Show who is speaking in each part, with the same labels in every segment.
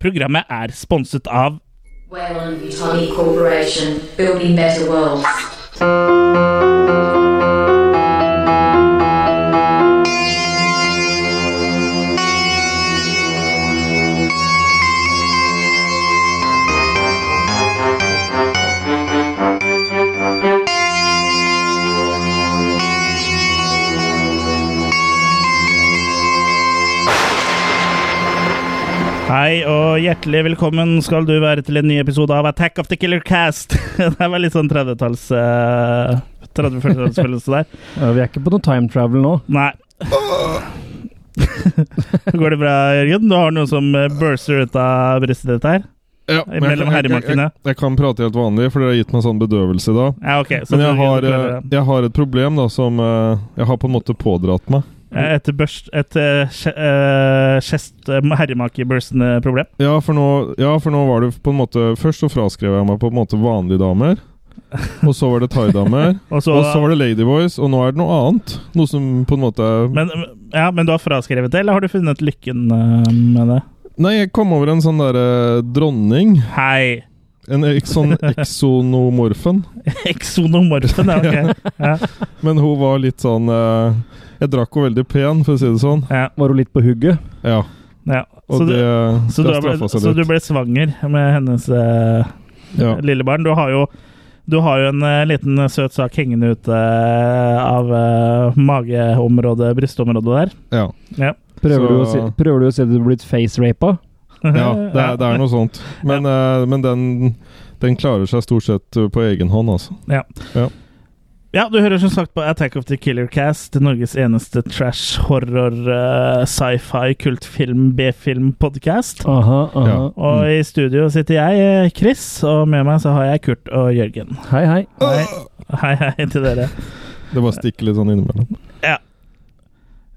Speaker 1: Programmet er sponset av
Speaker 2: Whalen Utani Corporation, building better worlds.
Speaker 1: Hei og hjertelig velkommen skal du være til en ny episode av Attack of the Killer Cast. det var litt sånn 30-talls... eh, 30-40-tallsfølelse der.
Speaker 3: Ja, vi er ikke på noe time travel nå.
Speaker 1: Nei. Går det bra, Jørgen? Du har noe som eh, burster ut av brystet ditt her?
Speaker 4: Ja, men jeg,
Speaker 1: Mellom
Speaker 4: jeg, jeg,
Speaker 1: herremarkene.
Speaker 4: jeg, jeg kan prate helt vanlig, for dere har gitt meg sånn bedøvelse i dag.
Speaker 1: Ja, ok. så
Speaker 4: Men jeg
Speaker 1: du-
Speaker 4: har,
Speaker 1: du
Speaker 4: eh,
Speaker 1: klarer det.
Speaker 4: jeg har et problem da som eh, jeg har på en måte pådratt meg.
Speaker 1: Eh, Et, børst, et eh, kje- eh, kjest- eh, herremakeburstende problem.
Speaker 4: Ja for, nå, ja, for nå var det på en måte Først så fraskrev jeg meg på en måte vanlige damer. Og så var det thaidamer.
Speaker 1: Og så,
Speaker 4: Og så var det Ladyboys, og nå er det noe annet. Noe som på en måte er
Speaker 1: men, ja, men du har fraskrevet det, eller har du funnet lykken eh, med det?
Speaker 4: Nei, jeg kom over en sånn derre dronning.
Speaker 1: Hei!
Speaker 4: En ek- sånn eksonomorfen.
Speaker 1: Exonomorfen, ja, ok. Ja,
Speaker 4: Men hun var litt sånn eh, Jeg drakk henne veldig pen, for å si det sånn.
Speaker 1: ja,
Speaker 3: Var hun litt på hugget?
Speaker 4: Ja.
Speaker 1: ja.
Speaker 4: Og
Speaker 1: Så,
Speaker 4: det,
Speaker 1: du, så,
Speaker 4: det
Speaker 1: du
Speaker 4: har
Speaker 1: ble,
Speaker 4: straffa seg
Speaker 1: så
Speaker 4: litt.
Speaker 1: du ble svanger med hennes eh,
Speaker 4: ja.
Speaker 1: lille barn. Du har jo, du har jo en eh, liten søt sak hengende ute eh, av eh, mageområdet, brystområdet der.
Speaker 4: ja.
Speaker 1: Ja.
Speaker 3: Prøver, du å si,
Speaker 4: Så-
Speaker 3: prøver du å si at du er blitt face-rapa?
Speaker 4: Ja, det er, det er noe sånt. Men, eh, men den, den klarer seg stort sett eh, på egen hånd, altså.
Speaker 1: Ja, du hører som sagt på Attack of the Killer Cast, Norges eneste trash, horror, eh, sci-fi, kultfilm, B-film-podkast.
Speaker 3: Aha, aha.
Speaker 4: Ja.
Speaker 1: Og i studio sitter jeg, eh, Chris, og med meg så har jeg Kurt og Jørgen.
Speaker 3: Hei, hei.
Speaker 1: Hei, hei, hei til dere.
Speaker 4: Det bare stikker litt sånn innimellom.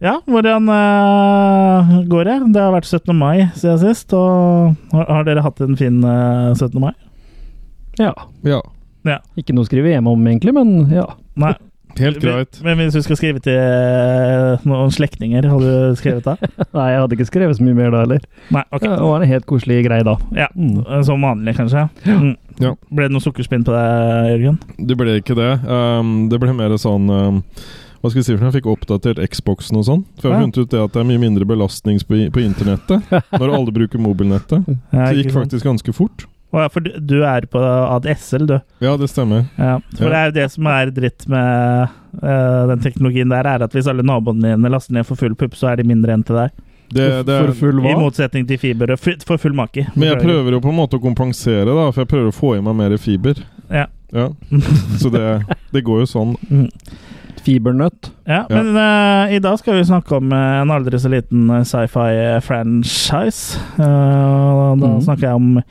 Speaker 1: Ja, hvordan eh, går det? Det har vært 17. mai siden sist, og har, har dere hatt en fin eh, 17. mai?
Speaker 3: Ja.
Speaker 4: Ja.
Speaker 3: Ikke noe å skrive hjemme om, egentlig, men ja.
Speaker 1: Nei.
Speaker 4: Helt greit.
Speaker 1: Men hvis du skal skrive til eh, noen slektninger, har du skrevet da?
Speaker 3: Nei, jeg hadde ikke skrevet så mye mer da heller.
Speaker 1: Nei, ok.
Speaker 3: Ja, det var en helt koselig greie da.
Speaker 1: Ja,
Speaker 3: Mm.
Speaker 1: Som vanlig, kanskje? Mm.
Speaker 4: Ja.
Speaker 1: Ble det noe sukkerspinn på deg, Jørgen?
Speaker 4: Det ble ikke det. Um, det ble mer sånn um, Hva skal jeg si for noe? Jeg fikk oppdatert Xboxen og sånn. For jeg har
Speaker 1: Ja.
Speaker 4: funnet ut det at det er mye mindre belastning på, på internettet når alle bruker mobilnettet.
Speaker 1: Ja,
Speaker 4: Så det
Speaker 1: ikke
Speaker 4: gikk
Speaker 1: sant?
Speaker 4: faktisk ganske fort.
Speaker 1: Å, ja, for du, du er på ADSL, du.
Speaker 4: Ja, det stemmer.
Speaker 1: Ja. For
Speaker 4: Ja.
Speaker 1: det er jo det som er dritt med eh, den teknologien der, er at hvis alle naboene dine laster ned for full pupp, så er de mindre enn til deg.
Speaker 4: Det, det er,
Speaker 3: For full
Speaker 1: I
Speaker 3: hva?
Speaker 1: motsetning til fiber og fri- for full maki.
Speaker 4: men jeg prøver jo på en måte å kompensere, da, for jeg prøver å få i meg mer fiber.
Speaker 1: Ja.
Speaker 4: ja. Så det, det går jo sånn.
Speaker 1: Mm.
Speaker 3: Fibernøtt.
Speaker 1: Ja,
Speaker 4: Ja.
Speaker 1: Men eh, i dag skal vi snakke om eh, en aldri så liten eh, sci-fi-franchise. da
Speaker 3: Mhm.
Speaker 1: snakker jeg om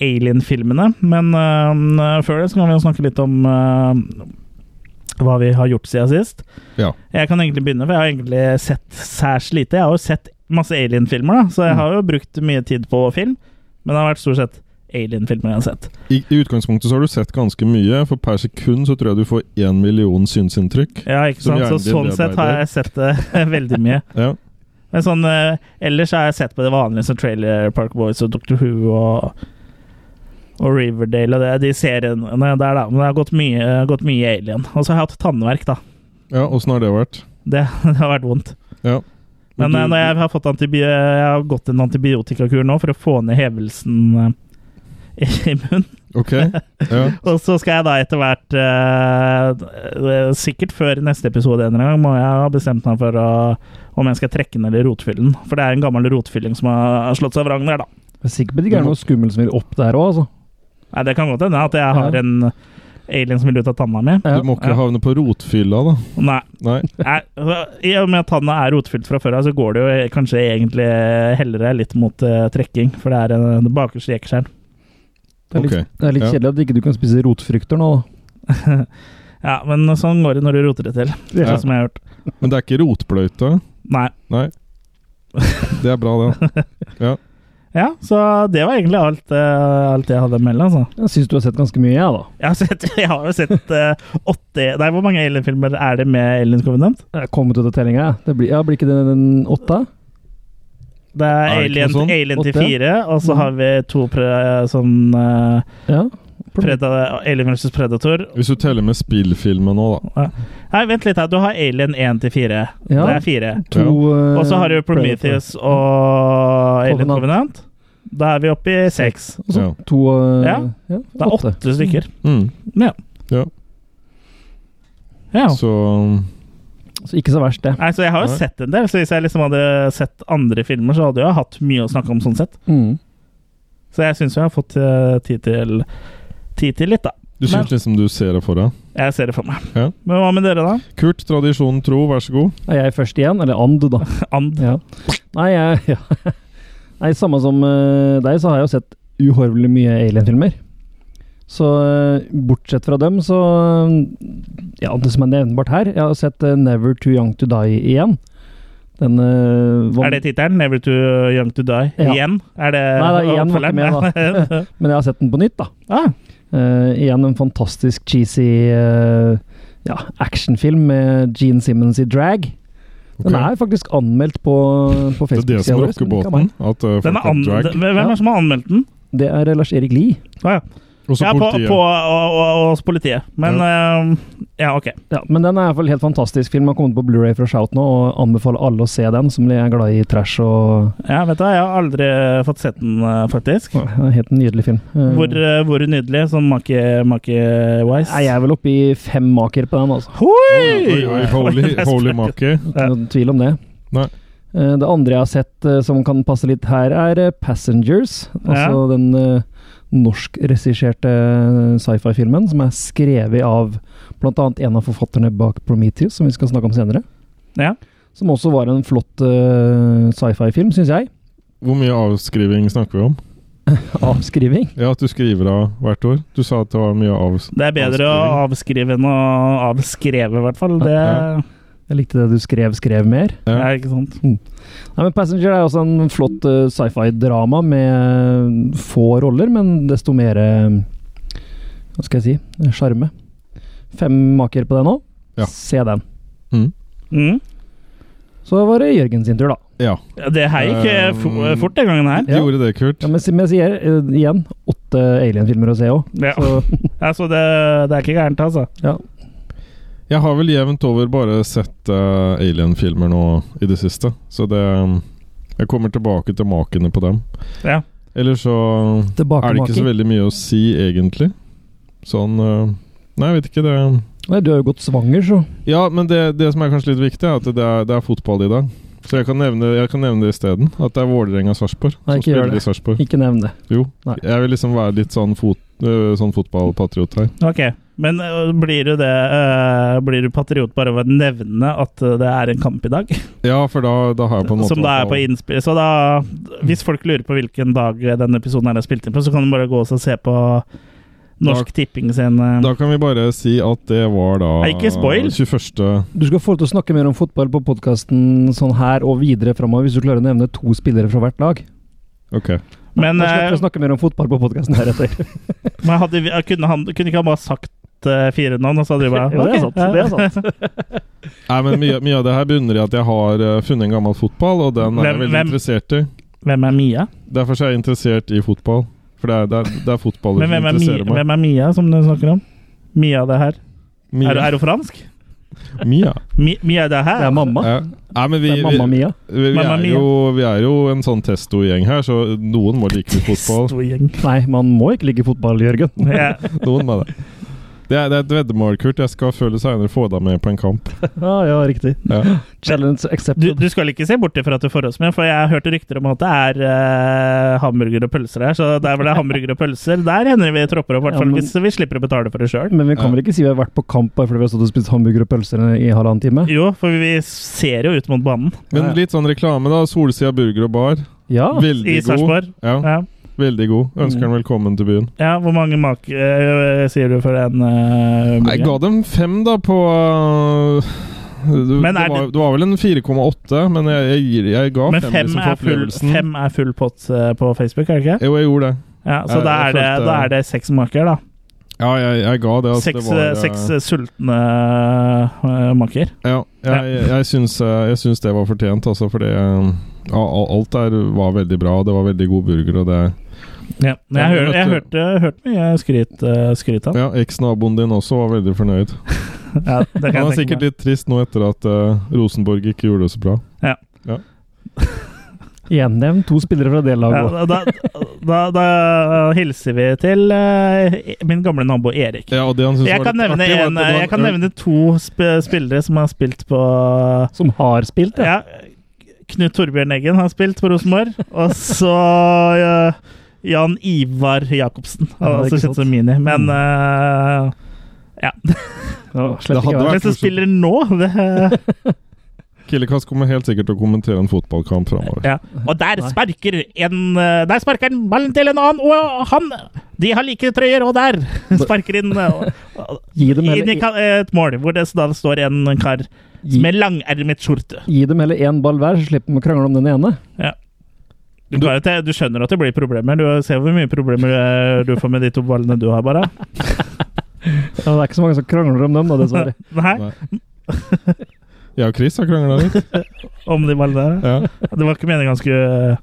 Speaker 1: Alien-filmene. Men eh, før det så kan vi jo snakke litt om eh, hva vi har gjort siden sist.
Speaker 4: Ja.
Speaker 1: Jeg kan egentlig begynne, for jeg har egentlig sett særs lite. Jeg har jo sett masse Alien-filmer, da, så jeg
Speaker 3: Mhm.
Speaker 1: har jo brukt mye tid på film. Men det har vært stort sett Alien-filmer jeg har sett.
Speaker 4: I, I utgangspunktet så har du sett ganske mye, for per sekund så tror jeg du får én million synsinntrykk.
Speaker 1: Ja, ikke
Speaker 4: Som
Speaker 1: sant? Så
Speaker 4: hjernen din
Speaker 1: sånn sett har
Speaker 4: bearbeider.
Speaker 1: jeg sett det veldig mye.
Speaker 4: Ja.
Speaker 1: Men sånn, eh, ellers har jeg sett på det vanlige som Trailer Park Boys og Doctor Who og, og Riverdale og det, de seriene der, da. Men det har gått mye, gått mye alien. Og så har jeg hatt tannverk, da.
Speaker 4: Ja, Åssen har det vært?
Speaker 1: Det, det har vært vondt.
Speaker 4: Ja.
Speaker 1: Men eh, når jeg har, fått antibi jeg har gått en antibiotikakur nå for å få ned hevelsen eh, i munnen.
Speaker 4: Ok. Ja.
Speaker 1: Og så skal jeg da etter hvert eh, eh, Sikkert før neste episode en eller annen gang må jeg ha bestemt meg for å, om jeg skal trekke ned rotfyllen. For det er en gammel rotfylling som har slått seg vrang der, da.
Speaker 3: Jeg er sikker på at det ikke er noe skummelt som vil opp der òg, altså.
Speaker 1: Nei, det kan godt hende at jeg har
Speaker 3: Ja.
Speaker 1: en eh, alien som vil ut av tanna mi.
Speaker 3: Ja.
Speaker 4: Du må ikke
Speaker 1: Ja.
Speaker 4: havne på rotfylla, da.
Speaker 1: Nei,
Speaker 4: Nei.
Speaker 1: nei, så I og med at tanna er rotfylt fra før av, så går det jo eh, kanskje egentlig hellere litt mot eh, trekking. For det er en bakerste jekeskjern.
Speaker 3: Det er litt,
Speaker 4: Ok.
Speaker 3: det er litt
Speaker 4: Ja.
Speaker 3: kjedelig at ikke du kan spise rotfrukter nå. da.
Speaker 1: Ja, men sånn går det når du roter det til.
Speaker 4: Ja.
Speaker 1: Sånn som jeg har gjort.
Speaker 4: Men det er ikke rotbløyte.
Speaker 1: Nei.
Speaker 4: Det er bra, det.
Speaker 1: Ja, så det var egentlig alt, eh, alt jeg hadde å melde, altså.
Speaker 3: Jeg syns du har sett ganske mye, jeg, da.
Speaker 1: Jeg har, sett, jeg har jo sett eh, åtte Nei, hvor mange Alien-filmer er det med Aliens Covenant?
Speaker 3: Jeg har kommet ut av tellinga, jeg. Det blir, ja, blir ikke det den åtte?
Speaker 1: Det er,
Speaker 4: Er det ikke
Speaker 1: Alien,
Speaker 4: noe sånn?
Speaker 1: Alien til
Speaker 3: Åtte?
Speaker 1: fire, og så
Speaker 3: Mm.
Speaker 1: har vi to pre, sånn eh,
Speaker 3: Ja.
Speaker 1: preda, Alien versus Predator.
Speaker 4: Hvis du teller med spillfilmen nå, da.
Speaker 1: Nei, vent litt her. Du har Alien 1 til fire.
Speaker 3: Ja.
Speaker 1: Det er fire.
Speaker 3: To eh,
Speaker 1: Og så har du Prometheus og Alien
Speaker 3: Covenant.
Speaker 1: Covenant. Da er vi oppe i seks.
Speaker 3: Og så
Speaker 4: Ja.
Speaker 3: to eh,
Speaker 1: Ja.
Speaker 3: ja,
Speaker 1: Det er åtte stykker.
Speaker 4: Mm.
Speaker 1: Ja.
Speaker 4: Ja.
Speaker 3: Mm.
Speaker 1: Ja.
Speaker 4: Så um,
Speaker 3: Så ikke så verst, det.
Speaker 1: Nei, så jeg har jo
Speaker 4: Nei.
Speaker 1: sett en del, så hvis jeg liksom hadde sett andre filmer, så hadde jeg jo hatt mye å snakke om sånn sett.
Speaker 3: Mm.
Speaker 1: Så jeg syns jeg har fått eh, tid til Tid til litt, da.
Speaker 4: du
Speaker 1: Men-
Speaker 4: syns liksom du ser det for deg.
Speaker 1: Jeg ser det for meg.
Speaker 4: Ja.
Speaker 1: Men hva med dere, da?
Speaker 4: Kurt, tradisjonen tro, vær så god.
Speaker 3: Er jeg først igjen? Eller and, da.
Speaker 1: And.
Speaker 3: Ja. Nei, jeg ja. Nei, samme som eh, deg, så har jeg jo sett uhorvelig mye Alien-filmer. Så eh, bortsett fra dem, så eh, Ja, det som er nevnbart her Jeg har sett eh, Never Too Young To Die igjen. Den eh, van-
Speaker 1: Er det tittelen? 'Never to Young to Die'?
Speaker 3: Ja.
Speaker 1: Igjen? Er det
Speaker 3: Nei, det er igjen var ikke med,
Speaker 1: da.
Speaker 3: Men jeg har sett den på nytt, da.
Speaker 1: ah,
Speaker 3: Eh, igjen en fantastisk cheesy eh, ja, actionfilm med Gene Simmons i drag. Den
Speaker 4: Ok.
Speaker 3: er faktisk anmeldt på, på
Speaker 4: det er det som
Speaker 3: Facebook-sida vår.
Speaker 4: rocker
Speaker 3: men ikke av meg.
Speaker 4: båten. At uh,
Speaker 1: den
Speaker 4: folk
Speaker 1: er
Speaker 4: har
Speaker 1: an
Speaker 4: drag.
Speaker 1: den- Hvem er
Speaker 3: Ja.
Speaker 1: det som har anmeldt den?
Speaker 3: Det er Lars-Erik Lie.
Speaker 1: Ah, ja.
Speaker 4: Og så
Speaker 1: ja, på,
Speaker 4: politiet.
Speaker 1: på, og, og, og hos politiet. Men eh, ja, ok.
Speaker 3: Ja, men den er i hvert fall helt fantastisk film. Har kommet på Blu-ray fra Shout nå, og anbefaler alle å se den, som er glad i trash og
Speaker 1: Ja, vet du, hva, jeg har aldri fått sett den, eh, faktisk.
Speaker 3: ja, det er en Helt nydelig film. Eh,
Speaker 1: Hvor, eh, hvor nydelig, sånn make-wise.
Speaker 3: Nei, jeg er vel oppe i fem maker på den, altså.
Speaker 4: Oi, oi, holy, holy maker.
Speaker 3: Ikke noen tvil om det.
Speaker 4: Nei.
Speaker 3: Eh, Det andre jeg har sett eh, som kan passe litt her, er eh, 'Passengers'. Altså den eh, norskregisserte eh, sci-fi-filmen som er skrevet av bl.a. en av forfatterne bak 'Prometheus', som vi skal snakke om senere.
Speaker 1: Ja.
Speaker 3: Som også var en flott eh, sci-fi-film, syns jeg.
Speaker 4: Hvor mye avskriving snakker vi om?
Speaker 3: Avskriving.
Speaker 4: Ja, at du skriver av hvert ord. Du sa at det var mye av...
Speaker 1: Det er bedre å avskrive enn å avskreve, i hvert fall. Det
Speaker 4: Ja.
Speaker 3: Jeg likte det du skrev, skrev mer.
Speaker 1: er ikke sant.
Speaker 3: Nei, men 'Passenger' er også en flott eh, sci-fi-drama med eh, få roller, men desto mer eh, Hva skal jeg si sjarme. Fem maker på den òg.
Speaker 4: Ja.
Speaker 3: Se den.
Speaker 1: Mm.
Speaker 3: Så var det Jørgen sin tur, da.
Speaker 4: Ja.
Speaker 1: Ja, Det her gikk eh, fo-
Speaker 4: Um,
Speaker 1: fort den gangen her.
Speaker 3: Ja.
Speaker 4: Gjorde det, Kurt.
Speaker 3: Ja, men som jeg sier eh, igjen, åtte Alien-filmer å se òg.
Speaker 1: Ja.
Speaker 3: Så
Speaker 1: Altså, det, det er ikke gærent, altså.
Speaker 4: Jeg har vel jevnt over bare sett eh, Alien-filmer nå i det siste. Så det um, Jeg kommer tilbake til makene på dem.
Speaker 1: Ja.
Speaker 4: Eller så um, er det ikke så
Speaker 3: tilbakemaking.
Speaker 4: veldig mye å si, egentlig. Sånn eh, Nei, jeg vet ikke. det
Speaker 3: Nei, du har jo gått svanger, så.
Speaker 4: Ja, men det, det som er kanskje litt viktig, er at det er, det er fotball i dag. Så jeg kan nevne, jeg kan nevne det isteden. At det er Vålerenga-Sarpsborg som
Speaker 3: Nei, ikke gjør
Speaker 4: spiller
Speaker 3: det.
Speaker 4: i Sarpsborg.
Speaker 3: Ikke nevn det.
Speaker 4: Jo.
Speaker 3: Nei.
Speaker 4: Jeg vil liksom være litt sånn, fot, øh, sånn fotballpatriot her.
Speaker 1: Ok. Men øh, blir du det øh, Blir du patriot bare ved å nevne at øh, det er en kamp i dag?
Speaker 4: Ja, for da, da har jeg på en måte
Speaker 1: Som da er på innspill. Så da Hvis folk lurer på hvilken dag denne episoden her er spilt inn på, så kan du bare gå og se på Norsk Tipping sin øh,
Speaker 4: Da kan vi bare si at det var da
Speaker 1: Nei, ikke spoil.
Speaker 4: 21.
Speaker 3: Du skal få lov til å snakke mer om fotball på podkasten sånn her og videre framover, hvis du klarer å nevne to spillere fra hvert lag.
Speaker 4: Ok.
Speaker 1: Men,
Speaker 3: Da slipper
Speaker 1: øh,
Speaker 3: vi å snakke mer om fotball på podkasten heretter.
Speaker 1: men hadde vi, kunne, han, kunne ikke han bare sagt øh, fire navn, og så hadde vi bare
Speaker 3: Jo, det er
Speaker 1: ok,
Speaker 3: sant, det er sant.
Speaker 4: Nei, men mye, mye av det her begynner i at jeg har eh, funnet en gammel fotball, og den
Speaker 1: Hvem-
Speaker 4: er jeg veldig
Speaker 1: hvem?
Speaker 4: interessert i.
Speaker 1: Hvem er Mia?
Speaker 4: Derfor så er jeg interessert i fotball. For det er, det er, det er fotball
Speaker 1: Men
Speaker 4: som
Speaker 1: hvem er, Mia,
Speaker 4: interesserer meg.
Speaker 1: hvem er Mia, som du snakker om? Mia det her.
Speaker 4: Mia.
Speaker 1: Er, er hun fransk?
Speaker 4: Mia.
Speaker 1: Mi, Mia det her?
Speaker 3: Det er mamma.
Speaker 4: Ja. Nei, men vi,
Speaker 3: Det er mamma
Speaker 4: vi,
Speaker 3: Mia.
Speaker 4: vi, vi,
Speaker 1: Mamma
Speaker 4: er
Speaker 1: Mia.
Speaker 4: jo, vi er jo en sånn testo-gjeng her, så noen må like litt fotball.
Speaker 1: Stor gjeng.
Speaker 3: Nei, man må ikke ligge i fotball, Jørgen.
Speaker 1: Ja.
Speaker 4: Noen må det. Det er, det er et veddemål, Kurt. Jeg skal føle seinere få deg med på en kamp.
Speaker 3: Ja, ja, riktig.
Speaker 4: Ja.
Speaker 3: Challenge accepted.
Speaker 1: Du, du skal ikke se bort ifra at du får oss med, for jeg hørte rykter om at det er eh, hamburger og pølser her, så der hvor det er hamburger og pølser, der hender vi tropper opp, i hvert
Speaker 3: Ja,
Speaker 1: fall
Speaker 3: men-
Speaker 1: hvis vi slipper å betale for det sjøl.
Speaker 3: Men vi kan vel ikke si vi har vært på kamp bare fordi vi har stått og spist hamburger og pølser i halvannen time?
Speaker 1: Jo, for vi ser jo ut mot banen
Speaker 4: Men
Speaker 3: Ja, ja.
Speaker 4: litt sånn reklame, da. Solsida burger og bar.
Speaker 3: Ja.
Speaker 4: Veldig
Speaker 1: i
Speaker 4: god.
Speaker 1: Sarpsborg.
Speaker 4: Ja,
Speaker 1: Ja. Mm.
Speaker 4: veldig god. Ønsker han velkommen til byen.
Speaker 1: ja, hvor mange mak... eh, sier du for den eh,
Speaker 4: Jeg ga
Speaker 1: burgeren?
Speaker 4: dem fem, da, på øh, det,
Speaker 1: Men er
Speaker 4: det, var,
Speaker 1: det-
Speaker 4: det var vel en 4,8, men jeg, jeg, gir- jeg ga
Speaker 1: Men
Speaker 4: fem,
Speaker 1: fem
Speaker 4: liksom, for
Speaker 1: er, full,
Speaker 4: opplevelsen.
Speaker 1: fem er full pott eh, på Facebook, er det ikke?
Speaker 4: Jo, jeg gjorde det.
Speaker 1: Ja, så
Speaker 4: Jeg-
Speaker 1: da
Speaker 4: jeg
Speaker 1: er, det,
Speaker 4: følte-
Speaker 1: da er det seks maker, da.
Speaker 4: Ja, jeg, jeg ga det. at
Speaker 1: seks,
Speaker 4: det var, eh,
Speaker 1: seks eh, sultne eh, makker.
Speaker 4: Ja, jeg, jeg, syns, eh, jeg syns det var fortjent, altså, fordi eh, ja, al- alt der var veldig bra. Det var veldig god burger, og det
Speaker 1: Ja. Men Jeg,
Speaker 4: Ja,
Speaker 1: hører- jeg
Speaker 4: vet
Speaker 1: hørte, hørte mye skryt, eh, skryt av den.
Speaker 4: Ja, Eksnaboen din også var veldig fornøyd.
Speaker 1: Ja, det kan jeg
Speaker 4: Han er
Speaker 1: tenke
Speaker 4: sikkert
Speaker 1: meg.
Speaker 4: litt trist nå etter at eh, Rosenborg ikke gjorde det så bra.
Speaker 3: Igjen nevnt to spillere fra det laget.
Speaker 1: ja, da, da, da hilser vi til eh, min gamle nabo Erik.
Speaker 4: Ja, og det han syntes
Speaker 1: Jeg
Speaker 4: var
Speaker 1: kan
Speaker 4: litt
Speaker 1: nevne,
Speaker 4: artig var at
Speaker 1: en,
Speaker 4: det var
Speaker 1: jeg kan
Speaker 4: øl-
Speaker 1: nevne to sp spillere som har spilt på
Speaker 3: Som har spilt, ja.
Speaker 1: Ja, Knut Torbjørn Eggen har spilt på Rosenborg. Og så ja, Jan Ivar Jacobsen,
Speaker 3: Ja, det er
Speaker 1: altså
Speaker 3: ikke
Speaker 1: kjent
Speaker 3: sant. Mm.
Speaker 1: som Mini. Men eh,
Speaker 3: ja slett ikke
Speaker 4: Det hadde vært-
Speaker 3: vært.
Speaker 1: Men som
Speaker 4: morsomt.
Speaker 1: spiller nå det,
Speaker 4: Killekast kommer helt sikkert til å kommentere en fotballkamp framover.
Speaker 1: ja. Og der
Speaker 3: Nei.
Speaker 1: sparker en eh, Der sparker han ballen til en annen, og han De har like trøyer, og der sparker inn eh, og- og-
Speaker 3: Gi dem
Speaker 1: inn i
Speaker 3: heller,
Speaker 1: ka- et mål, hvor det så da står en kar
Speaker 3: gi,
Speaker 1: med langermet skjorte.
Speaker 3: gi dem heller én ball hver, så slipper de å krangle om den ene.
Speaker 1: Du, klarer jo til- du skjønner at det blir problemer. Du ser hvor mye problemer eh, du får med de to ballene du har, bare.
Speaker 3: Ja, Det er ikke så mange som krangler om dem, da, dessverre.
Speaker 1: Nei,
Speaker 4: Nei. Jeg og Chris har krangla litt.
Speaker 1: om de ballene der.
Speaker 4: Ja.
Speaker 1: Det var ikke meninga han skulle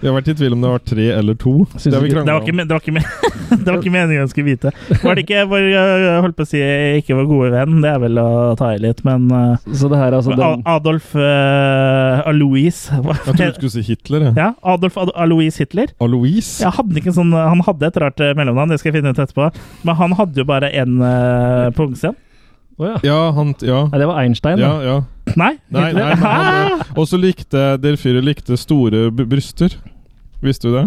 Speaker 4: Vi har vært i tvil om det var tre eller to.
Speaker 3: Syns
Speaker 4: det har vi
Speaker 3: ikke-
Speaker 1: Det var
Speaker 4: kranglet
Speaker 1: ikke,
Speaker 4: om.
Speaker 1: men- det var ikke, men- det var ikke meningen jeg skulle vite. Var det ikke var, Jeg holdt på å si jeg ikke var gode venn, det er vel å ta i litt, men eh,
Speaker 3: Så det her, altså
Speaker 1: Al-
Speaker 3: den,
Speaker 1: Adolf eh, Alois hva-
Speaker 4: Jeg trodde du skulle si Hitler. Jeg.
Speaker 1: Ja, Adolf Ad Alois Hitler.
Speaker 4: Alois.
Speaker 1: Ja, hadde ikke en sånn, han hadde et rart eh, mellomnavn, det skal jeg finne ut etterpå. Men han hadde jo bare én uh, på ungsten.
Speaker 3: Å ja.
Speaker 4: Ja, han Ja.
Speaker 3: Nei, det var Einstein,
Speaker 4: Ja,
Speaker 3: da.
Speaker 4: ja.
Speaker 1: Nei?
Speaker 4: Nei, nei,
Speaker 1: Hitler?
Speaker 4: men han, eh, Og så likte der fyret likte store b bryster. Visste du det?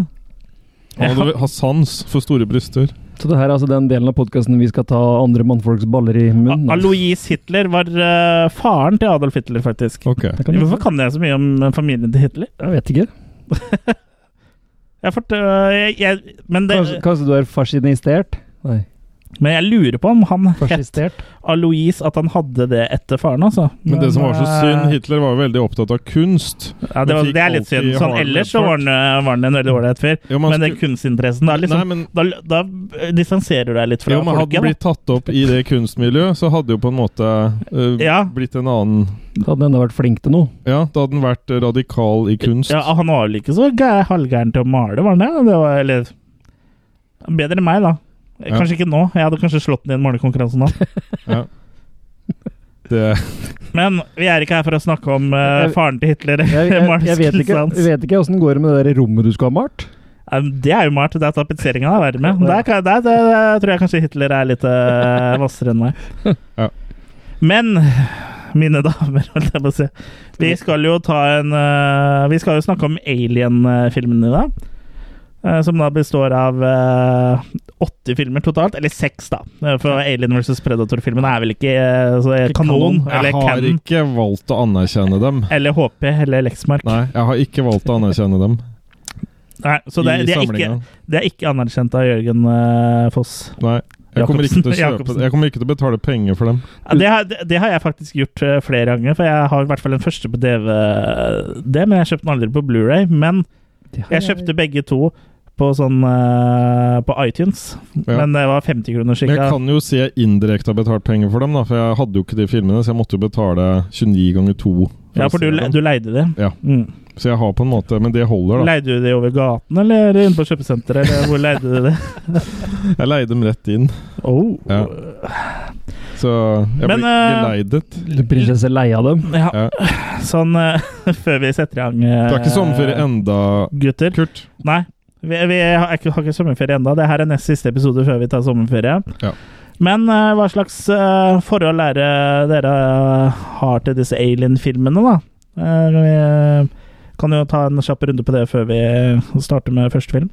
Speaker 4: Han hadde ha sans for store bryster.
Speaker 3: Så det her er altså den delen av podkasten vi skal ta andre mannfolks baller i munnen.
Speaker 1: A- Alois Hitler var eh, faren til Adolf Hitler, faktisk.
Speaker 4: Ok.
Speaker 3: Det kan
Speaker 1: Hvorfor kan jeg så mye om eh, familien til Hitler?
Speaker 3: Jeg vet ikke.
Speaker 1: Jeg fort, eh, jeg, jeg, men, det,
Speaker 3: Kanskje, kanskje du er fascinistert? Nei,
Speaker 1: men jeg lurer på om han het
Speaker 3: fascistert.
Speaker 1: Alois, at han hadde det etter faren, altså.
Speaker 4: Men det som var så
Speaker 1: eh,
Speaker 4: synd, Hitler var jo veldig opptatt av kunst.
Speaker 1: Ja, det,
Speaker 4: Men
Speaker 1: var,
Speaker 4: fikk
Speaker 1: det er litt
Speaker 4: alltid
Speaker 1: synd. Sånn
Speaker 4: hardere
Speaker 1: ellers så var han, eh, var han en veldig ålreit fyr.
Speaker 4: Jo, men han
Speaker 1: Men den
Speaker 4: skulle-
Speaker 1: kunstinteressen da,
Speaker 4: Nei,
Speaker 1: liksom,
Speaker 4: men,
Speaker 1: da, da distanserer du deg litt fra
Speaker 4: jo, men hadde
Speaker 1: folket.
Speaker 4: han blitt tatt opp i det kunstmiljøet, så hadde jo på en måte eh,
Speaker 1: Ja.
Speaker 4: blitt en annen
Speaker 3: Da hadde den enda vært flink til noe.
Speaker 4: Ja, da hadde han vært eh, radikal i kunst.
Speaker 1: Da. Ja, han var vel ikke så gæ- halvgæren til å male, var han det? det var, eller, bedre enn meg, da.
Speaker 4: Ja.
Speaker 1: Kanskje ikke nå. Jeg hadde kanskje slått den i en malekonkurranse nå.
Speaker 4: Det,
Speaker 1: Men vi er ikke her for å snakke om eh,
Speaker 3: Jeg-
Speaker 1: faren til Hitler.
Speaker 3: Jeg, jeg, jeg, vet ikke,
Speaker 1: maleskunsten hans.
Speaker 3: jeg vet ikke åssen det går med det der rommet du skal ha malt.
Speaker 1: Ja, men Det er jo malt. Det er tapetseringa det er verre med. Der, kan- der, der, der tror jeg kanskje Hitler er litt eh, vassere enn meg.
Speaker 4: Ja.
Speaker 1: Men mine damer, holdt jeg på å si. Vi skal jo ta en eh, Vi skal jo snakke om Alien-filmen i dag. Eh, Som da består av eh, åtte filmer totalt. Eller seks, da. Eh, For Alien versus Predator-filmen er vel ikke eh, så
Speaker 3: Ikke
Speaker 1: kanon.
Speaker 3: kanon.
Speaker 1: Eller
Speaker 4: jeg har
Speaker 1: canon.
Speaker 4: ikke valgt å anerkjenne dem.
Speaker 1: Eller HP, eller Lexmark.
Speaker 4: Nei, jeg har ikke valgt å anerkjenne dem
Speaker 1: Nei, så det,
Speaker 4: i
Speaker 1: de, er ikke,
Speaker 4: samlinga.
Speaker 1: de er ikke anerkjent av Jørgen eh, Foss.
Speaker 4: Nei. Jeg kommer, ikke til å kjøpe,
Speaker 1: Jacobsen.
Speaker 4: jeg kommer ikke til å betale penger for dem.
Speaker 1: Ja, det, har, det- det har jeg faktisk gjort eh, flere ganger, for jeg har i hvert fall den første på DVD, men jeg kjøpte den aldri på Blu-ray. Men jeg kjøpte begge to på sånn eh, på iTunes,
Speaker 4: Ja.
Speaker 1: men det var 50 kroner
Speaker 4: Men jeg
Speaker 1: skikka.
Speaker 4: kan jo si jeg indirekte har betalt penger for dem, da, for jeg hadde jo ikke de filmene, så jeg måtte jo betale 29 ganger 2.
Speaker 1: Ja, for du, le- du leide de.
Speaker 4: sånn. Ja.
Speaker 1: Mm.
Speaker 4: Så jeg har på en måte Men det holder, da.
Speaker 1: Leide du de over gaten, eller inne på kjøpesenteret, eller hvor leide du det?
Speaker 4: Jeg leide dem rett inn,
Speaker 1: Oh.
Speaker 4: Ja. så jeg
Speaker 1: Men,
Speaker 4: blir
Speaker 1: eh,
Speaker 4: ikke leidet.
Speaker 3: Du prinsesse lei av dem.
Speaker 1: Ja,
Speaker 4: Ja.
Speaker 1: sånn eh, før vi setter i gang
Speaker 4: Det er ikke sånn
Speaker 1: eh,
Speaker 4: sommerferie enda,
Speaker 1: gutter.
Speaker 4: Kurt.
Speaker 1: Nei. Vi, vi har ikke, har ikke sommerferie ennå. Det her er nest siste episode før vi tar sommerferie.
Speaker 4: Ja.
Speaker 1: Men eh, hva slags eh, forhold er det dere eh, har til disse alien-filmene, da? Eh, vi eh, kan jo ta en kjapp runde på det før vi starter med første film.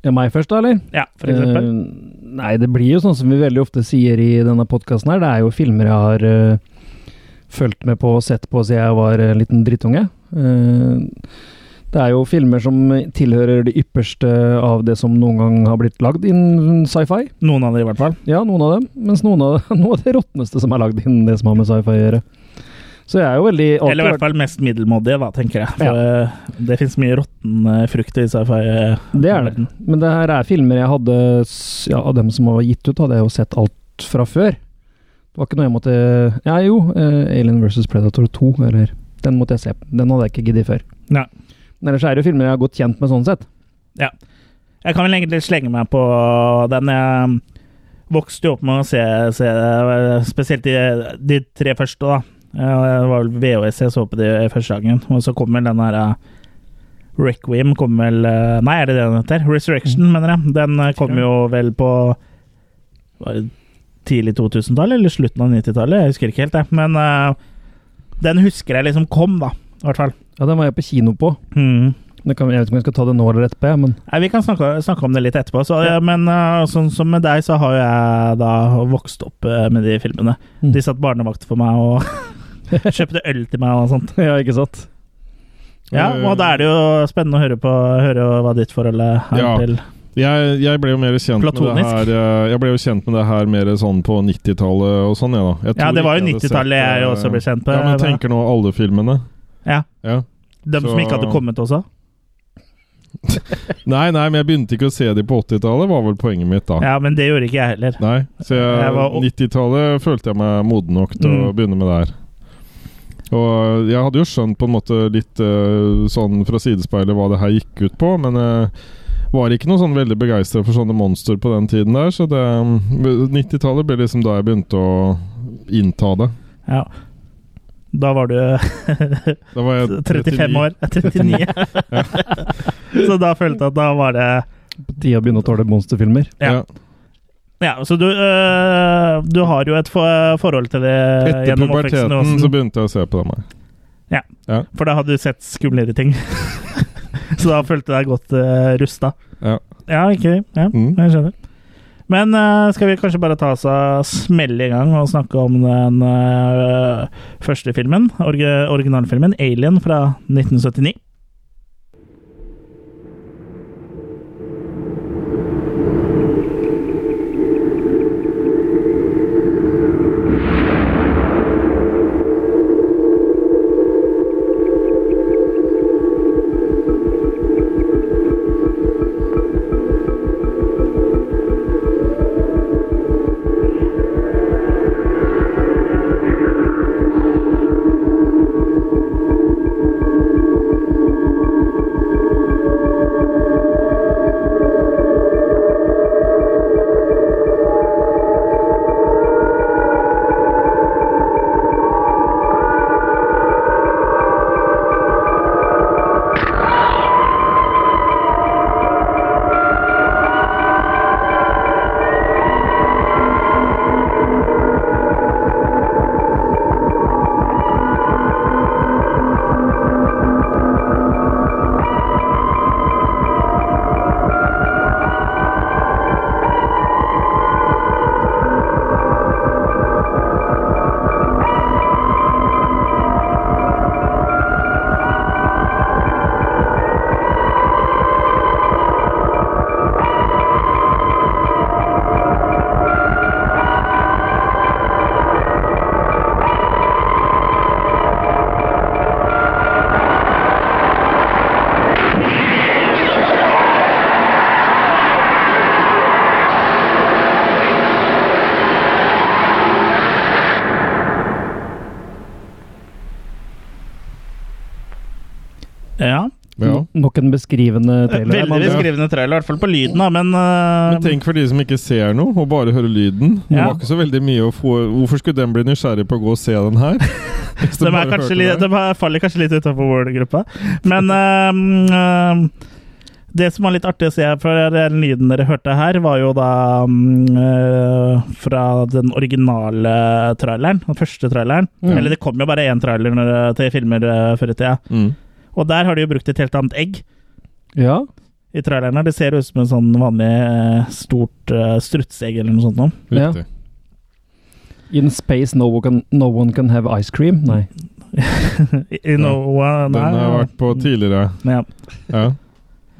Speaker 3: Ja, meg først, da, eller?
Speaker 1: Ja, for eksempel.
Speaker 3: Eh, nei, det blir jo sånn som vi veldig ofte sier i denne podkasten her. Det er jo filmer jeg har eh, fulgt med på og sett på siden jeg var en liten drittunge. Eh, det er jo filmer som tilhører det ypperste av det som noen gang har blitt lagd innen sci-fi.
Speaker 1: Eh, Noen av dem, i hvert fall.
Speaker 3: Ja, noen av dem. Mens noen av, noe av det råtneste som er lagd innen det som har med sci-fi å gjøre. Så jeg er jo veldig
Speaker 1: Eller i hvert fall mest middelmådige, da, tenker jeg. For eh, det fins mye råtten eh, frukt i sci-fi. eh,
Speaker 3: Det er det. Men det her er filmer jeg hadde s- ja, Av dem som var gitt ut, hadde jeg jo sett alt fra før. Det var ikke noe jeg måtte Ja, jo. eh, Alien vs. Predator 2. Eller, den måtte jeg se. Den hadde jeg ikke giddet før.
Speaker 1: Nei.
Speaker 3: Men ellers er det jo filmer jeg er godt kjent med, sånn sett.
Speaker 1: Jeg kan vel egentlig slenge meg på den. Jeg vokste jo opp med å se, se spesielt de, de tre første, da. Eh, Det var vel VHS jeg så på de første dagen. Og så kom vel den her eh, Requiem kom vel eh, Nei, er det det den heter? Resurrection, mener jeg. Den eh, kom jo vel på var det tidlig 2000-tall eller slutten av 90-tallet? Jeg husker ikke helt, jeg. Men eh, den husker jeg liksom kom, da. I hvert fall.
Speaker 3: Ja, den var jeg på kino på.
Speaker 1: Mm.
Speaker 3: Det kan, jeg vet ikke om jeg skal ta det nå eller etterpå, jeg, men
Speaker 1: Nei, Vi kan snakke, snakke om det litt etterpå. Så, eh, Men eh, sånn som med deg, så har jo jeg da vokst opp eh, med de filmene.
Speaker 3: Mm.
Speaker 1: De satt barnevakt for meg og kjøpte øl til meg og sånt.
Speaker 3: Ja, ikke sant?
Speaker 1: Ja,
Speaker 4: Eh.
Speaker 1: Og da er det jo spennende å høre, på, høre hva ditt forhold er
Speaker 4: Ja.
Speaker 1: til.
Speaker 4: Jeg, jeg ble jo mer kjent med
Speaker 1: Platonisk.
Speaker 4: det her eh, Jeg ble jo kjent med det her mer sånn på 90-tallet og sånn, jeg, da. Jeg
Speaker 1: Ja,
Speaker 4: tror
Speaker 1: det var jo
Speaker 4: ikke jeg hadde
Speaker 1: 90-tallet
Speaker 4: sett,
Speaker 1: jeg
Speaker 4: eh,
Speaker 1: også ble kjent på.
Speaker 4: Ja, men tenker nå alle filmene.
Speaker 1: Ja.
Speaker 4: Ja.
Speaker 1: De som
Speaker 4: så-
Speaker 1: ikke hadde kommet også.
Speaker 4: Nei, nei, men jeg begynte ikke å se de på 80-tallet, var vel poenget mitt da.
Speaker 1: Ja, men det gjorde ikke jeg heller.
Speaker 4: Nei, så jeg,
Speaker 1: Jeg var-
Speaker 4: 90-tallet følte jeg meg moden nok til å
Speaker 1: Mm.
Speaker 4: begynne med det her. Og jeg hadde jo skjønt på en måte litt eh, sånn fra sidespeilet hva det her gikk ut på, men jeg var ikke noe sånn veldig begeistra for sånne monster på den tiden der, så det 90-tallet ble liksom da jeg begynte å innta det.
Speaker 1: Ja. Da var du
Speaker 4: Da var jeg
Speaker 1: 35 år. 39. så da følte jeg at da var det
Speaker 3: På tide å begynne å tåle monsterfilmer.
Speaker 1: Ja.
Speaker 4: Ja.
Speaker 1: Ja, så du, øh, du har jo et for, eh, forhold til det
Speaker 4: Etter
Speaker 1: gjennom oppveksten.
Speaker 4: puberteten så
Speaker 1: Åsen.
Speaker 4: begynte jeg å se på dem her.
Speaker 1: For da hadde du sett skumlere ting. så da følte du deg godt øh, rusta.
Speaker 4: Ja.
Speaker 1: Ja, ikke ja,
Speaker 4: Mm.
Speaker 1: Jeg skjønner. Men øh, skal vi kanskje bare ta oss av smelle i gang og snakke om den øh, første filmen? Orgi originalfilmen 'Alien' fra 1979. Ja.
Speaker 4: Ja.
Speaker 3: No- Nok en beskrivende trailer.
Speaker 1: Veldig
Speaker 3: Man-
Speaker 1: beskrivende trailer, i hvert fall på lyden, da, men, øh,
Speaker 4: Men tenk for de som ikke ser noe, og bare hører lyden. Det
Speaker 1: Ja.
Speaker 4: var ikke så veldig mye å få Hvorfor skulle den bli nysgjerrig på å gå og se den her? Hvis
Speaker 1: De,
Speaker 4: bare
Speaker 1: er kanskje
Speaker 4: hørte
Speaker 1: litt,
Speaker 4: det.
Speaker 1: de er- faller kanskje litt utenfor vår gruppa. Men ehm, ehm, det som var litt artig å se for den lyden dere hørte her, var jo da ehm, eh, fra den originale traileren. Den første traileren.
Speaker 3: Mm.
Speaker 1: Eller det kom jo bare én trailer når, til filmer eh, før i tida.
Speaker 4: Mm.
Speaker 1: Og der har de jo brukt et helt annet egg
Speaker 3: Ja.
Speaker 1: i traileren. her. Det ser ut som en sånn vanlig eh, stort eh, strutseegg eller noe sånt. noe.
Speaker 3: Ja.
Speaker 4: Riktig.
Speaker 3: In space no one, can, no one can have ice cream. Nei.
Speaker 1: I- I noe
Speaker 4: Den har jeg vært på tidligere.
Speaker 1: Ja.
Speaker 4: Ja.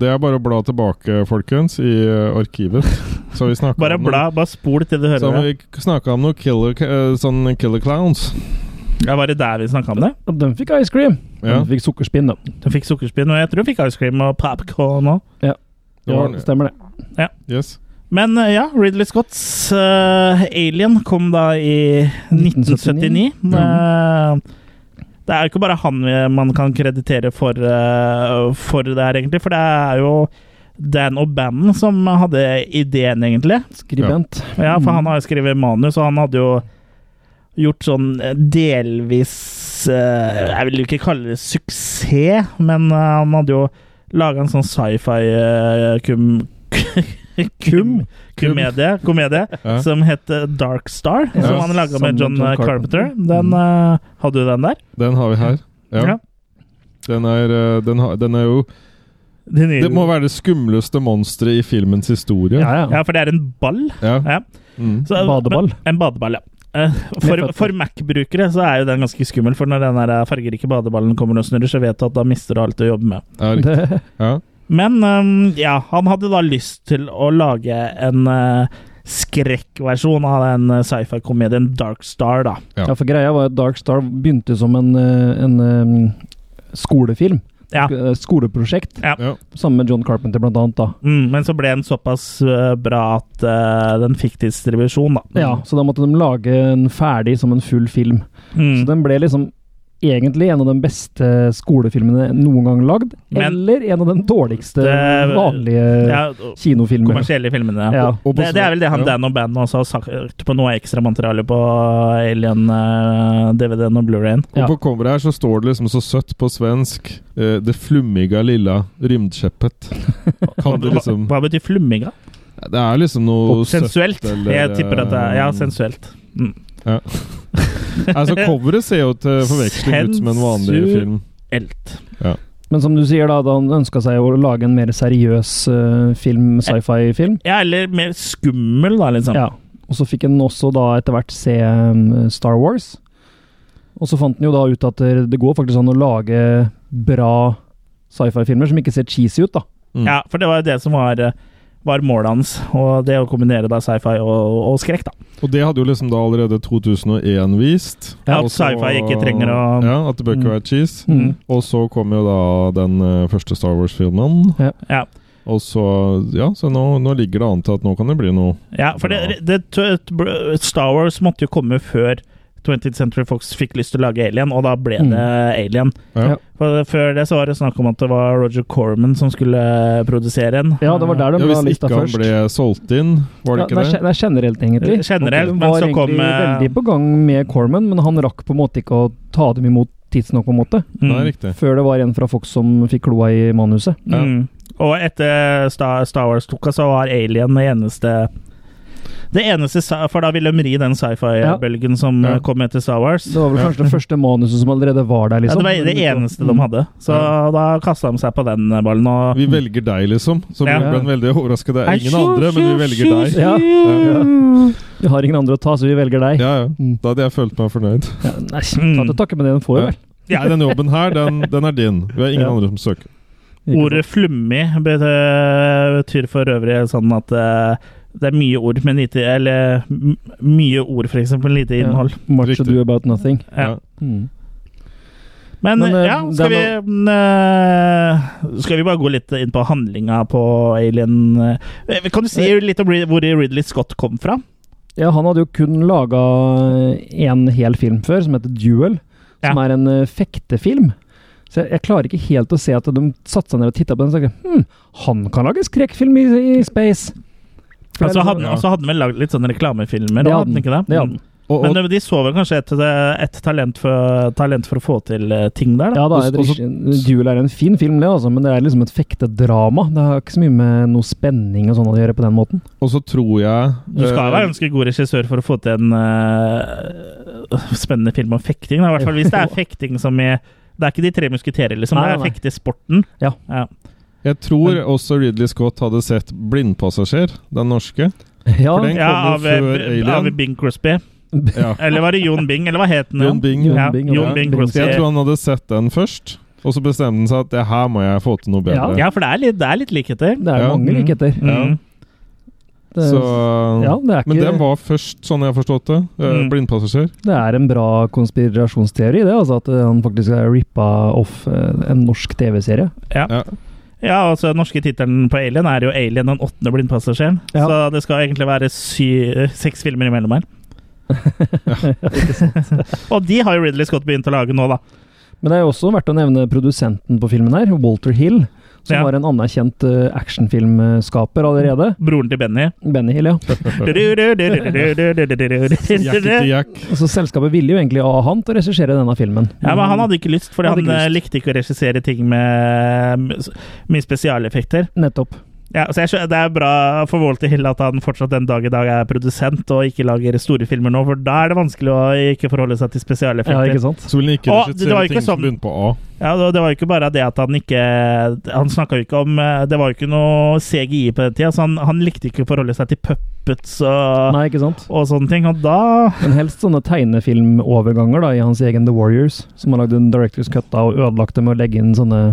Speaker 4: Det er bare å bla tilbake, folkens, i eh, arkivet. Så har vi snakket
Speaker 1: Bare
Speaker 4: om noe-
Speaker 1: bla, bare spol til du
Speaker 4: Så
Speaker 1: hører
Speaker 4: har
Speaker 1: det.
Speaker 4: vi snakka om noe killer, eh, sånn killer clowns.
Speaker 1: Ja, var det der vi snakka om det?
Speaker 3: Og den fikk ice cream.
Speaker 4: Ja.
Speaker 3: Den fikk sukkerspinn, den.
Speaker 1: Du fikk sukkerspinn, og jeg tror du fikk ice cream og popcorn òg.
Speaker 4: Det var den, ja.
Speaker 3: stemmer det.
Speaker 4: Yes.
Speaker 1: Men eh, ja, Ridley Scotts eh, Alien kom da i 1979. Eh, det er jo ikke bare han eh, man kan kreditere for, eh, for det her, egentlig. For det er jo Dan O'Bannon som hadde ideen, egentlig.
Speaker 3: Skribent.
Speaker 1: Ja, for han har jo skrevet manus, og han hadde jo gjort sånn eh, delvis eh, Jeg vil jo ikke kalle det suksess, men eh, han hadde jo laga en sånn sci-fi eh, kum... Kum? Komedie, komedie
Speaker 4: Ja.
Speaker 1: som het eh, Dark Star,
Speaker 3: Ja,
Speaker 1: som han laga
Speaker 3: sammen
Speaker 1: med
Speaker 3: med
Speaker 1: John,
Speaker 3: John
Speaker 1: Carpenter.
Speaker 3: Carpenter.
Speaker 1: Den, eh, hadde du den der?
Speaker 4: Den har vi her. Ja. Den, er, eh, den, har, den er jo
Speaker 1: De nye-
Speaker 4: Det må være det skumleste monsteret i filmens historie.
Speaker 3: Ja, ja.
Speaker 1: ja, for det er en ball.
Speaker 4: Ja.
Speaker 1: Ja.
Speaker 4: Mm.
Speaker 1: Så-
Speaker 3: Badeball.
Speaker 1: En badeball, ja. Eh, For,
Speaker 3: føtter.
Speaker 1: for Mac-brukere så er jo den ganske skummel, for når den der eh, fargerike badeballen kommer og snurrer, så vet du at da mister du alt å jobbe med.
Speaker 4: Ja, riktig.
Speaker 3: Det,
Speaker 4: ja.
Speaker 1: Men ehm, ja, han hadde da lyst til å lage en eh, skrekkversjon av den eh, sci-fi-komedien Dark Star, da.
Speaker 4: Ja.
Speaker 3: ja, for greia var at Dark Star begynte som en, eh, en eh, skolefilm.
Speaker 1: Ja.
Speaker 3: Eh, Skoleprosjekt.
Speaker 1: Ja.
Speaker 4: Ja.
Speaker 3: Sammen med John Carpenter, blant annet. da.
Speaker 1: Mm, men så ble den såpass eh, bra at eh, den fikk distribusjon, da.
Speaker 3: Ja, Så da måtte de lage en ferdig som en full film. Så
Speaker 1: Mm.
Speaker 3: den ble liksom egentlig en av de beste skolefilmene noen gang lagd.
Speaker 1: Men-
Speaker 3: eller en av de dårligste
Speaker 1: Det-
Speaker 3: vanlige
Speaker 1: Ja,
Speaker 3: kinofilmer.
Speaker 1: kommersielle filmene.
Speaker 3: Ja.
Speaker 4: Og på
Speaker 1: Det, det er vel det han
Speaker 4: ja.
Speaker 1: Dan O'Bannon også har sagt eh, på noe ekstramateriale på eh, Alien-DVD-en og Blu-rayen.
Speaker 4: Og
Speaker 3: Ja.
Speaker 4: på coveret her så står det liksom så søtt på svensk eh, 'Det flummiga lilla rymdskeppet'. Kan du liksom
Speaker 1: Hva betyr flumminga?
Speaker 4: Det er liksom noe søtt
Speaker 1: Sensuelt.
Speaker 4: eller,
Speaker 1: Jeg tipper at det er Ja, sensuelt.
Speaker 4: Altså, coveret ser jo til forveksling ut som en vanlig
Speaker 1: Sensu-
Speaker 4: film.
Speaker 1: Elt.
Speaker 3: Men som du sier, da, da han ønska seg å lage en mer seriøs eh, film, sci-fi-film.
Speaker 1: Ja, eller mer skummel, da, liksom.
Speaker 3: Ja. Og så fikk han også da etter hvert se um, Star Wars. Og så fant han jo da ut at det- det går faktisk an å lage bra sci-fi-filmer som ikke ser cheesy ut, da.
Speaker 4: Mm.
Speaker 1: Ja, for det var jo det som var, eh, var målet hans. Og det å kombinere da sci-fi og, og skrekk, da.
Speaker 4: Og det hadde jo liksom da allerede 2001 vist.
Speaker 1: Ja,
Speaker 4: Og
Speaker 1: at
Speaker 4: så-
Speaker 1: sci-fi ikke trenger å-
Speaker 4: Ja, at det bør ikke være cheese.
Speaker 1: Mm.
Speaker 4: Og så kom jo da den eh, første Star Wars-filmen.
Speaker 1: Ja,
Speaker 4: Og så Ja, så nå, nå ligger det an til at nå kan det bli noe.
Speaker 1: ja for det, det, det, Star Wars måtte jo komme før 20th Century Fox fikk lyst til å lage Alien, og da ble
Speaker 3: Mm.
Speaker 1: det Alien.
Speaker 3: Ja.
Speaker 4: Ja.
Speaker 1: For Før det så var det snakk om at det var Roger Corman som skulle eh, produsere en.
Speaker 3: Ja, det var der de
Speaker 4: Ja,
Speaker 3: la
Speaker 4: hvis
Speaker 3: lista
Speaker 4: ikke han
Speaker 3: først.
Speaker 4: ble solgt inn, var det
Speaker 3: Ja,
Speaker 4: ikke
Speaker 3: det, er,
Speaker 4: det?
Speaker 3: gen- det er generelt, egentlig.
Speaker 1: Eh, Generelt,
Speaker 3: De
Speaker 1: men
Speaker 3: var
Speaker 1: så kom,
Speaker 3: egentlig
Speaker 1: eh,
Speaker 3: veldig på gang med Corman, men han rakk på en måte ikke å ta dem imot tidsnok, på en måte.
Speaker 4: Nei,
Speaker 1: Mm.
Speaker 4: riktig.
Speaker 3: Før det var en fra Fox som fikk kloa i manuset.
Speaker 4: Ja.
Speaker 1: Mm. Og etter Star, Star Wars tok av, så var Alien det eneste Det eneste sa- For da ville de ri den sci-fi-bølgen som
Speaker 4: Ja.
Speaker 1: eh, kom etter Star Wars.
Speaker 3: Det var vel kanskje det første manuset som allerede var der,
Speaker 1: Ja, det
Speaker 3: liksom.
Speaker 1: var det eneste de
Speaker 3: Mm.
Speaker 1: hadde, så da kasta de seg på den ballen. Og
Speaker 4: Vi velger deg, liksom. Så
Speaker 1: Ja.
Speaker 4: vi ble veldig overrasket. Det
Speaker 1: Nei,
Speaker 4: er ingen andre, men vi velger deg.
Speaker 3: Ja.
Speaker 4: Ja.
Speaker 3: Vi har ingen andre å ta, så vi velger deg.
Speaker 4: Ja, ja. Da hadde jeg følt meg fornøyd.
Speaker 3: Ja, nei, ta til takke med det den får,
Speaker 4: Ja.
Speaker 3: vel.
Speaker 4: Nei, den jobben her, den, den er din. Vi har ingen
Speaker 3: Ja.
Speaker 4: andre som søker.
Speaker 3: Ikke
Speaker 1: Ordet 'flummi' bet- betyr for øvrig sånn at eh, det er mye ord, men lite Eller m- mye ord, for eksempel, lite
Speaker 3: Ja.
Speaker 1: innhold.
Speaker 3: Much
Speaker 4: Riktig.
Speaker 3: ado about nothing.
Speaker 1: Ja.
Speaker 4: Ja.
Speaker 3: Mm.
Speaker 1: Men,
Speaker 3: Men, eh,
Speaker 1: ja, skal
Speaker 3: det
Speaker 1: vi mm,
Speaker 3: er
Speaker 1: eh, Skal vi bare gå litt inn på handlinga på Alien? Eh, Kan du si litt om Rid- hvor Ridley Scott kom fra?
Speaker 3: Ja, han hadde jo kun laga en hel film før, som heter Duel. Som
Speaker 1: Ja.
Speaker 3: er en eh, fektefilm. Så jeg, jeg klarer ikke helt å se at de satte seg ned og titta på den og tenkte hm, han kan lage skrekkfilm i, i space. For det er
Speaker 1: Altså,
Speaker 3: liksom-
Speaker 1: hadde,
Speaker 4: ja.
Speaker 1: altså hadde han vel lagd litt sånne reklamefilmer?
Speaker 3: Det
Speaker 1: og
Speaker 3: hadde han.
Speaker 1: ikke det?
Speaker 3: Det hadde han.
Speaker 4: Og,
Speaker 1: Men eh,
Speaker 4: og,
Speaker 1: de- de så vel kanskje et, eh, et talent, for, talent for å få til eh, ting der, da?
Speaker 3: ja, da,
Speaker 4: Og-
Speaker 3: er det
Speaker 4: og så-
Speaker 3: ikke- Duel er en fin film, det, altså, men det er liksom et fektedrama. Det har ikke så mye med noe spenning og sånn å gjøre på den måten.
Speaker 4: og så tror jeg
Speaker 1: Du skal
Speaker 4: eh,
Speaker 1: være ganske god regissør for å få til en eh, spennende film om fekting. da. I hvert fall hvis det er fekting som i Det er ikke De tre musketerer, liksom.
Speaker 3: Nei,
Speaker 1: Det er
Speaker 3: nei.
Speaker 1: fektesporten.
Speaker 3: Ja.
Speaker 1: Ja.
Speaker 4: Jeg tror også Ridley Scott hadde sett 'Blindpassasjer', den norske.
Speaker 3: Ja,
Speaker 4: For den-
Speaker 1: ja,
Speaker 4: kom jo
Speaker 1: av, eh,
Speaker 4: før
Speaker 1: B-
Speaker 4: Alien.
Speaker 1: av Bing Crosby.
Speaker 4: Ja.
Speaker 1: Eller var det Jon Bing, eller hva het den?
Speaker 4: Jon Bing.
Speaker 3: Jon
Speaker 1: Ja,
Speaker 3: Bing og
Speaker 1: Jon
Speaker 3: det.
Speaker 1: Bing
Speaker 4: Så jeg tror han hadde sett den først, og så bestemte han seg at det her må jeg få til noe bedre.
Speaker 1: Ja, for det er litt, det er litt likheter.
Speaker 3: Det er
Speaker 4: Mm. Ja.
Speaker 3: mange likheter.
Speaker 1: Mm.
Speaker 3: Det,
Speaker 4: Så,
Speaker 3: ja, det er ikke
Speaker 4: men den var først, sånn jeg har forstått det. eh,
Speaker 1: Mm.
Speaker 4: Blindpassasjer.
Speaker 3: Det er en bra konspirasjonsteori, det. Altså at eh, han faktisk har rippa off eh, en norsk TV-serie.
Speaker 4: Ja.
Speaker 1: Ja, altså Den norske tittelen på Alien er jo 'Alien den åttende blindpassasjeren'.
Speaker 3: Ja.
Speaker 1: Så det skal egentlig være sy seks filmer imellom her. Og de har jo Ridley Scott begynt å lage nå, da.
Speaker 3: Men det er jo også verdt å nevne produsenten på filmen her, Walter Hill. Som
Speaker 1: Ja.
Speaker 3: var en anerkjent eh, actionfilmskaper allerede.
Speaker 1: Broren til Benny.
Speaker 3: Benny Hill, ja.
Speaker 4: Jack etter
Speaker 1: Ja,
Speaker 4: jack.
Speaker 3: Så Altså, selskapet ville jo egentlig av han til å regissere denne filmen.
Speaker 1: men Han hadde ikke lyst, fordi
Speaker 3: Hadde
Speaker 1: han
Speaker 3: ikke
Speaker 1: eh, likte ikke å regissere ting med med- mye spesialeffekter.
Speaker 3: Nettopp.
Speaker 1: Ja, så jeg skjø- Det er bra for Walter Hill at han fortsatt den dag i dag er produsent og ikke lager store filmer nå, for da er det vanskelig å ikke forholde seg til
Speaker 3: Ja,
Speaker 1: spesialeffekter.
Speaker 3: ikke sant?
Speaker 4: Så ville han ikke
Speaker 1: Å, det var
Speaker 4: regissere
Speaker 1: ikke
Speaker 4: ting som
Speaker 1: sånn-
Speaker 4: begynte på A.
Speaker 1: Ja, det, det var jo ikke bare det at han ikke Han snakka jo ikke om eh, Det var jo ikke noe CGI på den tida, så han, han likte ikke å forholde seg til puppets og,
Speaker 3: Nei, ikke sant?
Speaker 1: og sånne ting. Og da
Speaker 3: Men helst sånne tegnefilmoverganger da, i hans egen The Warriors, som har lagd en Directors Cut av og ødelagt det med å legge inn sånne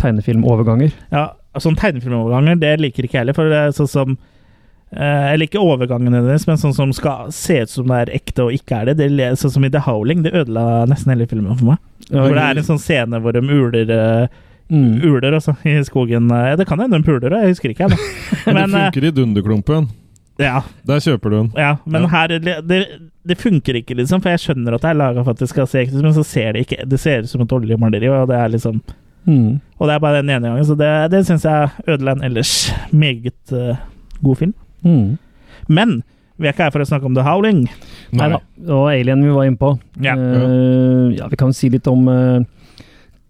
Speaker 3: tegnefilmoverganger.
Speaker 1: Ja, sånn tegnefilmoverganger, det liker ikke jeg heller, for det er sånn som eh, Eller ikke overgangen hennes, men sånn som skal se ut som det er ekte og ikke er det. det le- sånn som i The Howling, det ødela nesten hele filmen for meg. hvor det er en sånn scene hvor de uler eh,
Speaker 3: Mm.
Speaker 1: Uler, altså, i skogen. Eh, Det kan hende de puler, jeg husker ikke, jeg, da.
Speaker 4: Men
Speaker 1: Men,
Speaker 4: det
Speaker 1: eh,
Speaker 4: funker i Dunderklumpen.
Speaker 1: ja,
Speaker 4: Der kjøper du den.
Speaker 1: Ja, men
Speaker 4: Ja.
Speaker 1: her det, det funker ikke, liksom. For jeg skjønner at det er laga for at det skal se ekte ut, men så ser det ikke Det ser ut som et oljemaleri, og det er liksom
Speaker 3: Mm.
Speaker 1: Og det er bare den ene gangen, så det, det syns jeg ødela en ellers meget eh, god film.
Speaker 3: Mm.
Speaker 1: Men vi er ikke her for å snakke om The Howling.
Speaker 3: Nei da. Og Alien vi var inne på.
Speaker 1: Ja.
Speaker 3: Eh, ja, vi kan si litt om eh,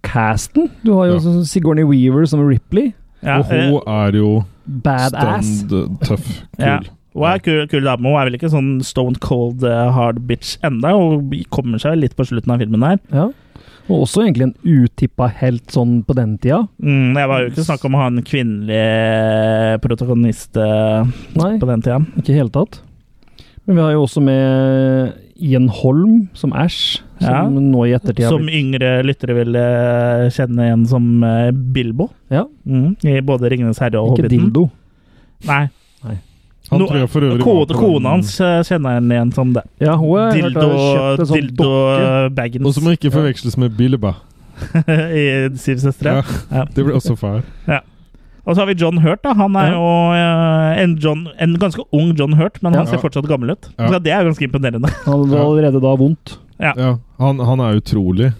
Speaker 3: casten. Du har jo
Speaker 4: Ja.
Speaker 3: sånn Sigourney Weaver som Ripley.
Speaker 1: Ja,
Speaker 4: Og hun
Speaker 1: eh,
Speaker 4: er jo
Speaker 3: Badass.
Speaker 4: stand eh, tøff. Kul.
Speaker 1: Ja. hun er kul, kul dame. Hun er vel ikke sånn stone cold eh, hard bitch enda Hun kommer seg litt på slutten av filmen her.
Speaker 3: Ja. Og også egentlig en utippa helt sånn på den tida.
Speaker 1: Mm, jeg var jo ikke snakk om å ha en kvinnelig protagonist eh,
Speaker 3: Nei,
Speaker 1: på den tida.
Speaker 3: ikke i hele tatt. Men vi har jo også med eh, Ian Holm som Ash, som
Speaker 1: Ja.
Speaker 3: nå i ettertid har
Speaker 1: Som
Speaker 3: blitt-
Speaker 1: yngre lyttere vil eh, kjenne igjen som eh, Bilbo.
Speaker 3: Ja.
Speaker 1: Mm, I både 'Ringenes herre' og
Speaker 3: Ikke
Speaker 1: 'Hobbiten'.
Speaker 3: dildo.
Speaker 1: Nei,
Speaker 4: Han
Speaker 1: Nå-
Speaker 4: tror jeg for øvrig var
Speaker 1: kone,
Speaker 4: på den-
Speaker 1: kona hans eh, kjenner han igjen som det.
Speaker 3: Ja, hun har jeg hørt
Speaker 1: Dildo,
Speaker 3: har kjøpt en sånn
Speaker 1: dildo eh,
Speaker 3: dokke.
Speaker 1: Baggins
Speaker 4: Og som ikke forveksles med Bilba.
Speaker 1: i Syv søstre.
Speaker 4: Ja.
Speaker 1: Ja.
Speaker 4: Det ble også feil.
Speaker 1: Og så har vi John Hurt. da Han er
Speaker 3: Ja.
Speaker 1: jo eh, en, John, en ganske ung John Hurt, men han
Speaker 4: Ja.
Speaker 1: ser fortsatt gammel ut.
Speaker 4: Ja.
Speaker 1: Så Det er jo ganske imponerende.
Speaker 3: Han hadde allerede da vondt.
Speaker 4: Ja. Han, han er utrolig.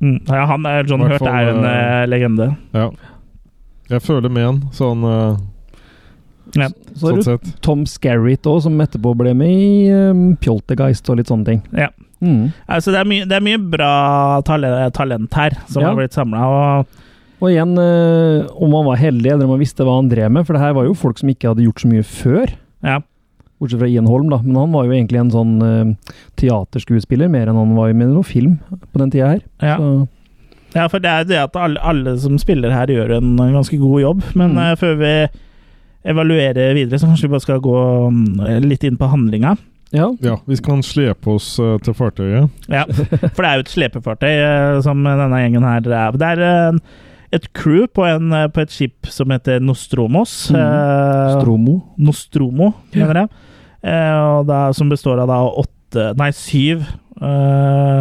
Speaker 1: Mm. Ja, han er, John Hurt
Speaker 4: Hvertfall,
Speaker 1: er jo en eh, legende.
Speaker 4: Ja. Jeg føler med han, sånn, eh,
Speaker 3: Så har
Speaker 4: sånn
Speaker 3: du
Speaker 4: sett.
Speaker 3: Tom Skerritt òg, som etterpå ble med i um, Pjoltergeist og litt sånne ting.
Speaker 1: Ja.
Speaker 3: Mm.
Speaker 1: Altså, det, er mye, det er mye bra talent, talent her som
Speaker 3: Ja.
Speaker 1: har blitt samla.
Speaker 3: Og igjen, eh, om han var heldig, eller om han visste hva han drev med, for det her var jo folk som ikke hadde gjort så mye før.
Speaker 1: Ja.
Speaker 3: Bortsett fra Ian Holm, da. Men han var jo egentlig en sånn eh, teaterskuespiller, mer enn han var med i noen film på den tida her.
Speaker 1: Ja.
Speaker 3: Så,
Speaker 1: Ja, for det er det at alle, alle som spiller her, gjør en ganske god jobb. Men
Speaker 3: Mm.
Speaker 1: eh, før vi evaluerer videre, så kanskje vi bare skal gå mm, litt inn på handlinga.
Speaker 3: ja.
Speaker 4: Ja, vi kan slepe oss eh, til fartøyet.
Speaker 1: Ja, For det er jo et slepefartøy eh, som denne gjengen her er. Det er en- et crew på, en, eh, på et skip som heter Nostromos.
Speaker 3: Mhm.
Speaker 1: eh,
Speaker 3: Stromo.
Speaker 1: Nostromo, mener jeg. Eh, og da, som består av da åtte Nei, syv eh,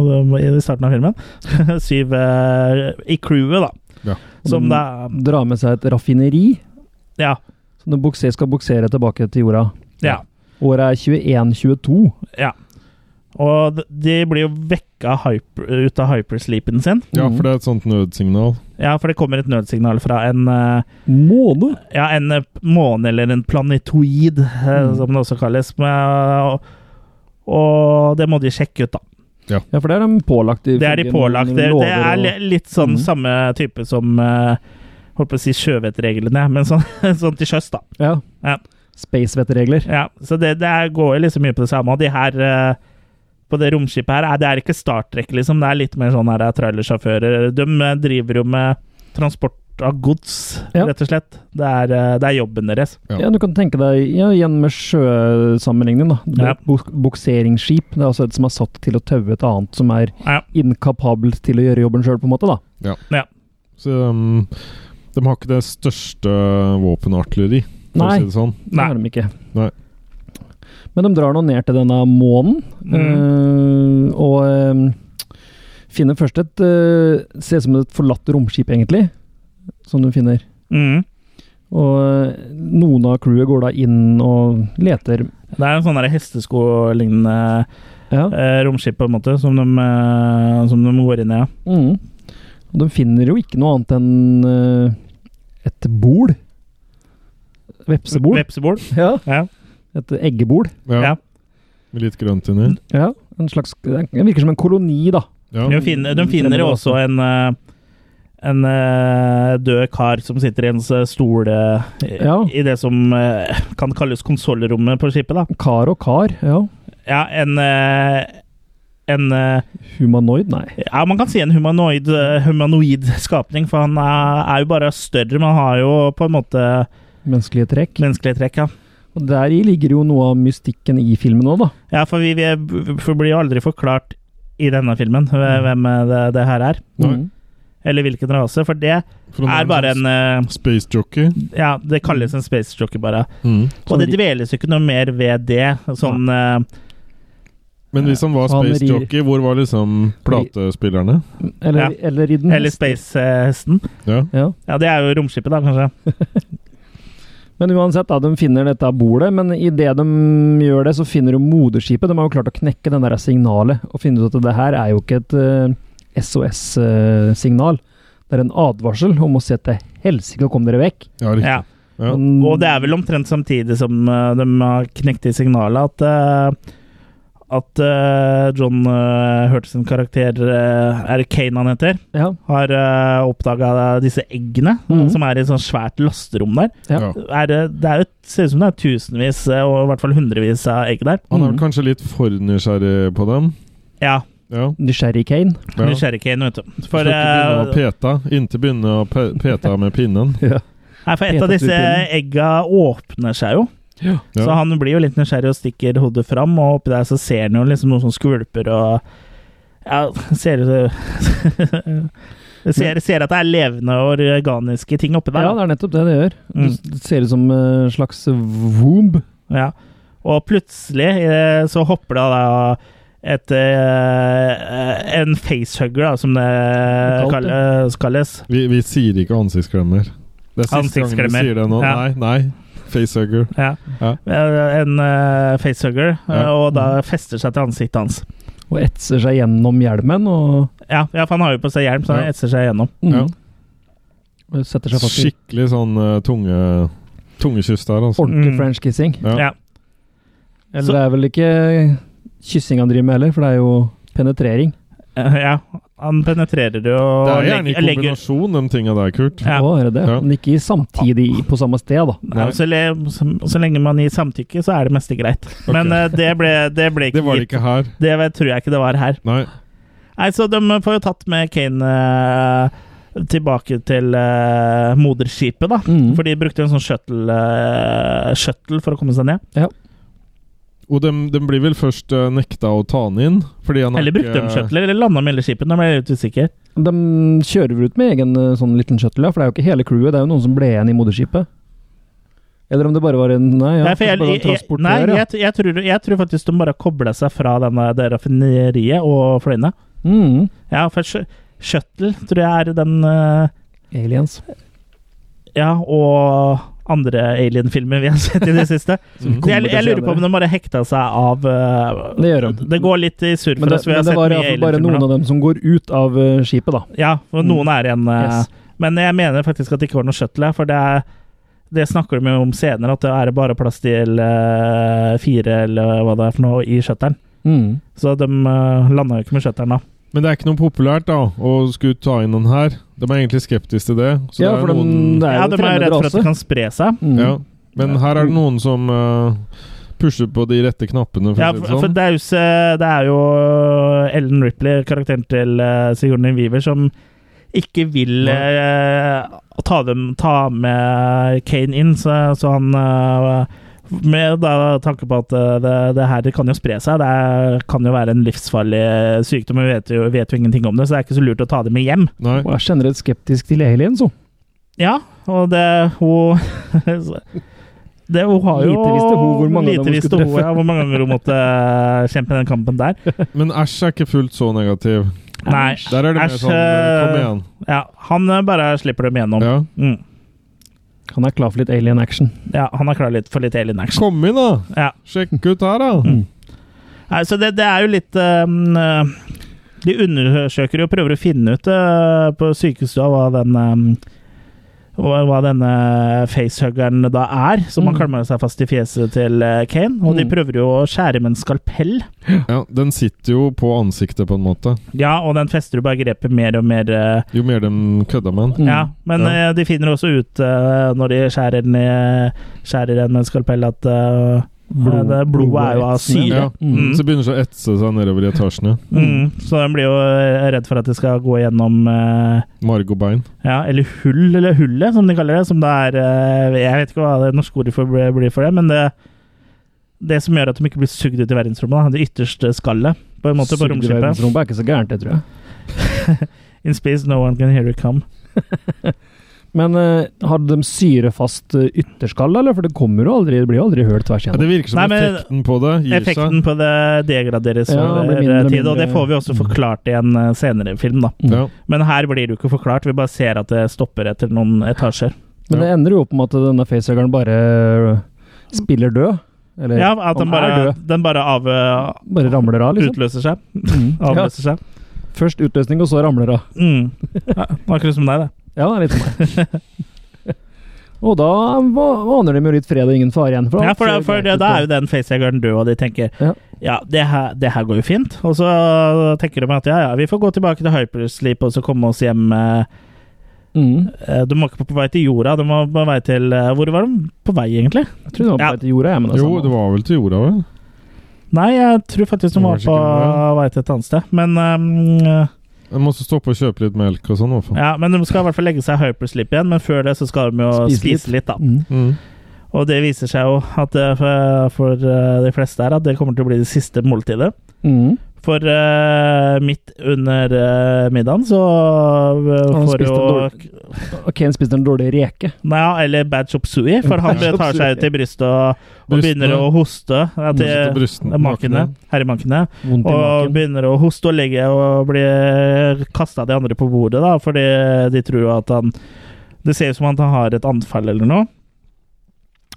Speaker 1: I starten av filmen. syv eh, i crewet, da.
Speaker 4: Ja.
Speaker 1: Som da
Speaker 3: Drar med seg et raffineri
Speaker 1: Ja.
Speaker 3: som det bukser, skal buksere tilbake til jorda.
Speaker 1: ja.
Speaker 3: Året er 2122.
Speaker 1: Og d- de blir jo vekka hyper, ut av hypersleepen sin.
Speaker 4: Ja,
Speaker 3: Mhm.
Speaker 4: for det er et sånt nødsignal.
Speaker 1: Ja, for det kommer et nødsignal fra en eh,
Speaker 3: Måne!
Speaker 1: Ja, en eh, måne, eller en planetoid, eh,
Speaker 3: Mm.
Speaker 1: som det også kalles. Men, eh, og, og det må de sjekke ut, da.
Speaker 3: Ja, for det er de pålagt.
Speaker 1: Det er de pålagt. Det, det er li- litt sånn
Speaker 3: Mhm.
Speaker 1: samme type som eh, Holdt på å si sjøvettreglene, men sånn, sånn til sjøs, da.
Speaker 3: Ja.
Speaker 1: Ja.
Speaker 3: Spacevettregler.
Speaker 1: Ja, så det, det er- går jo liksom mye på det samme. Og de her eh, på det romskipet her, er- det er ikke starttrekk, liksom. Det er litt mer sånn her eh, trailersjåfører. De eh, driver jo med transport av gods,
Speaker 3: Ja.
Speaker 1: rett og slett. Det er, eh, det er jobben deres.
Speaker 4: Ja.
Speaker 3: Ja, du kan tenke deg ja, igjen med sjøsammenligning, da. Det blir
Speaker 1: Ja.
Speaker 3: et buk- bukseringsskip. Det er altså et som er satt til å taue et annet som er
Speaker 1: Ja.
Speaker 3: inkapabelt til å gjøre jobben sjøl, på en måte, da.
Speaker 4: ehm, Så um, de har ikke det største våpenartilleri. for
Speaker 3: Nei.
Speaker 4: å si det sånn.
Speaker 3: Det har de ikke.
Speaker 4: Nei.
Speaker 3: Men de drar nå ned til denne månen,
Speaker 1: Mm.
Speaker 3: eh, og eh, finner først et eh, Ser ut som et forlatt romskip, egentlig, som de finner.
Speaker 1: Mm.
Speaker 3: Og eh, noen av crewet går da inn og leter.
Speaker 1: Det er en sånn der hesteskolignende
Speaker 3: Ja.
Speaker 1: eh, romskip på en måte, som de, eh, som de går inn i. Ja.
Speaker 3: Mm. Og de finner jo ikke noe annet enn eh, et bol. Vepsebol.
Speaker 1: Vepsebol.
Speaker 3: Ja.
Speaker 1: Ja.
Speaker 3: Et eggebol.
Speaker 4: Ja.
Speaker 1: Ja.
Speaker 4: Med litt grønt inni.
Speaker 3: Ja. En slags, det virker som en koloni, da.
Speaker 4: Ja.
Speaker 1: De finner, de finner jo også en eh, en eh, død kar som sitter i en s- stol eh, i-
Speaker 3: Ja.
Speaker 1: i det som eh, kan kalles konsollrommet på skipet. da.
Speaker 3: Kar og kar. Ja.
Speaker 1: Ja, en eh, en eh,
Speaker 3: Humanoid, nei.
Speaker 1: Ja, man kan si en humanoid, eh, humanoid skapning, for han er, er jo bare større, men har jo på en måte
Speaker 3: Menneskelige trekk.
Speaker 1: menneskelige trekk, ja.
Speaker 3: Og deri ligger jo noe av mystikken i filmen òg, da.
Speaker 1: Ja, for vi, vi, for det blir jo aldri forklart i denne filmen hvem eh, det, det her er,
Speaker 4: Nei.
Speaker 3: Mm.
Speaker 1: eller hvilken rase, for det
Speaker 4: For
Speaker 1: er bare en eh,
Speaker 4: sånn Space jockey.
Speaker 1: Ja, det kalles en space jockey, bare.
Speaker 4: Mm.
Speaker 1: Og det dveles jo ikke noe mer ved det, sånn eh,
Speaker 4: Men hvis han var
Speaker 3: Han
Speaker 4: space
Speaker 3: rir-
Speaker 4: jockey, hvor var liksom platespillerne?
Speaker 3: Mm. Eller,
Speaker 1: Ja.
Speaker 3: eller i den.
Speaker 1: Eller space-hesten.
Speaker 4: Ja.
Speaker 3: Ja.
Speaker 1: Ja, det er jo romskipet, da, kanskje.
Speaker 3: Men uansett, da, de finner dette bordet, men idet de gjør det, så finner de moderskipet. De har jo klart å knekke den der signalet og finne ut at det her er jo ikke et eh, SOS-signal. eh, Det er en advarsel om å se til helsike og komme dere vekk.
Speaker 4: ja, riktig.
Speaker 1: Ja.
Speaker 4: Ja.
Speaker 3: Men-
Speaker 1: Og det er vel omtrent samtidig som eh, de har knekt i signalet at eh, at eh, John uh, hørte sin karakter eh, Er det Kane han heter?
Speaker 3: ja,
Speaker 1: Har uh, oppdaga disse eggene
Speaker 3: Mhm.
Speaker 1: som er i et sånt svært lasterom der.
Speaker 3: ja.
Speaker 4: Ja.
Speaker 1: Er, det- det er jo, ser ut som det er tusenvis, eh, og i hvert fall hundrevis av egg der.
Speaker 4: Han er
Speaker 3: Mm.
Speaker 4: vel kanskje litt for nysgjerrig på dem.
Speaker 1: Ja,
Speaker 4: Ja.
Speaker 3: Nysgjerrig Kane.
Speaker 4: ja.
Speaker 1: nysgjerrig Kane, vet du. For,
Speaker 4: For, ikke begynne å
Speaker 1: eh,
Speaker 4: peta. Inntil begynne å pe peta med pinnen.
Speaker 1: nei, for et av
Speaker 3: pete
Speaker 1: disse
Speaker 3: opp
Speaker 1: egga åpner seg jo. Så
Speaker 4: Ja.
Speaker 1: han blir jo litt nysgjerrig og stikker hodet fram, og oppi der så ser han jo liksom noen som skvulper og Ja, ser ut ser, ser at det er levende og organiske ting oppi der.
Speaker 3: Ja,
Speaker 1: da.
Speaker 3: det er nettopp det det gjør.
Speaker 1: Mm.
Speaker 3: Det ser ut som eh, en slags womb.
Speaker 1: Ja. Og plutselig eh, så hopper det da et eh, En facehugger, da, som det
Speaker 3: er kalt,
Speaker 1: kall- eh, kalles.
Speaker 4: Vi, vi sier ikke ansiktsklemmer. Det er siste gangen vi
Speaker 1: Ansiktsklemmer.
Speaker 4: sier det nå.
Speaker 1: Ja.
Speaker 4: Nei, nei. Facehugger.
Speaker 1: Ja.
Speaker 4: Ja.
Speaker 1: Eh, En eh, facehugger, eh,
Speaker 4: Ja.
Speaker 1: og da fester seg til ansiktet hans.
Speaker 3: Og etser seg gjennom hjelmen og Mm.
Speaker 1: Ja, ja, for han har jo på seg hjelm, så han
Speaker 4: Ja.
Speaker 1: etser seg igjennom.
Speaker 4: Ja.
Speaker 3: Og setter seg fast i
Speaker 4: Skikkelig sånn eh, tunge tungekyss der, altså.
Speaker 3: ordentlig
Speaker 1: Mm.
Speaker 3: french kissing.
Speaker 4: Ja.
Speaker 1: Ja.
Speaker 3: Eller
Speaker 1: Så-
Speaker 3: det er vel ikke kyssing han driver med heller, for det er jo penetrering.
Speaker 1: Eh, Ja, han penetrerer det og
Speaker 4: Det er gjerne i
Speaker 1: legger- legger-
Speaker 4: kombinasjon, de tinga der, Kurt.
Speaker 1: Ja.
Speaker 3: Å, er det det?
Speaker 4: Ja.
Speaker 3: Men ikke samtidig i- på samme sted, da.
Speaker 1: Nei, så, le, så, så lenge man gir samtykke, så er det meste greit. Men eh, det, ble, det ble ikke
Speaker 4: Det var det ikke her.
Speaker 1: gitt. Det tror jeg ikke det var her.
Speaker 4: Nei.
Speaker 1: Nei, Så de får jo tatt med Kane eh, tilbake til eh, moderskipet, da.
Speaker 3: Mm.
Speaker 1: For de brukte en sånn shuttle, eh, shuttle for å komme seg ned.
Speaker 4: Og de, de blir vel først eh, nekta å ta han inn, fordi han er
Speaker 1: Eller brukte de shuttle, eller landa med hele skipet? Nå ble jeg litt usikker.
Speaker 3: De kjører vel ut med egen eh, sånn liten shuttle, ja, for det er jo ikke hele crewet, det er jo noen som ble igjen i moderskipet. Eller om det bare var en Nei, ja,
Speaker 1: nei, for jeg,
Speaker 3: kanskje bare en
Speaker 1: jeg, jeg, nei
Speaker 3: transportør, ja.
Speaker 1: jeg, jeg, tror, jeg tror faktisk de bare kobla seg fra denne, det raffineriet og fløyene.
Speaker 3: Mm.
Speaker 1: Ja, for sh- shuttle tror jeg er den eh,
Speaker 3: Aliens.
Speaker 1: Ja, og andre alien-filmer vi har sett i det siste.
Speaker 4: Mm.
Speaker 3: Kommer
Speaker 1: Jeg,
Speaker 3: det
Speaker 1: jeg lurer på om
Speaker 3: senere.
Speaker 1: de bare hekta seg av eh,
Speaker 3: Det gjør de.
Speaker 1: Det går litt i surr
Speaker 3: Men
Speaker 1: for
Speaker 3: det,
Speaker 1: oss. Vi har
Speaker 3: men det
Speaker 1: sett
Speaker 3: var
Speaker 1: mye
Speaker 3: iallfall bare
Speaker 1: alien-filmer
Speaker 3: noen
Speaker 1: nå.
Speaker 3: av dem som går ut av eh, skipet, da.
Speaker 1: Ja, for noen er igjen. eh,
Speaker 3: Yes.
Speaker 1: Men jeg mener faktisk at det ikke var noe shuttle her, for det er det snakker de jo om senere, at det er bare plass til eh, fire eller hva det er for noe i shutteren.
Speaker 3: Mm.
Speaker 1: Så de uh, landa jo ikke med shutteren da.
Speaker 4: Men det er ikke noe populært da å skulle ta inn den her. De er egentlig skeptiske til det. Så
Speaker 3: Ja,
Speaker 4: det
Speaker 3: for
Speaker 4: er
Speaker 3: de,
Speaker 4: noen,
Speaker 3: det er
Speaker 1: Ja, de
Speaker 3: jo
Speaker 1: er jo
Speaker 3: fremmed
Speaker 1: redd for at
Speaker 3: rase.
Speaker 1: det kan spre seg.
Speaker 3: Mm.
Speaker 4: ja. Men her er det noen som eh, pusher på de rette knappene, for
Speaker 1: Ja,
Speaker 4: å
Speaker 1: for,
Speaker 4: si det
Speaker 1: for
Speaker 4: sånn.
Speaker 1: det, er jo, se- det er jo Ellen Ripley, karakteren til eh, Sigourney Weaver, som ikke vil
Speaker 4: Nei.
Speaker 1: eh, ta, dem, ta med Kane inn, så, så han eh, Med da, tanke på at eh, det, det her kan jo spre seg, det er, kan jo være en livsfarlig eh, sykdom, og vi vet jo, vet jo ingenting om det, så det er ikke så lurt å ta dem med hjem.
Speaker 4: Nei.
Speaker 3: Og er generelt skeptisk til aliens, jo.
Speaker 1: Ja, og det Hun Det, hun har jo
Speaker 3: Lite visste hun hvor mange
Speaker 1: lite
Speaker 3: ganger hun
Speaker 1: visste
Speaker 3: skulle
Speaker 1: hun,
Speaker 3: treffe.
Speaker 1: ja, hvor mange ganger hun måtte eh, kjempe den kampen der.
Speaker 4: Men Æsj er ikke fullt så negativ.
Speaker 1: Nei,
Speaker 4: Der er det mer
Speaker 1: Æsj,
Speaker 4: sånn eh, Kom
Speaker 1: eh,
Speaker 4: igjen.
Speaker 1: ja, han eh, bare slipper dem gjennom.
Speaker 4: Ja.
Speaker 1: Mm.
Speaker 3: Han er klar for litt alien action.
Speaker 1: Ja, han er klar litt for litt alien action.
Speaker 4: Kom inn, da!
Speaker 1: Ja.
Speaker 4: Sjekk ut her, da!
Speaker 3: Mm.
Speaker 1: Nei, så det, det er jo litt ehm, eh, De undersøker jo og prøver å finne ut eh, på sykehuset hva den ehm, hva hva denne facehuggeren da er, som han
Speaker 3: Mm.
Speaker 1: klamrer seg fast i fjeset til eh, Kane. Og de
Speaker 3: Mm.
Speaker 1: prøver jo å skjære med en skalpell.
Speaker 4: Ja, den sitter jo på ansiktet, på en måte.
Speaker 1: Ja, og den fester jo bare grepet mer og mer. eh,
Speaker 4: Jo mer de kødder med
Speaker 3: Mm.
Speaker 4: den.
Speaker 1: Ja, men
Speaker 4: Ja.
Speaker 1: eh, de finner også ut eh, når de skjærer den, i- skjærer den med en skalpell, at eh,
Speaker 3: Blod-
Speaker 1: det, blodet er jo av
Speaker 3: blodet
Speaker 1: syre.
Speaker 4: Ja.
Speaker 3: Mm.
Speaker 4: Så begynner det å etse seg nedover i etasjene.
Speaker 1: Mm. Så den blir jo eh, redd for at det skal gå gjennom eh,
Speaker 4: Marg og bein.
Speaker 1: Ja, eller hull, eller hullet, som de kaller det. Som det er eh, Jeg vet ikke hva det norske ordet for, blir for det, men det, det som gjør at de ikke blir sugd ut i verdensrommet, da, det ytterste skallet på en måte på
Speaker 3: Sugd i
Speaker 1: romskipet.
Speaker 3: verdensrommet er ikke så gærent, det tror jeg.
Speaker 1: In space, no one can hear you come.
Speaker 3: Men eh, hadde de syrefast eh, ytterskall, eller? For det kommer jo aldri, det blir jo aldri hørt tvers
Speaker 4: Ja,
Speaker 3: igjennom.
Speaker 4: det virker som
Speaker 1: Nei, men-
Speaker 4: effekten på det gir
Speaker 1: Effekten på det degraderes
Speaker 3: Ja,
Speaker 1: over
Speaker 3: det blir mindre og
Speaker 1: tid, og
Speaker 3: mindre- Mm.
Speaker 1: det får vi også forklart i en eh, senere film, da.
Speaker 4: seg. Ja.
Speaker 1: Men her blir det jo ikke forklart, vi bare ser at det stopper etter noen etasjer.
Speaker 3: Men det ender jo opp med at denne facehuggeren bare eh, spiller død. Eller
Speaker 1: Ja, at den
Speaker 3: han er
Speaker 1: bare,
Speaker 3: død.
Speaker 1: den bare av, eh,
Speaker 3: Bare ramler av, liksom.
Speaker 1: utløser seg.
Speaker 3: Mm. Ja.
Speaker 1: Avløser seg.
Speaker 3: Først utløsning, og så ramler av.
Speaker 1: Mm. Ja, akkurat som deg, det.
Speaker 3: Ja, det er litt som meg. og da va- aner de jo litt fred og ingen fare igjen.
Speaker 1: Ja,
Speaker 3: alt
Speaker 1: for,
Speaker 3: ser
Speaker 1: det, for
Speaker 3: greit
Speaker 1: det,
Speaker 3: ut
Speaker 1: da er jo den facehuggeren død, og de tenker ja,
Speaker 3: Ja.
Speaker 1: det, her, det her går jo fint. Og så tenker de at ja, ja, vi får gå tilbake til hypersleep og så komme oss hjem. eh,
Speaker 3: Mm.
Speaker 1: eh, De må ikke på vei til jorda, de må på vei til eh, Hvor var de på vei, egentlig?
Speaker 3: Jeg tror det var på
Speaker 1: Ja.
Speaker 3: vei til jorda, jeg, men det er
Speaker 4: Jo,
Speaker 3: samme.
Speaker 4: det var vel til jorda, vel?
Speaker 1: Nei, jeg tror faktisk de var
Speaker 4: Kanskje
Speaker 1: på
Speaker 4: ikke
Speaker 1: vei til et annet sted. Men, eh,
Speaker 4: Jeg måtte stoppe og kjøpe litt melk og sånn. i hvert fall.
Speaker 1: ja, men de skal i hvert fall legge seg i hypersleep igjen, men før det så skal de jo
Speaker 3: Spise
Speaker 1: spise, litt, da.
Speaker 3: Mm.
Speaker 4: Mm.
Speaker 1: Og det viser seg jo at eh, for, for eh, de fleste her at det kommer til å bli det siste måltidet.
Speaker 3: Mm.
Speaker 1: For eh, midt under eh, middagen så eh,
Speaker 3: Han
Speaker 1: får
Speaker 3: spiste
Speaker 1: jo
Speaker 3: en dårlig- Og Kane spiste en dårlig reke.
Speaker 1: Nei, ja, eller bad chop sui, for han
Speaker 3: Bad chop
Speaker 1: tar
Speaker 3: suey.
Speaker 1: seg til brystet og, og
Speaker 4: Brystene.
Speaker 1: begynner å hoste. Ja,
Speaker 4: Brystet og
Speaker 1: til
Speaker 4: brysten.
Speaker 1: makene. Herremankene.
Speaker 3: Vondt i
Speaker 1: Og
Speaker 3: maken.
Speaker 1: begynner å hoste og legge og blir kasta de andre på bordet, da, fordi de tror jo at han Det ser ut som at han har et anfall eller noe.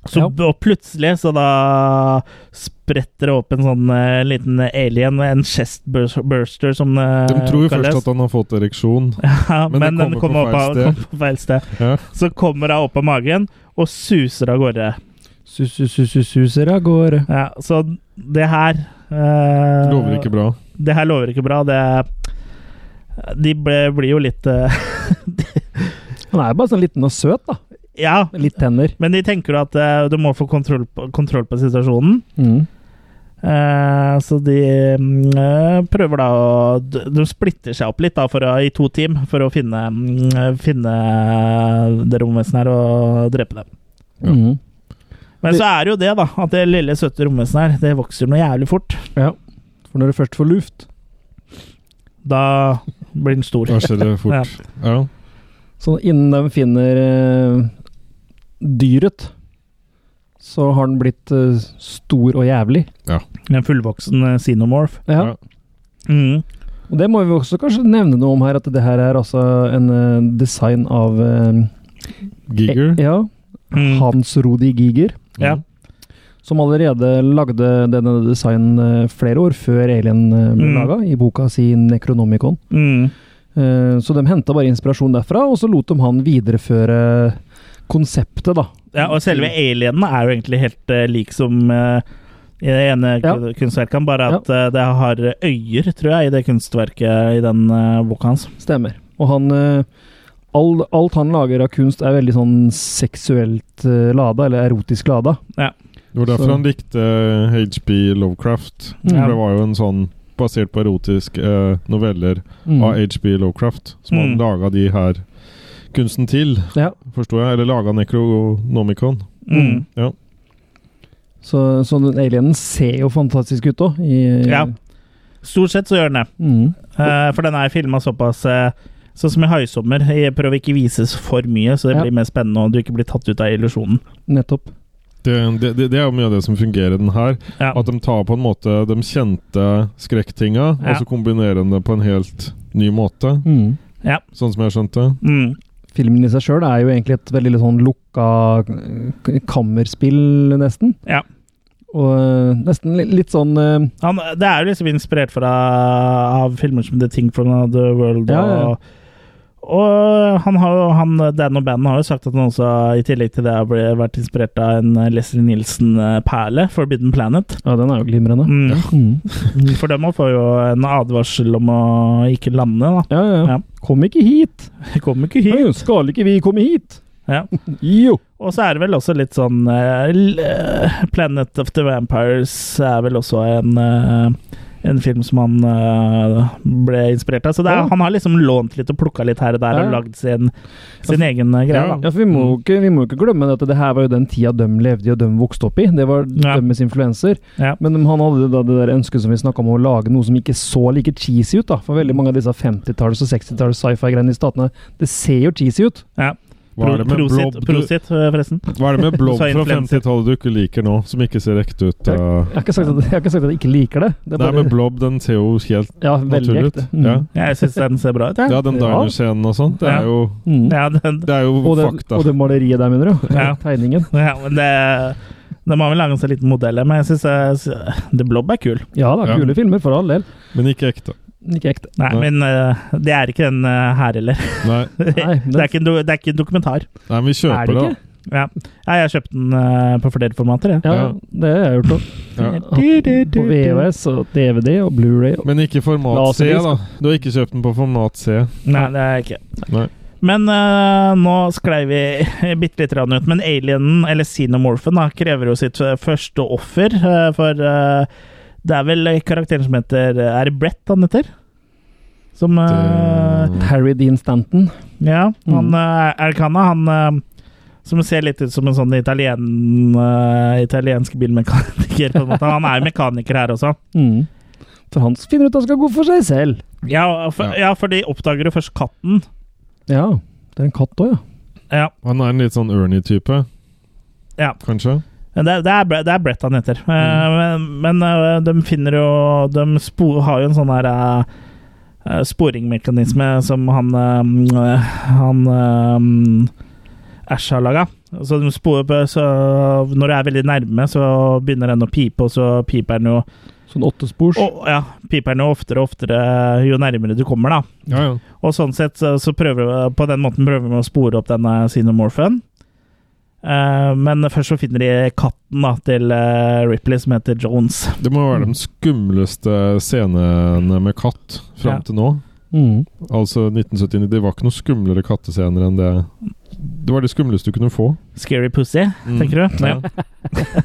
Speaker 1: Så,
Speaker 3: Ja.
Speaker 1: Og plutselig så da spretter det opp en sånn eh, liten alien, en chest bur- burster, som det
Speaker 4: De tror
Speaker 1: Eh,
Speaker 4: jo først at han har fått ereksjon.
Speaker 1: ja, men,
Speaker 4: men den
Speaker 1: den kommer
Speaker 4: kommer
Speaker 1: opp
Speaker 4: på
Speaker 1: av,
Speaker 4: feil
Speaker 1: kom på feil sted.
Speaker 4: Ja.
Speaker 1: Så kommer hun opp av magen og suser av gårde.
Speaker 3: Sus, sus, sus, sus, suser av gårde.
Speaker 1: Ja, så det her eh,
Speaker 4: Lover ikke bra.
Speaker 1: Det her lover ikke bra. Det De ble, blir jo litt eh,
Speaker 3: Han er jo bare sånn liten og søt, da.
Speaker 1: Ja,
Speaker 3: Litt tenner.
Speaker 1: men de tenker jo at eh, du må få kontroll på, kontroll på situasjonen.
Speaker 3: Mm.
Speaker 1: Eh, så de mm, eh, prøver da å De de splitter seg opp litt da for å, i to team for å finne, mm, finne det romvesenet her og drepe det.
Speaker 4: Ja.
Speaker 3: Mm.
Speaker 1: Men så er det jo det, da. At det lille, søte romvesenet her, det vokser noe jævlig fort.
Speaker 3: For når du først får luft,
Speaker 1: Da blir den stor.
Speaker 4: Da skjer det fort. Ja.
Speaker 3: så innen de finner eh, dyret, så har den blitt eh, stor og jævlig.
Speaker 1: En fullvoksen eh, xenomorph.
Speaker 3: Ja.
Speaker 4: Ja.
Speaker 1: Mm.
Speaker 3: Og det må vi også kanskje nevne noe om her, at det her er altså en eh, design av eh,
Speaker 4: Giger.
Speaker 3: eh, Ja,
Speaker 1: Mm.
Speaker 3: Hans Rodi Giger,
Speaker 1: Ja.
Speaker 4: Mm.
Speaker 3: som allerede lagde denne designen eh, flere år før Alien eh, ble
Speaker 1: Mm.
Speaker 3: laga, i boka si Necronomicon.
Speaker 1: Mm.
Speaker 3: Eh, Så de henta bare inspirasjon derfra, og så lot de han videreføre konseptet, da.
Speaker 1: ja. Og
Speaker 3: Mm.
Speaker 1: selve alienen er jo egentlig helt eh, lik som eh, i det ene
Speaker 3: Ja.
Speaker 1: kun- kunstverket, bare at eh, det har øyer, tror jeg, i det kunstverket i den eh, boka hans.
Speaker 3: Stemmer. Og han eh, all, Alt han lager av kunst, er veldig sånn seksuelt eh, lada, eller erotisk lada.
Speaker 4: Det var derfor
Speaker 3: Så-
Speaker 4: han likte HB Lovecraft.
Speaker 3: Mm.
Speaker 4: For det var jo en sånn basert på erotiske eh, noveller
Speaker 3: Mm.
Speaker 4: av HB Lovecraft. Som han
Speaker 1: Mm.
Speaker 4: laga de her kunsten til,
Speaker 3: Ja.
Speaker 4: forstår jeg. Eller laga Necronomicon.
Speaker 1: Mm.
Speaker 4: Ja.
Speaker 3: Så, så den alienen ser jo fantastisk ut òg.
Speaker 1: Ja. Stort sett så gjør den det.
Speaker 3: Mm.
Speaker 1: Eh, for den er filma såpass eh, Sånn som i 'Haisommer'. Jeg prøver ikke å vises for mye, så det
Speaker 3: Ja.
Speaker 1: blir mer spennende og du ikke blir tatt ut av illusjonen.
Speaker 3: Nettopp.
Speaker 4: Det, det, det, det er jo mye av det som fungerer i den her.
Speaker 1: Ja.
Speaker 4: At de tar på en måte de kjente skrekktinga,
Speaker 1: Ja.
Speaker 4: og så kombinerer de det på en helt ny måte.
Speaker 3: Mm.
Speaker 4: Sånn som jeg skjønte.
Speaker 1: Mm.
Speaker 3: Filmen i seg sjøl er jo egentlig et veldig litt sånn lukka k- kammerspill, nesten.
Speaker 1: Ja.
Speaker 3: Og øh, nesten li- litt sånn øh,
Speaker 1: Han, det er jo liksom inspirert fra, av filmer som The Thing from Another World.
Speaker 3: Ja, ja, ja.
Speaker 1: Og, og han har jo, han, Dan og bandet har jo sagt at han også, i tillegg til det, har ble- vært inspirert av en Leslie Nielsen-perle, Forbidden Planet.
Speaker 3: Ja, den er jo glimrende.
Speaker 1: Mm.
Speaker 3: Mm.
Speaker 1: For dem får jo en advarsel om å ikke lande, da.
Speaker 3: Ja, ja,
Speaker 1: Ja.
Speaker 3: ja. Kom ikke hit!
Speaker 1: Jeg kommer ikke hit.
Speaker 3: Nei, Skal ikke vi komme hit?
Speaker 1: Ja.
Speaker 3: Jo!
Speaker 1: Og så er det vel også litt sånn eh, l- eh, Planet of the Vampires er vel også en eh, en film som han eh, ble inspirert av. Så det er,
Speaker 3: Ja.
Speaker 1: han har liksom lånt litt og plukka litt her og der
Speaker 3: Ja.
Speaker 1: og lagd sin, sin egen eh, greie.
Speaker 4: Ja.
Speaker 1: da.
Speaker 3: Ja, for vi må, jo ikke, vi må jo ikke glemme at det her var jo den tida de levde i og de vokste opp i. Det var
Speaker 1: Ja.
Speaker 3: deres influenser.
Speaker 1: Ja.
Speaker 3: Men de- han hadde da det der ønsket som vi snakka om, å lage noe som ikke så like cheesy ut. da. For veldig mange av disse 50-talls- og 60-talls sci-fi-greiene i statene, det ser jo cheesy ut.
Speaker 4: Hva er det med
Speaker 1: Prosit,
Speaker 4: blob, du,
Speaker 1: prosit, eh, forresten.
Speaker 4: hva er det med blob
Speaker 1: Du sa
Speaker 4: fra
Speaker 1: influenser.
Speaker 4: 50-tallet du ikke liker nå, som ikke ser ekte ut? Uh,
Speaker 3: Jeg har ikke sagt at jeg, har ikke sagt at jeg ikke liker det. det er
Speaker 4: nei,
Speaker 3: bare-
Speaker 4: men blob, den ser jo helt
Speaker 3: ja, veldig
Speaker 4: naturlig ut.
Speaker 3: ekte. Mm.
Speaker 4: Ja.
Speaker 1: Jeg syns den ser bra ut, jeg.
Speaker 4: ja, den
Speaker 3: Ja.
Speaker 4: diner-scenen og sånn, det
Speaker 1: Ja.
Speaker 4: er jo,
Speaker 3: Mm.
Speaker 1: Ja, den,
Speaker 4: det er jo
Speaker 3: Og, det,
Speaker 4: fakta.
Speaker 3: og det maleriet der, mener du?
Speaker 1: Ja.
Speaker 3: Tegningen.
Speaker 1: ja, men det de har vel laget seg en liten modell, her, men jeg syns The Blob er kul.
Speaker 3: Ja da,
Speaker 4: Ja.
Speaker 3: kule filmer for all del.
Speaker 4: Men ikke ekte.
Speaker 3: Men Ikke ekte.
Speaker 1: Nei,
Speaker 4: Nei.
Speaker 1: men eh, det er ikke den eh, her heller.
Speaker 4: Nei,
Speaker 3: Nei,
Speaker 1: Det er ikke en, do, det er ikke en dokumentar.
Speaker 4: nei men
Speaker 3: Er
Speaker 4: vi
Speaker 3: det
Speaker 4: kjøper det,
Speaker 3: ikke?
Speaker 1: Ja. Nei, jeg har kjøpt den eh, på flere formater, jeg.
Speaker 3: Ja,
Speaker 4: Ja.
Speaker 3: det har jeg gjort òg.
Speaker 4: da. Ja.
Speaker 3: På VHS og DVD og Blu-ray. og-
Speaker 4: Men ikke format C,
Speaker 3: Laserdisk. Eh,
Speaker 4: da. Du har ikke kjøpt den på format C.
Speaker 1: Nei, det er jeg ikke.
Speaker 4: Nei.
Speaker 1: Men eh, nå sklei vi bitte lite grann ut. Men alienen, eller xenomorphen, da, krever jo sitt eh, første offer. eh, for eh, det er vel karakteren som heter eh, Er det Brett han heter? Som eh,
Speaker 4: Det-
Speaker 3: Harry Dean Stanton.
Speaker 1: Ja, han
Speaker 3: Mm.
Speaker 1: eh, er det ikke han, da? Han eh, som ser litt ut som en sånn italien, eh, italiensk bilmekaniker, på en måte. Han er jo mekaniker her også.
Speaker 3: Mm. For han finner ut at han skal gå for seg selv.
Speaker 1: Ja, for, ja, for de oppdager jo først katten.
Speaker 3: Ja, det er en katt òg, ja.
Speaker 1: Ja,
Speaker 4: Han er en litt sånn Ernie-type,
Speaker 1: ja.
Speaker 4: kanskje?
Speaker 1: Men Det, er- det, er, Bre- det er Brett han heter. Eh, Men, men, eh, de finner jo De spo, har jo en sånn her eh, eh, sporingmekanisme som han eh, Han eh, Ash har laga. Så de sporer på så Når du er veldig nærme, så begynner den å pipe, og så piper den jo
Speaker 3: Sånn åttespors.
Speaker 1: og, Ja, piper den jo oftere og oftere jo nærmere du kommer, da.
Speaker 4: Ja, ja.
Speaker 1: Og sånn sett så, så prøver vi, på den måten prøver vi å spore opp denne xenomorphen. Eh, men først så finner de katten da, til eh, Ripley, som heter Jones.
Speaker 4: Det må jo
Speaker 1: Mm.
Speaker 4: være de skumleste scenene med katt fram
Speaker 1: Ja.
Speaker 4: til nå.
Speaker 3: Mm.
Speaker 4: Altså 1979. Det var ikke noen skumlere kattescener enn det. Det var det skumleste du kunne få.
Speaker 1: Scary pussy,
Speaker 4: Mm.
Speaker 1: tenker du?
Speaker 4: Ja.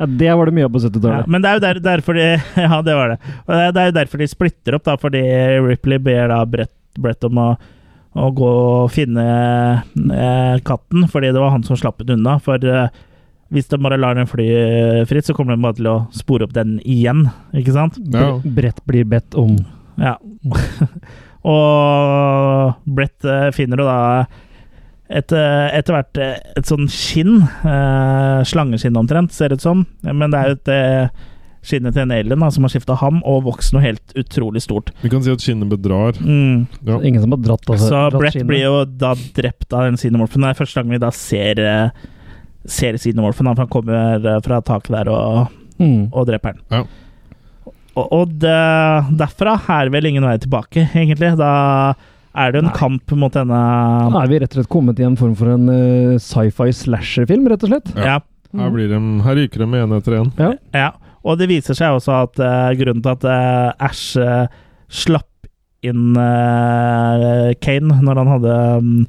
Speaker 3: Ja, det var det mye av på
Speaker 1: Ja,
Speaker 3: 70-tallet.
Speaker 1: men det er jo der, derfor de Ja, det var det. Og det er- det er jo derfor de splitter opp, da, fordi Ripley ber da Brett, Brett om å, å gå og finne eh, katten, fordi det var han som slapp den unna. For eh, hvis de bare lar den fly eh, fritt, så kommer de bare til å spore opp den igjen, ikke sant?
Speaker 4: Ja.
Speaker 3: Bre- Brett blir bedt om
Speaker 1: Ja. og Brett eh, finner jo da et, eh, etter hvert eh, et sånn skinn. eh, Slangeskinn omtrent, ser det ut som. Men det er jo et eh, skinnet til en alien da, som har skifta ham, og vokst noe helt utrolig stort.
Speaker 4: Vi kan si at skinnet bedrar.
Speaker 1: Mm.
Speaker 4: Ja.
Speaker 3: Ingen som har dratt av seg
Speaker 1: Så
Speaker 3: dratt
Speaker 1: Brett
Speaker 3: skinnet.
Speaker 1: blir jo da drept av den xenomorphen. Det er første gang vi da ser eh, Ser xenomorphen. da, for Han kommer eh, fra taket der og
Speaker 3: mm.
Speaker 1: og dreper den.
Speaker 4: Ja.
Speaker 1: Og, og det, derfra er det vel ingen vei tilbake, egentlig. Da er det jo en
Speaker 3: Nei.
Speaker 1: kamp mot denne
Speaker 3: Da er vi rett og slett kommet i en form for en eh, sci-fi slasher-film, rett og slett.
Speaker 4: Ja.
Speaker 1: ja.
Speaker 4: Her, blir de, her ryker de med en etter en.
Speaker 1: ja. Og det viser seg også at eh, grunnen til at eh, Ash eh, slapp inn eh, Kane når han hadde mm,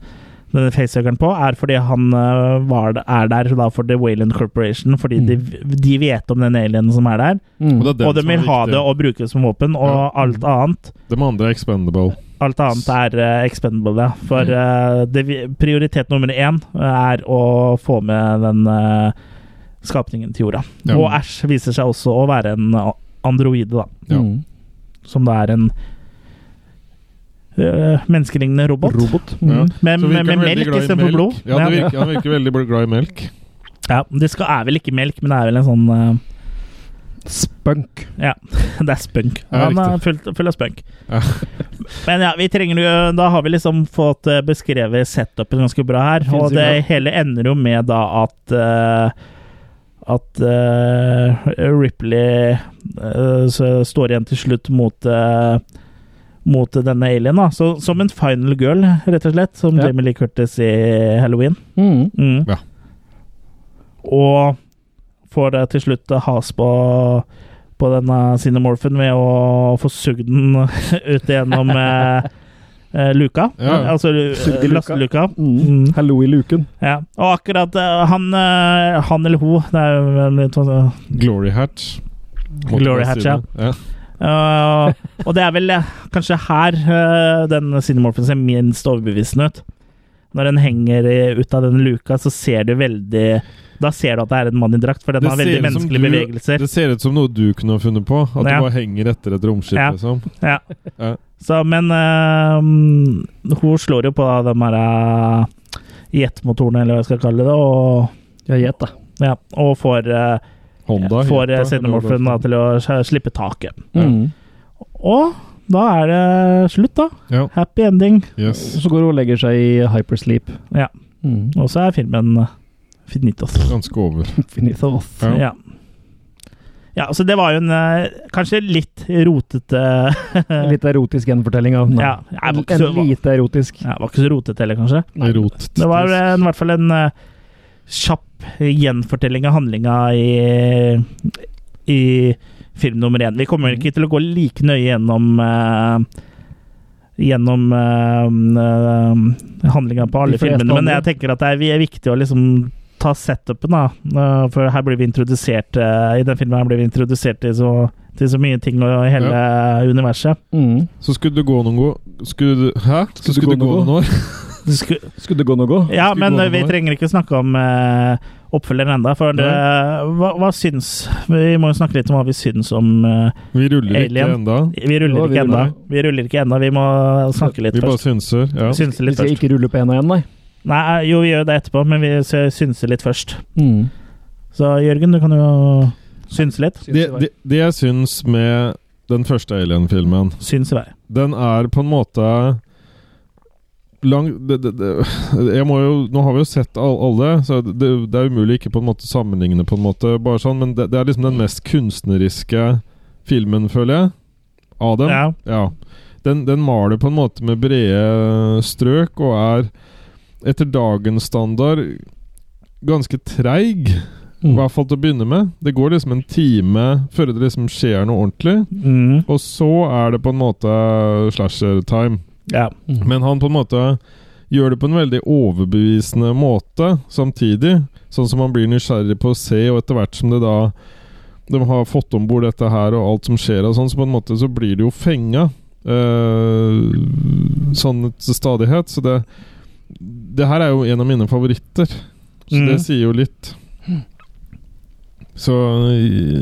Speaker 1: denne facehuggeren på, er fordi han eh, var, er der da for The Wayland Corporation, fordi
Speaker 3: Mm.
Speaker 1: de, de vet om den alienen som er der,
Speaker 3: Mm.
Speaker 4: Og det er den
Speaker 1: og de
Speaker 4: som er
Speaker 1: vil ha
Speaker 4: viktig.
Speaker 1: det og bruke det som våpen, og
Speaker 4: Ja. Mm.
Speaker 1: alt annet
Speaker 4: De andre er expendable.
Speaker 1: Alt annet er eh, expendable, ja. For
Speaker 4: Mm.
Speaker 1: eh, det, vi- prioritet nummer én eh, er å få med den eh, skapningen til jorda.
Speaker 4: Ja.
Speaker 1: Og Ash viser seg også å være en a- androide, da.
Speaker 4: Ja.
Speaker 3: Mm.
Speaker 1: Som da er en eh, menneskelignende robot.
Speaker 3: Robot.
Speaker 1: Mm.
Speaker 4: Ja.
Speaker 1: Med,
Speaker 4: Så
Speaker 1: med,
Speaker 4: virker
Speaker 1: med
Speaker 4: han veldig
Speaker 1: melk
Speaker 4: glad i
Speaker 1: istedenfor blod.
Speaker 4: Ja, det
Speaker 1: Ja.
Speaker 4: virker, han virker veldig glad i melk.
Speaker 1: Ja, det skal, er vel ikke melk, men det er vel en sånn
Speaker 3: Spunk.
Speaker 1: eh, Det er spunk.
Speaker 4: Ja,
Speaker 1: Han er
Speaker 4: riktig.
Speaker 1: full, full av spunk.
Speaker 4: Ja.
Speaker 1: Men ja, vi trenger jo Da har vi liksom fått eh, beskrevet setupet ganske bra her.
Speaker 3: Finnes
Speaker 1: Og
Speaker 3: ikke
Speaker 1: det hele ender jo med da at eh, At eh, Ripley eh, så står igjen til slutt mot eh, mot denne alien, da. Så, som en final girl, rett og slett. Som
Speaker 3: Ja.
Speaker 1: Jamie Lee Curtis i Halloween.
Speaker 3: Mm.
Speaker 1: Mm.
Speaker 4: Ja.
Speaker 1: Og får det til slutt has på, på denne cinemorphen ved å få sugd den ut gjennom eh, eh, luka.
Speaker 4: Ja.
Speaker 1: Altså
Speaker 3: Sugd i
Speaker 1: eh,
Speaker 3: luka.
Speaker 1: lasteluka.
Speaker 3: Mm.
Speaker 1: Mm.
Speaker 3: Hallo i luken.
Speaker 1: Ja. Og akkurat eh, han, eh, han eller hun det er jo en litt, sånn,
Speaker 4: Glory hatch. Måtte
Speaker 1: Glory
Speaker 4: bare
Speaker 1: hatch,
Speaker 4: si
Speaker 1: ja.
Speaker 4: det. ja.
Speaker 1: eh, Og det er vel eh, kanskje her eh, den cinemorphen ser minst overbevisende ut. Når den henger i- ut av den luka, så ser du veldig Da ser du at det er en mann i drakt, for den
Speaker 4: Det
Speaker 1: har veldig
Speaker 4: ser ut som
Speaker 1: menneskelige
Speaker 4: du-
Speaker 1: bevegelser.
Speaker 4: Det ser ut som noe du kunne ha funnet på. At
Speaker 1: Ja.
Speaker 4: du bare henger etter et romskip,
Speaker 1: Ja.
Speaker 4: liksom.
Speaker 1: Ja.
Speaker 4: Ja.
Speaker 1: Så, men eh, hun slår jo på de her eh, jetmotorene, eller hva jeg skal kalle det, og,
Speaker 3: Ja, gjett, da.
Speaker 1: ja, og får, eh,
Speaker 4: Honda.
Speaker 1: får
Speaker 4: Jetta,
Speaker 1: eh,
Speaker 4: eller
Speaker 1: Xenomorphen da,
Speaker 4: hva det
Speaker 1: til å s- slippe taket.
Speaker 3: Mm.
Speaker 1: Og da er det slutt, da.
Speaker 4: er. Ja.
Speaker 1: Happy ending.
Speaker 4: Yes.
Speaker 3: Så går hun og legger seg i hypersleep.
Speaker 1: Ja.
Speaker 3: Mm.
Speaker 1: Og så er filmen eh, finitos.
Speaker 4: Ganske over.
Speaker 3: Finito off.
Speaker 4: Ja.
Speaker 1: Ja. ja, så det var jo en eh, kanskje litt rotete
Speaker 3: En Litt erotisk gjenfortelling av
Speaker 1: Ja, jeg var
Speaker 3: En,
Speaker 1: ikke så-
Speaker 3: en lite erotisk.
Speaker 1: ja, Var ikke så rotete heller, kanskje.
Speaker 4: Rot.
Speaker 1: Det var eh, i hvert fall en eh, kjapp gjenfortelling av handlinga i, i film nummer én. Vi kommer ikke til å gå like nøye gjennom eh, Gjennom eh, handlinga på alle
Speaker 3: De fleste
Speaker 1: filmene, men jeg
Speaker 3: andre.
Speaker 1: tenker at det er, vi er viktig å liksom ta setupen, da. Eh, For her blir vi introdusert eh, I den filmen her blir vi introdusert til så, til så mye ting og i hele universet.
Speaker 3: Mm.
Speaker 4: Så skulle du gå noen gå... Skulle du Hæ?
Speaker 3: Skulle
Speaker 4: Så skulle
Speaker 3: du
Speaker 4: du
Speaker 3: gå
Speaker 4: gå
Speaker 3: noen
Speaker 4: noen år?
Speaker 1: Det skulle,
Speaker 3: Skulle det gå noe?
Speaker 1: Ja,
Speaker 4: Skulle
Speaker 1: men
Speaker 4: gå
Speaker 1: eh,
Speaker 4: noe
Speaker 1: vi
Speaker 4: der.
Speaker 1: trenger ikke snakke om eh, oppfølgeren enda, for det, hva, hva syns Vi må jo snakke litt om hva vi syns om eh,
Speaker 4: Vi ruller
Speaker 1: Alien.
Speaker 4: ikke enda.
Speaker 1: Vi
Speaker 3: Ja,
Speaker 1: ruller
Speaker 3: vi
Speaker 1: ikke ennå.
Speaker 3: ruller.
Speaker 1: Vi ruller ikke ennå, vi må snakke litt
Speaker 4: Vi bare
Speaker 1: først.
Speaker 4: synser. Ja.
Speaker 1: Vi synser
Speaker 3: Vi
Speaker 1: litt
Speaker 3: skal
Speaker 1: først.
Speaker 3: ikke rulle på én og én, nei.
Speaker 1: Nei, eh, jo, vi gjør det etterpå, men vi s- synser litt først.
Speaker 3: Mm.
Speaker 1: Så Jørgen, du kan jo synse litt.
Speaker 4: Det, det, det jeg syns med den første Alien-filmen
Speaker 1: Syns i vei.
Speaker 4: den er på en måte lang, det, det, det, jeg må jo, Nå har vi jo sett all, alle, så det, det er umulig ikke på en måte sammenligne, på en måte, bare sånn, men det, det er liksom den mest kunstneriske filmen, føler jeg, av dem.
Speaker 1: Ja.
Speaker 4: Ja. Den, den maler på en måte med brede strøk og er etter dagens standard ganske treig,
Speaker 3: Mm.
Speaker 4: i hvert fall til å begynne med. Det går liksom en time før det liksom skjer noe ordentlig.
Speaker 1: Mm,
Speaker 4: Og så er det på en måte slasher-time.
Speaker 1: ja.
Speaker 3: Mm.
Speaker 4: Men han på en måte gjør det på en veldig overbevisende måte samtidig. Sånn som man blir nysgjerrig på å se, og etter hvert som det da de har fått om bord dette her og alt som skjer og sånn, så på en måte så blir det jo fenga. eh, sånn til stadighet. Så det Det her er jo en av mine favoritter. Så det
Speaker 1: Mm.
Speaker 4: sier jo litt. Så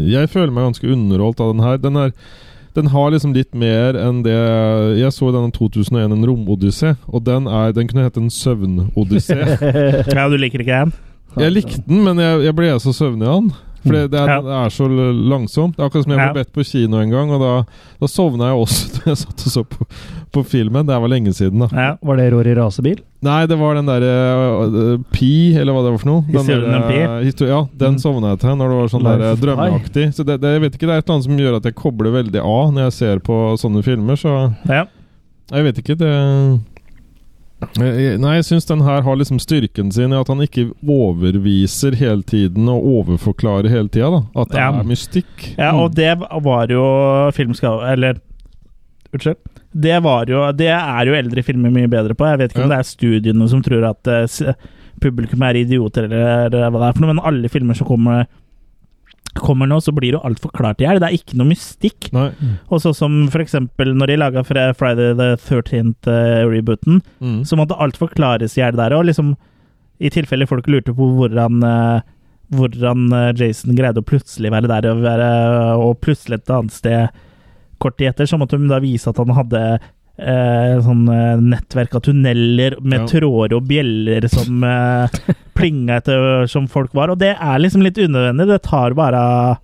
Speaker 4: jeg føler meg ganske underholdt av den her. Den, er, den har liksom litt mer enn det Jeg så denne 2001 en romodyssé, og den, er, den kunne hete en søvnodyssé.
Speaker 1: ja, du liker ikke den?
Speaker 4: Jeg likte den, men jeg, jeg ble så søvnig av den. For det, det, er,
Speaker 1: Ja.
Speaker 4: det er så l- langsomt. Det er akkurat som jeg
Speaker 1: Ja.
Speaker 4: ble bedt på kino en gang, og da, da sovna jeg også da jeg satt og så på, på filmen. Det var lenge siden, da.
Speaker 1: Ja.
Speaker 3: Var det Rory rasebil?
Speaker 4: Nei, det var den derre Pi, eller hva det var for noe.
Speaker 1: Historien om
Speaker 4: derre- histo- ja, den
Speaker 3: Mm.
Speaker 4: sovna jeg til når det var sånn
Speaker 3: Life
Speaker 4: der, eh,
Speaker 3: of Pi.
Speaker 4: drømmeaktig. Så det, det, jeg vet ikke, det er et eller annet som gjør at jeg kobler veldig av når jeg ser på sånne filmer, så
Speaker 1: ja.
Speaker 4: jeg vet ikke. det... Jeg- jeg- Nei, jeg syns den her har liksom styrken sin i at han ikke overviser hele tiden og overforklarer hele tida. da. At det
Speaker 1: Ja.
Speaker 4: er mystikk.
Speaker 1: Ja, og det var jo filmskav... Eller Unnskyld. Det var jo Det er jo eldre filmer mye bedre på. Jeg vet ikke om
Speaker 4: Ja.
Speaker 1: det er studiene som tror at eh, s- publikum er idioter, eller hva det er for noe, men alle filmer som kommer Kommer nå, så blir det jo alt forklart i hjel. Det er ikke noe mystikk.
Speaker 4: Nei.
Speaker 1: Og så som for eksempel når de laga Friday the eh, 13th-rebooten,
Speaker 4: Mm.
Speaker 1: så måtte alt forklares i hjel der. Og liksom, i tilfelle folk lurte på hvordan, eh, hvordan eh, Jason greide å plutselig være der og, være, og plutselig et annet sted kort tid etter, så måtte hun da vise at han hadde eh, sånn eh, nettverk av tunneler med
Speaker 4: Ja.
Speaker 1: tråder og bjeller som eh, plinga etter som folk var. Og det er liksom litt unødvendig. Det tar bare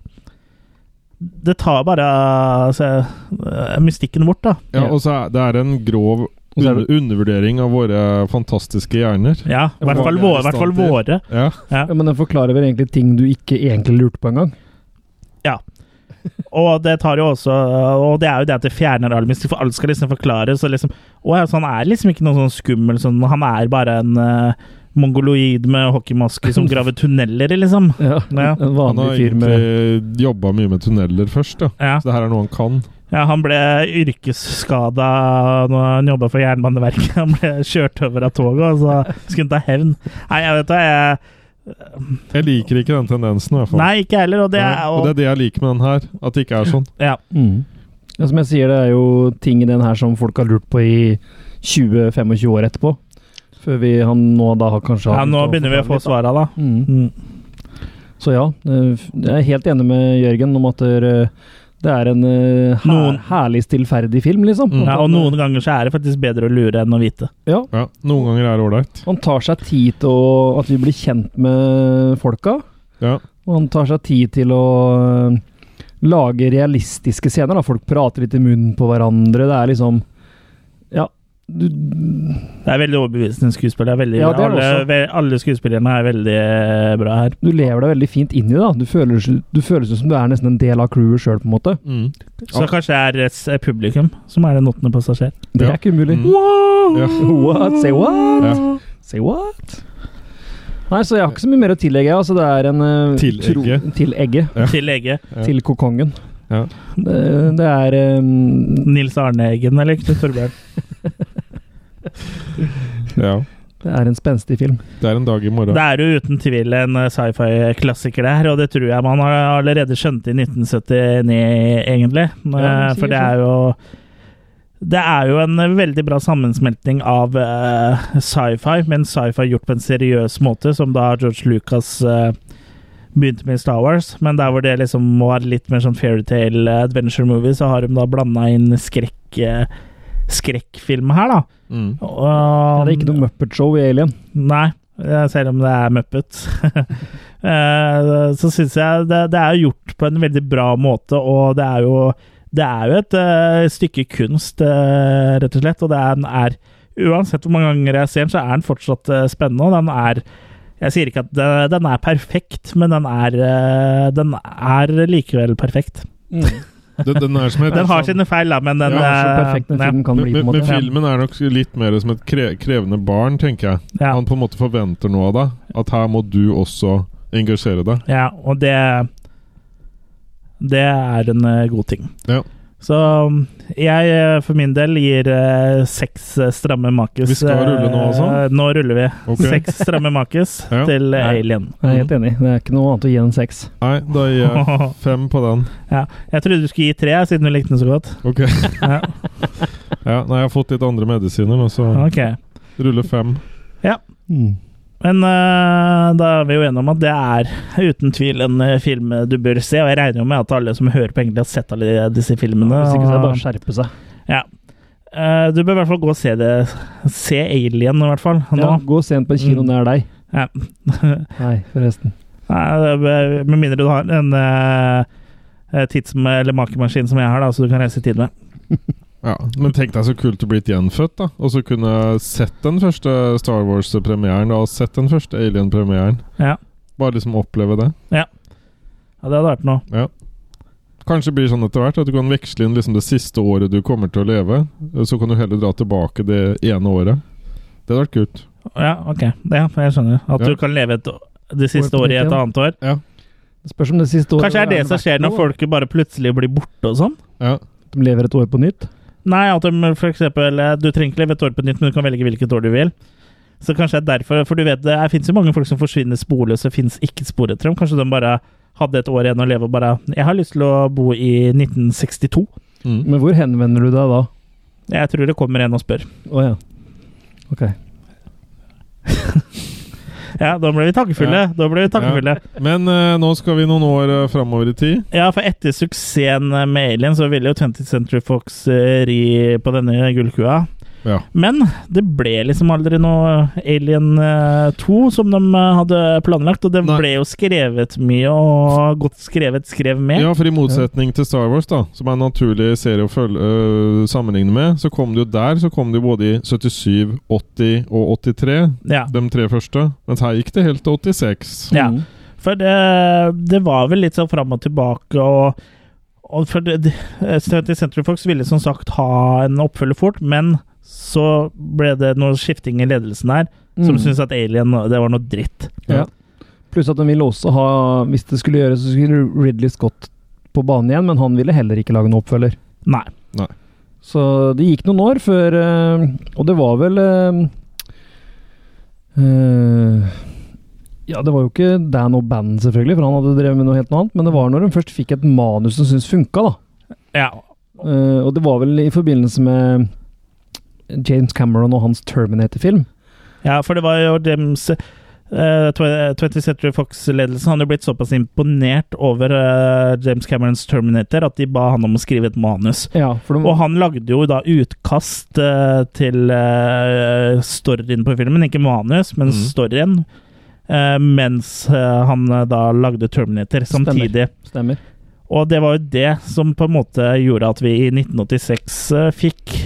Speaker 1: Det tar bare altså, eh, mystikken bort, da.
Speaker 4: Ja, og så er det er en grov
Speaker 3: Og så er
Speaker 4: under, undervurdering av våre fantastiske hjerner.
Speaker 1: Ja, i hvert fall
Speaker 4: Vanlige
Speaker 1: våre. i hvert fall våre.
Speaker 4: Ja.
Speaker 3: Ja, men den forklarer vel egentlig ting du ikke egentlig lurte på engang.
Speaker 1: Og det tar jo også Og det er jo det at det fjerner all mystikk, for alt skal liksom forklares. Og liksom, å ja, så han er liksom ikke noen sånn skummel sånn, han er bare en eh, mongoloid med hockeymaske som graver tunneler, liksom.
Speaker 3: Ja,
Speaker 1: Ja.
Speaker 3: En
Speaker 4: Han har
Speaker 3: vanlig fyr med
Speaker 1: eh,
Speaker 4: egentlig jobba mye med tunneler først, ja.
Speaker 1: Ja,
Speaker 4: Så det her er noe han kan.
Speaker 1: ja han ble yrkesskada når han jobba for Jernbaneverket. Han ble kjørt over av toget, og så skulle han ta hevn. Nei, jeg vet da, jeg
Speaker 4: Jeg liker ikke den tendensen, i hvert fall.
Speaker 1: Nei, ikke jeg heller. Og det
Speaker 4: Nei,
Speaker 1: er
Speaker 4: og det
Speaker 1: og,
Speaker 4: er det jeg liker med den her. At det ikke er sånn.
Speaker 1: ja,
Speaker 3: Mm. Ja, som jeg sier, det er jo ting i den her som folk har lurt på i 20-25 år etterpå. Før vi han nå da har kanskje
Speaker 1: ja, nå begynner vi å få svara, da.
Speaker 3: Mm.
Speaker 1: Mm.
Speaker 3: Så ja, eh, f- jeg er helt enig med Jørgen om at det er, eh, det er en eh, her,
Speaker 1: Noen-
Speaker 3: herlig stillferdig film, liksom.
Speaker 4: Mm.
Speaker 1: Ja, og noen ganger så er det faktisk bedre å lure enn å vite.
Speaker 3: Ja,
Speaker 4: Ja, Noen ganger er det ålreit.
Speaker 3: han tar seg tid til å, at vi blir kjent med folka.
Speaker 4: Ja.
Speaker 3: Og han tar seg tid til å øh, lage realistiske scener. Da. Folk prater litt i munnen på hverandre. Det er liksom Ja. Du,
Speaker 1: Det er veldig overbevisende skuespiller. Det er veldig,
Speaker 3: Ja, det er det
Speaker 1: alle,
Speaker 3: også.
Speaker 1: ve alle skuespillerne er veldig eh, bra her.
Speaker 3: du lever deg veldig fint inn i det. da. Du føler, du føles som du er nesten en del av crewet sjøl, på en måte.
Speaker 4: Mm.
Speaker 1: Så kanskje det er eh, publikum som er den åttende passasjer.
Speaker 3: Det
Speaker 4: Ja.
Speaker 3: er ikke umulig.
Speaker 4: Mm.
Speaker 1: Wow!
Speaker 4: Ja.
Speaker 3: What? Say what?
Speaker 4: Ja.
Speaker 3: Say what? Nei, så jeg har ikke så mye mer å tillegge. Altså, det er en øh,
Speaker 4: Til
Speaker 3: tro-
Speaker 4: egget.
Speaker 3: Til egget.
Speaker 4: Ja.
Speaker 1: Til lege.
Speaker 4: Ja.
Speaker 3: Til kokongen.
Speaker 4: Ja.
Speaker 3: Det, det er øh,
Speaker 1: Nils Arne Eggen eller Knut Torbjørn.
Speaker 4: ja.
Speaker 3: Det er en spenstig film.
Speaker 4: Det er en dag i morgen.
Speaker 1: Det er jo uten tvil en eh, sci-fi-klassiker, det her, og det tror jeg man har allerede skjønt i 1979, egentlig.
Speaker 3: Ja,
Speaker 1: Eh, For det
Speaker 3: sikkert.
Speaker 1: er jo det er jo en eh, veldig bra sammensmelting av eh, sci-fi, men sci-fi gjort på en seriøs måte, som da George Lucas eh, begynte med i Star Wars. Men der hvor det liksom var litt mer sånn fairytale eh, adventure movie, så har de da blanda inn skrekk, eh, skrekkfilm her, da.
Speaker 4: Mm.
Speaker 3: Ja,
Speaker 1: Og-
Speaker 3: det er ikke noe Muppet Show i Alien.
Speaker 1: Nei, eh, selv om det er Muppet. Eh, så syns jeg det, det er gjort på en veldig bra måte, og det er jo, det er jo et eh, stykke kunst, eh, rett og slett. Og det er, den er Uansett hvor mange ganger jeg ser den, så er den fortsatt eh, spennende, og den er jeg sier ikke at det- den er perfekt, men den er, eh, den er likevel perfekt.
Speaker 4: Den, den er som et
Speaker 1: Den har sine feil, da, men den
Speaker 4: Ja,
Speaker 3: sånn- Så
Speaker 1: eh,
Speaker 3: perfekt en
Speaker 1: ja,
Speaker 3: film kan
Speaker 4: men,
Speaker 3: bli, på
Speaker 4: men,
Speaker 3: en
Speaker 4: men
Speaker 3: sånn måte.
Speaker 4: filmen er nok litt mer som et kre krevende barn, tenker jeg.
Speaker 1: ja.
Speaker 4: Han på en måte forventer noe av deg. At her må du også engasjere deg.
Speaker 1: Ja, og det Det er en eh, god ting.
Speaker 4: Ja.
Speaker 1: Så mm, jeg eh, for min del gir eh, seks eh, stramme makis.
Speaker 4: Vi skal
Speaker 1: eh,
Speaker 4: rulle nå også?
Speaker 1: Nå ruller vi.
Speaker 4: Ok.
Speaker 1: Seks stramme makis
Speaker 4: Ja.
Speaker 1: til eh,
Speaker 3: Ja.
Speaker 1: Alien.
Speaker 3: Jeg er helt enig. Det er ikke noe annet å gi enn seks.
Speaker 4: Nei, da gir jeg fem på den.
Speaker 1: Jeg trodde du skulle gi tre, siden du likte den så godt.
Speaker 4: Ok.
Speaker 1: Ja,
Speaker 4: Ja, nei, jeg har fått litt andre medisiner, men så
Speaker 1: ok.
Speaker 4: ruller fem.
Speaker 3: Mm.
Speaker 1: Men eh, da er vi jo enige om at det er uten tvil en eh, film du bør se, og jeg regner jo med at alle som hører på, egentlig har sett alle disse filmene.
Speaker 3: Hvis ikke så er det
Speaker 1: og-
Speaker 3: bare å skjerpe seg.
Speaker 1: Eh, du bør i hvert fall gå og se det. Se Alien, i hvert fall. Nå.
Speaker 3: Ja, gå sent på en kino
Speaker 1: Mm.
Speaker 3: nær deg.
Speaker 1: Ja.
Speaker 3: Nei, forresten.
Speaker 1: Nei, det- Med mindre du har en eh, tids- eller makemaskin som jeg har, da, så du kan reise i tid med.
Speaker 4: Ja, Men tenk deg så kult å blitt gjenfødt, da. Og så kunne sett den første Star Wars-premieren, da, og sett den første Alien-premieren.
Speaker 1: Ja.
Speaker 4: Bare liksom oppleve det.
Speaker 1: Ja, det hadde vært noe.
Speaker 4: Kanskje blir sånn etter hvert at du kan veksle inn liksom det siste året du kommer til å leve. Så kan du heller dra tilbake det ene året. Det hadde vært kult.
Speaker 1: Ja, ok. Ja, jeg skjønner. At
Speaker 4: Ja.
Speaker 1: du kan leve et, det siste
Speaker 3: År på
Speaker 1: året i
Speaker 3: nytt
Speaker 1: et
Speaker 3: igjen.
Speaker 1: annet år.
Speaker 3: Det spørs om det siste året
Speaker 1: Kanskje det er det som skjer når folk bare plutselig blir borte og sånn?
Speaker 4: Ja.
Speaker 3: De lever et år på nytt.
Speaker 1: Nei, at de for eksempel, eh, du trenger ikke leve et år på nytt, men du kan velge hvilket år du vil. Så kanskje det er derfor, for du vet det er- finnes jo mange folk som forsvinner sporløst og finnes ikke spor etter dem. Kanskje de bare hadde et år igjen å leve og bare Jeg har lyst til å bo i 1962.
Speaker 4: Mm.
Speaker 3: Men hvor henvender du deg da?
Speaker 1: Jeg tror det kommer en og spør.
Speaker 3: Å ja. Ok.
Speaker 1: Ja, da ble vi takkefulle.
Speaker 4: Ja.
Speaker 1: Da ble vi takkefulle.
Speaker 4: Men eh, nå skal vi noen år uh, framover i tid.
Speaker 1: Ja, for etter suksessen med Alien, så ville jo 20th Century Fox eh, ri på denne gullkua.
Speaker 4: Ja.
Speaker 1: Men det ble liksom aldri noe Alien eh, 2 som de eh, hadde planlagt, og det
Speaker 4: Nei.
Speaker 1: ble jo skrevet mye, og godt skrevet skrev med.
Speaker 4: ja, for i motsetning til Star Wars, da som er en naturlig serie å følge, øh, sammenligne med, så kom det jo der så kom det jo både i 77, 80 og 83.
Speaker 1: Ja.
Speaker 4: De tre første. Mens her gikk det helt til 86.
Speaker 1: Ja.
Speaker 3: Mm.
Speaker 1: For det, det var vel litt sånn fram og tilbake, og, og for det, det- Stunt i Central Fox ville som sagt ha en oppfølger fort, men så ble det noe skifting i ledelsen her, som
Speaker 3: Mm.
Speaker 1: syntes at Alien det var noe dritt.
Speaker 3: Ja. Pluss at den ville også ha Hvis det skulle gjøres, så skulle Ridley Scott på banen igjen, men han ville heller ikke lage noen oppfølger.
Speaker 1: Nei.
Speaker 3: Så det gikk noen år før eh, Og det var vel eh, eh, Ja, det var jo ikke Dan og bandet, selvfølgelig, for han hadde drevet med noe helt noe annet, men det var når de først fikk et manus som syntes funka, da.
Speaker 1: Ja.
Speaker 3: Eh, og det var vel i forbindelse med James Cameron og hans Terminator-film.
Speaker 1: ja, for det var jo James eh, Tw- 20th Century Fox-ledelsen hadde jo blitt såpass imponert over eh, James Camerons Terminator at de ba han om å skrive et manus.
Speaker 3: Ja, for de,
Speaker 1: Og han lagde jo da utkast eh, til eh, storyen på filmen, ikke manus, men
Speaker 4: Mm.
Speaker 1: storyen. eh, mens eh, han eh, da lagde Terminator
Speaker 3: Stemmer.
Speaker 1: samtidig.
Speaker 3: Stemmer.
Speaker 1: Og det var jo det som på en måte gjorde at vi i 1986 eh, fikk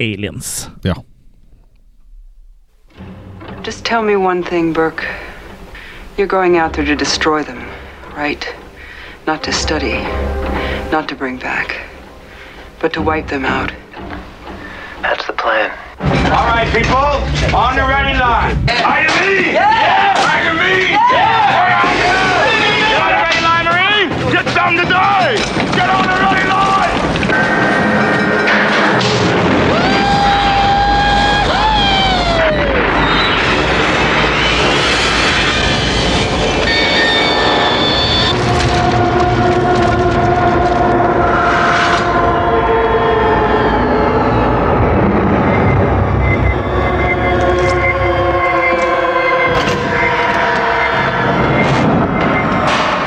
Speaker 1: Aliens.
Speaker 5: Just tell me one thing, Burke. You're going out there to destroy them, right? Not to study, not to bring back, but to wipe them out.
Speaker 6: That's the plan.
Speaker 7: All right, people, on the ready line. Are you ready? Yeah! Are you ready? Yeah! Are you ready? You on the ready line already? Get something to die! Get on the ready line!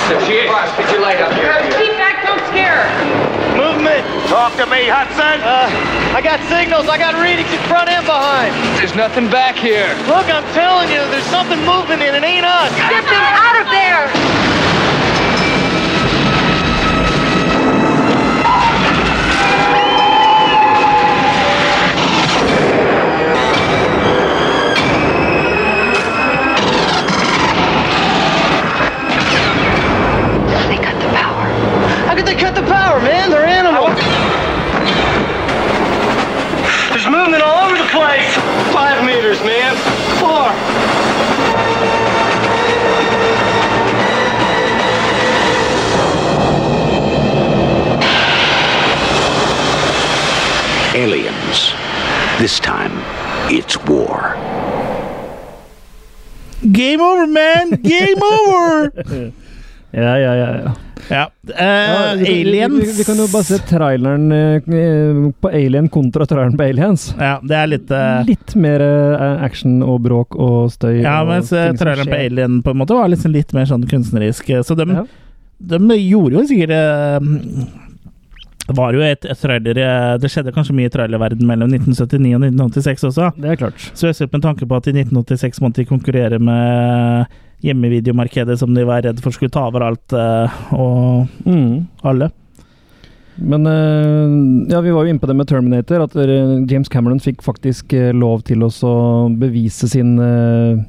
Speaker 6: Get your light up here.
Speaker 8: Keep back, don't scare her.
Speaker 7: Movement! Talk to me, Hudson!
Speaker 9: I got signals. I got readings in front and behind.
Speaker 6: There's nothing back here.
Speaker 9: Look, I'm telling you, there's something moving and it ain't us.
Speaker 8: Get them out of there.
Speaker 2: They cut the power.
Speaker 9: How could they cut the power, man? They're animals. There's movement all over the place. Five meters, man. Four.
Speaker 6: Aliens. This time, it's war.
Speaker 1: Game over, man! Game over!
Speaker 3: Ja, ja, ja, ja.
Speaker 1: ja. eh,
Speaker 3: Ja, vi kan-
Speaker 1: aliens
Speaker 3: Vi, vi, vi kan jo bare se traileren eh, på Alien kontra traileren på Aliens.
Speaker 1: Ja, det er litt eh,
Speaker 3: Litt mer eh, action og bråk og støy.
Speaker 1: Ja,
Speaker 3: og
Speaker 1: mens eh,
Speaker 3: ting som
Speaker 1: traileren på
Speaker 3: skjer.
Speaker 1: Alien på en måte var liksom litt mer sånn kunstnerisk. eh, Så de,
Speaker 3: Ja.
Speaker 1: De gjorde jo sikkert eh, Det var jo et, et trailer eh, Det skjedde kanskje mye i trailerverden mellom 1979 og 1986 også.
Speaker 3: Det er klart.
Speaker 1: Spesielt med tanke på at i 1986 måtte de konkurrere med hjemmevideomarkedet som de var redd for skulle ta over alt eh, og
Speaker 3: Mm.
Speaker 1: alle.
Speaker 3: Men eh, ja, vi var jo inne på det med Terminator, at eh, James Cameron fikk faktisk eh, lov til oss å bevise sin eh,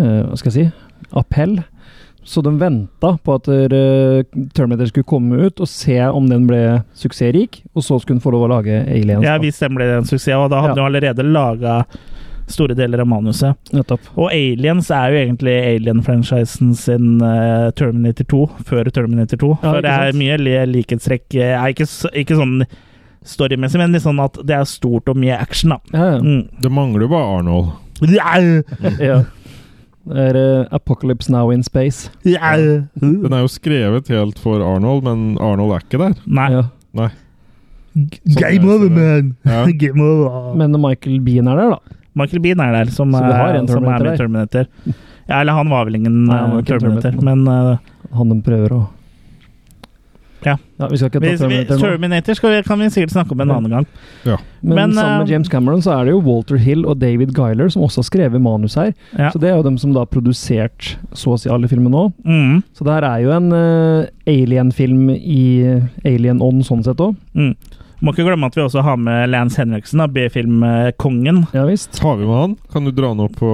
Speaker 3: eh, Hva skal jeg si appell. Så de venta på at eh, Terminator skulle komme ut og se om den ble suksessrik, og så skulle hun få lov å lage Aliens.
Speaker 1: Ja,
Speaker 3: da.
Speaker 1: Hvis den ble en suksess, og da hadde
Speaker 3: Ja.
Speaker 1: de allerede laga store deler av manuset.
Speaker 3: Nettopp.
Speaker 1: Og Aliens er jo egentlig Alien-franchisen sin eh, Terminator 2, før Terminator 2.
Speaker 3: Ja,
Speaker 1: for
Speaker 3: ikke
Speaker 1: det er
Speaker 3: sant?
Speaker 1: mye li- likhetstrekk. eh, er ikke, s- ikke sånn storymessig, men litt sånn at det er stort og mye action, da.
Speaker 3: Ja, ja.
Speaker 1: Mm.
Speaker 4: Det mangler jo bare Arnold.
Speaker 1: Jau,
Speaker 3: ja. Det er eh, Apocalypse Now in Space.
Speaker 1: jau.
Speaker 4: Den er jo skrevet helt for Arnold, men Arnold er ikke der. Sånn
Speaker 1: Nei.
Speaker 3: Ja.
Speaker 1: Game over, man!
Speaker 4: Ja.
Speaker 1: Game over.
Speaker 3: Men Michael Bean er der, da.
Speaker 1: Michael Bean er der, som,
Speaker 3: Så vi har
Speaker 1: er,
Speaker 3: en
Speaker 1: som er
Speaker 3: Terminator
Speaker 1: med i Terminator. Ja, eller han var vel ingen
Speaker 3: Nei, han var
Speaker 1: eh,
Speaker 3: ikke
Speaker 1: Terminator,
Speaker 3: Terminator.
Speaker 1: men eh,
Speaker 3: Han de prøver å
Speaker 1: Ja.
Speaker 3: Vi skal ikke
Speaker 1: vi,
Speaker 3: ta
Speaker 1: vi,
Speaker 3: Terminator nå.
Speaker 1: Terminator skal vi, kan vi sikkert snakke om en
Speaker 3: Ja.
Speaker 1: annen gang.
Speaker 3: Men,
Speaker 1: men,
Speaker 3: sammen med
Speaker 1: eh,
Speaker 3: James Cameron så er det jo Walter Hill og David Giler som også har skrevet manus her.
Speaker 1: Ja.
Speaker 3: Så det er jo dem som da har produsert så å si alle filmene nå.
Speaker 1: Mm,
Speaker 3: Så det her er jo en eh, alien-film i alien-ånd sånn sett òg.
Speaker 1: mm. Må ikke glemme at vi også har med Lance Henriksen, da, B-filmkongen.
Speaker 3: Ja visst.
Speaker 4: Tar vi med han? Kan du dra han opp på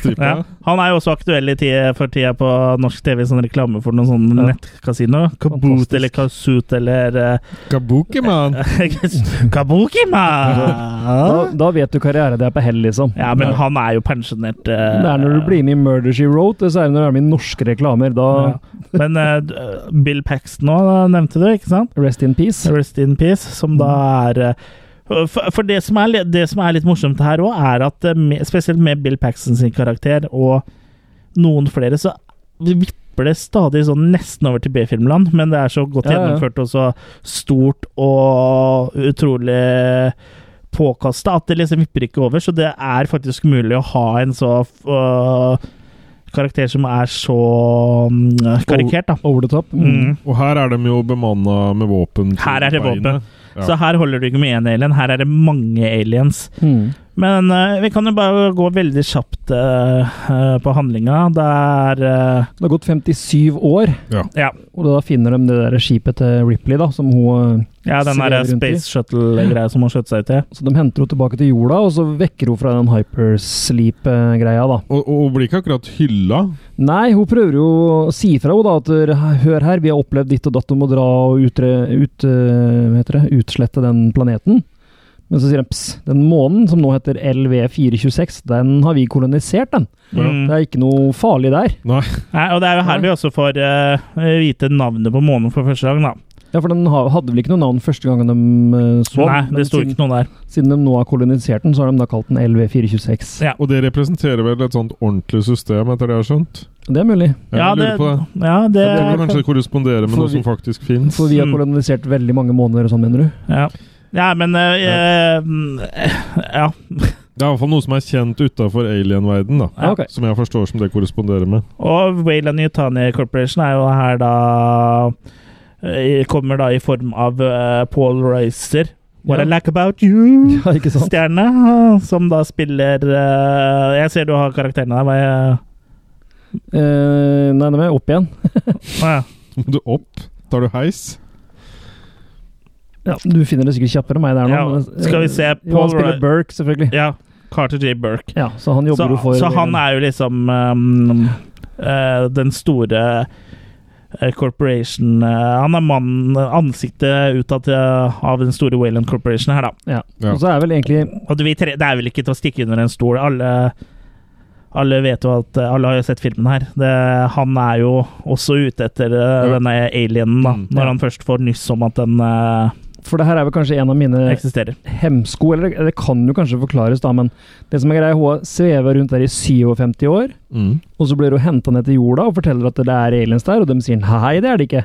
Speaker 4: stripa?
Speaker 1: Ja. Han er jo også aktuell i tida, for tida på norsk TV, sånn reklame for noen sånne
Speaker 3: Ja.
Speaker 1: nettkasino. Kaboot
Speaker 3: Fantastisk.
Speaker 1: eller Kazoot eller eh,
Speaker 4: Kabuki, man!
Speaker 3: Da,
Speaker 1: Kabukima!
Speaker 3: da vet du karriere det er på hell, liksom.
Speaker 1: Ja, men han er jo pensjonert. eh,
Speaker 3: Det er når du blir med i Murder She Wrote, og så er det når du er med i norske reklamer. Da
Speaker 1: Ja. Men eh, d- Bill Paxton òg, nevnte du, ikke sant?
Speaker 3: rest in peace.
Speaker 1: Rest in peace, som da er eh, For, for det, som er, li- det som er litt morsomt her òg, er at eh, med, spesielt med Bill Paxton sin karakter og noen flere, så vipper det stadig sånn nesten over til B-filmland, men det er så godt
Speaker 3: Ja, ja.
Speaker 1: gjennomført og så stort og utrolig påkasta at det liksom vipper ikke over, så det er faktisk mulig å ha en så øh, karakter som er så mm, karikert, da.
Speaker 3: Over the top.
Speaker 1: Mm.
Speaker 4: Og her er de jo bemanna med våpen. til
Speaker 1: Her er det våpen.
Speaker 4: beinet. Ja.
Speaker 1: Så her holder du ikke med én alien, her er det mange aliens.
Speaker 3: Mm.
Speaker 1: Men eh, vi kan jo bare gå veldig kjapt eh, eh, på handlinga. Det er eh,
Speaker 3: Det har gått 57 år,
Speaker 1: ja,
Speaker 3: og da finner de det der skipet til Ripley, da, som hun
Speaker 1: ja, den
Speaker 3: Svever
Speaker 1: der
Speaker 3: rundt i.
Speaker 1: space shuttle-greia som hun skjøt seg ut i.
Speaker 3: Så de henter henne tilbake til jorda, og så vekker hun fra den hypersleep-greia, da.
Speaker 4: Og, og hun blir ikke akkurat hylla.
Speaker 3: Nei, hun prøver jo å si fra henne, da, at hør her, vi har opplevd ditt og datt, du må dra og utre, ut, eh, hva heter det, utslette den planeten. Men så sier de pss, den månen som nå heter LV426, den har vi kolonisert, den.
Speaker 1: Mm.
Speaker 3: Det er ikke noe farlig der.
Speaker 1: Nei, og det er jo her vi også får eh, vite navnet på månen for første gang, da.
Speaker 3: Ja, for den ha- hadde vel ikke noe navn første gangen de eh,
Speaker 4: Sånn.
Speaker 3: så
Speaker 1: Nei,
Speaker 3: den, men
Speaker 1: det sto
Speaker 3: siden,
Speaker 1: ikke noe der.
Speaker 3: siden de nå har kolonisert den, så har de da kalt den LV426.
Speaker 1: Ja.
Speaker 4: Og det representerer vel et sånt ordentlig system, etter det jeg har skjønt?
Speaker 3: Det er mulig.
Speaker 4: Jeg
Speaker 1: Ja,
Speaker 4: lurer
Speaker 1: det-
Speaker 4: på det.
Speaker 1: Ja, det,
Speaker 4: Det vil kanskje korrespondere med
Speaker 3: For
Speaker 4: noe
Speaker 3: vi-
Speaker 4: som faktisk fins.
Speaker 3: For vi har
Speaker 1: Mm.
Speaker 3: kolonisert veldig mange måneder og sånn, mener du?
Speaker 1: ja. ja, men eh, eh, Ja.
Speaker 4: Det er iallfall noe som er kjent utafor alien-verden, da.
Speaker 1: Ja,
Speaker 3: ok.
Speaker 4: Som jeg forstår som det korresponderer med.
Speaker 1: Og Wayland Yutani Corporation er jo her da eh, Kommer da i form av eh, Paul Reiser. What
Speaker 3: Ja.
Speaker 1: I like about you!
Speaker 3: Ja, ikke sant?
Speaker 1: Stjerne, ah, som da spiller eh, Jeg ser du har karakterene der. Hva er,
Speaker 3: Eh, nei, nå må jeg opp igjen.
Speaker 1: Å ja.
Speaker 4: Må du opp? Tar du heis?
Speaker 3: Ja, du finner det sikkert kjappere enn meg der nå.
Speaker 1: Ja,
Speaker 3: men-
Speaker 1: skal vi se,
Speaker 3: Jo, han
Speaker 1: Paul
Speaker 3: spiller
Speaker 1: Rudd.
Speaker 3: Burke, selvfølgelig. Ja.
Speaker 1: ja. Carter J. Burke.
Speaker 3: så han jobber jo
Speaker 1: Så,
Speaker 3: for eh,
Speaker 1: så han er jo liksom um, eh, den store eh, corporation eh, Han er mannen, ansiktet utad eh, av den store Wayland Corporation her, da.
Speaker 3: ja.
Speaker 4: Ja.
Speaker 3: Og så er vel egentlig
Speaker 1: Og vi tre, det er vel ikke til å stikke under en stol. Alle, alle vet jo at eh, Alle har jo sett filmen her. Det, han er jo også ute etter eh,
Speaker 4: Ja.
Speaker 1: denne alienen, da.
Speaker 4: Mm,
Speaker 1: Når
Speaker 3: ja.
Speaker 1: han først får nyss om at den eh,
Speaker 3: For det her er vel kanskje en av mine
Speaker 1: eksisterer.
Speaker 3: hemsko, eller eller det kan jo kanskje forklares, da, men det som er greia, hun svever rundt der i 57 år,
Speaker 4: Mm.
Speaker 3: og så blir hun henta ned til jorda og forteller at det er aliens der, og de sier nei, det er det ikke.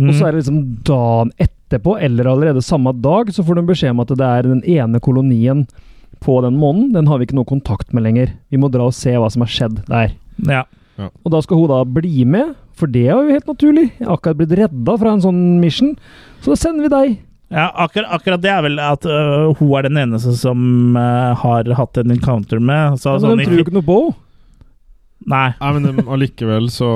Speaker 3: Og
Speaker 1: Mm.
Speaker 3: så er det liksom dagen etterpå, eller allerede samme dag, så får de beskjed om at det er den ene kolonien på den måneden, den har vi ikke noe kontakt med lenger. Vi må dra og se hva som har skjedd der.
Speaker 1: Ja.
Speaker 3: Og da skal hun da bli med, for det er jo helt naturlig. Jeg har akkurat blitt redda fra en sånn mission, så da sender vi deg.
Speaker 1: Ja, akkur akkurat det er vel at øh, hun er den eneste som øh, har hatt en encounter med. Så,
Speaker 3: Ja,
Speaker 1: sånn,
Speaker 3: men de tror jo ikke noe på henne.
Speaker 1: Nei.
Speaker 4: Nei, men dem allikevel, så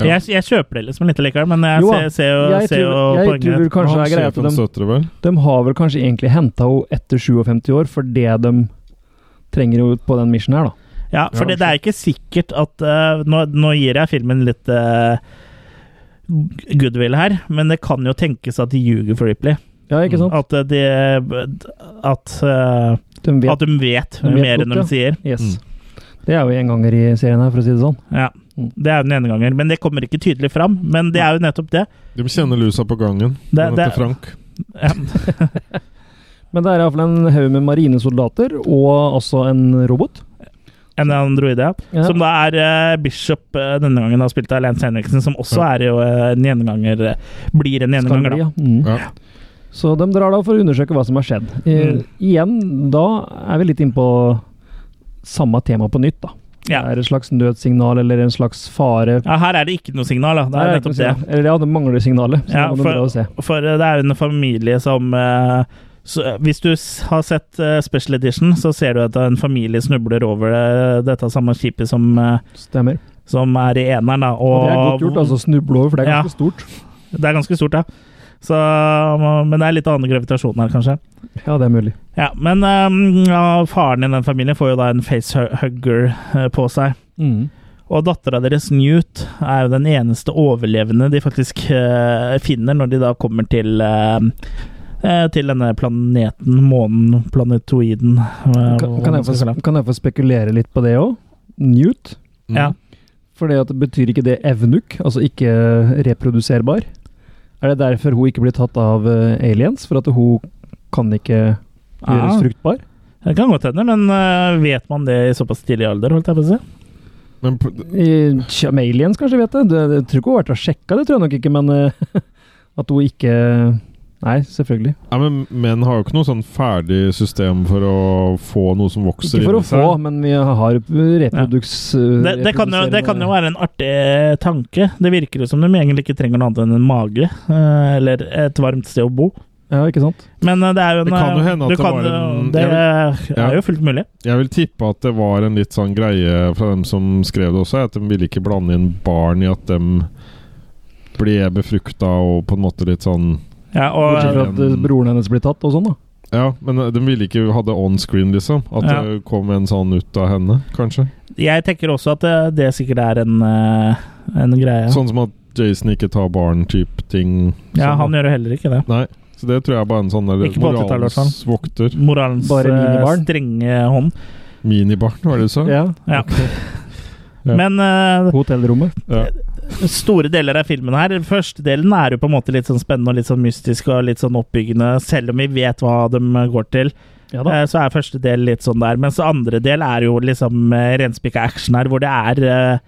Speaker 4: Ja.
Speaker 1: Jeg, jeg kjøper det liksom litt likevel, men jeg
Speaker 3: Jo,
Speaker 1: ser, ser jo,
Speaker 3: Jeg
Speaker 1: ser jo
Speaker 3: tror, jeg tror
Speaker 1: poenget.
Speaker 3: vel kanskje det er greit
Speaker 4: Sjefen
Speaker 3: at de,
Speaker 4: støtter det vel?
Speaker 3: de har vel kanskje egentlig henta henne etter 57 år, for det de trenger jo på den missionen her, da.
Speaker 1: Ja, for
Speaker 4: Ja,
Speaker 1: det, det er ikke sikkert at øh, nå, nå gir jeg filmen litt øh, goodwill her, men det kan jo tenkes at de ljuger for Ripley.
Speaker 3: Ja, ikke sant?
Speaker 1: At øh, de At, øh, at
Speaker 3: De vet.
Speaker 1: de vet,
Speaker 3: De vet
Speaker 1: mer
Speaker 3: godt,
Speaker 1: enn de
Speaker 3: ja.
Speaker 1: sier.
Speaker 3: Yes. Det er jo en ganger i serien her, for å si det sånn.
Speaker 1: Ja,
Speaker 3: Mm.
Speaker 1: Det er jo den ene gangen, men det kommer ikke tydelig fram. Men det er jo nettopp det.
Speaker 4: De kjenner lusa på gangen.
Speaker 1: Det-
Speaker 4: Den heter
Speaker 1: det-
Speaker 4: Frank.
Speaker 1: Ja.
Speaker 3: Men det er iallfall en haug med marinesoldater, og altså en robot.
Speaker 1: En androide, ja.
Speaker 3: Ja.
Speaker 1: Som da er eh, Bishop eh, denne gangen, har spilt av Lance Henriksen, som også
Speaker 4: Ja.
Speaker 1: er jo eh, en gjenganger eh, Blir en
Speaker 3: Skal
Speaker 1: gjenganger, da.
Speaker 3: bli, ja. Mm.
Speaker 4: Ja.
Speaker 3: Så de drar da for å undersøke hva som har skjedd. Eh,
Speaker 1: Mm.
Speaker 3: Igjen, da er vi litt inne på samme tema på nytt, da.
Speaker 1: Ja.
Speaker 3: Det er et slags nødsignal eller en slags fare.
Speaker 1: Ja, her er det ikke noe signal, da. Det er
Speaker 3: Nei,
Speaker 1: nettopp
Speaker 3: ikke noe
Speaker 1: det.
Speaker 3: signal. Eller ja, det mangler signalet. Så
Speaker 1: Ja,
Speaker 3: det
Speaker 1: for-
Speaker 3: var bra å se.
Speaker 1: For eh, det er jo en familie som eh, så, Hvis du s- har sett eh, Special Edition, så ser du at en familie snubler over eh, dette samme skipet som, eh,
Speaker 3: Stemmer.
Speaker 1: som er i eneren. Da.
Speaker 3: Og
Speaker 1: Og,
Speaker 3: det er godt gjort, altså. Snuble over, for det er
Speaker 1: Ja.
Speaker 3: ganske stort.
Speaker 1: Det er ganske stort, ja. Så, men det er litt annen gravitasjon her, kanskje.
Speaker 3: Ja, det er mulig.
Speaker 1: Ja, Men eh, ja, faren i den familien får jo da en facehugger eh, på seg.
Speaker 3: Mm.
Speaker 1: Og dattera deres, Newt, er jo den eneste overlevende de faktisk eh, finner når de da kommer til eh, eh, til denne planeten, månen, planetoiden eh,
Speaker 3: Kan,
Speaker 1: hva
Speaker 3: kan,
Speaker 1: man
Speaker 3: jeg
Speaker 1: skal kalle
Speaker 3: få,
Speaker 1: det.
Speaker 3: kan jeg få spekulere litt på det òg? Newt?
Speaker 1: Ja.
Speaker 3: For det at betyr ikke det evnuk, altså ikke reproduserbar? Er det derfor hun ikke blir tatt av eh, aliens? For at hun kan ikke gjøres
Speaker 1: Ah.
Speaker 3: fruktbar?
Speaker 1: Det kan godt hende, men eh, vet man det i såpass tidlig alder, holdt jeg på å si?
Speaker 4: Men p-
Speaker 3: I- tja, med aliens, kanskje, vet jeg. Det, det, jeg tror ikke hun har vært og sjekka, det tror jeg nok ikke, men eh, at hun ikke Nei, selvfølgelig.
Speaker 4: Ja, men menn har jo ikke noe sånn ferdig system for å få noe som vokser
Speaker 3: Ikke for å få, men vi har reproduks... eh,
Speaker 1: Det, det, kan jo, det kan jo være en artig eh, tanke. Det virker jo som de egentlig ikke trenger noe annet enn en mage, eh, eller et varmt sted å bo.
Speaker 3: Ja, ikke sant?
Speaker 1: Men eh, det er jo en
Speaker 4: Det kan jo
Speaker 1: eh,
Speaker 4: hende at
Speaker 1: du
Speaker 4: det
Speaker 1: kan
Speaker 4: var
Speaker 1: jo-
Speaker 4: en-
Speaker 1: Det
Speaker 4: Ja.
Speaker 1: er jo fullt mulig.
Speaker 4: Jeg vil tippe at det var en litt sånn greie fra dem som skrev det også, at de ville ikke blande inn barn i at dem ble befrukta og på en måte litt sånn
Speaker 1: Ja, og, um,
Speaker 3: Bortsett fra at eh, broren hennes blir tatt og sånn, da.
Speaker 4: Ja, men eh, de ville ikke ha det on screen, liksom. At
Speaker 1: Ja.
Speaker 4: det kom en sånn ut av henne, kanskje.
Speaker 1: Jeg tenker også at det, det sikkert er en, eh, en greie.
Speaker 4: Sånn som at Jason ikke tar barn-type ting.
Speaker 1: ja,
Speaker 4: sånn.
Speaker 1: han gjør jo heller ikke det.
Speaker 4: Nei, så det tror jeg er bare en sånn der
Speaker 1: Ikke på 80-tallet, i hvert fall.
Speaker 4: moralens vokter.
Speaker 1: Moralens
Speaker 3: Bare
Speaker 1: eh,
Speaker 3: minibarn.
Speaker 1: strenge hånd.
Speaker 4: Minibarn, var det du sa?
Speaker 3: Ja.
Speaker 1: Ja.
Speaker 4: Ja.
Speaker 1: Men eh,
Speaker 3: Hotellrommet.
Speaker 4: Ja.
Speaker 1: store deler av filmen her Første delen er jo på en måte litt sånn spennende og litt sånn mystisk og litt sånn oppbyggende, selv om vi vet hva de går til.
Speaker 3: Ja
Speaker 1: Eh, Så er første del litt sånn der. Mens andre del er jo liksom eh, renspikka action her, hvor det er eh,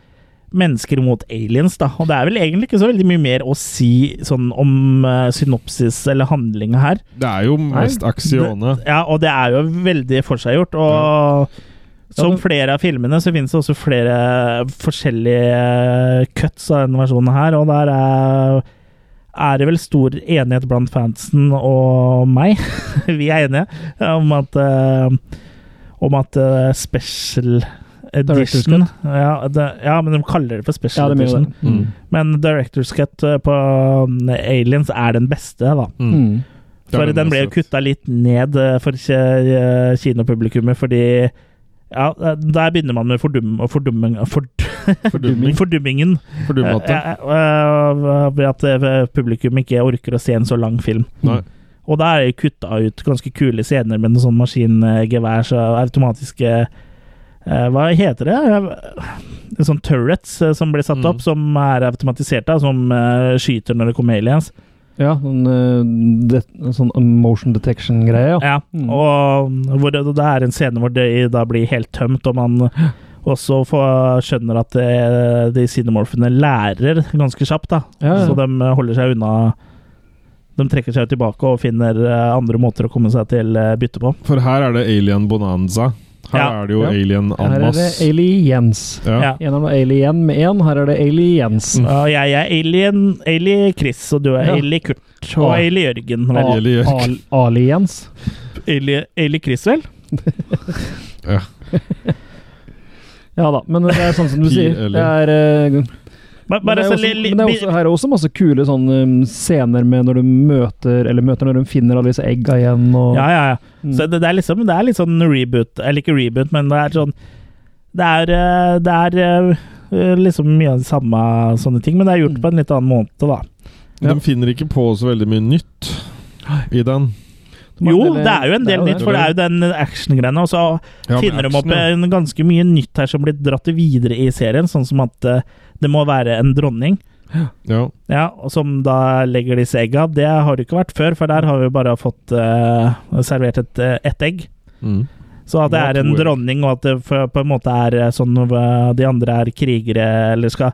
Speaker 1: mennesker mot aliens, da. Og det er vel egentlig ikke så veldig mye mer å si sånn om eh, synopsis eller handlinga her.
Speaker 4: Det er jo mest aksione.
Speaker 1: Ja, og det er jo veldig forseggjort. Og som
Speaker 3: Ja, det-
Speaker 1: flere av filmene, så finnes det også flere forskjellige eh, cuts av denne versjonen her, og der er er det vel stor enighet blant fansen og meg? Vi er enige om at eh, Om at eh, special
Speaker 3: Director's
Speaker 1: edition ja, det, ja, men de kaller det for
Speaker 3: Ja,
Speaker 1: special
Speaker 3: det mener
Speaker 1: edition.
Speaker 3: jeg. Mm.
Speaker 1: Men director's cut eh, på mm, Aliens er den beste, da.
Speaker 3: Mm.
Speaker 4: Det er
Speaker 1: For
Speaker 4: den
Speaker 1: den
Speaker 4: jeg
Speaker 1: ble jo
Speaker 4: har sett.
Speaker 1: kutta litt ned eh, for ki- eh, kinopublikummet, fordi ja, eh, der begynner man med fordum, fordumming, ford,
Speaker 4: Fordumming.
Speaker 1: fordummingen.
Speaker 4: Fordummete.
Speaker 1: Eh, eh, eh, Ved at eh, publikum ikke orker å se en så lang film.
Speaker 4: Nei.
Speaker 1: Og da er det kutta ut ganske kule scener med noen sånn maskingevær så automatiske eh, Hva heter det? Eh, Sånn turrets eh, som blir satt
Speaker 4: Mm.
Speaker 1: opp, som er automatiserte, og som eh, skyter når det kommer aliens.
Speaker 3: Ja, sånn, eh, det, sånn motion detection-greie. Ja.
Speaker 1: Ja,
Speaker 3: Mm.
Speaker 1: og hvor det, det er en scene hvor det da blir helt tømt, og man også får, skjønner at eh, de sinemorfene lærer ganske kjapt, da.
Speaker 3: Ja, ja.
Speaker 1: Så de eh, holder seg unna De trekker seg tilbake og finner eh, andre måter å komme seg til eh, bytte på.
Speaker 4: For her er det alien bonanza. Her
Speaker 1: Ja.
Speaker 4: er det jo
Speaker 3: Ja.
Speaker 4: alien
Speaker 3: Her er
Speaker 4: anmas.
Speaker 3: det aliens.
Speaker 1: Ja.
Speaker 3: En av dem er alien med én, her er det aliens.
Speaker 1: Og jeg er alien, Ali Chris, og du er
Speaker 3: Ja.
Speaker 1: Ali Kurt. Og
Speaker 3: Ah.
Speaker 1: Ali Jørgen.
Speaker 3: A-
Speaker 1: vel?
Speaker 4: Alien.
Speaker 3: al- aliens.
Speaker 1: Ali, Ali Chris, vel?
Speaker 3: Ja da, men det er sånn som du sier.
Speaker 4: Pi- eller-
Speaker 3: Det er, eh,
Speaker 1: Bare,
Speaker 3: men det
Speaker 1: bare
Speaker 3: er
Speaker 1: så
Speaker 3: også,
Speaker 1: li- li-
Speaker 3: men det er også, her er også masse kule sånne um, scener med når du møter Eller møter når de finner alle disse egga igjen og Mm.
Speaker 1: Ja, ja, ja. Så det, det, er liksom, det er litt sånn reboot. Eller ikke reboot, men det er sånn Det er, eh, det er eh, liksom mye av det samme sånne ting, men det er
Speaker 3: Mm.
Speaker 1: gjort på en litt annen måte, da.
Speaker 4: De finner ikke på så veldig mye nytt i den.
Speaker 3: Men
Speaker 1: Jo,
Speaker 3: det-
Speaker 1: det er jo en
Speaker 3: det er
Speaker 1: del
Speaker 3: jo
Speaker 1: nytt,
Speaker 4: det.
Speaker 1: for det er jo den actiongreiene. Og så
Speaker 4: Ja, men
Speaker 1: finner de opp
Speaker 4: action, ja.
Speaker 1: en ganske mye nytt her som blir dratt videre i serien, sånn som at eh, det må være en dronning.
Speaker 4: Ja.
Speaker 1: Ja, og Som da legger disse egga. Det har det ikke vært før, for der har vi bare fått eh, servert et, eh, ett egg.
Speaker 4: Mm.
Speaker 1: Så at det
Speaker 4: Ja,
Speaker 1: er
Speaker 4: to
Speaker 1: en
Speaker 4: egg.
Speaker 1: dronning, og at det for- på en måte er eh, sånn eh, de andre er krigere, eller skal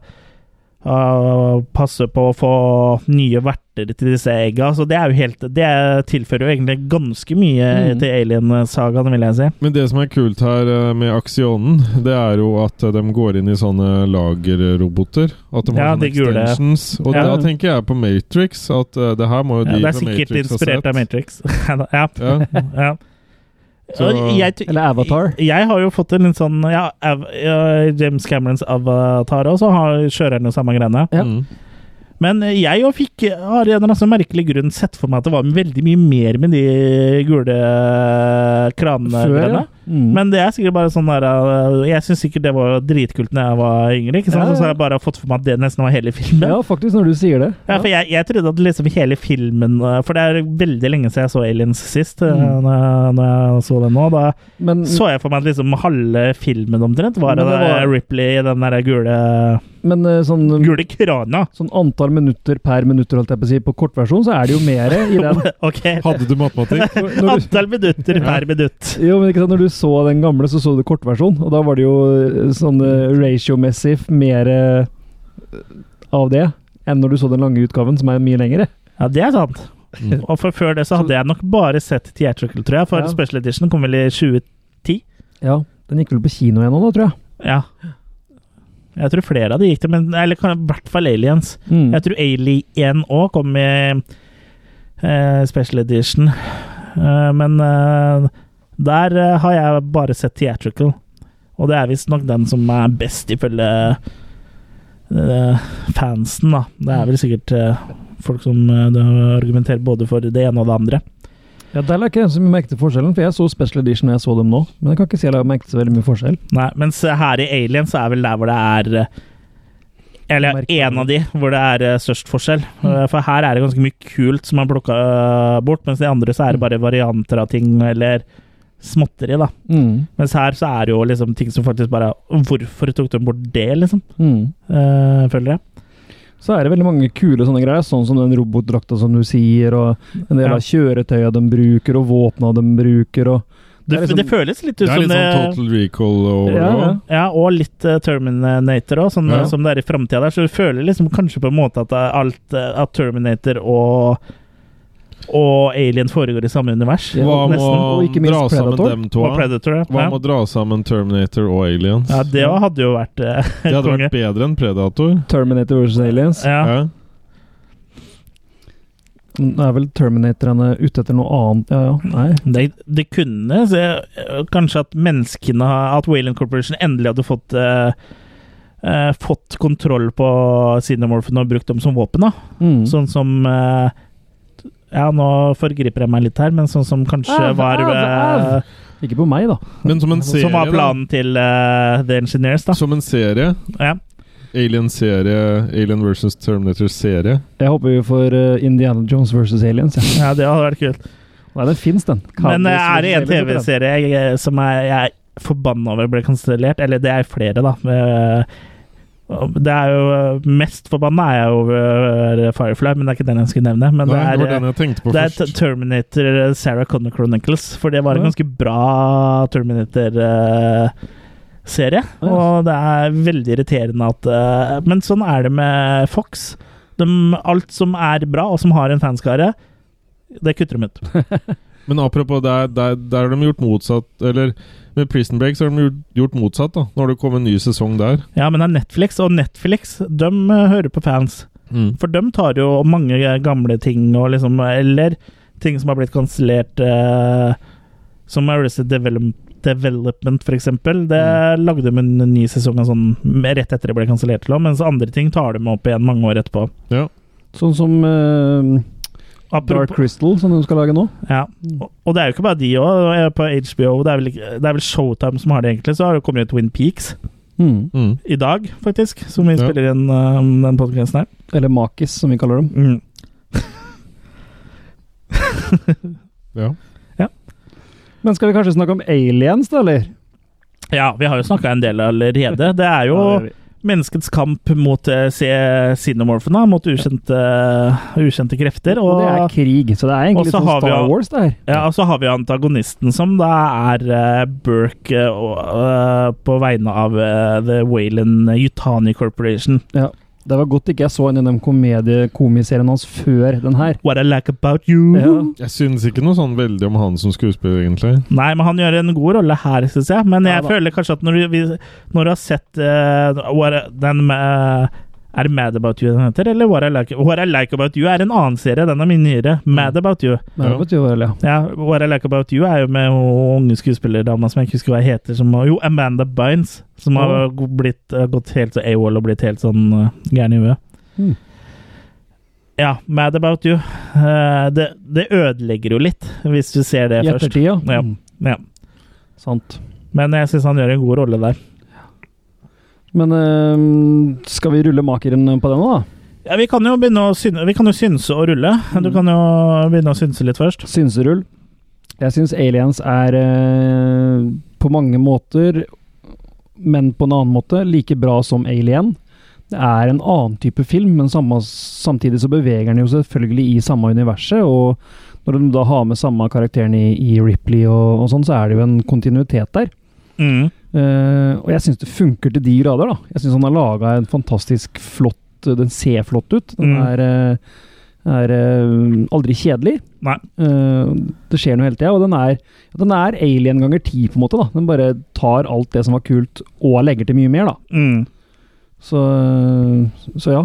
Speaker 1: eh, passe på å få nye verter hjerter til disse egga, så det er jo helt Det tilfører jo egentlig ganske mye
Speaker 3: Mm.
Speaker 1: til Alien-sagaen, vil jeg si.
Speaker 4: Men det som er kult her eh, med Aksionen, det er jo at eh, de går inn i sånne lagerroboter. At de har
Speaker 1: Ja,
Speaker 4: sånne
Speaker 1: de gule.
Speaker 4: extensions. Og
Speaker 1: Ja.
Speaker 4: da tenker jeg på Matrix. At eh, det her må
Speaker 1: Ja,
Speaker 4: jo de
Speaker 1: det er
Speaker 4: fra
Speaker 1: sikkert
Speaker 4: Matrix ha
Speaker 1: inspirert
Speaker 4: sett.
Speaker 1: av Matrix. ja.
Speaker 4: Ja.
Speaker 1: ja.
Speaker 4: Så-
Speaker 1: Og jeg ty-
Speaker 3: Eller Avatar.
Speaker 1: Jeg har jo fått en litt sånn ja, av, ja, James Camerons Avatar også, har kjører den jo samme greiene.
Speaker 3: Ja.
Speaker 4: Mm.
Speaker 1: Men eh, jeg jo fikk har en eller annen sånn merkelig grunn sett for meg at det var veldig mye mer med de gule eh, kranene.
Speaker 3: Før, ja.
Speaker 1: greiene.
Speaker 3: Mm.
Speaker 1: Men det er sikkert bare sånn der uh, Jeg syns sikkert det var dritkult da jeg var yngre, ikke sant?
Speaker 3: Ja, ja.
Speaker 1: så har jeg bare fått for meg at det nesten var hele filmen.
Speaker 3: ja, faktisk, når du sier det.
Speaker 1: Ja, for jeg, jeg trodde at liksom hele filmen eh, For det er veldig lenge siden jeg så Aliens sist. eh,
Speaker 3: Mm.
Speaker 1: Når, jeg, når jeg så den nå, da
Speaker 3: Men,
Speaker 1: så jeg for meg at liksom halve filmen omtrent var
Speaker 3: Mm. Men
Speaker 1: det
Speaker 3: det
Speaker 1: der
Speaker 3: var-
Speaker 1: Ripley i den der gule,
Speaker 3: men eh, sånn,
Speaker 1: gule krana.
Speaker 3: sånn antall minutter per minutter, holdt jeg på å si, på kortversjon, så er det jo mer i den.
Speaker 1: Ok.
Speaker 4: Hadde du matematikk?
Speaker 3: Når- når du-
Speaker 1: Antall minutter per minutt.
Speaker 3: Jo, men ikke sant, Når du så den gamle, så så du kortversjon, og da var det jo eh, sånn eh, ratio-messig mer eh, av det enn når du så den lange utgaven, som er mye lengre.
Speaker 1: Ja, det er sant. Og for før det så hadde jeg nok bare sett Theatrical, tror jeg. For
Speaker 3: Ja.
Speaker 1: Special Edition kom vel i 20...
Speaker 3: Ja, Den gikk vel på kino igjen nå, da, tror jeg.
Speaker 1: Ja. Jeg tror flere av de gikk det, men eller kan- i hvert fall Aliens.
Speaker 3: Mm.
Speaker 1: Jeg tror Alien òg kom i eh, special edition. Eh, men eh, der eh, har jeg bare sett theatrical. Og det er visstnok den som er best ifølge eh, fansen, da. Det
Speaker 3: Mm.
Speaker 1: er vel sikkert eh, folk som eh, argumenterer både for det ene og det andre.
Speaker 3: Ja, Der la ikke jeg så mye merke til forskjellen, for jeg så Special Edition når jeg så dem nå. Men jeg kan ikke si jeg la merke til så veldig mye forskjell.
Speaker 1: Nei, mens her i Alien så er vel der hvor det er eh, Eller
Speaker 3: Merkelig.
Speaker 1: en av de hvor det er eh, størst forskjell.
Speaker 4: Mm.
Speaker 1: Eh, For her er det ganske mye kult som er plukka bort, mens de andre så er det
Speaker 4: Mm.
Speaker 1: bare varianter av ting eller småtteri, da.
Speaker 3: Mm.
Speaker 1: Mens her så er det jo liksom ting som faktisk bare Hvorfor tok de bort det, liksom?
Speaker 3: Mm.
Speaker 1: Eh, føler jeg.
Speaker 3: Så er det veldig mange kule sånne greier, sånn som den robotdrakta som du sier, og en del
Speaker 1: Ja.
Speaker 3: av kjøretøya de bruker, og våpna de bruker, og
Speaker 1: Det,
Speaker 3: Det er liksom-
Speaker 1: det føles litt ut
Speaker 4: Det er
Speaker 1: som
Speaker 4: litt sånn total recall over det
Speaker 3: Ja, ja.
Speaker 4: òg.
Speaker 1: Ja, og litt eh, Terminator òg, sånn
Speaker 4: Ja.
Speaker 1: som det er i framtida der. Så du føler liksom kanskje på en måte at, det er alt, eh, at Terminator og og Alien foregår i samme univers.
Speaker 3: Ja,
Speaker 4: Hva med
Speaker 1: nesten.
Speaker 3: og ikke
Speaker 4: å
Speaker 3: minst
Speaker 4: dra sammen
Speaker 3: Predator.
Speaker 4: dem to?
Speaker 1: Og Predator.
Speaker 4: Hva
Speaker 1: Ja.
Speaker 4: med å dra sammen Terminator og Aliens?
Speaker 1: ja, det hadde jo vært eh,
Speaker 4: det hadde
Speaker 1: konge.
Speaker 4: vært bedre enn Predator.
Speaker 3: Terminator versus Aliens.
Speaker 1: Ja.
Speaker 4: Ja.
Speaker 3: Nå er vel Terminatorene ute etter noe annet Ja, ja. Nei.
Speaker 1: Det, det kunne se, eh, kanskje at menneskene har- At Wayland Corporation endelig hadde fått eh, eh, Fått kontroll på Cinemorphene og brukt dem som våpen. da
Speaker 3: Mm.
Speaker 1: Sånn som eh, Ja, nå forgriper jeg meg litt her, men sånn som kanskje
Speaker 3: Av,
Speaker 1: var
Speaker 3: av,
Speaker 1: eh,
Speaker 3: av. Ikke på meg, da.
Speaker 4: Men som en serie,
Speaker 1: Som var
Speaker 4: da.
Speaker 1: planen til eh, The Engineers, da.
Speaker 4: Som en serie.
Speaker 1: Ja.
Speaker 4: Alien-serie. Alien versus Terminator-serie.
Speaker 3: Jeg håper vi får eh, Indiana Jones versus Aliens. Ja.
Speaker 1: ja, det hadde vært kult.
Speaker 3: Nei, den fins, den.
Speaker 1: Men eh, er det en
Speaker 3: Aliens versus Aliens.
Speaker 1: TV-serie jeg- som er, jeg er forbanna over ble kansellert? Eller det er flere, da. Eh, Det er jo eh, Mest forbanna er jeg over eh, Firefly, men det er ikke den jeg skulle nevne. Men
Speaker 4: Nei,
Speaker 1: det er,
Speaker 4: det var den jeg tenkte på
Speaker 1: Det er
Speaker 4: først.
Speaker 1: T- Terminator eh, Sarah Connor Chronicles, for det var en
Speaker 3: Ja.
Speaker 1: ganske bra Terminator-serie.
Speaker 3: Ja.
Speaker 1: Og det er veldig irriterende at eh, Men sånn er det med Fox. De, alt som er bra, og som har en fanskare, det kutter de ut.
Speaker 4: Men apropos, der, der, der har de gjort motsatt Eller med Prison Break så har de gjort, gjort motsatt, da. Nå har det kommet en ny sesong der.
Speaker 1: Ja, men det er Netflix, og Netflix de eh, hører på fans.
Speaker 4: Mm.
Speaker 1: For de tar jo mange gamle ting, og liksom, eller ting som har blitt kansellert, eh, som Arrested Develop Development, for eksempel. Det lagde de en ny sesong av sånn rett etter det ble kansellert, til og med, mens andre ting tar de opp igjen mange år etterpå.
Speaker 3: Sånn som eh, Dark
Speaker 1: Apropos, Mm.
Speaker 3: Crystal, som de skal lage nå.
Speaker 1: ja. Og- Og det er jo ikke bare de òg, på HBO. Det er, vel, ikke- det er vel Showtime som har det, egentlig. Så har det kommet ut Wind Peaks
Speaker 3: Mm.
Speaker 4: Mm.
Speaker 1: i dag, faktisk, som vi
Speaker 4: Ja.
Speaker 1: spiller inn eh, den podkasten her.
Speaker 3: Eller Makis, som vi kaller dem.
Speaker 1: Mm.
Speaker 4: Ja.
Speaker 3: Men skal vi kanskje snakke om aliens, da, eller?
Speaker 1: Ja, vi har jo snakka en del allerede. Det er jo
Speaker 3: Ja, det gjør vi.
Speaker 1: menneskets kamp mot eh, se- xenomorphene, mot ukjente, ukjente krefter.
Speaker 3: Og det er
Speaker 1: Og,
Speaker 3: krig, så det er egentlig
Speaker 1: Og
Speaker 3: litt
Speaker 1: så
Speaker 3: sånn
Speaker 1: har vi jo-
Speaker 3: Star Wars, det her.
Speaker 1: ja, og så har vi antagonisten, som da er eh, Burke eh, og, eh, på vegne av eh, The Wayland Yutani Corporation.
Speaker 3: Ja. Det var godt ikke jeg så en av de komediekomiserien hans før den her.
Speaker 1: What I like about you.
Speaker 3: Ja.
Speaker 4: Jeg synes ikke noe sånn veldig om han som skuespiller, egentlig.
Speaker 1: Nei, men han gjør en god rolle her, syns jeg. Men jeg
Speaker 3: Ja da.
Speaker 1: føler kanskje at når du, vi, når du har sett eh, what, den med Er det Mad About You den heter, eller What I Like, What I like About You er en annen serie. Den er mye nyere.
Speaker 3: Mm.
Speaker 1: Mad About You.
Speaker 3: Men det
Speaker 4: Ja.
Speaker 3: betyr jo vel, ja.
Speaker 1: Ja, What I Like About You er jo med hun unge skuespillerdama som jeg ikke husker hva heter, som Jo, Amanda Bynes. Som har go- blitt, eh, gått helt så AWOL og blitt helt sånn eh, gæren i huet.
Speaker 3: Mm.
Speaker 1: Ja, Mad About You. Eh, det, det ødelegger jo litt, hvis du ser det
Speaker 3: I
Speaker 1: først.
Speaker 3: ettertid, ja.
Speaker 1: Ja.
Speaker 3: Mm,
Speaker 1: Ja.
Speaker 3: sant.
Speaker 1: Men jeg syns han gjør en god rolle der.
Speaker 3: Men eh, skal vi rulle makeren på den nå, da?
Speaker 1: Ja, vi kan jo begynne å synse, vi kan jo synse og rulle.
Speaker 3: Mm.
Speaker 1: Du kan jo begynne å synse litt først.
Speaker 3: Synserull. Jeg syns Aliens er eh, på mange måter, men på en annen måte, like bra som Alien. Det er en annen type film, men samme, samtidig så beveger den jo selvfølgelig i samme universet. Og når de da har med samme karakteren i, i Ripley og, og sånn, så er det jo en kontinuitet der.
Speaker 1: Mm.
Speaker 3: Eh, og jeg syns det funker til de grader, da. Jeg syns han har laga en fantastisk flott eh, Den ser flott ut. Den
Speaker 1: Mm.
Speaker 3: er, eh, er eh, aldri kjedelig.
Speaker 1: Nei.
Speaker 3: Eh, det skjer noe hele tida, og den er, den er alien ganger ti, på en måte. da. Den bare tar alt det som var kult, og legger til mye mer, da.
Speaker 1: Mm.
Speaker 3: Så, så ja.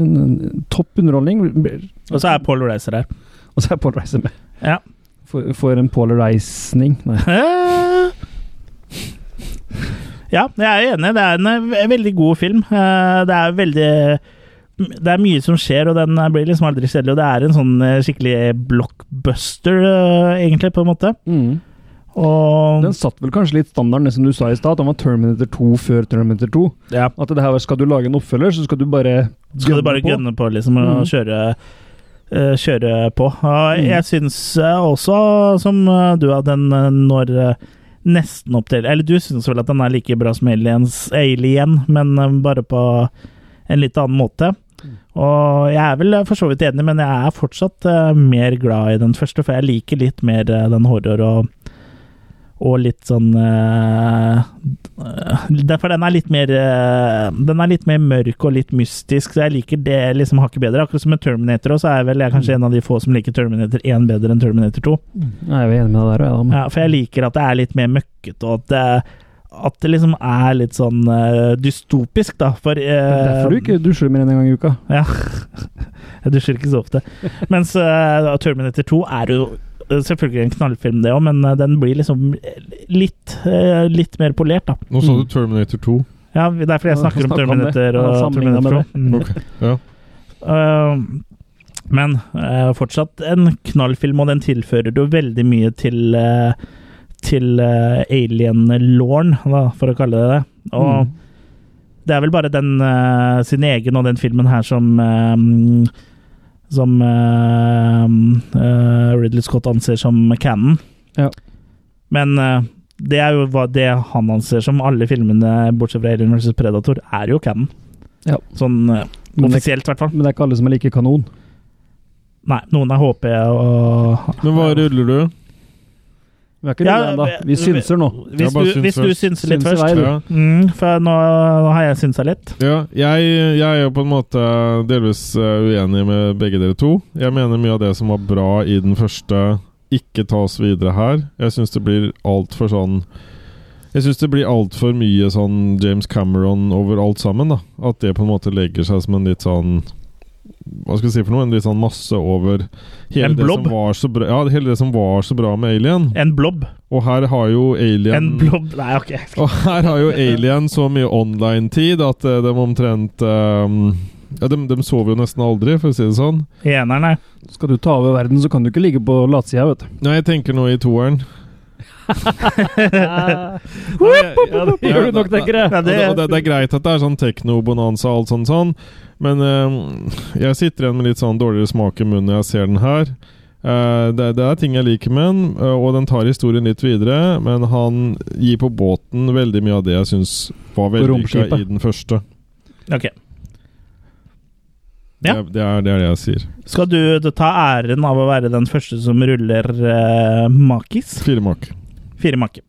Speaker 3: En, en topp underholdning.
Speaker 1: Og så er Paul Reiser her.
Speaker 3: Og så er Paul Reiser med.
Speaker 1: Ja.
Speaker 3: For, for en Paul Reisning. Nei.
Speaker 1: Eh. Ja, jeg er enig. Det er en eh, veldig god film. Eh, Det er veldig Det er mye som skjer, og den blir liksom aldri kjedelig. Og det er en sånn eh, skikkelig blockbuster, eh, egentlig, på en måte.
Speaker 3: Mm.
Speaker 1: Og
Speaker 3: Den satt vel kanskje litt standarden, det som du sa i stad, at den var Terminator 2 før Terminator 2.
Speaker 1: ja.
Speaker 3: At det her var, skal du lage en oppfølger, så skal du bare
Speaker 1: skal du bare
Speaker 3: på.
Speaker 1: gønne på, liksom, og
Speaker 3: Mhm.
Speaker 1: kjøre, eh, kjøre på. Og
Speaker 3: Mhm.
Speaker 1: Jeg syns eh, også, som eh, du, at den eh, når eh, nesten opp til Eller du syns vel at den er like bra som Aliens, Alien, men eh, bare på en litt annen måte. Og jeg er vel eh, for så vidt enig, men jeg er fortsatt eh, mer glad i den første, for jeg liker litt mer eh, den horror og, og litt sånn eh, eh, Derfor den er litt mer eh, Den er litt mer mørk og litt mystisk, så jeg liker det liksom hakket bedre. Akkurat som med Terminator også, så er jeg vel jeg er
Speaker 3: Mm.
Speaker 1: kanskje en av de få som liker Terminator 1 bedre enn Terminator 2.
Speaker 3: Nei, jeg er enig med deg der, ja, men-
Speaker 1: Ja, for jeg liker at det er litt mer møkkete, og at det, at det liksom er litt sånn eh, dystopisk, da. For eh,
Speaker 3: Det er derfor du ikke dusjer mer enn en gang i uka.
Speaker 1: ja. Jeg dusjer ikke så ofte. Mens eh, Terminator 2 er jo eh, selvfølgelig en knallfilm, det òg, men eh, den blir liksom litt, eh, litt mer polert, da.
Speaker 4: Nå så du Terminator 2.
Speaker 1: Ja, det er fordi jeg
Speaker 3: Ja,
Speaker 1: snakker om
Speaker 3: snakk om det.
Speaker 1: Terminator
Speaker 3: Ja,
Speaker 1: og
Speaker 3: sammenlignet
Speaker 1: Terminator 2.
Speaker 3: med
Speaker 1: Mm.
Speaker 4: Ok, ja.
Speaker 1: Eh, men eh, fortsatt en knallfilm, og den tilfører jo veldig mye til eh, til eh, alien-lauren, da, for å kalle det det. Og
Speaker 3: Mm.
Speaker 1: det er vel bare den eh, sin egen og den filmen her som eh, Som eh, eh, Ridley Scott anser som canon.
Speaker 3: Ja.
Speaker 1: Men eh, det er jo hva det han anser som alle filmene, bortsett fra Alien vs. Predator, er jo canon.
Speaker 3: Ja.
Speaker 1: Sånn eh,
Speaker 3: Men det,
Speaker 1: offisielt, i hvert fall.
Speaker 3: men det er ikke alle som er like kanon.
Speaker 1: Nei, noen er HP og
Speaker 4: Men hva ruller du?
Speaker 3: Vi er ikke
Speaker 1: Ja,
Speaker 3: ja, enda. Vi
Speaker 1: vi-
Speaker 3: synser nå.
Speaker 4: Jeg
Speaker 1: Hvis
Speaker 4: bare
Speaker 1: du,
Speaker 4: syns
Speaker 1: hvis du
Speaker 4: først.
Speaker 1: synser litt
Speaker 3: Synser
Speaker 1: først.
Speaker 3: vei, du.
Speaker 4: Ja.
Speaker 1: Mm, for nå, nå har jeg synsa litt.
Speaker 4: Ja, jeg, jeg er jo på en måte delvis eh, uenig med begge dere to. Jeg mener mye av det som var bra i den første, ikke tas videre her. Jeg syns det blir altfor sånn Jeg syns det blir altfor mye sånn James Cameron over alt sammen. da At det på en måte legger seg som en litt sånn Hva skal vi si for noe? En litt sånn masse over hele,
Speaker 1: En
Speaker 4: det som,
Speaker 1: blob.
Speaker 4: var så bra, ja, hele det som var så bra med Alien.
Speaker 1: En blob.
Speaker 4: Og her har jo Alien
Speaker 1: En blob Nei, ok.
Speaker 4: og her har jo Alien så mye online-tid at eh, de omtrent eh, Ja, de, de sover jo nesten aldri, for å si det sånn.
Speaker 1: Eneren, nei.
Speaker 3: Skal du ta over verden, så kan du ikke ligge på latsida, vet du.
Speaker 4: Nei, jeg tenker nå i toeren.
Speaker 3: Ja, det gjør du nok, tenker jeg.
Speaker 1: Ja,
Speaker 4: Og det, og det,
Speaker 1: det,
Speaker 4: det er greit at det er sånn tekno-bonanza og alt sånt sånn, men eh, jeg sitter igjen med litt sånn dårligere smak i munnen når jeg ser den her. Eh, det, det er ting jeg liker med den, eh, og den tar historien litt videre, men han gir på båten veldig mye av det jeg syns var vellykka
Speaker 3: romskipet.
Speaker 4: i den første.
Speaker 1: ok. Ja.
Speaker 4: Det, det, er, det er det jeg sier.
Speaker 1: Skal du ta æren av å være den første som ruller eh, makis?
Speaker 4: Fire mak.
Speaker 1: Fire make.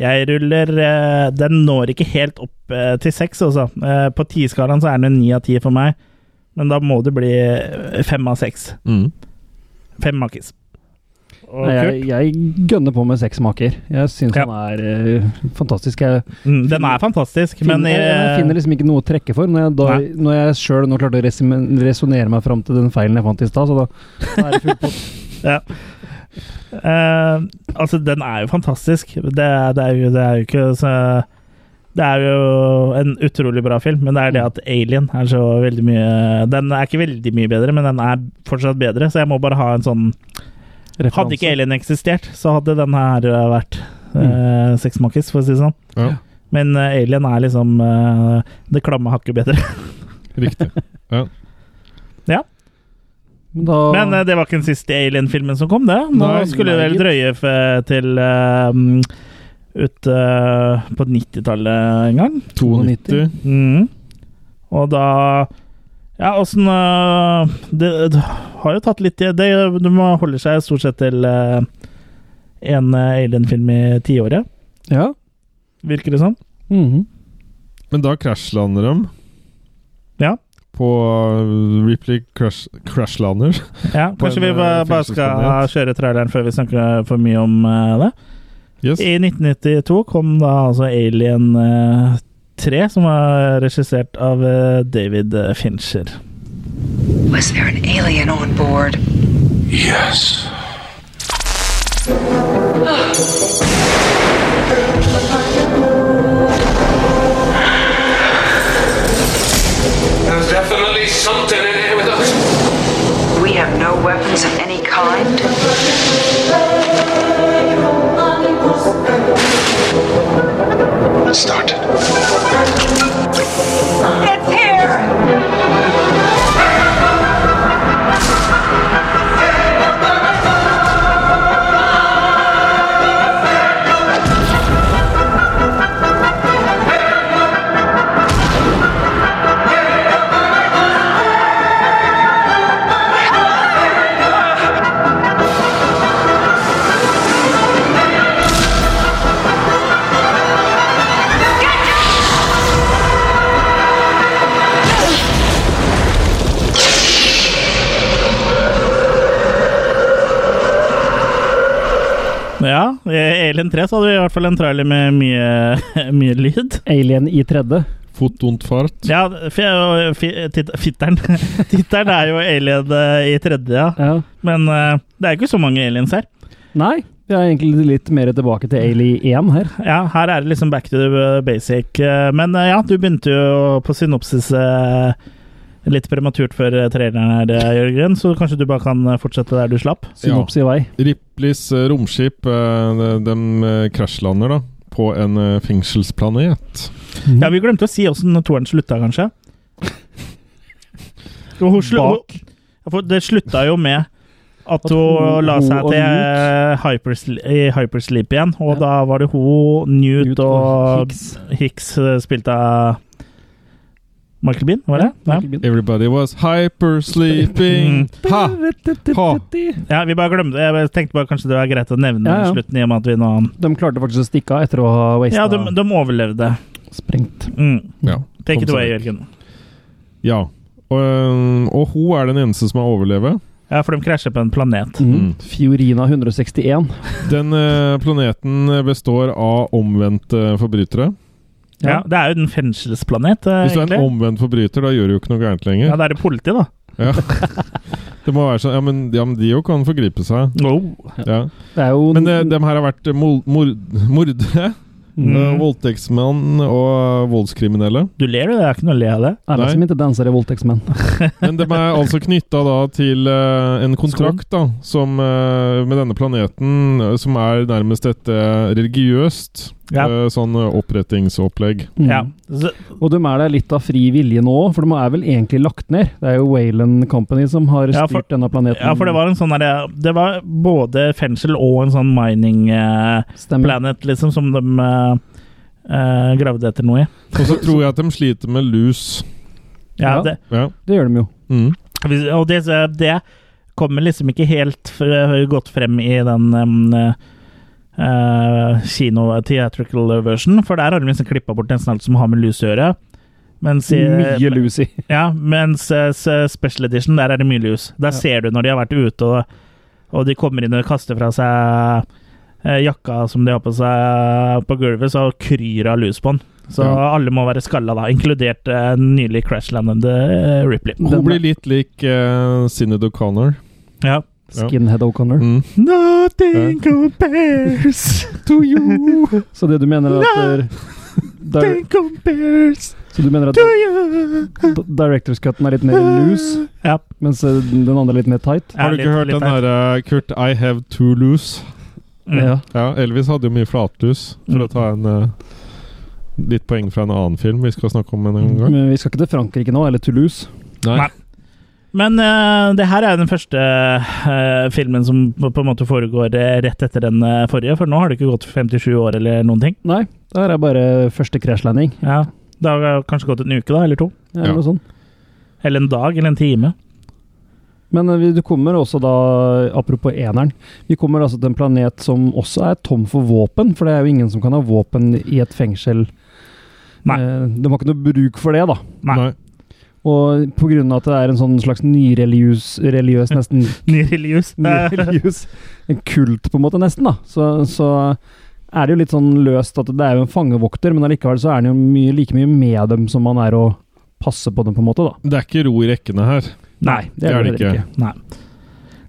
Speaker 1: Jeg ruller eh, Den når ikke helt opp eh, til seks, altså. Eh, på tiskalaen så er den en ni av ti for meg, men da må det bli eh, fem av seks.
Speaker 4: Mm.
Speaker 1: Fem makkis. Og
Speaker 3: Nei,
Speaker 1: Kurt?
Speaker 3: jeg, jeg gønner på med seks maker. Jeg syns
Speaker 1: Ja.
Speaker 3: han er eh, fantastisk. Jeg
Speaker 1: Mm, Den er fantastisk,
Speaker 3: finner,
Speaker 1: men
Speaker 3: jeg,
Speaker 1: eh,
Speaker 3: finner liksom ikke noe å trekke for. Når jeg, da,
Speaker 1: Nei.
Speaker 3: når jeg sjøl nå klarte å resonnere meg fram til den feilen jeg fant i stad, så da, da er det full pott.
Speaker 1: Eh, altså, den er jo fantastisk. Det, er- det, er, jo, det er jo ikke så Det er jo en utrolig bra film, men det er det at Alien er så veldig mye Den er ikke veldig mye bedre, men den er fortsatt bedre, så jeg må bare ha en sånn Hadde ikke Alien eksistert, så hadde den her eh, vært uh, Sex Monkeys, for å si det sånn.
Speaker 4: Ja.
Speaker 1: Men eh, Alien er liksom eh, det klamme hakket bedre.
Speaker 4: Riktig. Ja.
Speaker 3: Men da,
Speaker 1: Men eh, det var ikke den siste Alien-filmen som kom, det. Nå
Speaker 4: Nei,
Speaker 1: skulle vi
Speaker 3: nei,
Speaker 1: vel
Speaker 3: gitt.
Speaker 1: drøye f til eh, mm, ut eh, på 90-tallet en gang.
Speaker 4: 92.
Speaker 1: Mm. Og da Ja, åssen eh, det, det har jo tatt litt tid. Det, det må holde seg stort sett til eh, en eh, Alien-film i tiåret,
Speaker 3: Ja.
Speaker 1: virker det som.
Speaker 3: Mhm.
Speaker 4: Men da krasjlander de.
Speaker 1: Ja.
Speaker 4: På uh, Ripley crash, crashlander.
Speaker 1: Ja,
Speaker 4: På
Speaker 1: kanskje
Speaker 4: en,
Speaker 1: vi bare,
Speaker 4: eh,
Speaker 1: bare skal
Speaker 4: filmsuspendent.
Speaker 1: kjøre traileren før vi snakker for mye om eh, det.
Speaker 4: Yes.
Speaker 1: I 1992 kom da altså Alien eh, 3, som var regissert av eh, David Fincher.
Speaker 5: Was there an alien on board?
Speaker 6: Yes.
Speaker 7: There's definitely something in here with us.
Speaker 5: We have no weapons of any kind.
Speaker 6: Start.
Speaker 8: It's here!
Speaker 1: Ja, i Alien 3 så hadde vi i hvert fall en trailer med mye, mye lyd.
Speaker 3: Alien i tredje.
Speaker 4: Fot und fart.
Speaker 1: Ja, f- og fi- tit- fitteren Titteren er jo Alien eh, i tredje, ja.
Speaker 3: Ja.
Speaker 1: Men eh, det er jo ikke så mange aliens her.
Speaker 3: Nei, vi er egentlig litt mer tilbake til Alien 1 her.
Speaker 1: Ja, her er det liksom back to the basic. eh, Men eh, ja, du begynte jo på synopsis eh, litt prematurt før eh, traileren her, eh, Jørgen, så kanskje du bare kan eh, fortsette der du slapp?
Speaker 3: Synops i vei.
Speaker 4: Ripleys eh, romskip eh, de, de eh, krasjlander da på en eh, fengselsplanet.
Speaker 3: Mm.
Speaker 1: Ja, vi glemte å si åssen toeren slutta, kanskje. Jo, hun slu,
Speaker 3: Bak.
Speaker 1: hun, Ja, for det slutta jo med at
Speaker 3: At
Speaker 1: hun
Speaker 3: hun-
Speaker 1: la
Speaker 3: hun
Speaker 1: seg
Speaker 3: og
Speaker 1: til eh, hypersle- i hypersleep igjen, og
Speaker 3: Ja.
Speaker 1: da var det hun, Newt,
Speaker 3: Ut og
Speaker 1: og
Speaker 3: Hicks.
Speaker 1: Hicks, eh, spilt av Michael Bean, var det? Ja.
Speaker 4: Everybody was hypersleeping.
Speaker 1: Mm.
Speaker 4: Ha! Ha!
Speaker 1: Ja, vi bare glemte det. Jeg tenkte bare kanskje det var greit å nevne
Speaker 3: Ja, ja.
Speaker 1: slutten i og med at vi nå
Speaker 3: De klarte faktisk å stikke av etter å ha wasta
Speaker 1: Ja, de, de overlevde.
Speaker 3: sprengt.
Speaker 1: Mm.
Speaker 4: Ja.
Speaker 1: Take
Speaker 4: Kom
Speaker 1: it
Speaker 4: seg
Speaker 1: away,
Speaker 4: vekk.
Speaker 1: Jørgen.
Speaker 4: ja. Og, eh, og hun er den eneste som har overlevd.
Speaker 1: Ja, for de krasjer på en planet.
Speaker 4: Mm.
Speaker 3: Fiorina 161.
Speaker 4: Den eh, planeten består av omvendte forbrytere.
Speaker 1: Ja, Det er jo en fengselsplanet, eh,
Speaker 4: Hvis du er en
Speaker 1: egentlig.
Speaker 4: omvendt forbryter, da gjør du jo ikke noe gærent
Speaker 1: Ja,
Speaker 4: lenger.
Speaker 1: det er det politi, da.
Speaker 4: Ja. Det må være sånn, ja, men, ja, men de jo kan forgripe seg. Ja.
Speaker 3: Det er jo
Speaker 4: Men eh, dem her har vært eh, mol- mord, mordere,
Speaker 1: Mm.
Speaker 4: eh, voldtektsmenn og voldskriminelle.
Speaker 1: Du ler jo, det er ikke noe å le av det.
Speaker 3: alle
Speaker 4: Nei.
Speaker 3: som ikke danser i voldtektsmenn.
Speaker 4: Men de er altså knytta da til eh, en kontrakt da, som, eh, med denne planeten eh, som er nærmest et eh, religiøst
Speaker 1: Ja.
Speaker 4: eh, sånn eh, opprettingsopplegg.
Speaker 3: Mm.
Speaker 1: Ja. Så,
Speaker 3: Og de er der litt av fri vilje nå òg, for de er vel egentlig lagt ned. Det er jo Wayland Company som har
Speaker 1: Ja,
Speaker 3: styrt
Speaker 1: for-
Speaker 3: denne planeten.
Speaker 1: ja, for det var en sånn derre Det var både fengsel og en sånn mining eh,
Speaker 3: Stemmer.
Speaker 1: planet, liksom, som de eh, eh, gravde etter noe i.
Speaker 4: Og så tror jeg at de sliter med lus.
Speaker 1: Ja,
Speaker 3: Ja.
Speaker 1: Det,
Speaker 4: Ja.
Speaker 3: Det gjør de jo.
Speaker 4: Mm.
Speaker 1: hvis- og det, det kommer liksom ikke helt f- godt frem i den em, eh, eh, kino-theatrical version, for der har de liksom klippa bort nesten alt som har med lus å gjøre. Mens i,
Speaker 3: Mye Lucy.
Speaker 1: ja, mens eh, s- special edition, der er det mye lus. Der ser du når de har vært ute, og, og de kommer inn og kaster fra seg eh, jakka som de har på seg eh, på gulvet, så kryr det av lus på den. Så
Speaker 4: Ja.
Speaker 1: alle må være skalla da, inkludert eh, nylig crashlandede eh, Ripley.
Speaker 4: Hun blir litt lik uh, Sinead O'Connor.
Speaker 1: Ja.
Speaker 3: Skinhead O'Connor.
Speaker 4: Mm.
Speaker 1: Nothing compares to you,
Speaker 3: Så det du mener er at eh, di-
Speaker 1: compares
Speaker 3: Så du mener at
Speaker 1: you.
Speaker 3: di- Directors Cutten er litt mer loose,
Speaker 1: Ja.
Speaker 3: mens eh, den andre er litt mer tight?
Speaker 4: Har du ikke hørt den derre Kurt I have two loose?
Speaker 1: Ja.
Speaker 4: Ja, Elvis hadde jo mye flatlus, for å ta en eh, litt poeng fra en annen film vi skal snakke om en gang.
Speaker 3: Men vi skal ikke til Frankrike nå, eller Toulouse.
Speaker 1: Nei. Men eh, det her er jo den første eh, filmen som på, på en måte foregår eh, rett etter den eh, forrige, for nå har det ikke gått 57 år eller noen ting.
Speaker 3: Nei, det her er bare første crashlanding.
Speaker 1: Ja. Det har eh, kanskje gått en uke, da, eller to.
Speaker 3: Eller
Speaker 4: Ja.
Speaker 3: noe sånt.
Speaker 1: Eller en dag, eller en time.
Speaker 3: Men eh, vi- du kommer også da, apropos eneren, vi kommer altså til en planet som også er tom for våpen, for det er jo ingen som kan ha våpen i et fengsel.
Speaker 1: Nei.
Speaker 3: Eh, De har ikke noe bruk for det, da.
Speaker 1: Nei.
Speaker 3: Og pga. at det er en sånn slags nyreligiøs, religiøs, nesten
Speaker 1: Ny Eh, religiøs.
Speaker 3: nyreligiøs En kult, på en måte, nesten, da. Så, så er det jo litt sånn løst at det er jo en fangevokter, men allikevel så er han jo mye, like mye med dem som man er å passe på dem, på en måte, da.
Speaker 4: Det er ikke ro i rekkene her.
Speaker 1: Nei.
Speaker 4: Det er
Speaker 3: heller
Speaker 4: det ikke.
Speaker 1: Nei.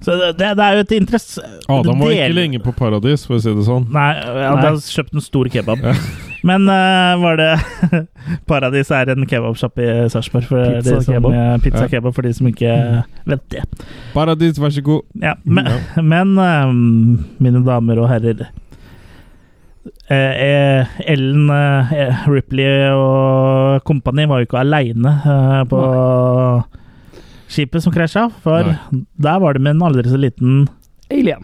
Speaker 1: Så det, det, det er jo et interess...
Speaker 4: Adam var ikke
Speaker 1: del-
Speaker 4: lenge på paradis, for å si det sånn.
Speaker 1: Nei, jeg
Speaker 3: Nei.
Speaker 1: hadde kjøpt en stor kebab. Men eh, var det Paradis er en kebabsjappe i Sarpsborg. for
Speaker 3: Pizza
Speaker 1: de som-
Speaker 3: kebab.
Speaker 1: eh, Pizza
Speaker 4: Ja. Mm.
Speaker 1: kebab, for de som ikke vet det.
Speaker 4: Paradis, vær så god!
Speaker 1: Ja, men, men ehm, mine damer og herrer eh, eh, Ellen eh, Ripley og kompani var jo ikke aleine eh, på skipet som krasja, for der var det med en aldri så liten
Speaker 3: Alien.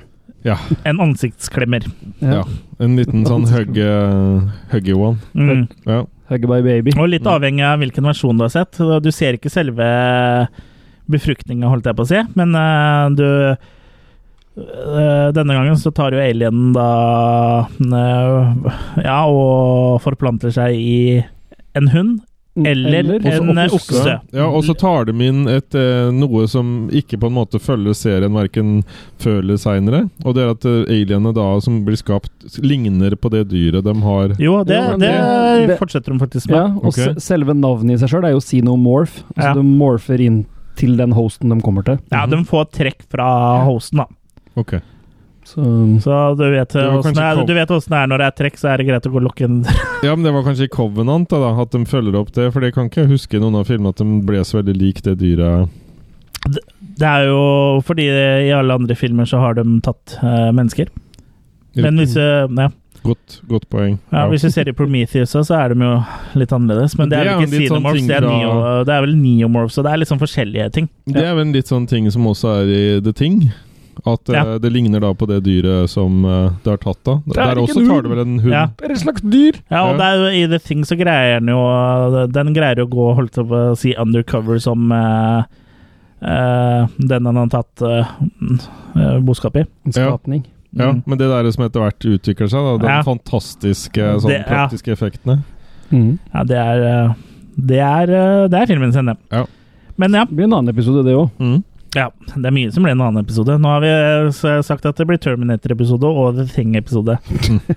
Speaker 1: en ansiktsklemmer.
Speaker 4: Ja. En liten sånn hugge, hugge one.
Speaker 1: Mm.
Speaker 4: Ja.
Speaker 3: Huggaby baby.
Speaker 1: Og litt
Speaker 4: Mm.
Speaker 1: avhengig av hvilken versjon du har sett. Du ser ikke selve befruktninga, holdt jeg på å si, men eh, du eh, Denne gangen så tar jo alienen da eh, Ja, og forplanter seg i en hund Mm. eller, en eh, okse.
Speaker 4: Ja, og så tar de inn et, eh, noe som ikke på en måte følger serien verken før eller seinere. Og det er at eh, alienene da som blir skapt, ligner på det dyret de har.
Speaker 1: Jo, det,
Speaker 3: Jo, men
Speaker 1: det,
Speaker 3: det- det-
Speaker 1: fortsetter de faktisk med.
Speaker 3: Ja, og
Speaker 4: Ok.
Speaker 3: se- selve navnet i seg sjøl er jo xenomorph. Altså
Speaker 1: Ja.
Speaker 3: du morfer inn til den hosten de kommer til.
Speaker 1: Ja, de får trekk fra hosten, da.
Speaker 4: Ok.
Speaker 3: Så
Speaker 1: Så du vet
Speaker 4: Det var
Speaker 1: åssen det,
Speaker 4: kanskje
Speaker 1: er- du vet hvordan det er når det er trekk, så er det greit å gå og lukke en
Speaker 4: Ja, men det var kanskje i Covenant da, da, at de følger opp det. For det kan ikke jeg huske i noen av filmene at de ble så veldig lik det dyret.
Speaker 1: Det er jo fordi i alle andre filmer så har de tatt eh, mennesker. Men hvis, eh, ja.
Speaker 4: Godt, godt poeng.
Speaker 1: Ja, hvis du ser i Prometheus, så er de jo litt annerledes. Men det er
Speaker 4: Det er
Speaker 1: vel
Speaker 4: jo
Speaker 1: ikke
Speaker 4: litt sånn
Speaker 1: xenomorphs,
Speaker 4: ting
Speaker 1: det, er
Speaker 4: fra-
Speaker 1: neo- det er vel neomorphs, så det er litt sånn forskjellige ting.
Speaker 4: Det er vel en litt sånn ting som også er i The Thing. At eh,
Speaker 1: Ja.
Speaker 4: det ligner da på det dyret som eh, det har tatt da.
Speaker 3: er
Speaker 4: Der
Speaker 3: ikke
Speaker 4: også
Speaker 3: en
Speaker 4: tar det vel en hund.
Speaker 1: Ja.
Speaker 3: Det er et slags dyr!
Speaker 1: Ja, og
Speaker 4: Ja.
Speaker 1: det er jo, i The Thing så greier den jo Den greier jo å gå, holdt jeg på å si, undercover som eh, eh, den han har tatt eh, eh, boskap i.
Speaker 3: En skapning.
Speaker 4: Ja,
Speaker 1: Mm.
Speaker 4: men det der som etter hvert utvikler seg, da, den
Speaker 1: Ja.
Speaker 4: fantastiske sånn,
Speaker 1: Det- ja.
Speaker 4: praktiske effektene.
Speaker 3: Mm.
Speaker 1: Ja, det er eh, Det er, eh, det er filmen sin, det.
Speaker 4: Ja.
Speaker 1: Men ja,
Speaker 3: Det blir en annen episode, det òg.
Speaker 4: Mm.
Speaker 1: Ja, det er mye som blir en annen episode. Nå har vi eh, sagt at det blir Terminator-episode og The Thing-episode.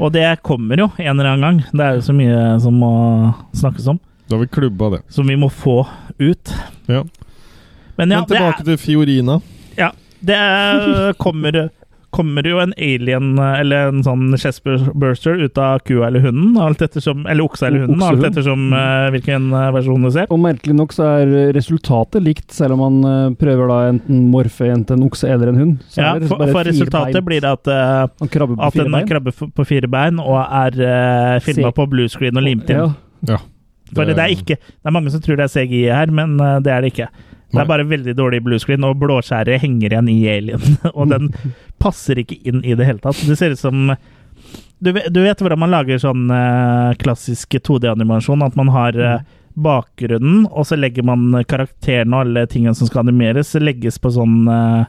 Speaker 1: og det kommer jo en eller annen gang. Det er jo så mye som må snakkes om,
Speaker 4: Da har vi klubba det.
Speaker 1: som vi må få ut.
Speaker 4: Ja.
Speaker 1: Men ja,
Speaker 4: Men
Speaker 1: det,
Speaker 4: tilbake til Fiorina.
Speaker 1: er, ja, det er, kommer, kommer jo en alien eh, eller en sånn chestburster ut av kua eller hunden, alt ettersom, eller oksa eller hunden, alt
Speaker 3: Oksehund.
Speaker 1: ettersom eh, hvilken eh, versjon du ser.
Speaker 3: Og merkelig nok så er resultatet likt, selv om man eh, prøver da enten morfe enten en okse eller en hund. Så
Speaker 1: Ja,
Speaker 3: er det
Speaker 1: for,
Speaker 3: bare
Speaker 1: for resultatet
Speaker 3: firbeint.
Speaker 1: blir det at eh,
Speaker 3: Han krabber på
Speaker 1: At
Speaker 3: fire
Speaker 1: en
Speaker 3: bein.
Speaker 1: krabbe f- på fire bein og er uh, filma
Speaker 3: Se-
Speaker 1: på bluescreen og limt inn.
Speaker 3: Ja,
Speaker 1: For det er ikke Det er mange som tror det er CGI her, men eh, det er det ikke. Det
Speaker 4: Nei.
Speaker 1: er bare veldig dårlig bluescreen, og blåskjæret henger igjen i alien. Og den passer ikke inn i det hele tatt. Det ser ut som Du vet, du vet hvordan man lager sånn eh, klassisk 2D-animasjon? At man har eh, bakgrunnen, og så legger man karakterene og alle tingene som skal animeres, legges på sånn eh,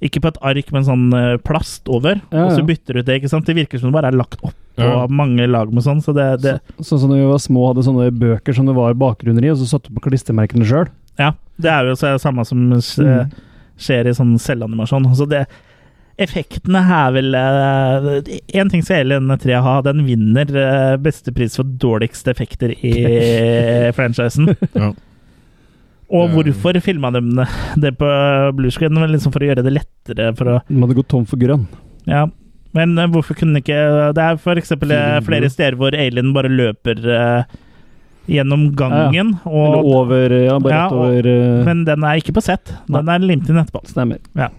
Speaker 1: Ikke på et ark, men sånn eh, plast over.
Speaker 3: Ja,
Speaker 1: Og så
Speaker 3: ja.
Speaker 1: bytter du ut det. ikke sant? Det virker som det bare er lagt opp på
Speaker 4: Ja.
Speaker 1: mange lag med sånn. Så det, det
Speaker 3: Sånn som da vi var små, hadde sånne bøker som det var bakgrunner i, og så satte du på klistremerkene sjøl.
Speaker 1: Ja, det er jo så- det samme som s-
Speaker 3: Mhm.
Speaker 1: skjer i sånn selvanimasjon. Så det, effektene her vil Én ting skal hele denne trea ha, den vinner eh, beste pris for dårligste effekter i franchisen.
Speaker 4: Ja.
Speaker 1: Og
Speaker 4: Det-
Speaker 1: hvorfor filma de det- det på bluescreen? Det var Liksom for å gjøre det lettere for å
Speaker 3: De hadde gått tom for grønn.
Speaker 1: Ja. Men eh, hvorfor kunne ikke Det er for eksempel eh,
Speaker 4: Feeling
Speaker 1: flere
Speaker 4: blue.
Speaker 1: steder hvor Alien bare løper eh, gjennom gangen, og
Speaker 3: Eller over Ja, bare
Speaker 1: Ja,
Speaker 3: rett
Speaker 1: og-
Speaker 3: over eh,
Speaker 1: men den er ikke på sett. Den er limt inn etterpå.
Speaker 3: Stemmer.
Speaker 1: Det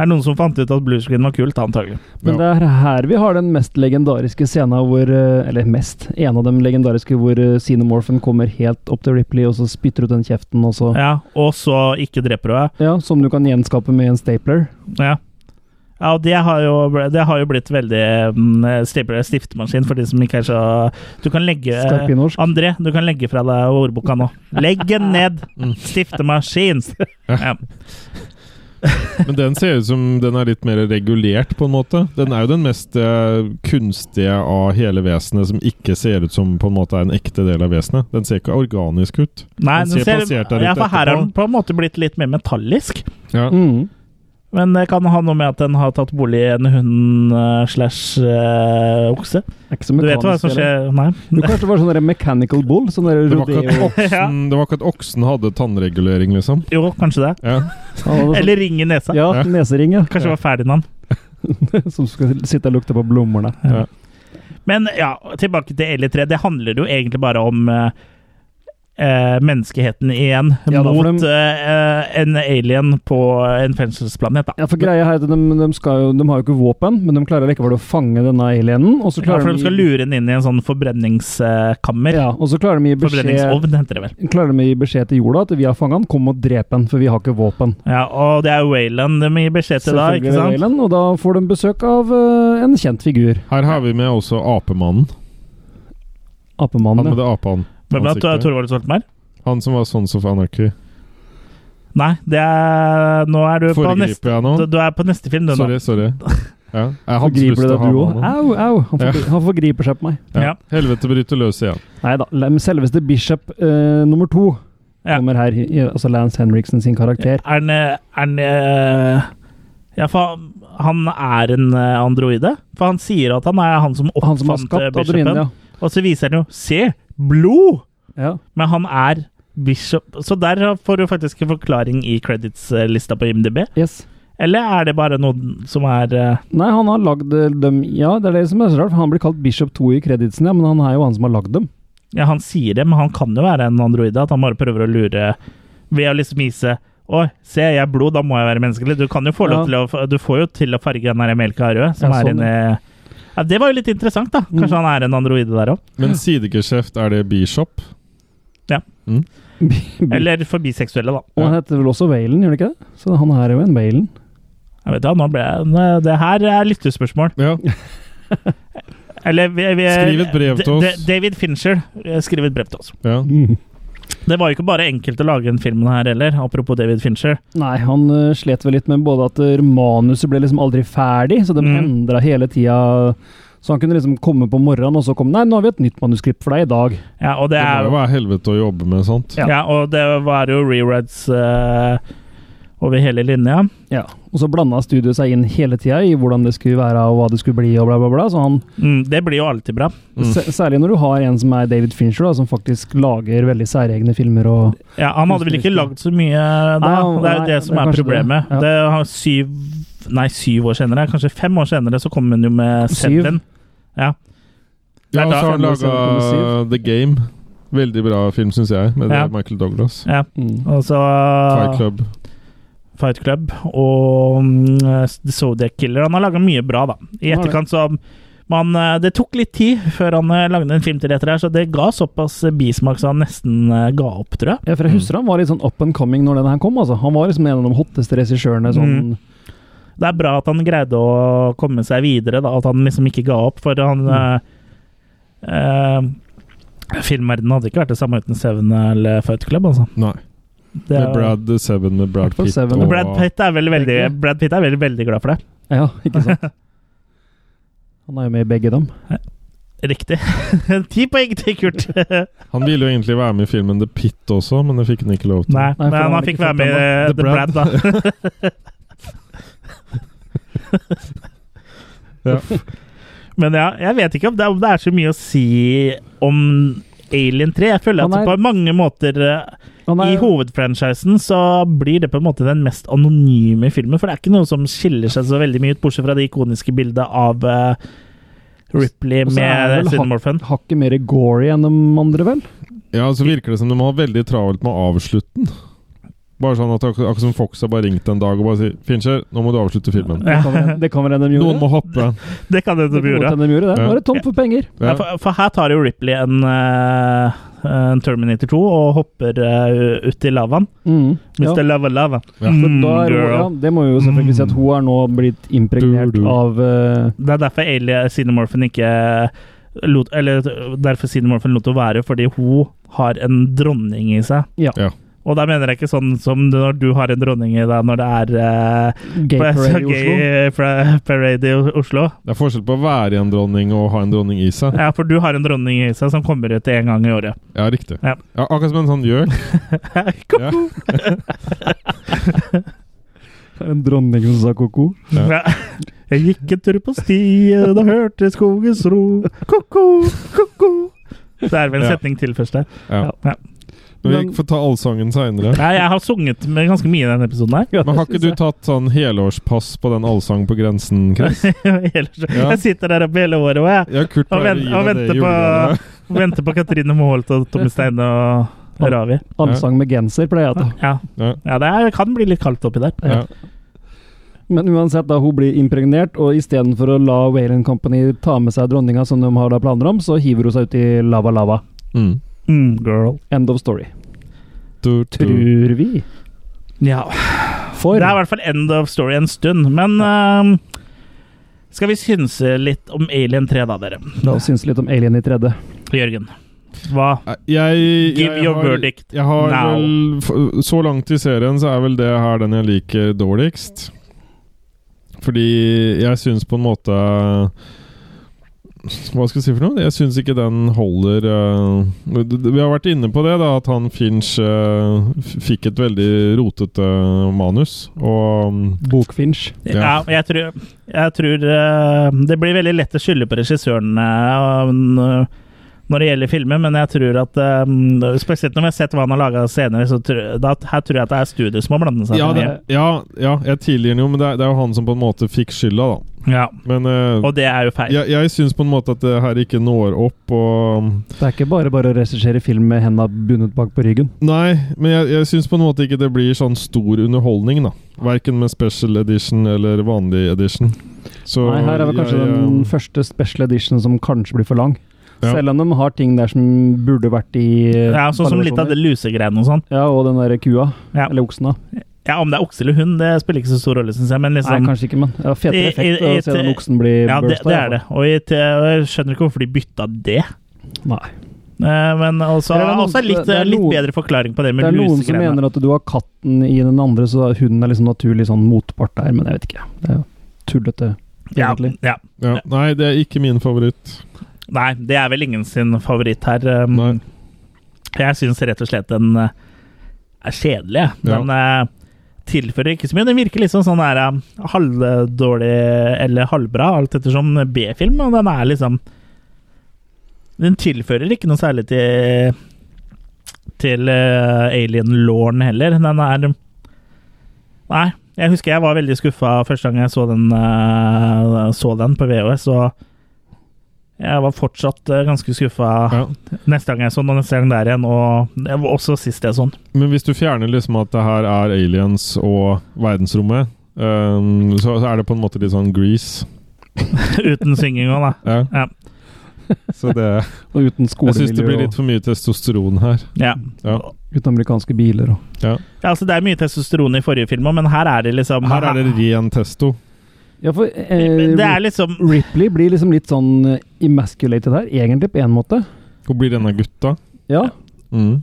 Speaker 1: er noen som fant ut at bluescreen var kult, antagelig.
Speaker 3: Men det er her vi har den mest legendariske scenen hvor eh, Eller mest. En av dem legendariske hvor eh, Xenomorphen kommer helt opp til Ripley, og så spytter ut den kjeften, og så
Speaker 1: Ja, Og så ikke dreper du deg.
Speaker 3: Ja, som du kan gjenskape med en stapler.
Speaker 1: Ja. Ja, og det har jo, det har jo blitt veldig mm, stipler- stiftemaskin for de som ikke er så Du kan legge
Speaker 3: Skarp i norsk.
Speaker 1: André, du kan legge fra deg ordboka nå. Legg den ned! Stiftemaskin! Ja.
Speaker 4: Men den ser ut som den er litt mer regulert, på en måte. Den er jo den mest eh, kunstige av hele vesenet som ikke ser ut som på en måte er en ekte del av vesenet. Den ser ikke organisk ut.
Speaker 1: Nei,
Speaker 4: Den
Speaker 1: den
Speaker 4: ser
Speaker 1: ser,
Speaker 4: plassert der
Speaker 1: ja,
Speaker 4: ute
Speaker 1: for her har
Speaker 4: etterpå.
Speaker 1: den på en måte blitt litt mer metallisk.
Speaker 4: Ja.
Speaker 3: Mm.
Speaker 1: Men det kan ha noe med at den har tatt bolig i en hund eh, slash eh, okse.
Speaker 3: Er ikke så
Speaker 1: Du vet hva
Speaker 3: mekanisk.
Speaker 1: som
Speaker 3: eller?
Speaker 1: skjer Nei.
Speaker 3: Jo, kanskje det var sånn der mechanical bull? Sånn der
Speaker 4: Det var ikke at
Speaker 3: rodeo
Speaker 4: oksen, det var ikke at oksen hadde tannregulering, liksom.
Speaker 1: Jo, kanskje det.
Speaker 4: Ja.
Speaker 3: Han hadde sånn-
Speaker 1: Eller ring i nesa.
Speaker 3: Ja, nesering, ja.
Speaker 1: Kanskje det var Ferdinand.
Speaker 3: Som skal sitte og lukte på blomstene.
Speaker 4: Ja.
Speaker 1: Men ja, tilbake til Eli 3. Det handler jo egentlig bare om eh, eh, menneskeheten igjen
Speaker 3: Ja, da, for
Speaker 1: mot
Speaker 3: dem-
Speaker 1: eh, en alien på en fengselsplanet, da.
Speaker 3: Ja, for greia her, er at de, de, skal jo, de har jo ikke våpen, men de klarer likevel å fange denne alienen. Og så
Speaker 1: Ja,
Speaker 3: klarer
Speaker 1: for de skal lure den inn i en sånn forbrenningskammer.
Speaker 3: Ja, og så klarer de å gi beskjed,
Speaker 1: Forbrenningsovn, heter det vel.
Speaker 3: klarer de å gi beskjed til jorda at vi har fanget han, kom og drep han, for vi har ikke våpen.
Speaker 1: Ja, Og det er Wayland de gir beskjed til da,
Speaker 3: Selvfølgelig
Speaker 1: ikke sant?
Speaker 3: Wayland, og da får de besøk av eh, en kjent figur.
Speaker 4: Her har vi med også apemannen. Han
Speaker 3: Apemannen.
Speaker 4: med
Speaker 3: ja.
Speaker 4: det apeansiktet.
Speaker 1: Hvem er det? Torvald Stoltenberg?
Speaker 4: Han som var Sons of Anarchy.
Speaker 1: Nei, det er Nå er du på neste
Speaker 4: Foregriper jeg nå?
Speaker 1: du, du er på neste film, du nå.
Speaker 4: Sorry, sorry. Ja. Jeg hadde lyst
Speaker 3: Forgriper du
Speaker 4: til å
Speaker 3: deg,
Speaker 4: ha
Speaker 3: du
Speaker 4: med
Speaker 3: òg?
Speaker 4: han.
Speaker 3: Au, au! Han,
Speaker 4: Ja.
Speaker 3: forgri- han forgriper seg på meg.
Speaker 1: Ja.
Speaker 4: Ja. Helvete bryter løs igjen.
Speaker 3: Nei da. Selveste Bishop eh, nummer to
Speaker 1: Ja.
Speaker 3: kommer her. i- i- Altså Lance Henriksen sin
Speaker 1: Er
Speaker 3: karakter.
Speaker 1: han, eh, er han eh, Ja, for han er en eh, androide. For han sier at han er han som
Speaker 3: Han som har
Speaker 1: oppfant eh,
Speaker 3: skapt
Speaker 1: bishopen.
Speaker 3: Adrien, ja.
Speaker 1: Og så viser han jo Se! Blod!
Speaker 3: ja.
Speaker 1: Men han er bishop. Så der får du faktisk en forklaring i credits-lista på IMDb.
Speaker 3: Yes.
Speaker 1: Eller er det bare noe som er eh,
Speaker 3: Nei, han har lagd eh, dem Ja, det er det som er så rart, for han blir kalt Bishop 2 i kreditsen, ja, men han er jo han som har lagd dem.
Speaker 1: Ja, han sier det, men han kan jo være en androide. At han bare prøver å lure ved å liksom vise Oi, se, jeg er blod, da må jeg være menneskelig. Du kan jo få lov til å Du får jo til å farge den her melka rød, som
Speaker 3: Ja,
Speaker 1: er
Speaker 3: sånn,
Speaker 1: inni ja, Det var jo litt interessant, da. Kanskje
Speaker 4: Mm.
Speaker 1: han er en androide der òg.
Speaker 4: Men sidegeskjeft, er det Bishop?
Speaker 1: Eller for biseksuelle, da.
Speaker 3: Og han heter vel også Valen, gjør han ikke det? Så han er jo en Valen.
Speaker 1: Jeg vet da, nå ble jeg Det her er lyttespørsmål.
Speaker 4: Ja.
Speaker 1: Eller vi, vi,
Speaker 4: Skriv et brev til oss.
Speaker 1: D- D- David Fincher, eh, skriv et brev til oss.
Speaker 4: ja.
Speaker 1: Det var jo ikke bare enkelt å lage den filmen her heller, apropos David Fincher.
Speaker 3: Nei, han eh, slet vel litt med både at eh, manuset ble liksom aldri ferdig, så de
Speaker 1: Mm.
Speaker 3: endra hele tida. Så han kunne liksom komme på morgenen, og så kom Nei, nå har vi et nytt manuskript for deg i dag.
Speaker 1: Ja, og det
Speaker 4: Det
Speaker 1: er
Speaker 4: må jo være helvete å jobbe med sånt.
Speaker 1: Ja. og det var jo rewrites eh, over hele linja.
Speaker 3: Ja. Og så blanda studioet seg inn hele tida i hvordan det skulle være, og hva det skulle bli, og bla, bla, bla. Så han,
Speaker 1: Mm, det blir jo alltid bra.
Speaker 4: Mm.
Speaker 3: s- Særlig når du har en som er David Fincher, da, som faktisk lager veldig særegne filmer og
Speaker 1: Ja, han hadde vel ikke lagd så mye da.
Speaker 3: Ah, Nei,
Speaker 1: det er jo det
Speaker 3: nei, det
Speaker 1: som
Speaker 3: er
Speaker 1: er
Speaker 3: kanskje det.
Speaker 1: problemet.
Speaker 3: Ja.
Speaker 1: Det har syv Nei, syv år senere, kanskje fem år senere, så kom han jo med
Speaker 3: Syv.
Speaker 1: Seven. Ja.
Speaker 4: Ja, og så har han
Speaker 3: Det er da-
Speaker 4: laga The Game. Veldig bra film, syns jeg, med
Speaker 1: Ja.
Speaker 4: det Michael Douglas.
Speaker 1: Og så
Speaker 4: Fight Club.
Speaker 1: Altså Fight Club og mm, The Zodiac Killer. Han har laga mye bra, da. I
Speaker 3: Han har det.
Speaker 1: etterkant så man, eh, Det tok litt tid før han eh, lagde en film til dette, her, så det ga såpass bismak så han nesten eh, ga opp, tror jeg.
Speaker 3: Ja, for jeg husker han var litt sånn up and coming når den her kom, altså. Han var liksom en av de hotteste regissørene sånn
Speaker 1: Mm. Det er bra at han greide å komme seg videre, da, at han liksom ikke ga opp, for han eh, eh, Filmverdenen hadde ikke vært det samme uten Seven eller Fight Club, altså.
Speaker 4: Nei.
Speaker 1: Det er,
Speaker 4: Med Brad Seven med Brad
Speaker 3: Hvertfall
Speaker 4: Pitt.
Speaker 3: Seven.
Speaker 1: Men Brad Pitt er veldig, veldig, Brad Pitt er veldig, veldig glad for det.
Speaker 3: Ja, ikke sant? Han er jo med i begge dem.
Speaker 1: Riktig. Ti poeng til Kurt.
Speaker 4: Han ville jo egentlig være med i filmen The Pit også, men det fikk han ikke lov til.
Speaker 1: Nei,
Speaker 3: for
Speaker 1: men
Speaker 3: han
Speaker 1: han
Speaker 3: har
Speaker 1: fikk
Speaker 3: ikke
Speaker 1: være
Speaker 3: fått
Speaker 1: med i eh, The
Speaker 3: den,
Speaker 4: The
Speaker 1: Brad, da.
Speaker 4: Ja.
Speaker 1: Men ja, jeg vet ikke om det, om det er så mye å si om Alien 3. Jeg føler
Speaker 3: Han
Speaker 1: at
Speaker 3: er-
Speaker 1: på mange måter eh,
Speaker 3: Han
Speaker 1: i
Speaker 3: er,
Speaker 1: hovedfranchisen så blir det på en måte den mest anonyme filmen, for det er ikke noe som skiller seg så veldig mye ut, bortsett fra det ikoniske bildet av eh, Ripley
Speaker 3: Og så er det
Speaker 1: med
Speaker 3: vel han-
Speaker 1: Cinemorphen.
Speaker 3: hakket mer gory enn de andre, vel?
Speaker 4: Ja, så virker det som de har veldig travelt med å avslutte den. Bare sånn at ak akkurat som Fox har bare ringt en dag og bare sier 'Fincher, nå må du avslutte filmen'.
Speaker 3: Det kan vel- Det kan vel hende de
Speaker 4: Noen
Speaker 3: gjorde?
Speaker 4: må hoppe.
Speaker 1: Det kan det
Speaker 3: Det kan
Speaker 1: de
Speaker 3: godt
Speaker 1: gjøre.
Speaker 3: hende de gjorde det. Nå er det tomt for penger.
Speaker 1: Ja,
Speaker 4: Ja.
Speaker 1: for, for her tar jo Ripley en, eh, en Terminator 2 og hopper eh, ut i lavaen.
Speaker 3: Mm, ja.
Speaker 1: Mr. Lava Lava. Mm,
Speaker 4: Ja.
Speaker 3: Så da er hun,
Speaker 1: girl.
Speaker 3: ja, Mm, det Mm. må vi jo selvfølgelig si at hun er nå blitt impregnert
Speaker 4: Du, du.
Speaker 3: av eh,
Speaker 1: Det er derfor Alien Cinemorphen ikke lot, Eller derfor Cinemorphen lot henne være, fordi hun har en dronning i seg.
Speaker 3: Ja.
Speaker 4: Ja.
Speaker 1: Og da mener jeg ikke sånn som når du har en dronning i deg når det er eh,
Speaker 3: Gay
Speaker 1: på-
Speaker 3: Parade i Oslo.
Speaker 1: gay pra- parade i Oslo.
Speaker 4: Det er forskjell på å være i en dronning og ha en dronning i seg.
Speaker 1: Ja, for du har en dronning i seg som kommer ut én gang i året.
Speaker 4: Ja, riktig.
Speaker 1: Ja.
Speaker 4: Ja. akkurat som en sånn gjøk. Ja.
Speaker 3: En dronning som sa ko-ko.
Speaker 4: Ja.
Speaker 1: Ja. Jeg gikk en tur på stien og hørte skogens ro. Ko-ko, ko-ko. Det er vel en
Speaker 4: Ja.
Speaker 1: setning til først der.
Speaker 4: Ja.
Speaker 1: Ja.
Speaker 4: Men vi får ta allsangen seinere.
Speaker 1: Nei, jeg har sunget med ganske mye i denne episoden her.
Speaker 4: Men har ikke du tatt sånn helårspass på den allsang på grensen, Chris?
Speaker 1: Ellers,
Speaker 4: Ja.
Speaker 1: Jeg sitter der oppe hele året og jeg
Speaker 4: Ja, Kurt
Speaker 1: Og
Speaker 4: pleier å
Speaker 1: vent-
Speaker 4: gi
Speaker 1: og
Speaker 4: deg det
Speaker 1: venter
Speaker 4: i
Speaker 1: på-
Speaker 4: julegave.
Speaker 1: venter på Katrine Moholt og Tommy Steine og Ravi.
Speaker 3: Allsang med genser, pleier jeg å ta.
Speaker 1: Ja,
Speaker 4: Ja.
Speaker 1: ja det er, kan bli litt kaldt oppi der.
Speaker 4: Ja.
Speaker 3: Men uansett, da hun blir impregnert, og istedenfor å la Wayland Company ta med seg dronninga, som de har da planer om, så hiver hun seg ut i lava lava.
Speaker 4: Mm.
Speaker 1: Mm, girl.
Speaker 3: End of story.
Speaker 4: Du, du.
Speaker 3: Tror vi.
Speaker 1: Ja.
Speaker 3: For
Speaker 1: Det er i hvert fall end of story en stund, men ehm, skal vi synse litt om Alien 3 da, dere?
Speaker 3: La oss synes litt om Alien i tredje.
Speaker 1: Jørgen. Hva?
Speaker 4: Nei, Jeg, jeg
Speaker 1: Give your
Speaker 4: har,
Speaker 1: verdict
Speaker 4: Jeg har
Speaker 1: now.
Speaker 4: vel, f- så langt i serien så er vel det her den jeg liker dårligst. Fordi jeg syns på en måte Hva skal jeg si for noe? Jeg syns ikke den holder eh, d- d- Vi har vært inne på det, da, at han Finch eh, f- fikk et veldig rotete eh, manus. Og mm,
Speaker 3: Bokfinch.
Speaker 1: Ja,
Speaker 4: Ja.
Speaker 1: jeg tror, jeg tror eh, Det blir veldig lett å skylde på regissøren eh, og, eh, når det gjelder filmer, men jeg tror at eh, Spesielt når vi har sett hva han har laga senere, så tror, da, her tror jeg at det er studiet som har blandet seg
Speaker 4: ja, det,
Speaker 1: inn.
Speaker 4: ja, ja, jeg tilgir den jo, men det er, det er jo han som på en måte fikk skylda, da.
Speaker 1: i. Ja,
Speaker 4: Men eh,
Speaker 1: og det er jo feil.
Speaker 4: jeg, jeg syns på en måte at det her ikke når opp, og
Speaker 3: Det er ikke bare bare å regissere film med henda bundet bak på ryggen.
Speaker 4: Nei, men jeg, jeg syns på en måte ikke det blir sånn stor underholdning, da. Verken med special edition eller vanlig edition. Så
Speaker 3: Nei, her er vel kanskje
Speaker 4: jeg,
Speaker 3: den
Speaker 4: eh,
Speaker 3: første special edition som kanskje blir for lang.
Speaker 4: Ja.
Speaker 3: Selv om de har ting der som burde vært i eh,
Speaker 1: Ja, sånn som litt av det lusegreiene og sånn.
Speaker 3: Ja, og den der kua.
Speaker 1: Ja.
Speaker 3: Eller oksen, da.
Speaker 1: Ja, om det er okse eller hund, det spiller ikke så stor rolle, syns jeg, men
Speaker 3: Nei,
Speaker 1: liksom
Speaker 3: kanskje ikke, men ja,
Speaker 1: I-
Speaker 3: fetere effekt
Speaker 1: i- i-
Speaker 3: å se den oksen bli
Speaker 1: ja, det,
Speaker 3: bursta,
Speaker 1: det
Speaker 3: i
Speaker 1: er
Speaker 3: hvert
Speaker 1: det. Og jeg, jeg skjønner ikke hvorfor de bytta det.
Speaker 3: fall. Nei.
Speaker 1: Eh, Men også,
Speaker 3: Eller det er noen-
Speaker 1: også litt, eh,
Speaker 3: det er
Speaker 1: litt
Speaker 3: noen-
Speaker 1: bedre forklaring på det
Speaker 3: Det
Speaker 1: med
Speaker 3: er noen som
Speaker 1: lusegreiene.
Speaker 3: mener at du har katten i den andre, så hunden er liksom naturlig sånn motpart der, men jeg vet ikke. Det er jo tullete,
Speaker 1: Ja,
Speaker 3: egentlig.
Speaker 1: ja.
Speaker 4: ja. Nei, det er ikke min favoritt.
Speaker 1: Nei, det er vel ingen sin favoritt her. Um,
Speaker 3: Mm.
Speaker 4: Nei.
Speaker 1: Jeg syns rett og slett den eh, er kjedelig. jeg.
Speaker 4: Ja.
Speaker 1: Den eh, tilfører ikke så mye. Den virker liksom sånn her eh, halvdårlig eller halvbra, alt ettersom B-film, og den er liksom Den tilfører ikke noe særlig til til eh, alien-lauren heller. Den er Nei. Jeg husker jeg var veldig skuffa første gang jeg så den, eh, så den på VHS, og jeg var fortsatt eh, ganske skuffa
Speaker 4: Ja.
Speaker 1: neste gang jeg så den, og neste gang der igjen, og det var også sist jeg sånn, så den.
Speaker 4: Men hvis du fjerner liksom at det her er aliens og verdensrommet, eh, så, så er det på en måte litt sånn grease.
Speaker 1: Uten synging òg, da.
Speaker 4: Ja.
Speaker 1: Ja.
Speaker 4: Så det
Speaker 3: Og uten
Speaker 4: Jeg syns det blir
Speaker 3: skolemiljø
Speaker 4: litt for mye testosteron her.
Speaker 1: Ja.
Speaker 4: Ja.
Speaker 3: og uten amerikanske biler og
Speaker 1: Ja, altså, det er mye testosteron i forrige film òg, men her er det liksom
Speaker 4: Her er det ren testo.
Speaker 3: Ja, for eh,
Speaker 1: Det er liksom
Speaker 3: Ripley blir liksom litt sånn eh, emasculated her, egentlig, på én måte.
Speaker 4: Hvor blir denne gutta?
Speaker 3: Ja.
Speaker 4: Mm.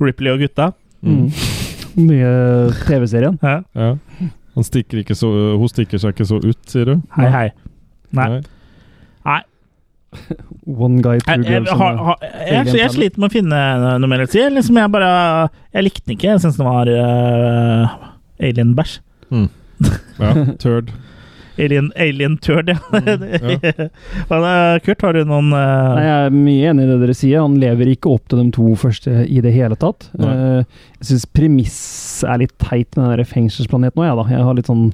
Speaker 1: Ripley og gutta.
Speaker 4: Mm.
Speaker 3: Mm. nye TV-serien.
Speaker 1: Ja.
Speaker 4: Ja. Han stikker ikke så, hun stikker seg ikke så ut, sier du?
Speaker 1: Hei, hei. Nei. Nei.
Speaker 3: One guy, two
Speaker 1: Jeg, jeg,
Speaker 3: girls.
Speaker 1: har, har, jeg, jeg, jeg sliter med å finne noe mer å si. Liksom jeg bare Jeg likte den ikke. Jeg syns den var uh, alien-bæsj.
Speaker 4: Ja, turd.
Speaker 1: Alien, alien turd, ja.
Speaker 4: Mm, ja.
Speaker 1: Men, eh, Kurt, har du noen eh,
Speaker 3: Nei, jeg er mye enig i det dere sier. Han lever ikke opp til de to første i det hele tatt.
Speaker 4: Nei.
Speaker 3: Eh, Jeg syns premiss er litt teit med den der fengselsplaneten òg, jeg da. Jeg har litt sånn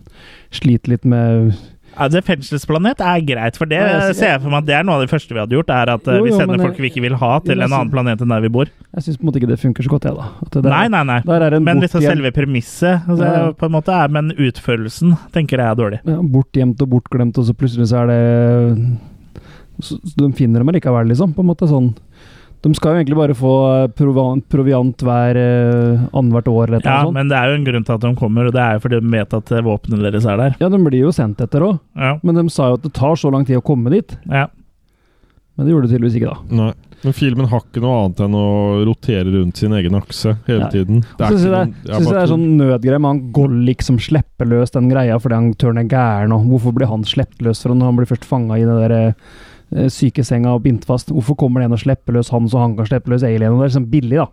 Speaker 3: Sliter litt med
Speaker 1: Ja, det fengselsplanet er greit, for det
Speaker 3: Ja, jeg-
Speaker 1: ser jeg for meg at det er noe av det første vi hadde gjort. er At eh,
Speaker 3: Jo,
Speaker 1: vi
Speaker 3: jo,
Speaker 1: sender
Speaker 3: men jeg-
Speaker 1: folk vi ikke vil ha, til
Speaker 3: Jo, men
Speaker 1: en annen planet enn der vi bor.
Speaker 3: Jeg syns på en måte ikke det funker så godt, jeg, da. At det der,
Speaker 1: Nei, nei, nei.
Speaker 3: Der er en
Speaker 1: Men liksom
Speaker 3: bortgjemt-
Speaker 1: selve premisset altså,
Speaker 3: Ja.
Speaker 1: på en måte er Men utførelsen tenker jeg er dårlig.
Speaker 3: ja, bortgjemt og bortglemt, og så plutselig så er det så, så De finner dem allikevel, liksom. På en måte sånn. De skal jo egentlig bare få proviant, proviant hver eh, annethvert år eller et
Speaker 1: Ja,
Speaker 3: eller annet sånt.
Speaker 1: Men det er jo en grunn til at de kommer, og det er jo fordi de vet at eh, våpnene deres er der.
Speaker 3: Ja, de blir jo sendt etter òg,
Speaker 1: Ja,
Speaker 3: men de sa jo at det tar så lang tid å komme dit.
Speaker 1: ja.
Speaker 3: Men det gjorde det tydeligvis ikke, da.
Speaker 4: Nei. Men filmen har ikke noe annet enn å rotere rundt sin egen akse hele
Speaker 3: Nei.
Speaker 4: tiden. Det
Speaker 3: Syns jeg det,
Speaker 4: noen-
Speaker 3: synes jeg det er sånn nødgreie med han Gollik som slipper løs den greia fordi han tørner gæren, og hvorfor blir han sluppet løs fra når han blir først fanga i den der eh, sykesenga og bindt fast? Hvorfor kommer det en og slipper løs han, så han kan slippe løs alienen? Det er sånn billig, da.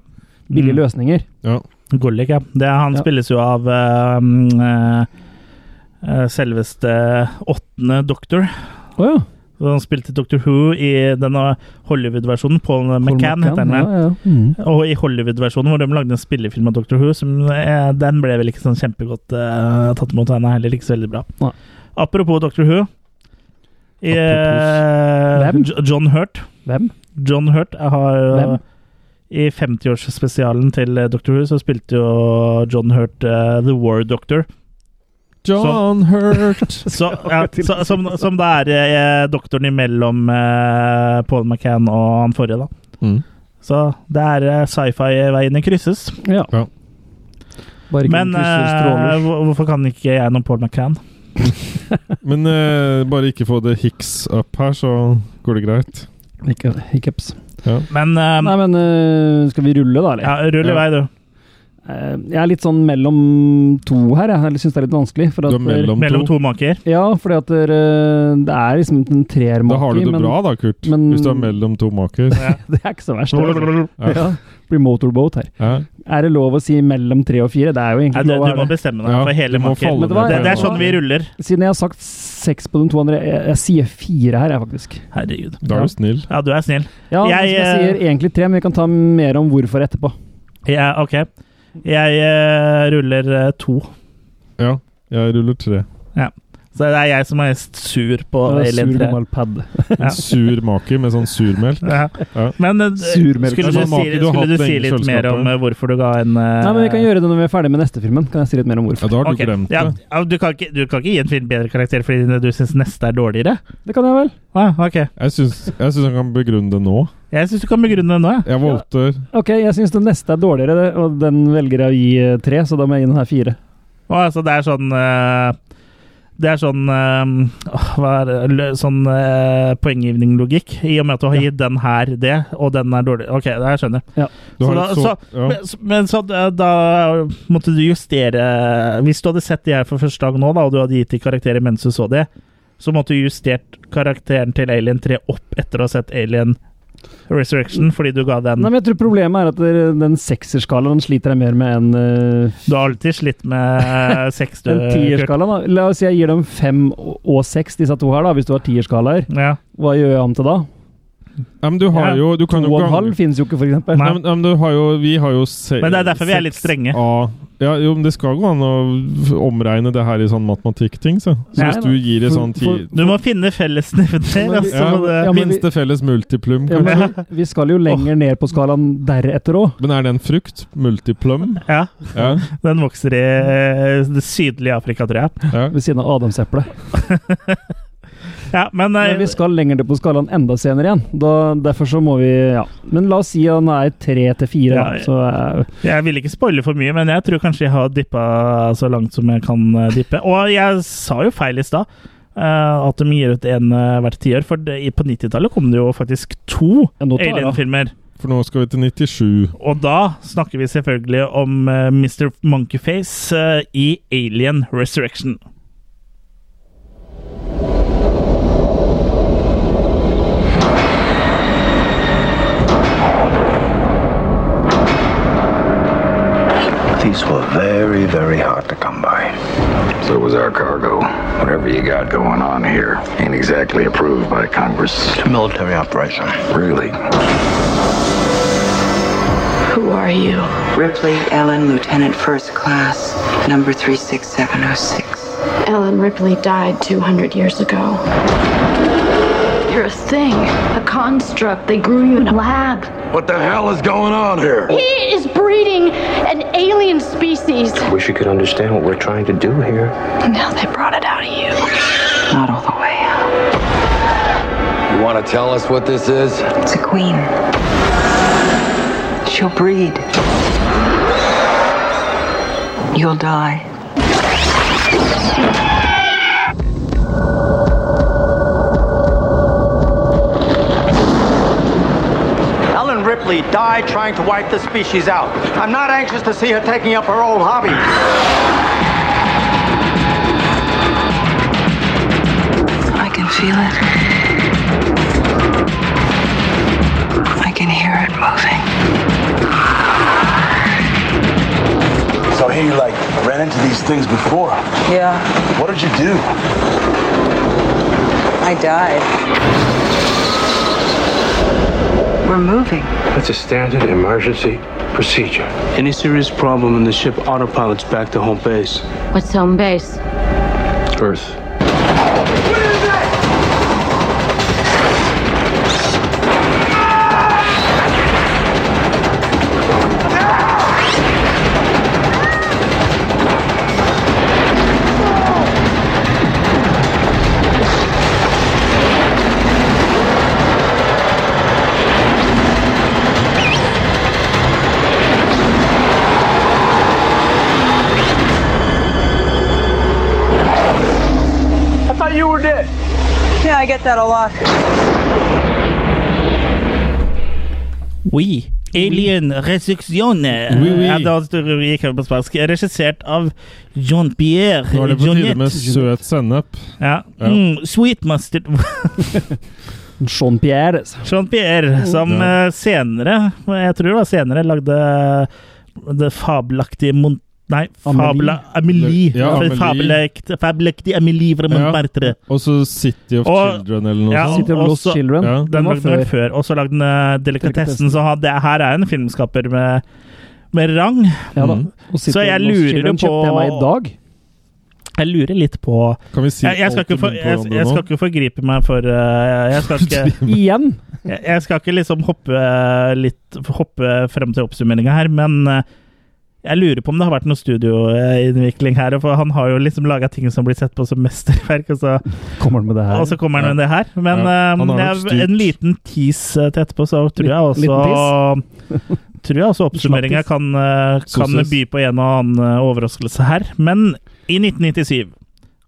Speaker 3: Billige
Speaker 1: Mm.
Speaker 3: løsninger.
Speaker 4: Ja.
Speaker 1: Gullik, ja. Det, han
Speaker 3: Ja.
Speaker 1: spilles jo av eh, mm, eh, eh, selveste åttende doktor.
Speaker 3: Å ja.
Speaker 1: Han spilte Doctor Who i denne Hollywood-versjonen. Paul McCann heter han. vel.
Speaker 3: Ja, ja. Mm.
Speaker 1: Og i Hollywood-versjonen, hvor de lagde en spillefilm av Doctor Who, som, eh, den ble vel ikke sånn kjempegodt eh, tatt imot. Den er heller ikke så veldig bra.
Speaker 3: Nei.
Speaker 1: Apropos Doctor Who. I, eh,
Speaker 3: Hvem?
Speaker 1: Jo- John Hurt.
Speaker 3: Hvem?
Speaker 1: John Hurt har
Speaker 3: Hvem?
Speaker 1: jo I 50-årsspesialen til eh, Doctor Who så spilte jo John Hurt eh, The War Doctor.
Speaker 4: John
Speaker 3: sånn-
Speaker 4: Hurt!
Speaker 1: Så, ja, så, som, som det er eh, doktoren imellom eh, Paul McCann og han forrige, da.
Speaker 4: Mm.
Speaker 1: Så det er eh, sci-fi-veiene krysses.
Speaker 3: Ja.
Speaker 4: Ja.
Speaker 3: Bare ikke
Speaker 1: Men
Speaker 3: Men, krysser
Speaker 1: eh,
Speaker 3: stråler.
Speaker 1: hvor- hvorfor kan ikke jeg noe Paul McCann?
Speaker 4: Men eh, bare ikke få det hicks up her, så går det greit.
Speaker 3: Ikke hiccups.
Speaker 1: Men eh,
Speaker 3: Nei, men eh, skal vi rulle, da? eller?
Speaker 1: ja, rull i
Speaker 4: Ja.
Speaker 1: vei, du.
Speaker 3: Eh, jeg er litt sånn mellom to her. Jeg, jeg syns det er litt vanskelig. For
Speaker 4: Du
Speaker 3: at, eh,
Speaker 4: er mellom,
Speaker 1: Mellom
Speaker 4: to.
Speaker 1: to maker.
Speaker 3: Ja, fordi at eh, det er liksom en treermaki.
Speaker 4: Da har du det
Speaker 3: men-
Speaker 4: bra da, Kurt.
Speaker 3: men-
Speaker 4: Hvis du er mellom to maker.
Speaker 3: Det er ikke så verst. det. altså.
Speaker 4: Ja.
Speaker 3: Ja. Blir motorboat her.
Speaker 4: Ja.
Speaker 3: Er det lov å si mellom tre og fire? Det er jo
Speaker 1: Nei,
Speaker 3: egentlig
Speaker 1: du,
Speaker 3: lov.
Speaker 1: du
Speaker 3: er
Speaker 1: må
Speaker 3: det.
Speaker 1: bestemme deg
Speaker 4: Ja,
Speaker 1: for hele
Speaker 4: du må
Speaker 1: maker.
Speaker 4: falle
Speaker 3: Men det var-
Speaker 1: Det,
Speaker 4: ned
Speaker 1: det
Speaker 4: på
Speaker 1: er sånn vi ruller.
Speaker 3: Siden jeg har sagt seks på de to andre, jeg, jeg sier fire her, jeg, faktisk.
Speaker 1: Herregud.
Speaker 4: Da er du snill.
Speaker 1: Ja, du er snill.
Speaker 3: Ja,
Speaker 1: Jeg,
Speaker 3: jeg, jeg
Speaker 1: eh,
Speaker 3: sier egentlig tre, men vi kan ta mer om hvorfor etterpå.
Speaker 1: Ja, OK. Jeg eh, ruller eh, to.
Speaker 4: Ja, jeg ruller tre.
Speaker 1: Så det er jeg som er mest sur på
Speaker 3: Jeg er
Speaker 1: Alien
Speaker 3: sur
Speaker 1: 3.
Speaker 3: gammel pad.
Speaker 1: Ja.
Speaker 4: En sur maker med sånn surmelk.
Speaker 1: Ja.
Speaker 4: Ja.
Speaker 1: Men eh,
Speaker 3: Surmelk.
Speaker 1: skulle du
Speaker 4: Sånn
Speaker 1: si,
Speaker 4: maker du har
Speaker 1: skulle
Speaker 4: hatt
Speaker 1: du
Speaker 4: lenge
Speaker 1: si
Speaker 4: i
Speaker 1: litt mer om
Speaker 4: kjøleskapet.
Speaker 1: eh, hvorfor du ga en eh,
Speaker 3: Nei, men Vi kan gjøre det når vi er ferdig med neste filmen. Kan jeg si litt mer om
Speaker 4: Ja,
Speaker 3: hvorfor?
Speaker 4: da har du
Speaker 1: Ok,
Speaker 4: glemt
Speaker 1: ja,
Speaker 4: det.
Speaker 1: ja, du, kan ikke, du kan ikke gi en film bedre karakter fordi du syns neste er dårligere?
Speaker 3: Det kan jeg vel?
Speaker 1: Ah, ok.
Speaker 4: Jeg syns jeg syns jeg kan begrunne det nå.
Speaker 1: Jeg syns du kan begrunne det nå. jeg.
Speaker 4: Jeg voldter.
Speaker 3: Ok, jeg syns den neste er dårligere, det- og den velger jeg å gi eh, tre, så da må jeg gi den her fire.
Speaker 1: Og altså, det er sånn eh, Det er sånn eh, åh, Hva er det Lø- Sånn eh, poenggivninglogikk. I og med at du har gitt den her det, og den er dårlig. Ok, det jeg skjønner.
Speaker 4: Du
Speaker 1: Så
Speaker 4: har
Speaker 1: da-
Speaker 4: et så, ja.
Speaker 1: Men, men så da, da måtte du justere Hvis du hadde sett de her for første dag nå, da, og du hadde gitt de karakterer mens du så de, så måtte du justert karakteren til Alien 3 opp etter å ha sett Alien Resurrection, fordi du ga den
Speaker 3: Nei, men jeg tror Problemet er at dere- den sekserskalaen sliter jeg mer med enn eh,
Speaker 1: Du har alltid slitt med eh, seks, du.
Speaker 3: En
Speaker 1: Kurt.
Speaker 3: tierskala, da. La oss si jeg gir dem fem og seks, disse to her, da, hvis du har tierskalaer.
Speaker 1: Ja.
Speaker 3: Hva gjør jeg om til da?
Speaker 4: Nei, men du har
Speaker 1: Ja.
Speaker 4: jo
Speaker 3: To
Speaker 4: Du kan jo
Speaker 3: og en
Speaker 4: gange
Speaker 3: halv finnes jo ikke, for eksempel.
Speaker 4: Nei, men, nei, men du har jo Vi har jo se,
Speaker 1: Men det er derfor vi er litt strenge.
Speaker 4: A. Ja, jo, men det skal gå an å f- omregne det her i sånn matematikkting, så. Så
Speaker 1: Nei,
Speaker 4: hvis du gir i
Speaker 3: For-
Speaker 4: sånn ti...
Speaker 1: Du må finne fellesnevner. Altså,
Speaker 4: Ja,
Speaker 1: må det-
Speaker 3: ja, men vi-
Speaker 4: Minste felles multiplum,
Speaker 3: Ja,
Speaker 4: kanskje.
Speaker 3: men vi- vi skal jo lenger ned på skalaen deretter òg.
Speaker 4: Men er det en frukt? Multiplum?
Speaker 1: ja,
Speaker 4: Ja,
Speaker 1: den vokser i eh, det sydlige Afrika, tror jeg.
Speaker 4: ja.
Speaker 3: Ved siden av adamseplet.
Speaker 1: Ja, men, eh,
Speaker 3: Men vi skal lenger ned på skalaen enda senere igjen. Da, derfor så må vi Ja. Men la oss si han er tre til fire, da.
Speaker 1: Ja, ja.
Speaker 3: Så eh,
Speaker 1: jeg vil ikke spoile for mye, men jeg tror kanskje jeg har dyppa så langt som jeg kan eh, dyppe. Og jeg sa jo feil i stad. eh, at de gir ut en eh, hvert tiår, for det, i- på 90-tallet kom det jo faktisk to
Speaker 3: Ja, nå tar jeg, da.
Speaker 1: Alien-filmer.
Speaker 4: For nå skal vi til 97.
Speaker 1: Og da snakker vi selvfølgelig om eh, Mr. Monkeyface eh, i Alien Resurrection.
Speaker 6: These were very, very hard to come by. So was our cargo. Whatever you got going on here ain't exactly approved by Congress. It's a military operation. Really?
Speaker 10: Who are you?
Speaker 5: Ripley Ellen, Lieutenant First Class, number 36706.
Speaker 10: Ellen Ripley died 200 years ago. You're a thing, a construct. They grew you in a lab.
Speaker 6: What the hell is going on here?
Speaker 10: He is breeding an alien species.
Speaker 11: Wish you could understand what we're trying to do here.
Speaker 10: Now they brought it out of you.
Speaker 5: Not all the way out.
Speaker 11: You want to tell us what this is?
Speaker 5: It's a queen. She'll breed. You'll die.
Speaker 9: Ellen Ripley died trying to wipe the species out. I'm not anxious to see her taking up her old hobby.
Speaker 5: I can feel it. I can hear it moving.
Speaker 6: So here you like ran into these things before.
Speaker 5: Yeah,
Speaker 6: What did you do?
Speaker 5: I died. We're moving.
Speaker 11: That's a standard emergency procedure.
Speaker 12: Any serious problem and the ship autopilot's back to home base.
Speaker 10: What's home base?
Speaker 11: Earth.
Speaker 9: I thought you were dead.
Speaker 5: Yeah, I get that a lot.
Speaker 1: We. Alien Resurrection.
Speaker 4: Oui, oui.
Speaker 1: Ja, det var stor rubrikk her på spansk. Regissert av Jean-Pierre
Speaker 4: Nå er det på tide med
Speaker 1: Jonet.
Speaker 4: søt sennep.
Speaker 1: Ja.
Speaker 4: Ja.
Speaker 1: Mm, Sweet Mustard
Speaker 3: Jean-Pierre.
Speaker 1: Jean-Pierre, som
Speaker 4: Ja.
Speaker 1: eh, senere, jeg tror det var senere, lagde eh, det fabelaktige Mon... Nei, fabla Amelie.
Speaker 4: Ja,
Speaker 1: For
Speaker 4: Amelie.
Speaker 1: fabelakt- Fabelaktig Amelie fra Montmartre.
Speaker 4: Og så City of
Speaker 1: Og-
Speaker 4: Children eller noe
Speaker 1: Ja.
Speaker 4: sånt.
Speaker 3: City of Lost
Speaker 1: Også-
Speaker 3: Children.
Speaker 4: Ja.
Speaker 1: Den lagde den før. Og så lagde den eh, Delikatessen,
Speaker 3: Delikatessen.
Speaker 1: så han- det her er en filmskaper med, med rang.
Speaker 3: Ja, da.
Speaker 4: Mm.
Speaker 3: Og City
Speaker 1: Så jeg
Speaker 3: of Lost
Speaker 1: lurer
Speaker 3: Children
Speaker 1: på-
Speaker 3: kjøpte jeg meg i dag.
Speaker 1: Jeg lurer litt på
Speaker 4: Kan vi si
Speaker 1: Jeg, jeg, skal, ikke for,
Speaker 4: alt
Speaker 1: jeg,
Speaker 4: om den på hverandre
Speaker 1: jeg skal ikke forgripe meg for eh, Jeg skal ikke
Speaker 3: Igjen.
Speaker 1: Jeg, jeg skal ikke liksom hoppe litt Hoppe frem til oppsummeringa her, men eh, jeg lurer på om det har vært noe studioinnvikling her. For han har jo liksom laga ting som blir sett på som mesterverk, og så,
Speaker 3: Kommer den med det her.
Speaker 1: og så kommer han med det her. Men
Speaker 4: Ja,
Speaker 1: eh,
Speaker 4: han
Speaker 1: det
Speaker 4: har nok
Speaker 1: er
Speaker 4: styrt.
Speaker 1: en liten tease eh, til etterpå, så tror jeg
Speaker 3: Liten- liten
Speaker 1: også Tror jeg også oppsummeringa
Speaker 3: Snappis.
Speaker 1: kan, eh, kan
Speaker 4: Sosis.
Speaker 1: by på en og annen eh, overraskelse her. Men i 1997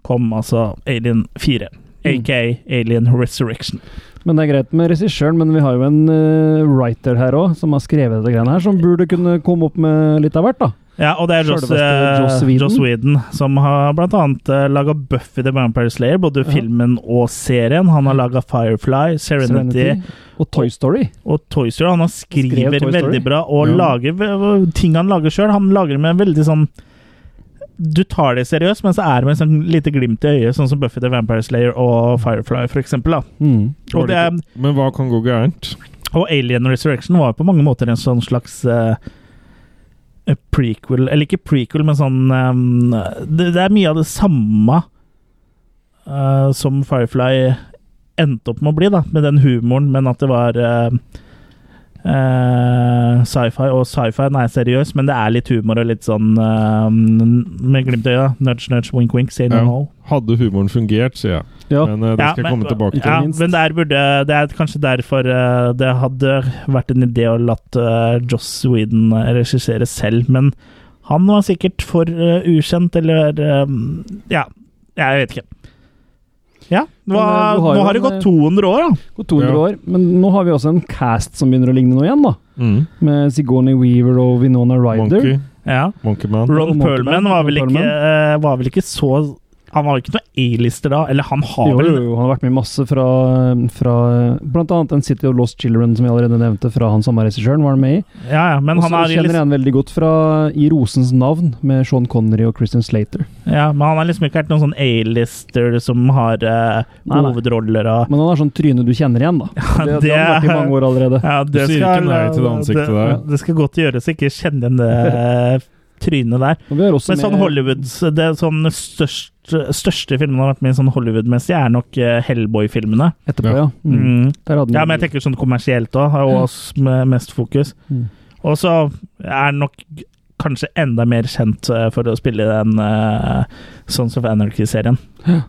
Speaker 1: kom altså Alien 4,
Speaker 4: Mm.
Speaker 1: aka Alien Resurrection.
Speaker 3: Men det er greit med regissøren, men vi har jo en eh, writer her òg, som har skrevet dette greiene her, som burde kunne komme opp med litt av hvert, da.
Speaker 1: Ja, og det er Joss, eh,
Speaker 3: Sjølveste Joss Whedon.
Speaker 1: Joss Whedon, som har blant annet uh, laga Buffy the Vampire Slayer, både
Speaker 3: Ja.
Speaker 1: filmen og serien. Han har laga Firefly, Serenity,
Speaker 3: Og Toy Story.
Speaker 1: og Toy Story. Han har skriver
Speaker 3: Skrev Toy Story.
Speaker 1: veldig bra, og
Speaker 4: Ja.
Speaker 1: lager v- ting han lager sjøl. Han lager med veldig sånn Du tar det seriøst, men så er det med sånn lite glimt i øyet, sånn som Buffy the Vampire Slayer og Firefly, for eksempel. Da.
Speaker 3: Mm.
Speaker 1: Og, det er,
Speaker 4: Men hva kan gå gærent?
Speaker 1: og Alien Resurrection var på mange måter en sånn slags eh, eh, prequel Eller ikke prequel, men sånn eh, det, det er mye av det samme eh, som Firefly endte opp med å bli, da, med den humoren, men at det var eh, eh, sci-fi, og sci-fien er seriøs, men det er litt humor og litt sånn eh, med glimt i øyet. da. Nudge, nudge, wink, wink, say no.
Speaker 4: Ja.
Speaker 1: no.
Speaker 4: Hadde humoren fungert, sier jeg.
Speaker 3: Ja.
Speaker 4: Men eh, det
Speaker 1: Ja,
Speaker 4: skal jeg
Speaker 1: men-
Speaker 4: komme tilbake til.
Speaker 1: Ja,
Speaker 3: minst.
Speaker 1: men der burde, det er kanskje derfor eh, det hadde vært en idé å latt eh, Joss Whedon eh, regissere selv, men han var sikkert for eh, ukjent, eller eh, Ja, jeg vet ikke. Ja, hva,
Speaker 3: Men, eh, du har
Speaker 1: nå
Speaker 3: jo
Speaker 1: har det
Speaker 3: en,
Speaker 1: gått 200 år, da.
Speaker 3: Gått 200
Speaker 1: Ja.
Speaker 3: år, men nå har vi også en cast som begynner å ligne noe igjen, da. Med Sigourney Weaver og Winona Ryder.
Speaker 4: Mm. Monkey.
Speaker 1: Ja.
Speaker 4: Monkeyman.
Speaker 1: Ron
Speaker 3: Monkeyman,
Speaker 1: Perlman var vel
Speaker 3: Ron
Speaker 1: ikke, eh, var vel ikke så Han var jo ikke noe A-lister da, eller han har
Speaker 3: Jo,
Speaker 1: vel
Speaker 3: jo, jo, han har vært med i masse fra, eh, fra blant annet en City of Lost Children, som jeg allerede nevnte, fra han samme regissøren, var han med i.
Speaker 1: Ja, ja, men
Speaker 3: Og
Speaker 1: han
Speaker 3: så
Speaker 1: er i
Speaker 3: kjenner
Speaker 1: liksom-
Speaker 3: jeg han veldig godt fra I Rosens navn, med Sean Connery og Christian Slater.
Speaker 1: Ja, men han har liksom ikke vært noen sånn A-lister som har eh,
Speaker 3: Nei, nei.
Speaker 1: hovedroller og
Speaker 3: Men han har sånn tryne du kjenner igjen, da. det, det, har han vært i mange år allerede.
Speaker 1: Ja, det
Speaker 4: Du sier
Speaker 1: skal,
Speaker 4: ikke nei til det ansiktet
Speaker 1: det,
Speaker 4: der.
Speaker 1: Det skal godt gjøres å ikke kjenne igjen det eh, trynet der.
Speaker 3: Og vi har også
Speaker 1: Men sånn
Speaker 3: med-
Speaker 1: Hollywood Det er sånn største, største filmen har vært med i sånn Hollywood-messig, er nok eh, Hellboy-filmene.
Speaker 3: Etterpå, ja. Mm.
Speaker 1: Mm.
Speaker 3: Der hadde
Speaker 1: Ja,
Speaker 3: han-
Speaker 1: men jeg tenker sånn kommersielt òg, har jo oss med mest fokus.
Speaker 3: Mm.
Speaker 1: Og så er han nok kanskje enda mer kjent eh, for å spille den eh, Sons of Anarchy-serien.
Speaker 3: Ja.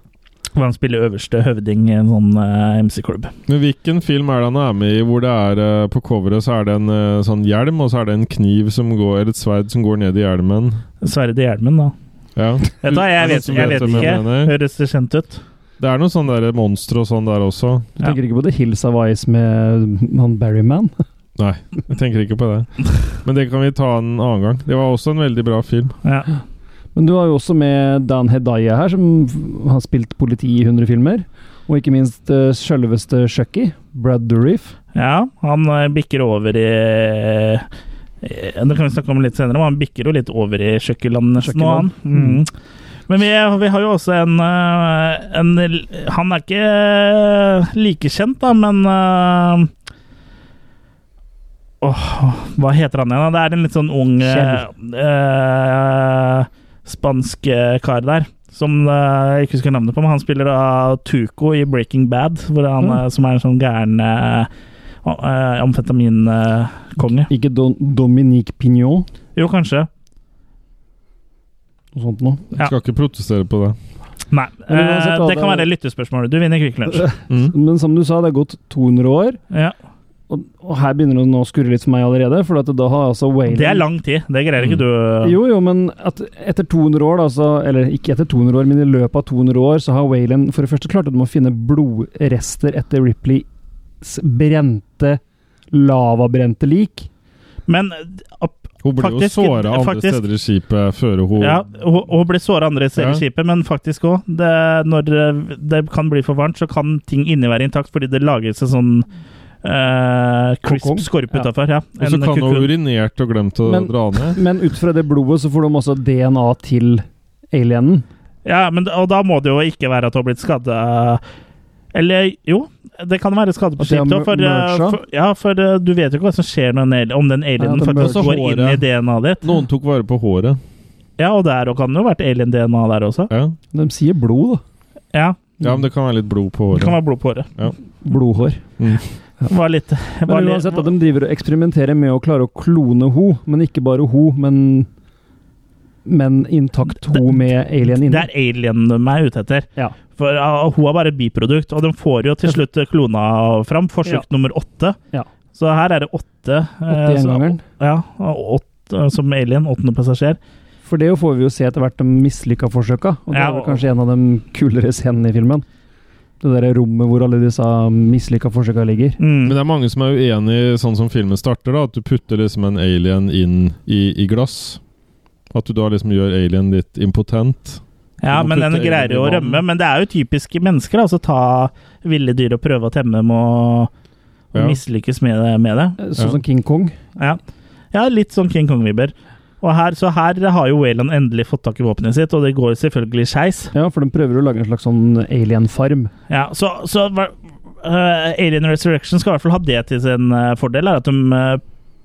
Speaker 1: Hvor han spiller øverste høvding i en sånn eh, MC-klubb.
Speaker 4: Men hvilken film er det han er med i hvor det er eh, på coveret så er det en eh, sånn hjelm, og så er det en kniv som går, eller et sverd som går ned i hjelmen?
Speaker 1: Sverre i hjelmen, da.
Speaker 4: Ja.
Speaker 1: Vet du, hva, jeg vet, Mm. jeg vet ikke. Høres det kjent ut?
Speaker 4: Det er noe sånn der monster og sånn der også.
Speaker 3: Du tenker ikke på The Hills of Ice med han Barryman?
Speaker 4: Nei, jeg tenker ikke på det. Men det kan vi ta en annen gang. Det var også en veldig bra film.
Speaker 1: Ja.
Speaker 3: Men du har jo også med Dan Hedaya her, som f- har spilt politi i 100 filmer. Og ikke minst uh, sjølveste Shucky, Brad Dourif.
Speaker 1: Ja, han eh, bikker over i eh, Det kan vi snakke om litt senere, men han bikker jo litt over i kjøkkenland nesten nå, han.
Speaker 3: Kjøkkenland.
Speaker 1: Mm. Men vi, vi har jo også en, eh, en Han er ikke eh, like kjent, da, men eh, Åh, hva heter han igjen? da? Det er en litt sånn ung eh, eh, spansk eh, kar der. Som eh, jeg ikke husker navnet på, men han spiller da Tuco i Breaking Bad. Hvor han,
Speaker 3: Mm.
Speaker 1: eh, Som er en sånn gæren eh, eh, amfetaminkonge.
Speaker 3: Ikke Don Dominique Pignon,
Speaker 1: jo, kanskje.
Speaker 3: noe sånt noe.
Speaker 1: Ja.
Speaker 4: Skal ikke protestere på det.
Speaker 1: Nei.
Speaker 3: Eller uansett,
Speaker 1: eh,
Speaker 3: da,
Speaker 1: det kan
Speaker 3: det-
Speaker 1: være lyttespørsmålet. Du vinner Kvikk Lunsj.
Speaker 4: Mm.
Speaker 3: Men som du sa, det er gått 200 år.
Speaker 1: Ja.
Speaker 3: Og, og her begynner det nå å skurre litt for meg allerede, for at da har altså Wayland
Speaker 1: Det er lang tid. Det greier
Speaker 4: Mm.
Speaker 1: ikke du. eh,
Speaker 3: Jo, jo, men at etter 200 år, da, så, eller ikke etter 200 år, men i løpet av 200 år, så har Wayland for det første klart at de må finne blodrester etter Ripleys brente, lavabrente lik.
Speaker 1: Men opp,
Speaker 4: Hun ble
Speaker 1: Faktisk-
Speaker 4: jo såra andre
Speaker 1: faktisk-
Speaker 4: steder i skipet før hun
Speaker 1: Ja, hun, hun ble såra andre steder i
Speaker 4: Ja.
Speaker 1: skipet, men faktisk òg. Når det, det kan bli for varmt, så kan ting inni være intakt, fordi det lager seg sånn eh, crisp
Speaker 3: Kokong?
Speaker 1: skorpe
Speaker 3: Ja.
Speaker 1: utafor. Ja.
Speaker 4: Og så
Speaker 1: En
Speaker 4: kan hun
Speaker 1: kukun.
Speaker 4: urinert og glemt å
Speaker 3: Men-
Speaker 4: dra ned.
Speaker 3: Men ut fra det blodet så får de også DNA til alienen.
Speaker 1: Ja, men, og da må det jo ikke være at hun har blitt skada Eller jo, det kan være skade på
Speaker 3: At det er
Speaker 1: skipet. også, For, eh,
Speaker 3: merged?
Speaker 1: for, ja, for eh, du vet jo ikke hva som skjer når en alien, om den alienen
Speaker 3: det er
Speaker 1: faktisk
Speaker 4: merged.
Speaker 1: går inn i
Speaker 4: Håret.
Speaker 1: DNA-et ditt.
Speaker 4: Noen tok vare på håret.
Speaker 1: Ja, og der og kan det jo ha vært alien-DNA der også.
Speaker 4: Ja.
Speaker 3: De sier blod, da.
Speaker 1: Ja,
Speaker 4: ja, men det kan være litt blod på
Speaker 1: det kan
Speaker 4: håret.
Speaker 1: være blod på håret.
Speaker 3: Blodhår.
Speaker 1: Var litt, var
Speaker 3: Men
Speaker 1: litt-
Speaker 3: uansett, at de driver og eksperimenterer med å klare å klone ho, men ikke bare ho, men men intakt ho med alien
Speaker 1: Det
Speaker 3: inni.
Speaker 1: er alien de er ute etter.
Speaker 3: Ja.
Speaker 1: For ah, hun er bare et biprodukt, og de får jo til slutt eh, klona fram. Forsøk
Speaker 3: Ja.
Speaker 1: nummer åtte.
Speaker 3: Ja.
Speaker 1: Så her er det åtte. eh, så-
Speaker 3: gjengangeren.
Speaker 1: Ja, og åtte, eh, som alien. Åttende passasjer.
Speaker 3: For det får vi jo se etter hvert de mislykka forsøka, og det
Speaker 1: Ja,
Speaker 3: er vel
Speaker 1: og-
Speaker 3: kanskje en av de kulere scenene i filmen. Det derre rommet hvor alle disse mislykka forsøka ligger.
Speaker 1: Mm.
Speaker 4: Men det er mange som er uenig i sånn som filmen starter, da, at du putter liksom en alien inn i, i glass. At du da liksom gjør alien litt impotent.
Speaker 1: Ja,
Speaker 4: Du må
Speaker 1: men den
Speaker 4: putte alien
Speaker 1: greier jo
Speaker 4: i
Speaker 1: å
Speaker 4: vann.
Speaker 1: rømme. Men det er jo typiske mennesker, altså ta ville dyr og prøve å temme dem og, og
Speaker 4: Ja.
Speaker 1: mislykkes med det, med det.
Speaker 3: Sånn
Speaker 4: Ja.
Speaker 3: som King Kong.
Speaker 1: Ja. ja, litt sånn King Kong-vibber. Og her, så her har jo Wayland endelig fått tak i våpenet sitt, og det går selvfølgelig skeis.
Speaker 3: Ja, for de prøver å lage en slags sånn alien-farm.
Speaker 1: Ja, så, så hva- eh, Alien Resurrection skal i hvert fall ha det til sin eh, fordel, er at de eh,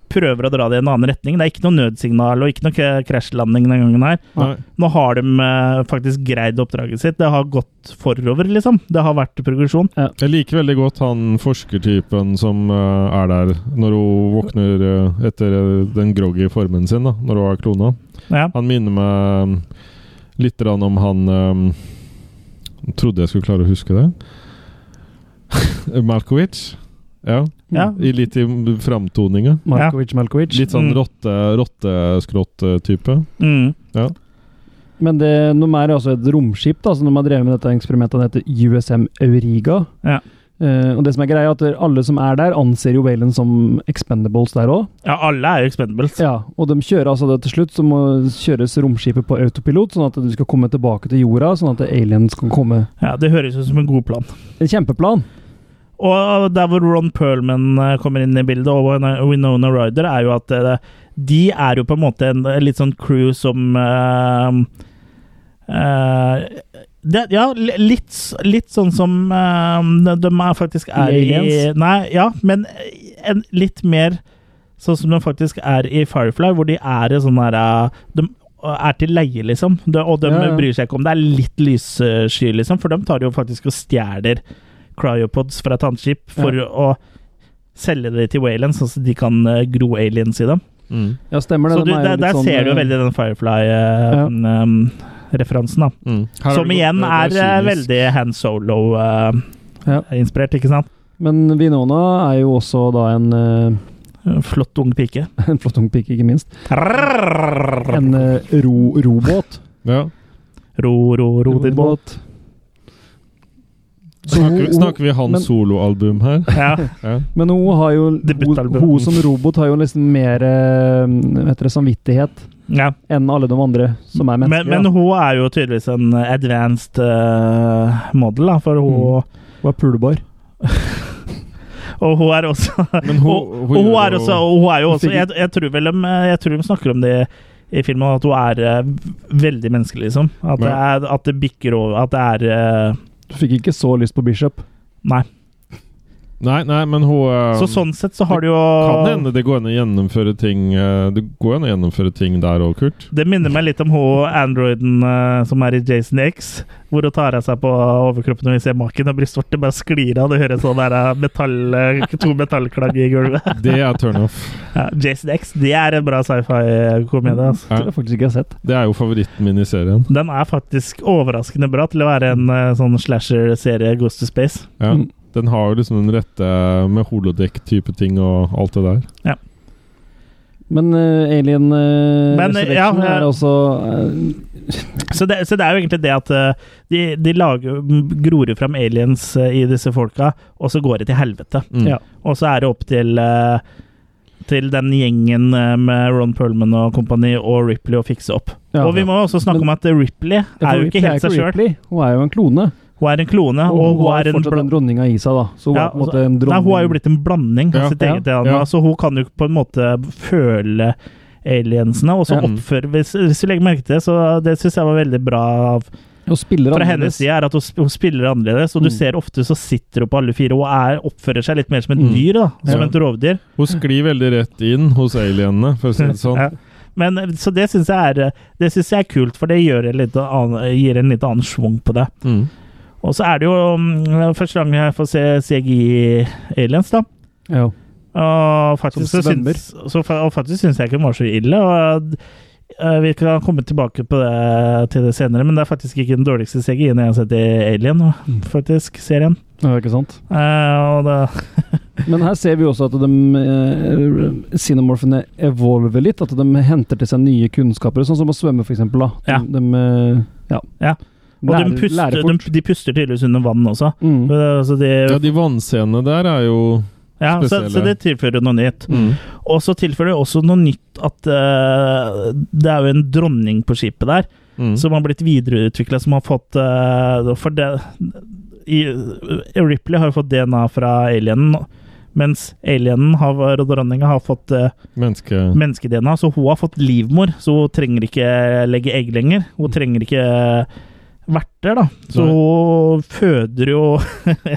Speaker 1: prøver å dra det i en annen retning. Det er ikke noe nødsignal og ikke noe k- krasjlanding den gangen her.
Speaker 4: Nei.
Speaker 1: Nå har de eh, faktisk greid oppdraget sitt. Det har gått forover, liksom. Det har vært progresjon.
Speaker 4: Jeg liker veldig godt han forskertypen som eh, er der når hun våkner eh, etter eh, den groggy formen sin, da, når hun er klona.
Speaker 1: Ja.
Speaker 4: Han minner meg mm, litt grann om han um, Trodde jeg skulle klare å huske det. Malkowicz. Ja.
Speaker 1: Ja.
Speaker 4: I litt i framtoninga.
Speaker 3: Malkovic, Malkovic.
Speaker 4: Litt sånn
Speaker 1: Mm.
Speaker 4: rotte rotteskrott-type.
Speaker 1: Mm.
Speaker 4: Ja.
Speaker 3: Men det, de er jo også et romskip, da, så de har drevet med dette eksperimentet. Det heter USM Euriga.
Speaker 1: Ja.
Speaker 3: Eh, og det som er greia er at Alle som er der, anser jo Valen som expendables der òg.
Speaker 1: Ja, alle er jo expendables.
Speaker 3: Ja, og de kjører altså det til slutt, så må kjøres romskipet på autopilot, sånn at du skal komme tilbake til jorda, sånn at aliens kan komme.
Speaker 1: Ja, Det høres ut som en god plan.
Speaker 3: En kjempeplan.
Speaker 1: Og der hvor Ron Perlman eh, kommer inn i bildet, og Win- Winona Ryder, er jo at eh, de er jo på en måte en eh, litt sånn crew som eh, eh, det, Ja, li- litt, s- litt sånn som eh, de er faktisk er
Speaker 3: I
Speaker 1: i,
Speaker 3: Aliens?
Speaker 1: Nei, ja, men en, litt mer sånn som de faktisk er i Firefly, hvor de er i sånn her eh, De er til leie, liksom. De, og de
Speaker 3: Ja, ja.
Speaker 1: bryr seg ikke om det er litt lyssky, liksom, for de tar jo faktisk og stjeler cryopods fra et annet skip for
Speaker 3: Ja.
Speaker 1: å selge det til Wayland, sånn at de kan eh, gro aliens i dem.
Speaker 4: Mm.
Speaker 3: Ja, stemmer det.
Speaker 1: Så
Speaker 3: de
Speaker 1: du,
Speaker 3: er jo
Speaker 1: der,
Speaker 3: litt
Speaker 1: der
Speaker 3: sånn,
Speaker 1: ser du jo
Speaker 3: eh,
Speaker 1: veldig den eh, Firefly-referansen, eh, da.
Speaker 4: Mm. Her har
Speaker 1: Som
Speaker 4: det
Speaker 1: igjen
Speaker 4: gått-
Speaker 1: er,
Speaker 4: det
Speaker 1: eh,
Speaker 4: kynisk.
Speaker 1: veldig Han
Speaker 3: Ja.
Speaker 1: Solo-inspirert, ikke sant?
Speaker 3: Men Vinona er jo også da en eh,
Speaker 1: Flott ung pike.
Speaker 3: En flott ung pike, ikke minst. En eh, ro, robåt.
Speaker 4: Ja.
Speaker 1: Ro, ro, ro din båt.
Speaker 3: Så
Speaker 4: Snakker,
Speaker 3: hun-
Speaker 4: snakker vi hans
Speaker 3: men-
Speaker 4: soloalbum her?
Speaker 1: Ja.
Speaker 4: Ja.
Speaker 3: Men hun har jo hun,
Speaker 1: Debutalbum.
Speaker 3: hun som robot har jo nesten mer eh, hva heter det, samvittighet
Speaker 1: ja.
Speaker 3: enn alle de andre som er
Speaker 1: Men,
Speaker 3: mennesker.
Speaker 1: men
Speaker 3: da.
Speaker 1: hun er jo tydeligvis en advanced eh, model, da, for hun
Speaker 4: Mm.
Speaker 3: hun er pulebar.
Speaker 1: Og hun er også
Speaker 4: Men hun-
Speaker 1: og,
Speaker 4: hun
Speaker 1: og hun
Speaker 4: gjør
Speaker 1: er
Speaker 4: jo-
Speaker 1: også, og hun er jo
Speaker 3: Hun
Speaker 1: også
Speaker 3: fikk-
Speaker 1: jeg, jeg tror vel de, jeg tror de snakker om det i filmen, at hun er eh, veldig menneskelig, liksom. At det, er, at det bikker over At det er eh,
Speaker 3: Du fikk ikke så lyst på Bishop.
Speaker 1: Nei.
Speaker 4: Nei, nei, men hun eh,
Speaker 1: Så sånn sett så har du jo
Speaker 4: Kan hende det går an å gjennomføre ting eh, Det går an å gjennomføre ting der òg, Kurt.
Speaker 1: Det minner meg litt om hun androiden eh, som er i Jason X, hvor hun tar av seg på overkroppen når vi ser maken, og brystvortet bare sklir av. Du hører sånn der eh, metall, eh, to metallklagg i gulvet.
Speaker 4: Det er turnoff.
Speaker 1: Ja, Jason X, det er en bra sci-fi-komedie. Altså.
Speaker 3: Det tror jeg faktisk ikke jeg har sett.
Speaker 4: Det er jo favoritten min i serien.
Speaker 1: Den er faktisk overraskende bra til å være en eh, sånn slasher-serie Ghost to Space.
Speaker 4: Ja.
Speaker 3: Mm.
Speaker 4: Den har jo liksom den rette med holodeck-type ting og alt det der.
Speaker 3: Men eh, Alien eh,
Speaker 1: Men, eh, ja,
Speaker 3: Resurrection
Speaker 1: eh,
Speaker 3: er også eh,
Speaker 1: Så det, så det er jo egentlig det at eh, de, de lager, gror jo fram aliens eh, i disse folka, og så går det til helvete.
Speaker 4: Mm.
Speaker 3: Ja.
Speaker 1: Og så er det opp til eh, til den gjengen eh, med Ron Perlman og kompani og Ripley å fikse opp.
Speaker 3: Ja.
Speaker 1: og vi må også snakke
Speaker 3: Men-
Speaker 1: om at Ripley
Speaker 3: eh,
Speaker 1: er jo ikke
Speaker 3: Ripley
Speaker 1: helt
Speaker 3: er
Speaker 1: seg
Speaker 3: ikke
Speaker 1: sjøl.
Speaker 3: Ripley. Hun er jo en klone.
Speaker 1: Hun er en klone,
Speaker 3: Og
Speaker 1: og hun er en
Speaker 3: fortsatt
Speaker 1: bl-
Speaker 3: en dronning av isa, da. Så hun
Speaker 1: Ja, altså,
Speaker 3: er på en måte en
Speaker 1: Nei,
Speaker 3: dronning.
Speaker 1: hun har jo blitt en blanding av
Speaker 4: Ja,
Speaker 1: sitt
Speaker 3: ja,
Speaker 1: eget DNA,
Speaker 4: ja.
Speaker 1: så hun kan jo på en måte føle aliensene, og så
Speaker 3: Ja.
Speaker 1: oppføre hvis, hvis du legger merke til det, så det syns jeg var veldig bra av
Speaker 3: Hun spiller
Speaker 1: fra
Speaker 3: annerledes.
Speaker 1: hennes side, er at hun, sp- hun spiller annerledes,
Speaker 3: Mm.
Speaker 1: og du ser ofte så sitter hun på alle fire og er, oppfører seg litt mer som et
Speaker 4: Mm.
Speaker 1: dyr, da, som
Speaker 4: Ja.
Speaker 1: et rovdyr.
Speaker 4: Hun sklir veldig rett inn hos alienene, for å si det sånn.
Speaker 1: Mm. Ja. Men, eh, så det syns jeg, er- eh, det synes jeg er kult, for det gjør en litt annen, gir en litt annen schwung på det.
Speaker 4: Mm.
Speaker 1: Og så er det jo mm, første gang jeg får se CGI-aliens, da.
Speaker 3: Ja.
Speaker 1: Og faktisk,
Speaker 3: Som
Speaker 1: så
Speaker 3: svømmer.
Speaker 1: syns, så, fa- og faktisk syns jeg ikke den var så ille. Og eh, Vi kan komme tilbake på det, til det senere, men det er faktisk ikke den dårligste CGI-en jeg har sett i Alien.
Speaker 3: Mm.
Speaker 1: faktisk, serien.
Speaker 3: ja, ikke sant?
Speaker 1: Eh, og det,
Speaker 3: Men her ser vi også at de eh, xenomorphene evolver litt. At de henter til seg nye kunnskaper, sånn som å svømme, f.eks. De,
Speaker 1: Ja.
Speaker 3: de, eh, ja.
Speaker 1: Ja. og
Speaker 3: Lærer,
Speaker 1: de, puster,
Speaker 3: lærer fort.
Speaker 1: de, de puster tydeligvis under vann også.
Speaker 3: Mm.
Speaker 1: Eh, Så, de,
Speaker 4: Ja, de vannscenene der er jo Mm.
Speaker 1: ja, så,
Speaker 4: spesielle.
Speaker 1: så det tilfører noe nytt. Og så tilfører det også noe nytt at eh, det er jo en dronning på skipet der.
Speaker 4: mm.
Speaker 1: som har blitt videreutvikla, som har fått eh, For det i, Ripley har jo fått DNA fra alienen, mens alienen har, og dronninga har fått eh,
Speaker 4: Menneske...
Speaker 1: menneske-DNA, så hun har fått livmor, så hun trenger ikke legge egg lenger.
Speaker 4: Mm.
Speaker 1: Hun trenger ikke verter, da. Så
Speaker 4: Nei.
Speaker 1: hun føder jo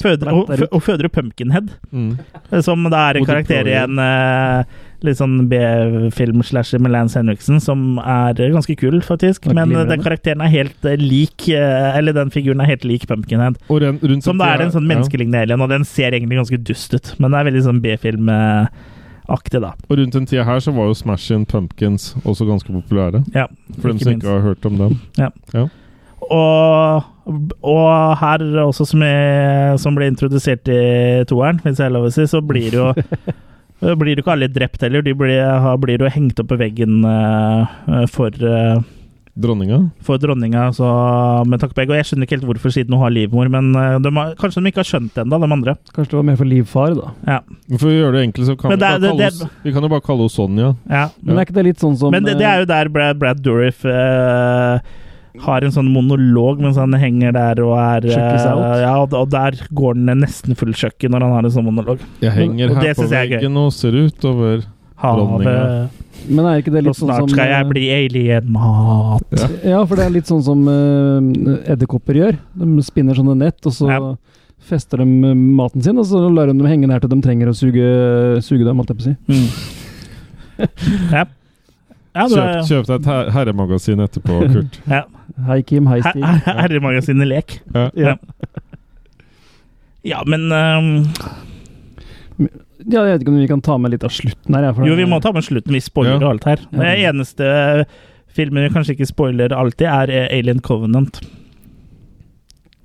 Speaker 1: føder, hun, fø- hun føder jo Pumpkinhead,
Speaker 4: Mm.
Speaker 1: Eh, som det er en
Speaker 4: Og de
Speaker 1: karakter i
Speaker 4: prøver.
Speaker 1: en eh, litt sånn B-film-slasher med Lance Henriksen, som er eh, ganske kul, faktisk.
Speaker 3: Var ikke
Speaker 1: Men eh,
Speaker 3: livredd.
Speaker 1: den karakteren er helt eh, lik eh, Eller den figuren er helt lik Pumpkinhead.
Speaker 4: Og ren, rundt
Speaker 1: Som da er en sånn
Speaker 4: ja.
Speaker 1: menneskelignende alien, og den ser egentlig ganske dust ut, men det er veldig sånn B-film-aktig, da.
Speaker 4: Og rundt den tida her så var jo Smashing Pumpkins også ganske populære.
Speaker 1: Ja,
Speaker 4: For dem
Speaker 1: ikke
Speaker 4: som
Speaker 1: minst.
Speaker 4: ikke har hørt om dem.
Speaker 1: Og, og her også, som, jeg, som ble introdusert i toeren, hvis jeg har lov å si, så blir jo blir jo ikke alle drept heller. De blir, har- blir jo hengt opp på veggen eh, for eh,
Speaker 4: Dronninga?
Speaker 1: for dronninga så, med takk begge. Og jeg skjønner ikke helt hvorfor, siden hun har livmor, men eh, de har, kanskje de ikke har skjønt det ennå, de andre.
Speaker 3: Kanskje det var mer for livfar, da.
Speaker 1: Ja.
Speaker 4: For å gjøre det enkelt, så kan vi,
Speaker 1: Men det er-
Speaker 4: bare kalle
Speaker 1: det-
Speaker 4: oss, vi kan jo bare kalle henne Sonja.
Speaker 1: Ja.
Speaker 3: Men er ikke det litt sånn som
Speaker 1: Men det, det er jo der Brad, Brad Dourif eh, har en sånn monolog mens han henger der og er eh,
Speaker 3: Check us out.
Speaker 1: Ja, og, og der går han ned nesten full kjøkken når han har en sånn monolog.
Speaker 4: Jeg henger
Speaker 1: Og
Speaker 4: her
Speaker 1: det
Speaker 4: på
Speaker 1: synes jeg er gøy.
Speaker 4: veggen og ser utover dronninga.
Speaker 1: Havet
Speaker 3: Men er ikke det
Speaker 1: Og
Speaker 3: litt sånn som
Speaker 1: snart skal jeg bli alien-mat.
Speaker 4: Ja.
Speaker 3: Ja, for det er litt sånn som eh, edderkopper gjør. De spinner sånne nett, og så fester de eh, maten sin, og så lar de dem henge der til de trenger å suge, suge dem, holdt jeg på å si.
Speaker 1: Ja. Ja, det
Speaker 4: Kjøp,
Speaker 1: er-
Speaker 4: kjøp deg et her- herremagasin etterpå, Kurt.
Speaker 1: ja.
Speaker 3: Hei, Kim. Hei,
Speaker 1: Her-
Speaker 3: Stig.
Speaker 1: her- Herremagasinet Lek.
Speaker 4: Ja.
Speaker 1: Ja. ja, men ehm,
Speaker 3: Ja, jeg vet ikke om vi kan ta med litt av slutten her. jeg, for
Speaker 1: Jo,
Speaker 3: det-
Speaker 1: vi må ta med slutten. Vi spoiler
Speaker 4: Ja.
Speaker 1: alt her.
Speaker 3: Ja.
Speaker 1: Det eneste filmen vi kanskje ikke spoiler alltid, er eh, Alien Covenant.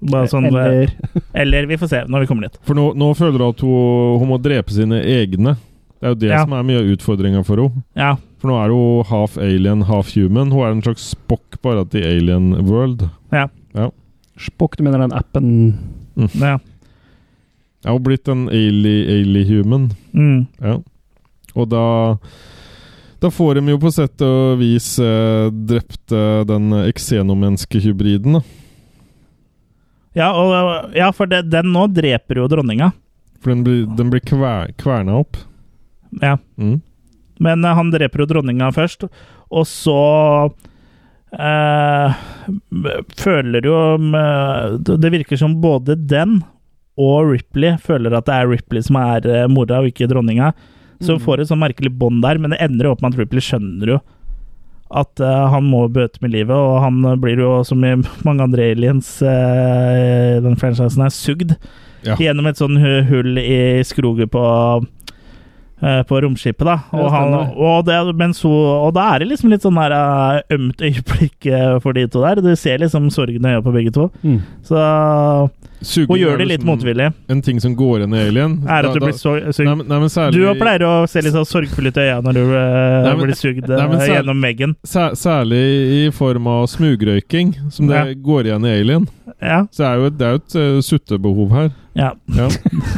Speaker 1: Bare sånn Eller,
Speaker 3: Eller
Speaker 1: eller vi får se når vi kommer dit.
Speaker 4: For nå, nå føler hun at hun, hun må drepe sine egne. Det er jo det
Speaker 1: Ja.
Speaker 4: som er mye av utfordringa for henne.
Speaker 1: Ja.
Speaker 4: For nå er hun half alien, half human. Hun er en slags Spock, bare at i alien world.
Speaker 3: Spock, du mener den appen
Speaker 1: ja.
Speaker 4: Er hun blitt en ali-ali-human?
Speaker 1: Mm.
Speaker 4: Ja. Og da da får de jo på sett og vis eh, drept eh, den eksenomenneskehybriden. da.
Speaker 1: Ja, og, ja, for det, den nå dreper jo dronninga.
Speaker 4: For den blir, den blir kver, kverna opp.
Speaker 1: Ja.
Speaker 4: Mm.
Speaker 1: Men eh, han dreper jo dronninga først, og så eh, føler jo eh, det- Det virker som både den og Ripley føler at det er Ripley som er eh, mora, og ikke dronninga. Så hun får et sånn merkelig bånd der, men det ender jo opp med at Ripley skjønner jo at eh, han må bøte med livet, og han eh, blir jo, som i mange andre aliens eh, i den franchisen, her, sugd
Speaker 4: Ja.
Speaker 1: gjennom et sånn hu- hull i skroget på eh, på romskipet, da.
Speaker 3: Ja,
Speaker 1: Og, han,
Speaker 3: stemmer.
Speaker 1: og, det, mens hun, og da er det liksom litt sånn der eh, ømt øyeblikk eh, for de to der. Du ser liksom sorgen i øya på begge to.
Speaker 3: Mm.
Speaker 1: Så
Speaker 4: Suging
Speaker 1: hun
Speaker 4: er
Speaker 1: gjør det litt
Speaker 4: liksom
Speaker 1: motvillig.
Speaker 4: En ting som går igjen i alien.
Speaker 1: Er
Speaker 4: Da-
Speaker 1: at du
Speaker 4: da-
Speaker 1: blir så, sugd.
Speaker 4: Nei, men- nei, men
Speaker 1: Du
Speaker 4: særlig,
Speaker 1: også pleier å se litt sånn sorgfull ut i øya når du eh,
Speaker 4: Nei, men-
Speaker 1: blir sugd
Speaker 4: Nei, men
Speaker 1: eh,
Speaker 4: særlig-
Speaker 1: gjennom veggen.
Speaker 4: Sæ særlig i form av smugrøyking, som det
Speaker 1: Ja.
Speaker 4: går igjen i Alien.
Speaker 1: Ja,
Speaker 4: Så det er jo et, det er jo et eh, suttebehov her.
Speaker 1: ja.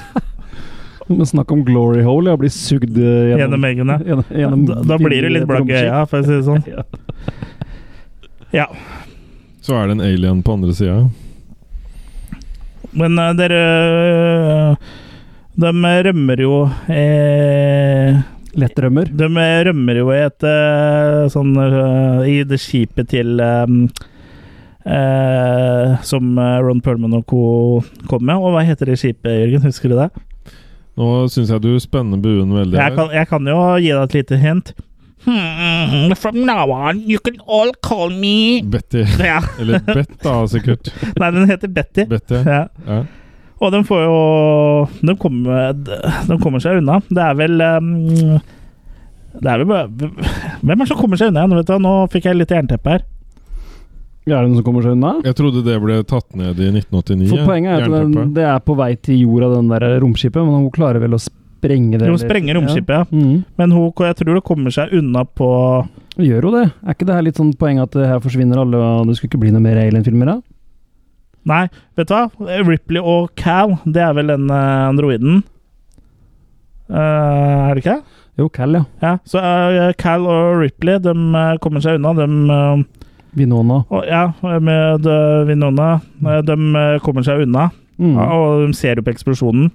Speaker 4: Ja.
Speaker 3: Men snakk om glory hole, ja. Bli sugd eh,
Speaker 1: Gjennom
Speaker 3: gjennom
Speaker 1: veggen, ja.
Speaker 3: gjennom- gjennom-
Speaker 1: Da, da blir du litt blakk i øya, for å si det sånn. Ja.
Speaker 3: Ja.
Speaker 4: Så er det en alien på andre sida.
Speaker 1: Men eh, dere eh, De rømmer jo eh,
Speaker 3: Lettrømmer.
Speaker 1: De rømmer jo i et eh, sånn eh, I det skipet til eh, eh, Som eh, Ron Perlman og co. kom med. Og hva heter det skipet, Jørgen? Husker du det?
Speaker 4: Nå syns jeg du spenner buen veldig.
Speaker 1: Jeg
Speaker 4: her.
Speaker 1: kan, jeg kan jo gi deg et lite hint. Hmm, from now on, you can all call me
Speaker 4: Betty.
Speaker 1: ja.
Speaker 4: Eller Bett, da, sikkert.
Speaker 1: Nei, den heter Betty.
Speaker 4: Betty.
Speaker 1: Ja.
Speaker 4: Ja.
Speaker 1: Og de får jo De kommer, de kommer seg unna. Det er vel ehm, Det er vel bare Hvem er det som kommer seg unna igjen? Vet du? Nå fikk jeg litt jernteppe her.
Speaker 3: Er det noen som kommer seg unna?
Speaker 4: Jeg trodde det ble tatt ned i 1989.
Speaker 3: For poenget er at den,
Speaker 4: jernteppet.
Speaker 3: det er på vei til jorda, den der romskipet, men hun klarer vel å sprenge det?
Speaker 1: Hun
Speaker 3: eller-
Speaker 1: sprenger romskipet, ja.
Speaker 3: Ja. Mm.
Speaker 1: Men hun, jeg tror hun kommer seg unna på
Speaker 3: Hun Gjør jo det? Er ikke det her litt sånn poeng at eh, her forsvinner alle, og det skulle ikke bli noe mer Alien-filmer da?
Speaker 1: Nei, vet du hva? Ripley og Cal, det er vel den eh, androiden? Eh, er det ikke?
Speaker 3: Jo, Cal, ja.
Speaker 1: Ja, så eh, Cal og Ripley de eh, kommer seg unna. De, eh,
Speaker 3: Vinona.
Speaker 1: og, ja, med eh, Winona. eh, De eh, kommer seg unna,
Speaker 3: Mm.
Speaker 1: og de ser jo på eksplosjonen.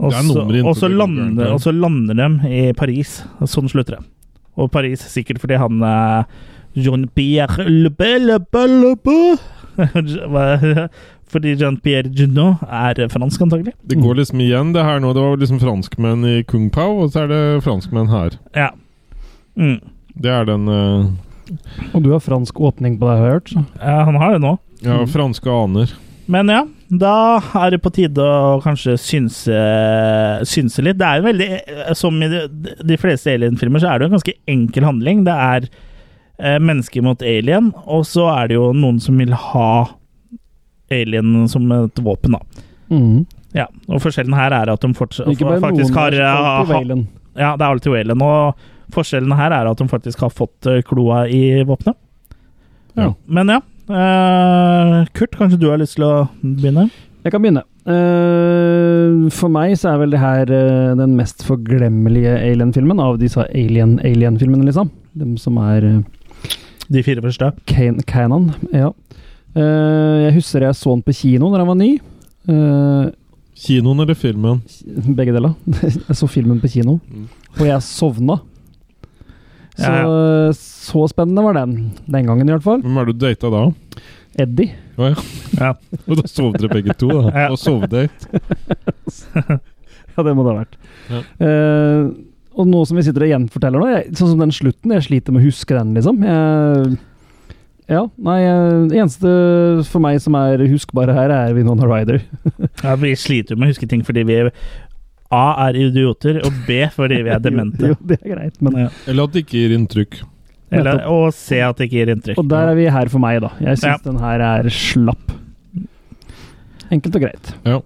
Speaker 1: Og
Speaker 4: Det er
Speaker 1: så,
Speaker 4: nummer inntil
Speaker 1: og, så
Speaker 4: det går gærent
Speaker 1: lander,
Speaker 4: her.
Speaker 1: og så lander de i Paris. Og Sånn slutter det. Og Paris sikkert fordi han eh, Jean-Pierre Lebelebelebe Fordi Jean-Pierre Junot er fransk, antagelig.
Speaker 4: Det går liksom igjen, det her nå. Det var liksom franskmenn i Kung Pao, og så er det franskmenn her.
Speaker 1: Ja. Mm.
Speaker 4: Det er den eh,
Speaker 3: Og du har fransk åpning på deg, har jeg hørt. så.
Speaker 1: ja. Han har det nå.
Speaker 4: Ja,
Speaker 3: Mm.
Speaker 4: franske aner.
Speaker 1: Men ja, da er det på tide å kanskje synse, synse litt. Det er jo veldig Som i de, de fleste alien-filmer, så er det jo en ganske enkel handling. Det er eh, mennesker mot alien, og så er det jo noen som vil ha alien som et våpen, da.
Speaker 3: Mm.
Speaker 1: Ja, og forskjellen her er at de fortsatt
Speaker 3: Ikke bare
Speaker 1: faktisk
Speaker 3: noen
Speaker 1: har eh,
Speaker 3: der, alt på
Speaker 1: ha-
Speaker 3: Valen.
Speaker 1: Ja, det er alltid alien, og Forskjellen her er at hun faktisk har fått eh, kloa i våpenet.
Speaker 3: Ja.
Speaker 1: Men ja. eh, Kurt, kanskje du har lyst til å begynne?
Speaker 3: Jeg kan begynne. Eh, for meg så er vel det her eh, den mest forglemmelige Alien-filmen av disse Alien-Alien-filmene, liksom. De som er eh,
Speaker 1: De fire første?
Speaker 3: Can Canon, ja. Eh, jeg husker jeg så den på kino når jeg var ny. Eh,
Speaker 4: Kinoen eller filmen?
Speaker 3: begge deler. jeg så filmen på kino, og jeg sovna. Så,
Speaker 4: Ja,
Speaker 3: så spennende var den. Den gangen, i hvert fall.
Speaker 4: Hvem er det du data da?
Speaker 3: Eddie.
Speaker 4: Å ja. Og da sov dere begge to, da. Og sovdate.
Speaker 3: ja, det må det ha vært.
Speaker 4: Ja.
Speaker 3: Eh, og nå som vi sitter og gjenforteller nå, jeg, sånn som den slutten, jeg sliter med å huske den, liksom. Jeg, ja, nei, jeg- det eneste for meg som er huskbare her, er Winona Ryder.
Speaker 1: Ja, vi sliter jo med å huske ting fordi vi A er idioter, og B fordi vi er demente.
Speaker 3: Jo, det er greit, men
Speaker 4: Eller at det ikke gir inntrykk.
Speaker 1: Eller, og C at det ikke gir inntrykk.
Speaker 3: Og der er vi her for meg, da. Jeg syns den her er slapp. Enkelt og greit.
Speaker 4: Ja.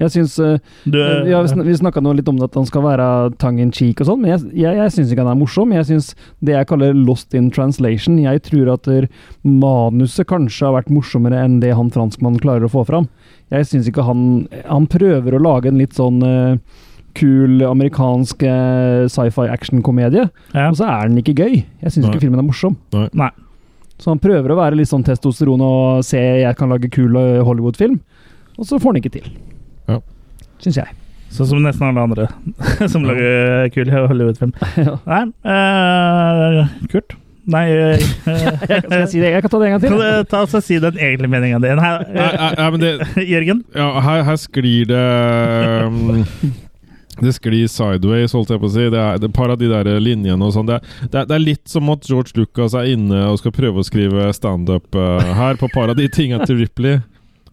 Speaker 3: Jeg syns eh,
Speaker 1: Du-
Speaker 3: Vi, har sn vi snakka nå litt om at han skal være tongue in cheek og sånn, men jeg, jeg, jeg syns ikke han er morsom. Jeg syns det jeg kaller lost in translation. Jeg tror at der, manuset kanskje har vært morsommere enn det han franskmannen klarer å få fram. Jeg syns ikke han Han prøver å lage en litt sånn eh, kul amerikansk eh, sci-fi action-komedie, og så er den ikke gøy. Jeg syns ikke filmen er morsom.
Speaker 4: Nei.
Speaker 3: Så han prøver å være litt sånn testosteron og se jeg kan lage kul eh, Hollywood-film, og så får han ikke til.
Speaker 4: Ja.
Speaker 3: Syns jeg.
Speaker 1: Sånn som nesten alle andre som lager kul Hollywood-film. Nei eh, Kurt? Nei eh,
Speaker 3: Skal jeg si det? Jeg kan ta det en gang
Speaker 1: Kan
Speaker 3: til.
Speaker 1: du ta oss og si den egentlige meninga di? Nei,
Speaker 4: Nei, nei, nei, men det,
Speaker 1: eh, Jørgen?
Speaker 4: Ja, her, her sklir det um, Det sklir sideways, holdt jeg på å si. Det er det er et par av de der linjene og sånn. Det, er- det, er- det er litt som at George Lucas er inne og skal prøve å skrive standup uh, her, på et par av de tinga til Ripley.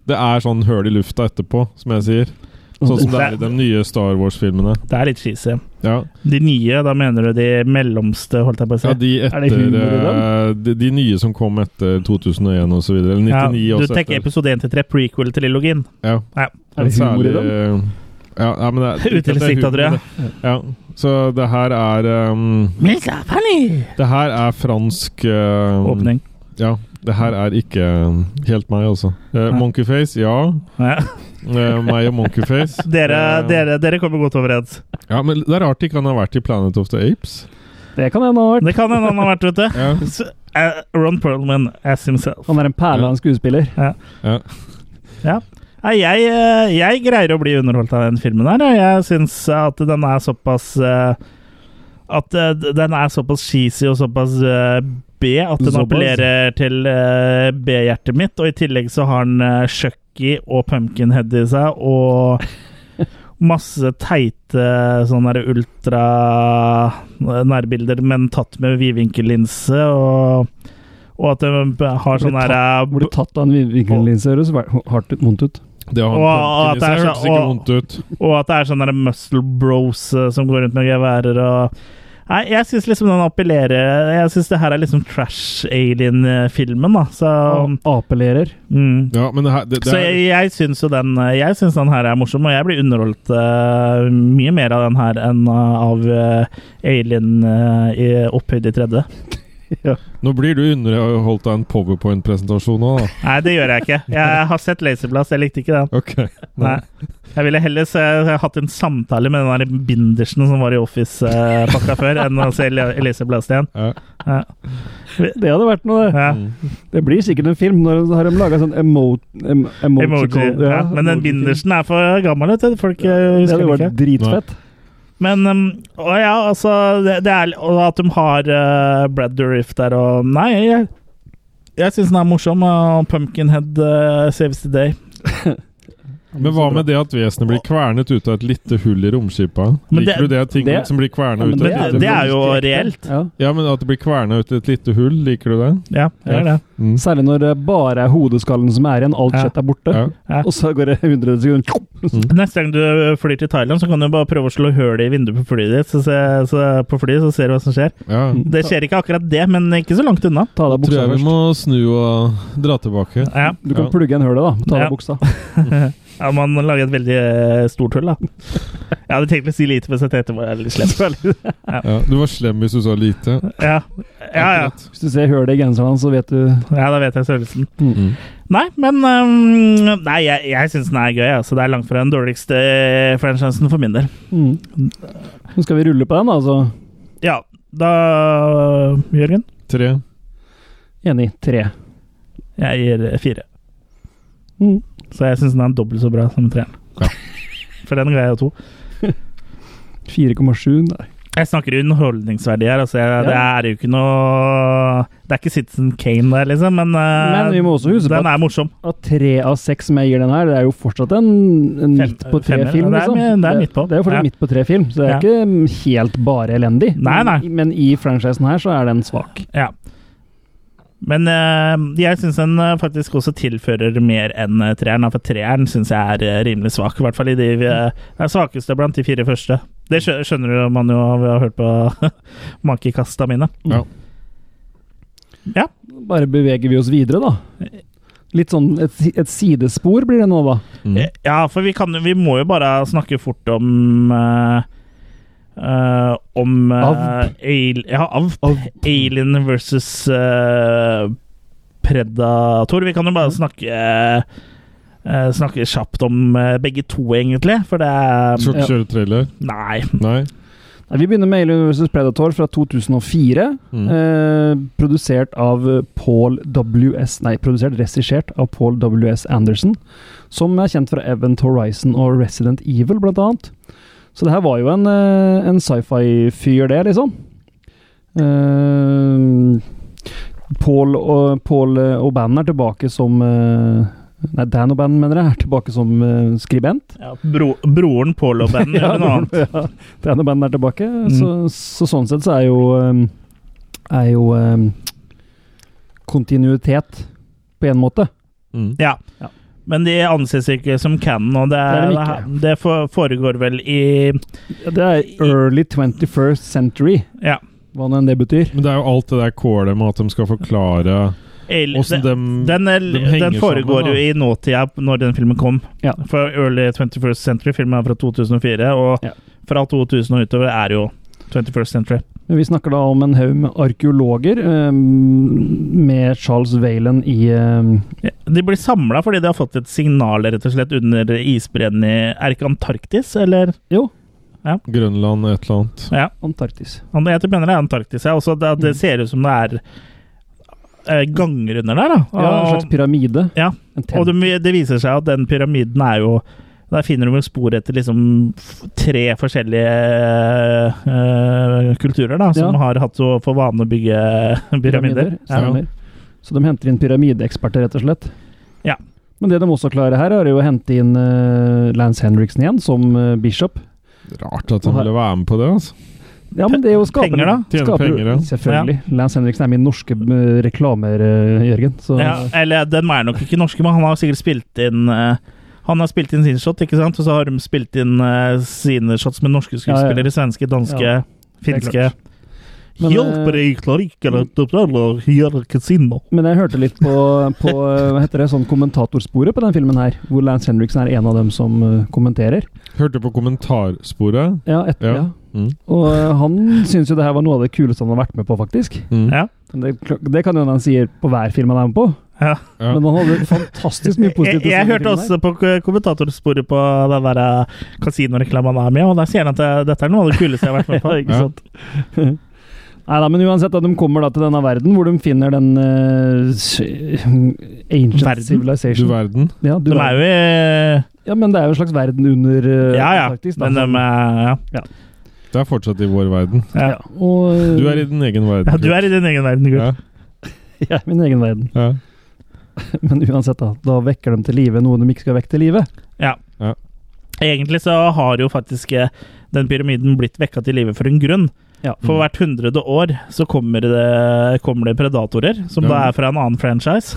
Speaker 4: Det er sånn høl i lufta etterpå, som jeg sier. Sånn som det er i de nye Star Wars-filmene.
Speaker 1: Det er litt cheesy.
Speaker 4: Ja.
Speaker 1: De nye, da mener du de mellomste, holdt jeg på å si?
Speaker 4: Ja, de
Speaker 1: Er det
Speaker 4: etter
Speaker 1: humor i dem?
Speaker 4: eh, de, de nye som kom etter 2001 og så videre. Eller 99
Speaker 1: ja,
Speaker 4: også.
Speaker 1: Du tenker
Speaker 4: etter.
Speaker 1: episode 1 til 3, prequel-trilogien?
Speaker 4: Ja.
Speaker 1: Ja.
Speaker 4: Særlig, eh, Ja, ja, men det er-
Speaker 1: Utilsiktet, tror jeg.
Speaker 4: Ja. Så det her er um,
Speaker 1: Funny!
Speaker 4: Det her er fransk um,
Speaker 1: Åpning.
Speaker 4: Ja. Det her er ikke um, helt meg, altså. Eh, Monkeyface, ja. Eh, meg og Monkeyface.
Speaker 1: Dere,
Speaker 4: Eh,
Speaker 1: dere, dere kommer godt overens.
Speaker 4: Ja, men det er rart ikke han har vært i Planet of the Apes.
Speaker 3: Det kan hende han har vært.
Speaker 1: Det kan hende han har vært, vet du.
Speaker 4: Ja.
Speaker 1: Så, eh, Ron Perlman as himself.
Speaker 3: Han er en perle av en skuespiller.
Speaker 1: Ja.
Speaker 4: Ja.
Speaker 1: Ja. Nei, jeg, eh, jeg greier å bli underholdt av den filmen her. jeg. Jeg syns at den er såpass eh, At eh, den er såpass cheesy og såpass eh, B at den
Speaker 4: Såpass?
Speaker 1: appellerer til eh, B-hjertet mitt. Og i tillegg så har den eh, Chucky og Pumpkinhead i seg, og masse teite sånne der ultra nærbilder, men tatt med vidvinkellinse, og, og at den har sånn
Speaker 3: Blir
Speaker 1: der
Speaker 3: tatt- Blir tatt av en vinkellinse, høres hardt ut, vondt ut.
Speaker 4: Det har han
Speaker 1: Og
Speaker 4: Pumpkin
Speaker 1: at
Speaker 4: i
Speaker 1: det
Speaker 4: seg.
Speaker 1: er så-
Speaker 4: Hørtes ikke
Speaker 1: og-
Speaker 4: vondt ut.
Speaker 1: Og at det er sånne der muscle bros eh, som går rundt med geværer og Nei, jeg syns liksom den appellerer Jeg syns det her er liksom trash alien-filmen, da. Så,
Speaker 3: Apellerer.
Speaker 1: mm.
Speaker 4: Ja, men det her det, det
Speaker 1: så jeg, jeg syns jo den eh, Jeg syns den her er morsom, og jeg blir underholdt eh, mye mer av den her enn eh, av eh, alien eh, i opphøyd i tredje.
Speaker 4: Nå blir du underholdt av en powerpoint-presentasjon nå, da.
Speaker 1: Nei, det gjør jeg ikke. Jeg har sett Laserblast, jeg likte ikke den.
Speaker 4: Ok.
Speaker 1: Nei. Jeg ville heller se, jeg hatt en samtale med den der bindersen som var i Office-pakka før, enn å se Le- Elise Blast igjen.
Speaker 4: Ja.
Speaker 1: Ja.
Speaker 3: Det hadde vært noe, det.
Speaker 1: Ja.
Speaker 3: Det blir sikkert en film. Når har de laga sånn emo, em,
Speaker 1: Emoji.
Speaker 3: emotical-
Speaker 1: Ja, men den
Speaker 3: emoji-film.
Speaker 1: bindersen er for gammel, vet du. Folk eh,
Speaker 3: Det
Speaker 1: husker
Speaker 3: hadde
Speaker 1: den
Speaker 3: vært
Speaker 1: ikke.
Speaker 3: dritfett.
Speaker 1: Men um, Å ja, altså det, det er, Og at de har eh, Brad Dourif der og Nei, jeg, jeg syns den er morsom. Og Pumpkinhead eh, saves the day.
Speaker 4: Men hva med det at vesenet blir kvernet ut av et lite hull i romskipet?
Speaker 1: Men det-
Speaker 4: Liker du det? Ting
Speaker 3: det-
Speaker 4: som blir kvernet ut
Speaker 1: men
Speaker 4: av et
Speaker 1: det-
Speaker 4: lite
Speaker 1: det er
Speaker 4: hull?
Speaker 1: jo
Speaker 3: Direkte.
Speaker 1: reelt.
Speaker 3: Ja.
Speaker 4: Ja, men at det blir kvernet ut i et lite hull, liker du det?
Speaker 1: Ja, det er det.
Speaker 4: Mm.
Speaker 3: Særlig når det bare er hodeskallen som er igjen, alt
Speaker 1: Ja.
Speaker 3: kjøtt er borte.
Speaker 4: Ja.
Speaker 1: Ja.
Speaker 3: Og så går det 100 sekunder
Speaker 1: Neste gang du flyr til Thailand, så kan du bare prøve å slå hull i vinduet på flyet ditt, så, se, så, på flyet, så ser du hva som skjer.
Speaker 4: Ja.
Speaker 1: Det skjer ikke akkurat det, men ikke så langt unna.
Speaker 3: Ta av deg
Speaker 4: Tror
Speaker 3: buksa
Speaker 4: jeg
Speaker 3: først.
Speaker 4: vi må snu og dra tilbake.
Speaker 1: Ja.
Speaker 3: Du kan
Speaker 4: Ja.
Speaker 3: plugge igjen hølet, da. Ta av
Speaker 1: Ja.
Speaker 3: deg buksa.
Speaker 1: Ja, man lager et veldig eh, stort hull, da. Jeg hadde tenkt å si lite, men så tenkte jeg det var litt slemt. Ja.
Speaker 4: Ja, du var slem hvis du sa lite.
Speaker 1: Ja. ja, ja.
Speaker 3: Hvis du ser hullet i genseren hans, så vet du
Speaker 1: Ja, da vet jeg størrelsen.
Speaker 4: Mm.
Speaker 1: Nei, men ehm, Nei, jeg, jeg syns den er gøy. Altså. Det er langt fra den dårligste eh, franchisen for min del.
Speaker 3: Mm. Nå skal vi rulle på den, da. altså. Så.
Speaker 1: Ja, da Jørgen?
Speaker 4: Tre.
Speaker 3: Enig. Tre.
Speaker 1: Jeg gir eh, fire.
Speaker 3: Mm.
Speaker 1: Så jeg syns den er dobbelt så bra som treeren.
Speaker 4: Ja.
Speaker 1: For den greier jeg to.
Speaker 3: 4,7. Nei.
Speaker 1: Jeg snakker underholdningsverdi her. Altså jeg, Det
Speaker 3: Ja.
Speaker 1: er jo ikke noe Det er ikke Citizen Kane der, liksom, men, eh,
Speaker 3: Men vi må også huske på
Speaker 1: den
Speaker 3: at-
Speaker 1: er morsom.
Speaker 3: Av tre av seks som jeg gir den her, det er jo fortsatt en, en midt på
Speaker 1: femmer,
Speaker 3: tre-film.
Speaker 1: det er
Speaker 3: Liksom.
Speaker 1: mye- det er midt på.
Speaker 3: Det er jo fortsatt
Speaker 1: Ja.
Speaker 3: midt på tre-film, så det er
Speaker 1: Ja.
Speaker 3: ikke helt bare elendig.
Speaker 1: Nei, nei.
Speaker 3: Men i franchisen her så er den svak.
Speaker 1: Ja. Men eh, jeg syns den eh, faktisk også tilfører mer enn eh, treeren. da, For treeren syns jeg er eh, rimelig svak, i hvert fall i de vi eh, er svakeste blant de fire første. Det skjø- skjønner jo man jo av å ha hørt på makekasta mine.
Speaker 4: Ja.
Speaker 1: Ja.
Speaker 3: Bare beveger vi oss videre, da. Litt sånn et, et sidespor blir det nå, da.
Speaker 4: Mm.
Speaker 1: Eh, Ja, for vi, kan, jo- vi må jo bare snakke fort om eh, eh, Om eh,
Speaker 3: Avp.
Speaker 1: Al- ja, Avp. Alien versus eh, Predator. Vi kan jo bare snakke eh, Snakke kjapt om eh, begge to, egentlig. For det er
Speaker 4: Skal
Speaker 3: Ja.
Speaker 4: ikke kjøre trailer?
Speaker 1: Nei.
Speaker 4: Nei.
Speaker 3: Nei, Vi begynner med Alien vs. Predator fra 2004.
Speaker 4: Mm.
Speaker 3: Eh, produsert av eh, Paul W.S. Nei, produsert, regissert av Paul W.S. Anderson. Som er kjent fra Event Horizon og Resident Evil, blant annet. Så det her var jo en, eh, en sci-fi-fyr, det, liksom. Eh, Paul, og, Paul eh, O'Bannon er tilbake som eh, Nei, Dan O'Bannon, mener jeg, er tilbake som eh, skribent.
Speaker 1: Ja, bro, broren Paul og Ben
Speaker 3: Ja,
Speaker 1: gjør noe annet. Mm.
Speaker 3: ja. Det ene bandet er tilbake, så, så sånn sett så er jo um, Er jo um, kontinuitet på en måte.
Speaker 4: Mm.
Speaker 1: Ja.
Speaker 3: Ja.
Speaker 1: Men de anses ikke som canon, og det, er,
Speaker 3: Det
Speaker 1: det,
Speaker 3: er de
Speaker 1: for- foregår vel i
Speaker 3: Det er early 21st century,
Speaker 1: Ja.
Speaker 3: hva nå enn det betyr.
Speaker 4: Men det er jo alt det der kålet med at de skal forklare
Speaker 1: Al-
Speaker 4: åssen
Speaker 1: det-
Speaker 4: dem
Speaker 1: Den, er-
Speaker 4: de henger
Speaker 1: den foregår
Speaker 4: sammen, da.
Speaker 1: jo i nåtida når den filmen kom.
Speaker 3: Ja.
Speaker 1: For Early 21st Century, filmen er fra 2004, og
Speaker 3: Ja.
Speaker 1: fra 2000 og utover er jo 21st Century.
Speaker 3: Men Vi snakker da om en haug med arkeologer um, med Charles Valen i um,
Speaker 1: Ja, De blir samla fordi de har fått et signal rett og slett under isbreen i Er ikke Antarktis, eller?
Speaker 3: Jo,
Speaker 4: Grønland et eller annet.
Speaker 1: Ja,
Speaker 3: Antarktis.
Speaker 1: han- jeg tror mener det er Antarktis. Ja. Også det,
Speaker 3: Mm.
Speaker 1: det ser ut som det er eh, ganger under der, da.
Speaker 3: Ja, en slags pyramide.
Speaker 1: ja.
Speaker 3: En
Speaker 1: Og
Speaker 3: tent.
Speaker 1: det, det viser seg at den pyramiden er jo Der finner du jo spor etter liksom f- tre forskjellige eh, kulturer da, som
Speaker 3: Ja.
Speaker 1: har hatt så for vane å bygge pyramider.
Speaker 3: Stemmer. Så de henter inn pyramideeksperter, rett og slett.
Speaker 1: Ja.
Speaker 3: Men det de også klarer her, er jo å hente inn eh, Lance Henriksen igjen, som eh, bishop.
Speaker 4: Rart at de ville være med på det. altså.
Speaker 3: Ja, men det er jo skaper,
Speaker 1: Penger, da?
Speaker 4: Tjene
Speaker 3: skaper-
Speaker 4: penger, ja.
Speaker 3: Selvfølgelig. Lance Henriksen er min norske eh, reklamer, eh, Jørgen. Så
Speaker 1: Ja, eller den er nok ikke norske, men han har sikkert spilt inn eh, han har spilt inn sin shot, ikke sant? og så har de spilt inn eh, sine shots med norske skuespillere. Svenske, danske,
Speaker 3: Ja, det er
Speaker 1: finske.
Speaker 3: klart. Men, eh, Mm.
Speaker 1: Hjelper jeg klarer ikke å gjøre kasino.
Speaker 3: Men jeg hørte litt på, på eh, hva heter det, sånn kommentatorsporet på den filmen her, hvor Lance Henriksen er en av dem som eh, kommenterer.
Speaker 4: Hørte på kommentarsporet.
Speaker 3: Ja, et,
Speaker 4: Ja.
Speaker 3: ja.
Speaker 4: Mm.
Speaker 3: Og eh, han syns jo det her var noe av det kuleste han har vært med på, faktisk.
Speaker 4: Mm.
Speaker 1: Ja.
Speaker 3: Men Det, det kan jo hende han sier på hver film han er med på.
Speaker 1: Ja.
Speaker 4: Ja.
Speaker 3: Men han hadde fantastisk mye
Speaker 1: Jeg,
Speaker 3: positivt å si
Speaker 1: jeg
Speaker 3: om
Speaker 1: hørte
Speaker 3: filmen her.
Speaker 1: også på k- kommentatorsporet på den der eh, kasinoreklamen han er med, og der sier han at eh, dette er noe av det kuleste jeg har vært med på.
Speaker 3: Ja, ikke sant? Nei da, men uansett, da, de kommer da til denne verden hvor de finner den eh, s- Ancient
Speaker 1: Verden?
Speaker 4: Du
Speaker 3: Civilization.
Speaker 4: verden.
Speaker 3: ja, du
Speaker 1: De
Speaker 3: verden.
Speaker 1: er jo i
Speaker 3: ja, men det er jo en slags verden under eh,
Speaker 1: Ja, ja.
Speaker 3: Antarktis, Eh, da.
Speaker 1: Men de er ja.
Speaker 4: Det er fortsatt i vår verden.
Speaker 1: ja.
Speaker 3: ja. Og, eh,
Speaker 4: Du er i din egen verden.
Speaker 1: ja. Du er i din egen verden, gutt.
Speaker 4: ja.
Speaker 3: jeg er i min egen verden.
Speaker 4: Ja.
Speaker 3: Men uansett, da. Da vekker de til live noe de ikke skal vekke til live.
Speaker 1: Ja.
Speaker 4: Ja.
Speaker 1: Egentlig så har jo faktisk eh, den pyramiden blitt vekka til live for en grunn.
Speaker 3: Ja.
Speaker 4: Mm.
Speaker 1: For hvert hundrede år så kommer det, kommer det predatorer, som
Speaker 4: Ja.
Speaker 1: da er fra en annen franchise.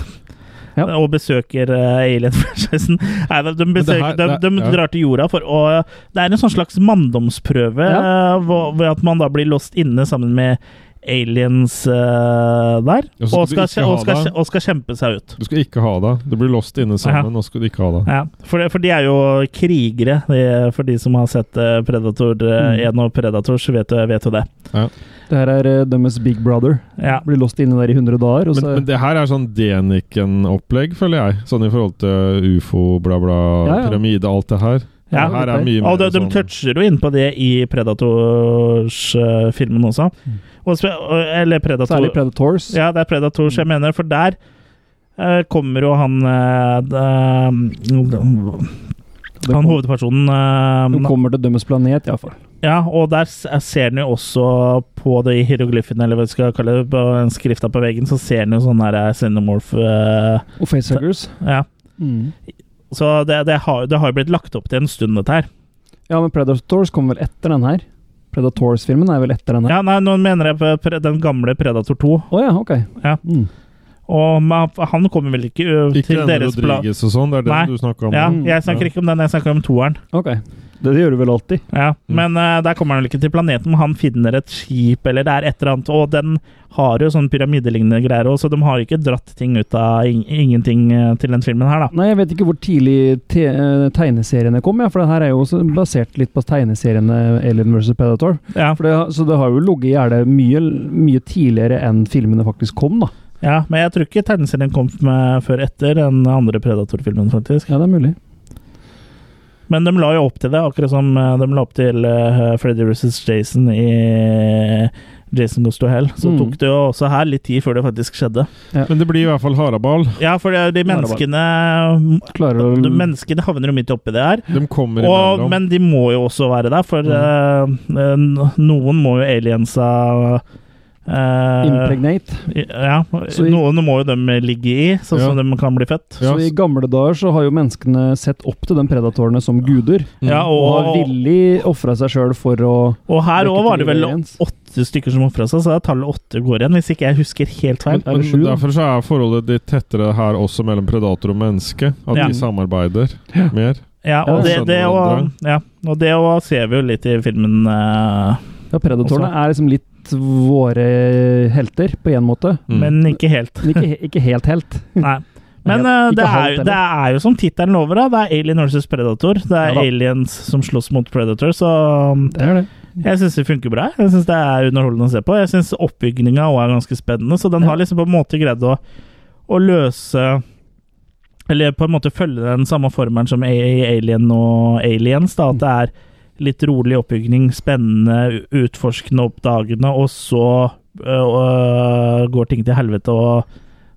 Speaker 3: Ja.
Speaker 1: Og besøker eh, alien-franchisen. Nei, De,
Speaker 4: det
Speaker 1: besøker,
Speaker 4: her-
Speaker 1: de,
Speaker 4: det-
Speaker 1: de
Speaker 4: ja.
Speaker 1: drar til jorda for å Det er en sånn slags manndomsprøve,
Speaker 3: Ja.
Speaker 1: eh, hvor, hvor at man da blir låst inne sammen med aliens eh, der,
Speaker 4: Ja, så
Speaker 1: og
Speaker 4: skal
Speaker 1: skal, kje-
Speaker 4: du ikke
Speaker 1: og,
Speaker 4: ha
Speaker 1: skal,
Speaker 4: det?
Speaker 1: kje- og skal kjempe seg ut.
Speaker 4: Du skal ikke ha det. Du blir lost inne sammen, og skal du ikke ha det.
Speaker 1: Ja, for, det, for de er jo krigere, de, for de som har sett eh, Predator eh, 1 og Predator, så vet jo, vet jo det.
Speaker 3: Det her er eh, deres Big Brother.
Speaker 1: Ja.
Speaker 3: Blir låst inne der i 100 dager. Og
Speaker 4: Men,
Speaker 3: så,
Speaker 4: men det her er sånn Deniken-opplegg, føler jeg. Sånn i forhold til ufo, bla, bla,
Speaker 1: Ja, ja.
Speaker 4: pyramide, alt det her.
Speaker 1: Ja,
Speaker 4: det her er mye
Speaker 1: og
Speaker 4: mer
Speaker 1: de, de
Speaker 4: sånn
Speaker 1: toucher jo inn på det i Predators-filmen også. Og spe- og- eller Predator.
Speaker 3: Særlig Predators.
Speaker 1: Ja, det er Predators jeg mener, for der eh, kommer jo han eh, de- Han hovedpersonen eh,
Speaker 3: Hun kommer til dømmes planet, iallfall.
Speaker 1: Ja, og der s- ser han jo også på de hieroglyfene, eller hva vi skal kalle det, på den skrifta på veggen, så ser han jo sånn der Cinemorph eh,
Speaker 3: Og facehuggers. Mm.
Speaker 1: Ja. Så det, det har det har jo blitt lagt opp til en stund, dette her.
Speaker 3: Ja, men Predators kommer vel etter den her? Predators-filmen er vel etter den her?
Speaker 1: Ja, nei, nå mener jeg på pre- den gamle Predator 2.
Speaker 3: Å ja, ok. Mm.
Speaker 1: Ja. Og ma- han kommer vel ikke ø,
Speaker 4: Ikke
Speaker 1: til
Speaker 4: denne
Speaker 1: deres plan
Speaker 4: Rodriguez og sånn, det er den
Speaker 1: Nei.
Speaker 4: du snakker om?
Speaker 1: Ja,
Speaker 4: Mm.
Speaker 1: jeg snakker
Speaker 4: Ja.
Speaker 1: ikke om den, jeg snakker om toeren.
Speaker 3: Ok. Det gjør du vel alltid?
Speaker 1: Ja,
Speaker 4: Mm.
Speaker 1: Men ø, der kommer han vel ikke til planeten, men han finner et skip eller det er et eller annet. Og den har jo sånn pyramidelignende greier òg, så de har ikke dratt ting ut av ing ingenting ø, til den filmen her, da.
Speaker 3: Nei, jeg vet ikke hvor tidlig te eh, tegneseriene kom, ja, for det her er jo også basert litt på tegneseriene Alien vs. Predator. For det, har- så det har jo ligget i gjerdet mye, mye tidligere enn filmene faktisk kom, da.
Speaker 1: Ja, Men jeg tror ikke tegneserien kom med før etter den andre Predator-filmen, faktisk.
Speaker 3: Ja, det er mulig.
Speaker 1: Men de la jo opp til det, akkurat som eh, de la opp til eh, Freddy vs. Jason i eh, Jason Goes to Hell. Så
Speaker 4: Mm.
Speaker 1: tok det jo også her litt tid før det faktisk skjedde.
Speaker 4: Men det blir i hvert fall haraball.
Speaker 1: Ja, for det er jo de menneskene De menneskene havner jo midt oppi det her.
Speaker 4: De kommer
Speaker 1: Og,
Speaker 4: imellom.
Speaker 1: men de må jo også være der, for eh, eh, noen må jo aliensa eh,
Speaker 3: Impregnate.
Speaker 1: Ja.
Speaker 3: Så i-
Speaker 1: noen må jo dem ligge i, sånn som de kan bli født.
Speaker 3: Så i gamle dager så har jo menneskene sett opp til de predatorene som guder,
Speaker 1: Ja,
Speaker 4: Mm.
Speaker 3: og,
Speaker 1: og-
Speaker 3: har villig ofra seg sjøl for å
Speaker 1: Og her
Speaker 3: Lykke
Speaker 1: òg var det
Speaker 3: til,
Speaker 1: vel
Speaker 3: Jens.
Speaker 1: åtte stykker som ofra seg, så det er tallet åtte går igjen, hvis ikke jeg husker helt feil.
Speaker 4: Men, men derfor så er forholdet litt tettere her også mellom predator og menneske. At
Speaker 1: Ja.
Speaker 4: de samarbeider mer.
Speaker 1: ja, og det,
Speaker 4: Skjønner
Speaker 1: det, og,
Speaker 4: hverandre.
Speaker 1: ja, og det og ser vi jo litt i filmen. eh,
Speaker 3: Ja, predatorene
Speaker 1: også.
Speaker 3: er liksom litt våre helter, på én måte.
Speaker 4: Mm.
Speaker 1: Men ikke helt.
Speaker 3: Men ikke, ikke helt helt.
Speaker 1: Nei. Men
Speaker 3: Ikke-
Speaker 1: eh,
Speaker 3: ikke
Speaker 1: det, er,
Speaker 3: halvt
Speaker 1: det er jo som tittelen lover, da. Det er Alien versus Predator. Det er
Speaker 3: Ja da.
Speaker 1: aliens som slåss mot Predator, så um,
Speaker 3: Det er det.
Speaker 1: jeg syns det funker bra. Jeg syns det er underholdende å se på. Jeg syns oppbygninga òg er ganske spennende, så den har liksom på en måte greid å, å løse Eller på en måte følge den samme formelen som i i Alien og Aliens, da. At det er litt rolig oppbygning, spennende, u- utforskende, oppdagende, og så øh, øh, går ting til helvete, og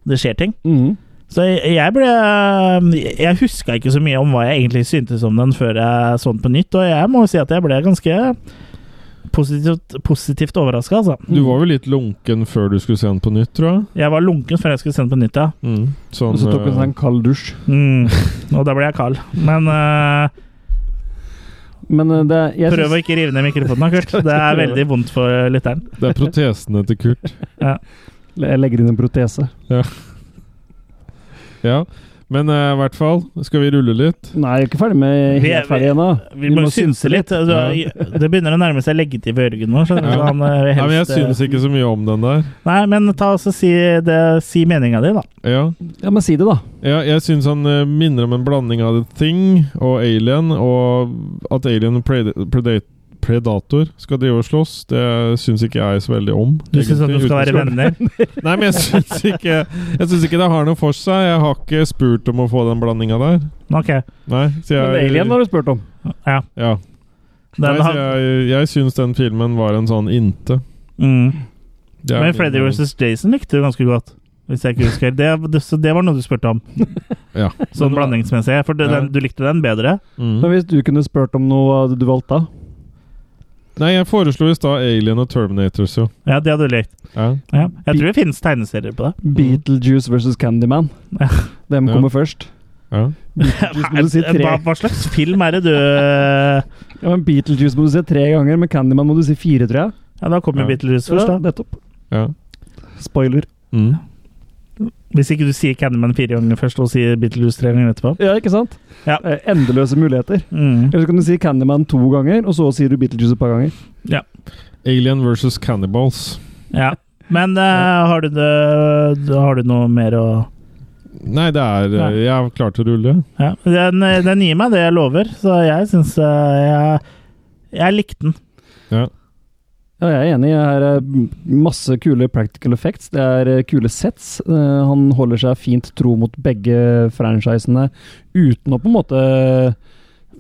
Speaker 1: det skjer ting.
Speaker 3: Mm.
Speaker 1: Så jeg jeg ble Jeg huska ikke så mye om hva jeg egentlig syntes om den før jeg så den på nytt, og jeg må jo si at jeg ble ganske positivt, positivt overraska, altså.
Speaker 4: Du var jo litt lunken før du skulle se den på nytt, tror jeg.
Speaker 1: Jeg var lunken før jeg skulle se den på nytt, ja.
Speaker 4: Mm. Sånn,
Speaker 3: Og så tok hun
Speaker 4: eh,
Speaker 3: seg en kald dusj.
Speaker 1: Mm. Og da ble jeg kald. Men eh,
Speaker 3: Men eh, det, jeg
Speaker 1: prøv å
Speaker 3: syns,
Speaker 1: ikke rive ned mikrofonen, da, Kurt. Det er veldig vondt for lytteren.
Speaker 4: Det er protesene til Kurt.
Speaker 1: Ja.
Speaker 3: jeg legger inn en protese.
Speaker 4: Ja. ja. Men eh, i hvert fall, skal vi rulle litt?
Speaker 3: Nei, jeg er ikke ferdig med
Speaker 1: Vi er-
Speaker 3: helt ferdig ennå.
Speaker 1: Vi må synse litt. Altså, Det begynner å nærme seg leggetid for Jørgen nå. skjønner du, så
Speaker 4: Ja.
Speaker 1: han, eh,
Speaker 4: Nei, men jeg
Speaker 1: helst, eh,
Speaker 4: synes ikke så mye om den der.
Speaker 1: Nei, men ta og så si, det- si meninga di, da.
Speaker 4: Ja.
Speaker 3: Ja, men si det, da.
Speaker 4: Ja, jeg syns han eh, minner om en blanding av The Thing og Alien, og at Alien og Pred- Preda- Predator skal drive og slåss, det syns ikke jeg så veldig om.
Speaker 1: Du syns at de
Speaker 4: egentlig,
Speaker 1: skal være
Speaker 4: uten-
Speaker 1: venner?
Speaker 4: Nei, men jeg syns ikke, jeg synes ikke det har noe for seg. Jeg har ikke spurt om å få den blandinga der.
Speaker 1: Ok.
Speaker 4: Nei, så jeg,
Speaker 3: Men Alien har du spurt om.
Speaker 1: Ja.
Speaker 4: Ja.
Speaker 1: Den
Speaker 4: Nei, så
Speaker 1: har-
Speaker 4: jeg jeg syns den filmen var en sånn inte.
Speaker 1: Mm.
Speaker 4: Det er
Speaker 1: Men
Speaker 4: min
Speaker 1: Freddy
Speaker 4: mening.
Speaker 1: vs. Jason likte du ganske godt. Hvis jeg ikke husker helt. det, det, så det var noe du spurte om,
Speaker 4: Ja.
Speaker 1: sånn blandingsmessig. For det, den, du likte den bedre.
Speaker 4: Mm.
Speaker 3: Men hvis du kunne spurt om noe hva hadde du valgt da?
Speaker 4: Nei, jeg foreslo i stad Alien og Terminators, jo.
Speaker 1: Ja, det hadde du likt.
Speaker 4: Ja.
Speaker 1: Ja. Jeg tror det finnes tegneserier på
Speaker 3: Mm.
Speaker 1: det.
Speaker 3: Beetlejuice versus Candyman. Hvem
Speaker 4: Ja.
Speaker 3: kommer først?
Speaker 4: Ja.
Speaker 3: Beetlejuice må du si tre.
Speaker 1: Hva, hva slags film er det du eh, Ja,
Speaker 3: Ja, men Beetlejuice må du si tre ganger, men Candyman må du si fire, tror jeg.
Speaker 1: da kommer
Speaker 4: Ja.
Speaker 1: Beatles først,
Speaker 3: Ja,
Speaker 1: da.
Speaker 3: nettopp.
Speaker 4: ja.
Speaker 3: Spoiler.
Speaker 4: Mm.
Speaker 1: Hvis ikke du sier Candyman fire ganger først, og sier Beatles tre ganger etterpå.
Speaker 3: Ja, ikke sant?
Speaker 1: Ja.
Speaker 3: Eh, Endeløse muligheter.
Speaker 1: Mm.
Speaker 3: Eller så kan du si Candyman to ganger, og så sier du Beetlejuice et par ganger.
Speaker 1: ja.
Speaker 4: Alien versus Cannibals.
Speaker 1: Ja. Men eh, har, du det, har du noe mer å
Speaker 4: Nei, det er eh, Jeg er klar til å rulle.
Speaker 1: ja. den, eh, den gir meg det jeg lover, så jeg syns jeg, jeg likte den.
Speaker 4: Ja.
Speaker 3: Ja, jeg er enig. Her er masse kule practical effects. Det er eh, kule sets. Eh, Han holder seg fint tro mot begge franchisene uten å på en måte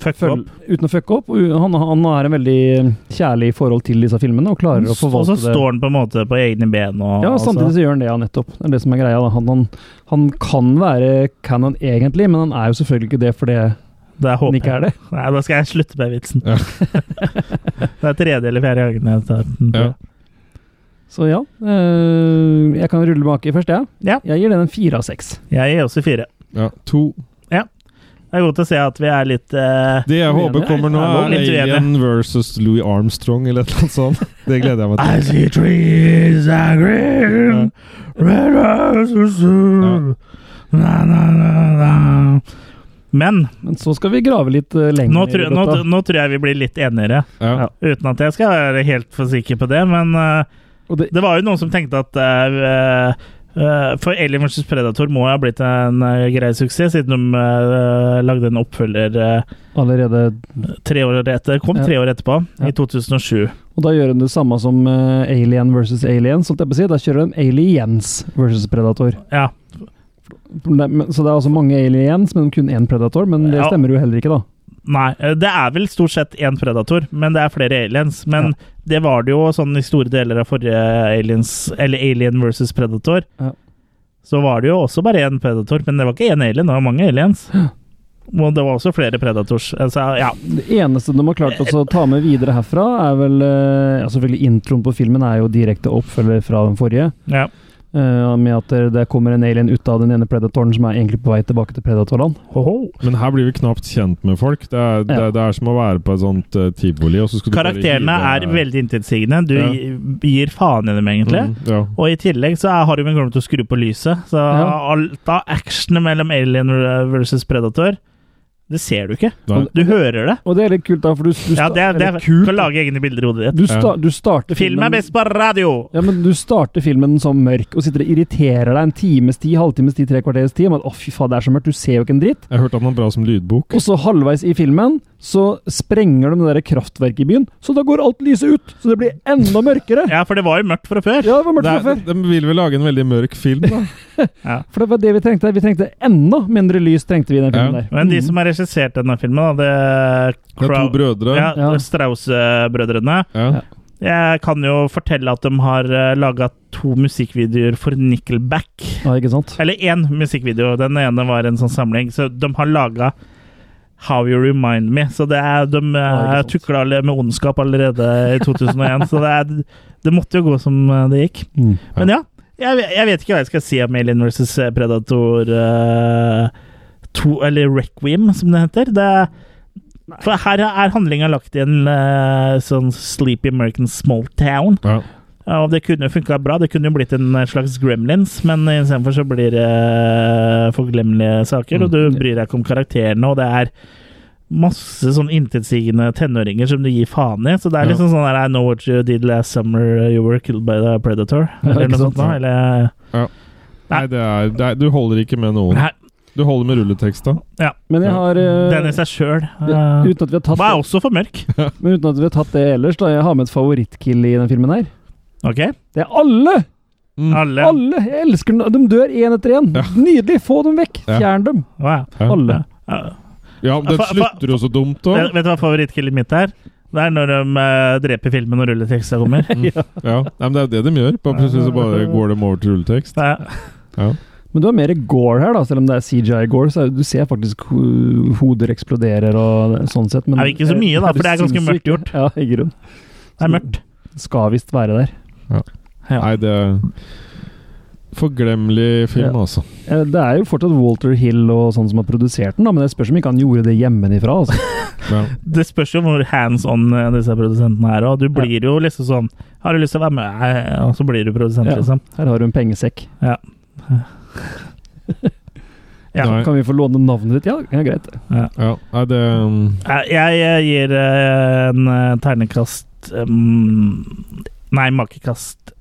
Speaker 1: Fucke
Speaker 3: føl-
Speaker 1: opp.
Speaker 3: Uten å fucke opp. U- Han, han har en veldig eh, kjærlig forhold til disse filmene og klarer å
Speaker 1: Og
Speaker 3: forvalte
Speaker 1: så
Speaker 3: det.
Speaker 1: står den på en måte på egne ben. Og,
Speaker 3: Ja, samtidig så gjør han det, ja, nettopp. Det er det som er greia. Da. Han, han, han kan være canon egentlig, men han er jo selvfølgelig ikke det fordi
Speaker 1: det håper
Speaker 3: han ikke er det.
Speaker 1: Nei, da skal jeg slutte med vitsen. det er tredje eller fjerde gangen jeg tar den. tror jeg.
Speaker 3: Så ja, eh, jeg kan rulle baki først, jeg.
Speaker 1: Ja.
Speaker 3: Jeg gir den en fire av seks.
Speaker 1: Jeg gir også fire.
Speaker 4: Ja, to.
Speaker 1: Ja. Det er godt å se at vi er litt eh,
Speaker 4: Det jeg håper kommer nå,
Speaker 1: Ja,
Speaker 4: er
Speaker 1: litt uenige.
Speaker 4: Alien versus Louis Armstrong eller et eller annet sånt. Det gleder jeg meg til.
Speaker 1: I see trees are green, red roses blue. Na, na, na, na. Men
Speaker 3: Men så skal vi grave litt eh, lenger.
Speaker 1: nå
Speaker 3: i
Speaker 1: tror,
Speaker 3: dette.
Speaker 1: nå, nå tror jeg vi blir litt enigere.
Speaker 4: Ja.
Speaker 1: Uten at jeg skal være helt for sikker på det, men eh,
Speaker 3: det,
Speaker 1: var jo noen som tenkte at eh, eh, For Alien vs. Predator må jo ha blitt en eh, grei suksess, siden de eh, lagde en oppfølger eh,
Speaker 3: Allerede
Speaker 1: tre år etter. Kom
Speaker 3: Ja.
Speaker 1: tre år etterpå,
Speaker 3: Ja.
Speaker 1: i 2007.
Speaker 3: Og da gjør hun det samme som eh, Alien versus Aliens. Sånn at jeg på å si. Da kjører hun Aliens versus Predator.
Speaker 1: Ja.
Speaker 3: Det- men- Så det er altså mange aliens, men kun én predator. Men det
Speaker 1: Ja.
Speaker 3: stemmer jo heller ikke, da.
Speaker 1: Nei, eh, det er vel stort sett én predator, men det er flere aliens. Men det var det jo sånn i store deler av forrige aliens, eller Alien versus Predator.
Speaker 3: Ja.
Speaker 1: Så var det jo også bare én predator, men det var ikke én alien, det var mange aliens. Og det var også flere predators. Altså, ja.
Speaker 3: Det eneste de har klart også å ta med videre herfra, er vel eh, ja, Selvfølgelig introen på filmen er jo direkte oppfølger fra den forrige.
Speaker 1: ja.
Speaker 3: eh, med at det- det kommer en alien ut av den ene predatoren som er egentlig på vei tilbake til predatorland.
Speaker 4: Men her blir vi knapt kjent med folk. Det er, det,
Speaker 3: Ja.
Speaker 4: er- det er som å være på et sånt eh, tivoli. Og så skal du bare
Speaker 1: Karakterene
Speaker 4: hive-
Speaker 1: er veldig intetsigende. Du
Speaker 4: Ja.
Speaker 1: gi- gir faen i dem, egentlig.
Speaker 4: Mm, ja.
Speaker 1: Og i tillegg så er- har de vel glemt å skru på lyset. Så
Speaker 3: Ja.
Speaker 1: alt av actionen mellom alien versus predator, det ser du ikke.
Speaker 4: Nei.
Speaker 1: Du hører det.
Speaker 3: Og det er litt kult, da, for du, du,
Speaker 1: Ja,
Speaker 3: sta-
Speaker 1: det er, det
Speaker 3: eller
Speaker 1: er
Speaker 3: kult.
Speaker 1: Kan lage egne bilder i hodet
Speaker 3: du,
Speaker 1: ditt.
Speaker 3: sta, du starter
Speaker 1: Film er
Speaker 3: filmen
Speaker 1: best på radio!
Speaker 3: Ja, men du starter filmen som mørk og sitter og irriterer deg en times tid, halvtimes tid, tre kvarters tid om at å, fy faen, det er så mørkt, du ser jo ikke en dritt.
Speaker 4: Jeg har hørt at den er bra som lydbok.
Speaker 3: Og så halvveis i filmen så sprenger de det der kraftverket i byen, så da går alt lyset ut, så det blir enda mørkere.
Speaker 1: Ja, for det var jo mørkt fra før.
Speaker 3: Ja, det var mørkt
Speaker 4: Det
Speaker 3: fra
Speaker 4: er,
Speaker 3: før.
Speaker 4: de vil vel lage en veldig mørk film, da.
Speaker 3: For det var det vi trengte. Vi trengte enda mindre lys trengte vi i den filmen
Speaker 4: Ja.
Speaker 3: der.
Speaker 1: Men de som har regissert denne filmen, da, det er
Speaker 4: Det er to
Speaker 1: Crow-
Speaker 4: brødre.
Speaker 1: Ja,
Speaker 3: Ja.
Speaker 1: det er Strauss-brødrene.
Speaker 4: Ja.
Speaker 1: Jeg kan jo fortelle at de har laga to musikkvideoer for Nickelback.
Speaker 3: Ja, ikke sant?
Speaker 1: Eller én musikkvideo. Den ene var en sånn samling. Så de har laga How You Remind Me. Så det er, de
Speaker 3: Ja,
Speaker 1: ja,
Speaker 3: ikke sant.
Speaker 1: tukla med ondskap allerede i 2001. så det, er, det måtte jo gå som eh, det gikk.
Speaker 3: Mm.
Speaker 1: Men ja, jeg, ve- jeg vet ikke hva jeg skal si om Alien vs. Predator eh, 2, eller Requiem, som det heter. Det, for her er handlinga lagt i en eh, sånn sleepy American small town.
Speaker 4: Ja.
Speaker 1: Ja, og det kunne jo funka bra. Det kunne jo blitt en eh, slags gremlins, men istedenfor så blir det eh, forglemmelige saker, og
Speaker 3: Mm.
Speaker 1: du bryr deg ikke om karakterene, og det er masse sånn intetsigende tenåringer som du gir faen i. Så det er
Speaker 4: Ja.
Speaker 1: liksom sånn der I know what you did last summer, you were killed by the predator, eller
Speaker 3: ikke
Speaker 1: noe
Speaker 3: sant?
Speaker 1: sånt. Da, eller eh,
Speaker 4: Nei, det er, det er, du holder ikke med noen.
Speaker 1: Nei,
Speaker 4: Du holder med rulleteksta.
Speaker 3: Men jeg har eh,
Speaker 1: Den i seg sjøl. eh,
Speaker 3: det- uten, at vi har tatt,
Speaker 1: Var også for mørk.
Speaker 3: men uten at vi har tatt det ellers, da. Jeg har med et favorittkill i den filmen her.
Speaker 1: Ok?
Speaker 3: Det er alle!
Speaker 1: Alle.
Speaker 3: Mm. Alle! Jeg elsker den. De dør én etter én.
Speaker 4: Ja.
Speaker 3: Nydelig! Få dem vekk!
Speaker 4: Ja.
Speaker 3: Fjern dem!
Speaker 1: Wow.
Speaker 4: Ja.
Speaker 3: Alle.
Speaker 1: Ja.
Speaker 4: Ja, men
Speaker 1: Fa-
Speaker 4: det
Speaker 1: fa-
Speaker 4: slutter jo så
Speaker 1: Vet
Speaker 4: dumt òg.
Speaker 1: vet du hva favorittkillet mitt er? Det er når de eh, dreper filmen og rulleteksta kommer.
Speaker 4: Ja. Nei, men det er jo det de gjør. Bare plutselig så bare går de over til rulletekst.
Speaker 1: Det er-
Speaker 4: Ja.
Speaker 3: Men du har mer gore her, da, selv om det er CGI-gore. så er- Du ser faktisk ho hoder eksploderer og det- sånn sett. Men
Speaker 1: Er det ikke så mye, da, for det er ganske mørkt gjort.
Speaker 3: Ja, i grunn.
Speaker 1: Det er mørkt.
Speaker 3: Det Skal visst være der.
Speaker 4: Nei, det er Forglemmelig
Speaker 3: Ja.
Speaker 4: film, altså.
Speaker 3: Eh, Det er jo fortsatt Walter Hill og sånn som har produsert den, da, men det spørs om ikke han gjorde det hjemmefra. Altså.
Speaker 4: Ja.
Speaker 1: Det spørs jo hvor hands on eh, disse produsentene er. Og du blir jo liksom sånn Har du lyst til å være med? Nei, Og så blir du produsent,
Speaker 3: Ja.
Speaker 1: liksom.
Speaker 3: Her har du en pengesekk.
Speaker 1: Ja.
Speaker 4: Nei.
Speaker 3: Kan vi få låne navnet ditt? Ja, ja greit.
Speaker 4: Ja. Nei, det um,
Speaker 1: Eh, Jeg, jeg gir eh, en eh, ternekast um, Nei, makekast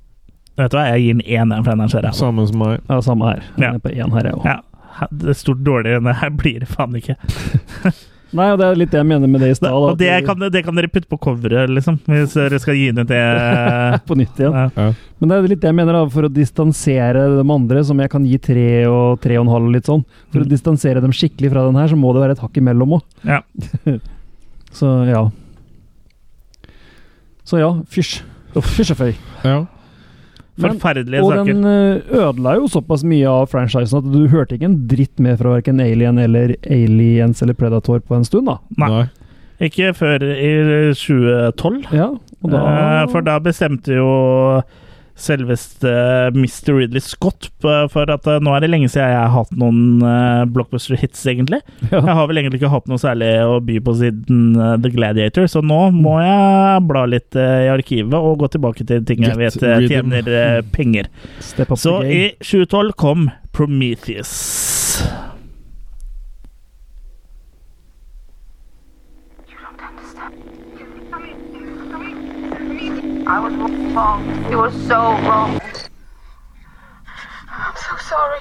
Speaker 1: Vet du hva, jeg gir den én for den her ser jeg.
Speaker 4: Samme som meg.
Speaker 3: Ja, samme her. Den er på én her, jeg òg.
Speaker 1: Ja. Det er stort dårligere enn det her blir det faen ikke.
Speaker 3: Nei, og det er litt det jeg mener med det i stad.
Speaker 1: Og
Speaker 3: at
Speaker 1: det
Speaker 3: du-
Speaker 1: kan, det kan dere putte på coveret, liksom, hvis dere skal gi den ut det
Speaker 3: på nytt igjen.
Speaker 4: Ja.
Speaker 3: Men det er litt det jeg mener, da, for å distansere de andre, som jeg kan gi tre og tre og en halv, litt sånn. For å distansere dem skikkelig fra den her, så må det være et hakk imellom òg.
Speaker 1: Mm. Ja.
Speaker 3: så ja. Så ja, fysj. Fysj og føy.
Speaker 4: Ja.
Speaker 3: Men-
Speaker 1: Forferdelige
Speaker 3: og
Speaker 1: saker.
Speaker 3: den eh, ødela jo såpass mye av franchisen at du hørte ikke en dritt mer fra verken Alien eller Aliens eller Predator på en stund, da.
Speaker 4: Nei.
Speaker 1: Ikke før i 2012.
Speaker 3: Ja, og da-
Speaker 1: Eh, For da bestemte jo selveste Mr. Ridley Scott p- for at eh, nå er det lenge siden jeg har hatt noen eh, blockbuster hits, egentlig. Jeg har vel egentlig ikke hatt noe særlig å by på siden eh, The Gladiator, så nå må jeg bla litt eh, i arkivet og gå tilbake til ting jeg
Speaker 4: Get
Speaker 1: vet eh,
Speaker 4: rhythm.
Speaker 1: tjener eh, penger.
Speaker 3: Step up
Speaker 1: Så
Speaker 3: the
Speaker 1: i
Speaker 3: game.
Speaker 1: 2012 kom Prometheus.
Speaker 8: I was wrong. It was so wrong. I'm so sorry.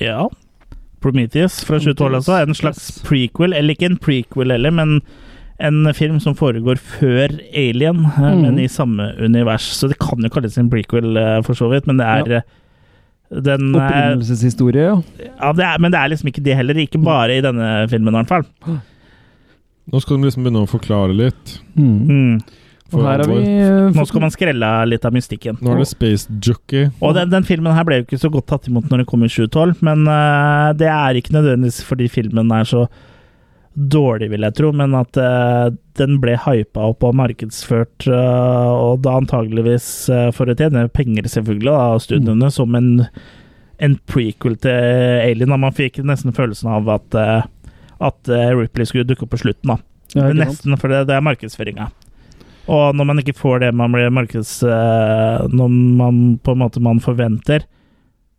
Speaker 1: Ja. Prometheus fra 2012
Speaker 3: Prometheus,
Speaker 1: altså, er en slags prequel, eller ikke en prequel heller, men en film som foregår før Alien, eh,
Speaker 4: Mm.
Speaker 3: Mhm.
Speaker 1: men i samme univers. Så det kan jo kalles en prequel, eh, for så vidt, men det er
Speaker 3: Ja.
Speaker 1: eh, den er,
Speaker 3: Opprinnelseshistorie, ja.
Speaker 1: ja, det er, Men det er liksom ikke det heller. Ikke bare i denne filmen, i hvert fall.
Speaker 4: Nå skal de liksom begynne å forklare litt.
Speaker 1: Mm.
Speaker 4: For alvor.
Speaker 3: eh,
Speaker 1: Nå skal man skrelle av litt av mystikken.
Speaker 4: Nå er det Space Jockey.
Speaker 1: Og den, den filmen her ble jo ikke så godt tatt imot når den kom i 2012, men eh, det er ikke nødvendigvis fordi filmen er så dårlig, vil jeg tro, men at eh, den ble hypa opp og markedsført, eh, og da antageligvis eh, for å tjene penger, selvfølgelig, da, av studiene, som en, en prequel til Alien. Da man fikk nesten følelsen av at, eh, at eh, Ripley skulle dukke opp på slutten, da.
Speaker 3: Ja, ikke sant?
Speaker 1: nesten, for det, det er markedsføringa. Og når man ikke får det man blir markeds... eh, Når man på en måte man forventer,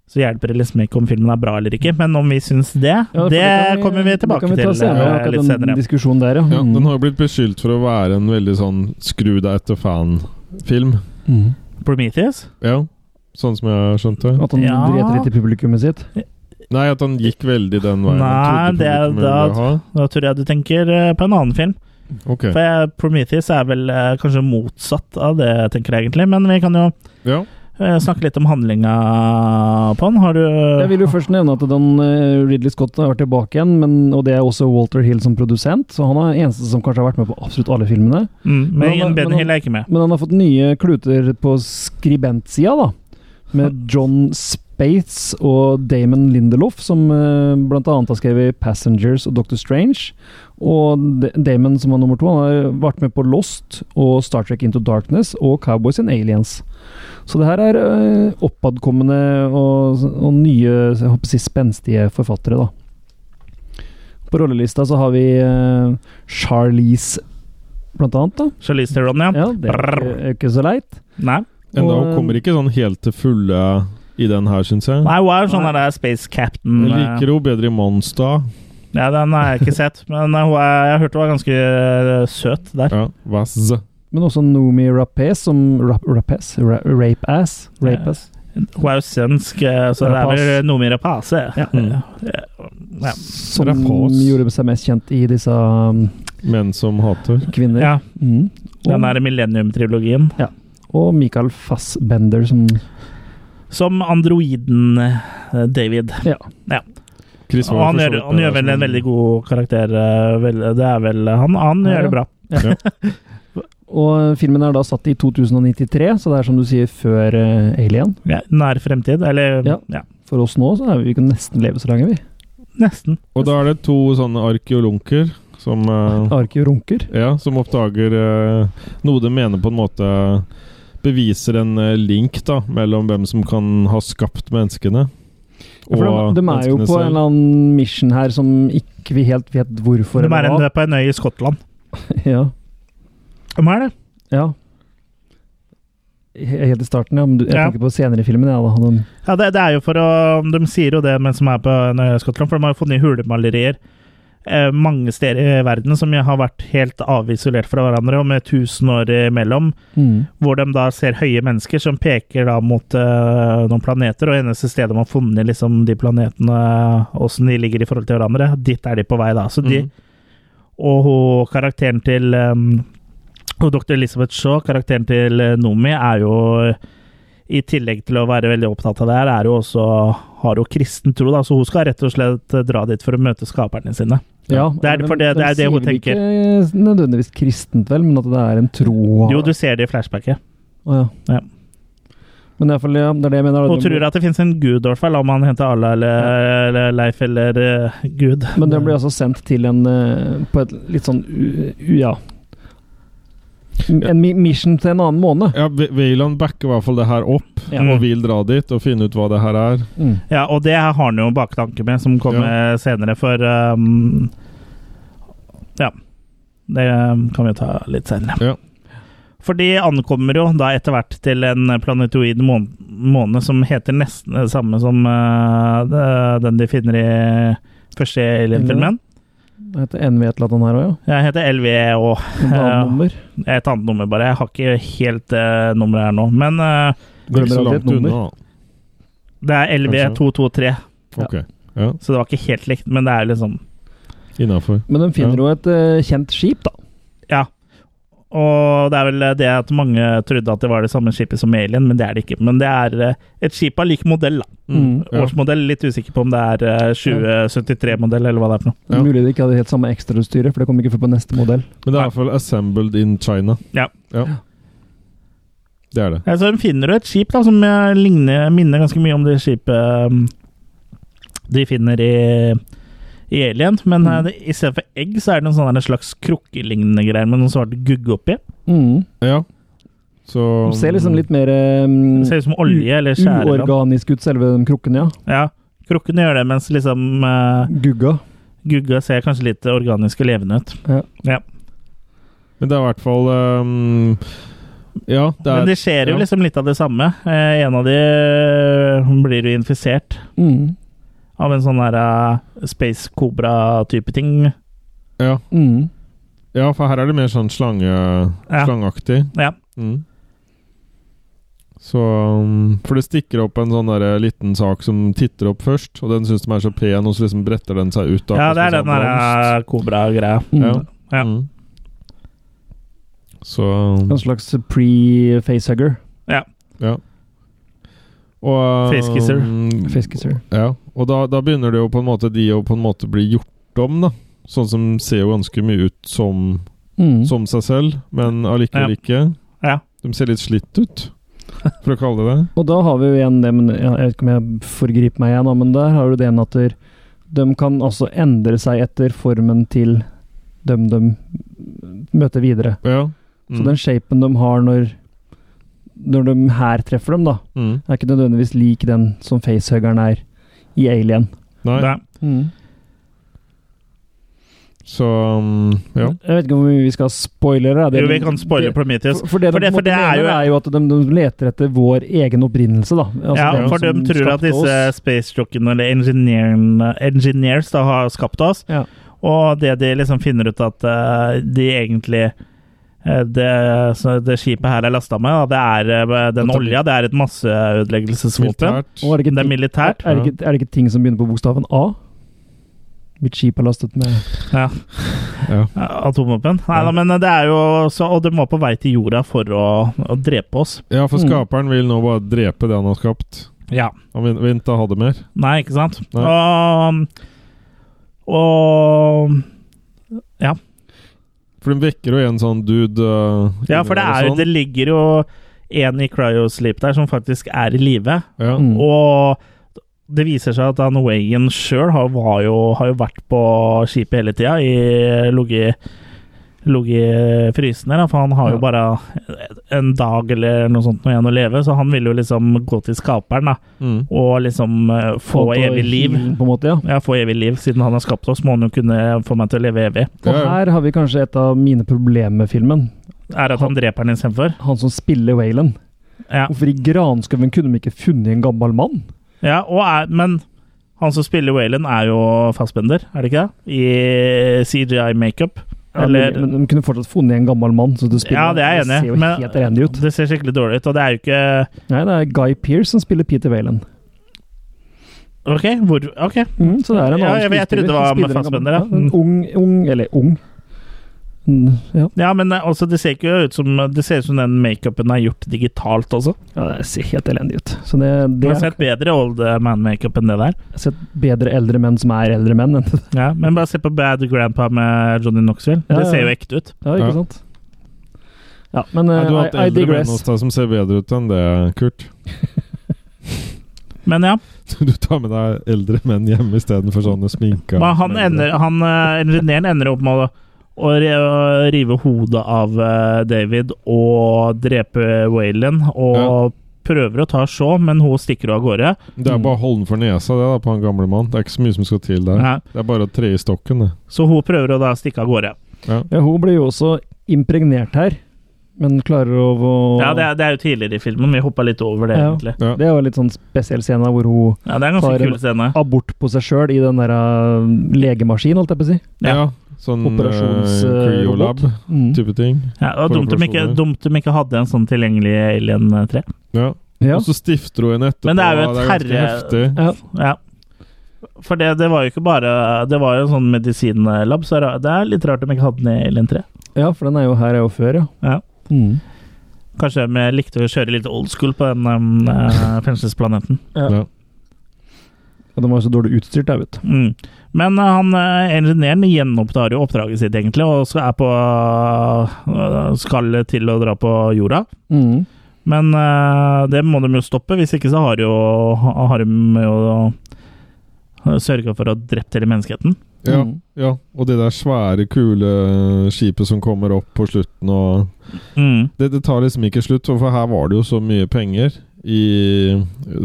Speaker 1: så hjelper det liksom ikke om filmen er bra eller ikke. Men om vi syns det,
Speaker 3: Ja, for
Speaker 1: det,
Speaker 3: kan
Speaker 1: kommer vi
Speaker 3: det
Speaker 1: tilbake
Speaker 3: kan vi ta
Speaker 1: til
Speaker 3: senere,
Speaker 1: eh,
Speaker 3: akkurat
Speaker 1: litt
Speaker 3: den
Speaker 1: senere.
Speaker 3: diskusjonen der, ja.
Speaker 4: Ja,
Speaker 3: Mm.
Speaker 4: den har jo blitt beskyldt for å være en veldig sånn skru deg etter fan-film.
Speaker 1: Prometheus?
Speaker 4: Ja, sånn som jeg skjønte.
Speaker 3: Mm. At han
Speaker 1: Ja.
Speaker 3: dreter litt i publikummet sitt.
Speaker 4: Nei, at han gikk veldig den veien.
Speaker 1: Nei,
Speaker 4: han trodde
Speaker 1: det er,
Speaker 4: publikum
Speaker 1: da,
Speaker 4: ville ha.
Speaker 1: da tror jeg du tenker eh, på en annen film.
Speaker 4: Ok.
Speaker 1: For jeg, Prometheus er vel eh, kanskje motsatt av det jeg tenker egentlig, men vi kan jo
Speaker 4: Ja.
Speaker 1: eh, snakke litt om handlinga på den. Har du
Speaker 3: Jeg vil jo først nevne at den eh, Ridley Scott er tilbake igjen, men, og det er også Walter Hill som produsent, så han er eneste som kanskje har vært med på absolutt alle filmene.
Speaker 1: mm,
Speaker 3: Men
Speaker 1: Men
Speaker 3: han-
Speaker 1: Ian
Speaker 3: men han-
Speaker 1: Benhill er ikke med.
Speaker 3: Men han har fått nye kluter på skribentsida, da. Med John Spates og Damon Lindelof, som eh, blant annet har skrevet 'Passengers' og 'Doctor Strange'. Og D- Damon, som var nummer to, han har vært med på 'Lost' og 'Star Trek Into Darkness' og 'Cowboys and Aliens'. Så det her er eh, oppadkommende og, og nye, jeg håper å si spenstige forfattere, da. På rollelista så har vi eh, Charlize, blant annet, da.
Speaker 1: Charlize Theron, ja.
Speaker 3: Ja, det er ikke, er ikke så leit.
Speaker 1: Nei.
Speaker 4: Enda
Speaker 3: Og-
Speaker 4: hun kommer ikke sånn helt til fulle i den her, syns jeg.
Speaker 1: Nei, hun er jo sånn der Space Captain.
Speaker 4: Jeg
Speaker 1: eh,
Speaker 4: liker hun bedre i Monstad.
Speaker 1: Ja, den har jeg ikke sett, men eh, hun er, jeg hørte hun var ganske eh, søt der.
Speaker 4: Ja, Vaz.
Speaker 3: Men også Noomi Rapaz som rap, Rapaz? Ra, rape ass? Rape ass.
Speaker 1: Hun er jo svensk, eh, så det er
Speaker 3: Rapace.
Speaker 1: vel noe eh. med rapase.
Speaker 3: Ja.
Speaker 1: Ja.
Speaker 3: Som
Speaker 4: Rapaz.
Speaker 3: gjorde seg mest kjent i disse um,
Speaker 4: Menn som hater.
Speaker 3: kvinner.
Speaker 1: ja.
Speaker 3: Mm.
Speaker 1: Den
Speaker 3: Og,
Speaker 1: der Millennium-trilogien.
Speaker 3: og Michael Fassbender som
Speaker 1: Som androiden eh, David.
Speaker 3: Ja.
Speaker 4: Chris
Speaker 1: Og
Speaker 4: var
Speaker 1: han
Speaker 4: for så
Speaker 1: gjør,
Speaker 4: vidt
Speaker 1: han
Speaker 4: der
Speaker 1: gjør vel
Speaker 4: som
Speaker 1: en veldig god karakter. eh, vel- Det er vel Han, han
Speaker 3: Ja,
Speaker 1: gjør det bra.
Speaker 3: Og eh, filmen er da satt i 2093, så det er som du sier før eh, Alien.
Speaker 1: Ja, nær fremtid, eller
Speaker 3: Ja. For oss nå så er vi, vi kan nesten leve så lenge, vi.
Speaker 1: Nesten.
Speaker 4: Og da er det to sånne arkeolunker som eh,
Speaker 3: Arkeorunker.
Speaker 4: Ja, som oppdager eh, noe de mener på en måte beviser en eh, link da, mellom hvem som kan ha skapt menneskene.
Speaker 3: Ja, for de, de er jo
Speaker 4: menneskene
Speaker 3: på en
Speaker 4: selv.
Speaker 3: eller annen mission her som ikke vi helt vet hvorfor.
Speaker 1: De er
Speaker 3: eller
Speaker 1: en,
Speaker 3: hva.
Speaker 1: på en øy i Skottland.
Speaker 3: ja.
Speaker 1: De er det.
Speaker 3: ja. He- Helt i starten, ja. Men du, jeg
Speaker 1: Ja.
Speaker 3: tenker på senere i filmen. Ja, da. De,
Speaker 1: Ja, det, det er jo for å De sier jo det mens de er på en øy i Skottland, for de har jo funnet hulemalerier eh, mange steder i verden som har vært helt avisolert fra hverandre, og med tusen år imellom.
Speaker 3: Mm.
Speaker 1: Hvor de da ser høye mennesker som peker da mot eh, noen planeter, og eneste stedet de har funnet liksom, de planetene, eh, åssen de ligger i forhold til hverandre, dit er de på vei da. Så de, Og hun, karakteren til um, og Dr. Elizabeth Shaw, karakteren til eh, Nomi, er jo i tillegg til å være veldig opptatt av det her, er jo også, har jo kristen tro, da, så hun skal rett og slett eh, dra dit for å møte skaperne sine.
Speaker 3: ja.
Speaker 1: Det er
Speaker 3: men
Speaker 1: for det-
Speaker 3: de
Speaker 1: det er det hun
Speaker 3: sier vel
Speaker 1: tenker.
Speaker 3: Ikke nødvendigvis kristent, vel, men at det er en tro
Speaker 1: Jo, du ser det i flashbacket.
Speaker 3: Å, ja.
Speaker 1: Ja.
Speaker 3: Men i hvert fall, ja, det er det jeg mener. da.
Speaker 1: Hun
Speaker 3: De-
Speaker 1: tror at det finnes en gud, i hvert fall, om han heter Allah eller, eller Leif eller eh, Gud.
Speaker 3: Men den blir altså sendt til en eh, På et litt sånn u, u, Ja. En mi- mission til en annen måned. Mm.
Speaker 4: Ja, Ve- Wayland backer i hvert fall det her opp,
Speaker 3: Ja.
Speaker 4: og vil dra dit og finne ut hva det her er.
Speaker 3: Mm.
Speaker 1: Ja, og det har han jo en baktanke med, som kommer senere, for um, Ja. Det um, kan vi jo ta litt senere.
Speaker 4: Ja.
Speaker 1: For de ankommer jo da etter hvert til en planetoid mån- måne som heter nesten det samme som uh, det- den de finner i første Alien-filmen.
Speaker 3: Det heter NV et eller annet her òg, ja.
Speaker 1: Jeg heter LVE og
Speaker 3: Et annet nummer.
Speaker 1: Et annet nummer, bare. Jeg har ikke helt eh, nummeret her nå. Men eh,
Speaker 4: Det er ikke så
Speaker 3: Glemmer
Speaker 4: langt
Speaker 3: alltid et nummer.
Speaker 4: unna.
Speaker 1: det er LV223,
Speaker 3: Ja.
Speaker 4: Ok, ja.
Speaker 1: så det var ikke helt likt, men det er liksom
Speaker 4: Innafor.
Speaker 3: Men de finner jo et eh, kjent skip, da.
Speaker 1: Ja. Og det er vel det at mange trodde at det var det samme skipet som Alien, men det er det ikke. Men det er eh, et skip av lik modell, da.
Speaker 3: Mm,
Speaker 4: ja.
Speaker 1: Årsmodell, litt usikker på om det er eh, 2073-modell eller hva det er for noe.
Speaker 4: Ja.
Speaker 3: Mulig de ikke hadde helt samme ekstrautstyret, for det kom ikke før på neste modell.
Speaker 4: Men det er i hvert fall 'assembled in China'.
Speaker 1: Ja.
Speaker 4: Ja. Det er det.
Speaker 1: Ja, så finner du et skip da, som eh, ligner, minner ganske mye om det skipet eh, de finner i, i Alien. Men eh, det, i stedet for egg, så er det noen sånne slags krukkelignende greier med noen svarte gugge oppi.
Speaker 3: Mm.
Speaker 4: Ja. Så
Speaker 3: De ser liksom litt mer eh,
Speaker 1: Det ser ut som olje eller skjære. eller noe.
Speaker 3: uorganisk ut, selve de krukkene, ja.
Speaker 1: Ja, krukkene gjør det, mens liksom eh,
Speaker 3: Gugga.
Speaker 1: gugga ser kanskje litt organisk og levende ut.
Speaker 3: Ja.
Speaker 1: Ja.
Speaker 4: Men det er i hvert fall ehm, Ja, det er
Speaker 1: Men det skjer jo
Speaker 4: ja.
Speaker 1: liksom litt av det samme. Eh, en av de eh, hun blir jo infisert
Speaker 3: Mm.
Speaker 1: av en sånn her eh, space cobra-type ting.
Speaker 4: Ja.
Speaker 3: Mm.
Speaker 4: ja, for her er det mer sånn slange, slangeaktig.
Speaker 1: Ja.
Speaker 4: Mm. Så um, For det stikker opp en sånn der liten sak som titter opp først, og den syns de er så pen, og så liksom bretter den seg ut. da,
Speaker 1: Ja,
Speaker 4: for
Speaker 1: det
Speaker 4: å
Speaker 1: er den eh,
Speaker 4: spise en blomst.
Speaker 1: der kobra-greia.
Speaker 3: Mm.
Speaker 4: Ja.
Speaker 1: Ja. Sånn
Speaker 4: Mm. Så um,
Speaker 3: En slags pre-facehugger.
Speaker 4: Ja. Og, um,
Speaker 1: Facekisser.
Speaker 3: Fiskesur.
Speaker 4: Ja, og da, da begynner det jo på en måte de å på en måte bli gjort om, da. Sånn som ser jo ganske mye ut som,
Speaker 3: Mm.
Speaker 4: som seg selv, men allikevel
Speaker 1: Ja.
Speaker 4: ikke.
Speaker 1: Ja.
Speaker 4: De ser litt slitt ut, for å kalle det det.
Speaker 3: Og da har vi jo igjen det, men ja, jeg vet ikke om jeg forgriper meg igjen, da, men der har du det igjen at der- de kan også endre seg etter formen til dem de møter videre.
Speaker 4: Ja.
Speaker 3: Så
Speaker 4: Mm.
Speaker 3: den shapen de har når, når de her treffer dem, da,
Speaker 4: Mm.
Speaker 3: er ikke nødvendigvis lik den som facehuggeren er i Alien.
Speaker 4: Nei,
Speaker 1: Da.
Speaker 4: så um, Ja.
Speaker 1: Mm.
Speaker 3: Jeg vet ikke om vi skal spoilere. da. Det
Speaker 1: Jo, vi
Speaker 3: de-
Speaker 1: kan spoile
Speaker 3: det-
Speaker 1: Prometheus.
Speaker 3: For, for det,
Speaker 1: For
Speaker 3: de
Speaker 1: det-
Speaker 3: på
Speaker 1: for
Speaker 3: en måte
Speaker 1: det er jo-
Speaker 3: mener, er jo at de, de leter etter vår egen opprinnelse, da. Altså,
Speaker 1: ja,
Speaker 3: dem
Speaker 1: for de
Speaker 3: som
Speaker 1: tror at
Speaker 3: skapte
Speaker 1: disse
Speaker 3: oss.
Speaker 1: spacejockene, eller engineeren- engineers, da, har skapt oss.
Speaker 3: Ja.
Speaker 1: Og det de liksom finner ut at eh, de egentlig eh, det, så det skipet her er lasta med, da, det er eh, den
Speaker 4: At det-
Speaker 1: olja. Det er et masseødeleggelsesvåpen.
Speaker 4: Militært.
Speaker 3: Og er det ikke
Speaker 1: Det er
Speaker 3: ting-
Speaker 1: militært.
Speaker 3: Er det, ikke, er det ikke ting som begynner på bokstaven A? Mitt skip er lastet med
Speaker 1: Ja.
Speaker 4: Ja.
Speaker 1: Atomvåpen. Nei da, men det er jo så, Og de var på vei til jorda for å, å drepe oss.
Speaker 4: ja, for
Speaker 3: Mm.
Speaker 4: skaperen vil nå bare drepe det han har skapt.
Speaker 1: Ja.
Speaker 4: Han vil, vil ikke ha det mer.
Speaker 1: Nei, ikke sant?
Speaker 4: Nei.
Speaker 1: Og, og Ja.
Speaker 4: For de vekker jo igjen sånn dude eh,
Speaker 1: Ja, for det,
Speaker 4: inni
Speaker 1: er,
Speaker 4: der
Speaker 1: jo-
Speaker 4: og
Speaker 1: det
Speaker 4: sånn.
Speaker 1: ligger jo en i cryosleep der som faktisk er i live.
Speaker 3: Mm.
Speaker 1: Og det viser seg at han Wayan sjøl har, var jo- har jo vært på skipet hele tida, i- ligget ligget frysende, da, for han har jo
Speaker 3: Ja.
Speaker 1: bare en dag eller noe sånt igjen å leve, så han vil jo liksom gå til skaperen da,
Speaker 4: Mm.
Speaker 1: og liksom eh, få
Speaker 3: Og på
Speaker 1: evig liv.
Speaker 3: healing, På en måte, ja.
Speaker 1: Ja, få evig liv. Siden han har skapt oss, må han jo kunne få meg til å leve evig.
Speaker 3: Og her har vi kanskje et av mine problemer med filmen.
Speaker 1: Er at han dreper den istedenfor?
Speaker 3: Han som spiller Waylon.
Speaker 1: Ja.
Speaker 3: Hvorfor i granskauen kunne de ikke funnet en gammel mann?
Speaker 1: Ja, og er, men han som spiller Waylon, er jo fastbender, er det ikke det? I CGI-makeup.
Speaker 3: Ja,
Speaker 1: Eller
Speaker 3: men, men de kunne fortsatt funnet en gammel mann. Så du spiller,
Speaker 1: Ja, det er jeg enig
Speaker 3: ser
Speaker 1: i.
Speaker 3: jo
Speaker 1: men
Speaker 3: helt elendig ut.
Speaker 1: Det ser skikkelig dårlig ut, og det er jo ikke
Speaker 3: Nei, det er Guy Pearce som spiller Peter Waylon.
Speaker 1: OK, hvor OK.
Speaker 3: Mm, så det er en
Speaker 1: Ja,
Speaker 3: annen
Speaker 1: jeg vet- jeg trodde det var
Speaker 3: skuespiller som
Speaker 1: med
Speaker 3: spiller en
Speaker 1: Fassbender, ja.
Speaker 3: gammel- en Ung, ung, eller ung. Mm, Ja.
Speaker 1: Ja, men eh, altså, det ser ikke ut som Det ser ut som den makeupen er gjort digitalt også.
Speaker 3: ja, det ser helt elendig ut. Så
Speaker 1: Det
Speaker 3: det, det
Speaker 1: har sett bedre old man-makeup enn det der.
Speaker 3: Jeg har sett bedre eldre menn som er eldre menn. enn det.
Speaker 1: Ja, Men bare se på Bad Grandpa med Johnny Knoxville.
Speaker 3: Ja,
Speaker 1: Det
Speaker 3: ja.
Speaker 1: ser jo ekte ut.
Speaker 3: Ja, ikke
Speaker 4: Ja.
Speaker 3: sant? Ja, men
Speaker 4: Nei, du har
Speaker 3: uh,
Speaker 4: hatt
Speaker 3: I, I
Speaker 4: eldre menn
Speaker 3: digress.
Speaker 4: hos deg som ser bedre ut enn det, Kurt.
Speaker 1: Men ja.
Speaker 4: Du tar med deg eldre menn hjemme istedenfor sånne sminka
Speaker 1: Men han ender, han, eh, Linneen ender opp med å, å ri- å rive hodet av eh, David og drepe Waylon, og prøver å ta Shaw, men hun stikker av gårde.
Speaker 4: Det er bare å holde den for nesa det da, på han gamle mann. Det er ikke så mye som skal til der.
Speaker 1: Nei.
Speaker 4: Det er bare å tre i stokken, det.
Speaker 1: Så hun prøver å da stikke av gårde.
Speaker 3: Ja, hun blir jo også impregnert her, men klarer å å-
Speaker 1: Ja, det er, det er jo tidligere i filmen, vi hoppa litt over det,
Speaker 3: Ja.
Speaker 1: egentlig.
Speaker 4: Ja.
Speaker 3: Det er jo en litt sånn spesiell scene hvor hun
Speaker 1: Ja, det er en ganske
Speaker 3: Bare-
Speaker 1: kul scene.
Speaker 3: abort på seg sjøl i den der uh, legemaskinen, holdt jeg på å si.
Speaker 1: Ja.
Speaker 4: Ja, sånn
Speaker 3: Operasjons, eh, robot.
Speaker 4: Creolab-type
Speaker 3: Mm.
Speaker 4: ting.
Speaker 1: Ja, og dumt de, ikke, dumt de ikke hadde en sånn tilgjengelig i Alien eh, 3.
Speaker 4: Ja.
Speaker 3: Ja.
Speaker 4: Og så stifter hun en etterpå.
Speaker 1: Men det er jo et
Speaker 4: ganske
Speaker 1: herre-
Speaker 4: heftig.
Speaker 3: Ja.
Speaker 1: Ja. For det, det var jo ikke bare Det var jo en sånn medisinlab, så det er litt rart de ikke hadde den i Alien 3.
Speaker 3: ja, for den er jo her er jo før, ja.
Speaker 1: Ja.
Speaker 3: Mm.
Speaker 1: Kanskje de likte å kjøre litt old school på den um, eh, fengselsplaneten.
Speaker 4: Ja.
Speaker 3: Og den var jo så dårlig utstyrt der, vet du.
Speaker 1: Mm. Men eh, han eh, ingeniøren gjenopptar jo oppdraget sitt, egentlig, og så er på eh, skal til å dra på jorda.
Speaker 3: Mm.
Speaker 1: Men eh, det må de jo stoppe, hvis ikke så har jo har de jo sørga for å ha drept hele menneskeheten.
Speaker 4: Ja,
Speaker 3: Mm.
Speaker 4: ja, og det der svære, kule øh, skipet som kommer opp på slutten og
Speaker 1: Mm.
Speaker 4: det, det tar liksom ikke slutt, for her var det jo så mye penger i,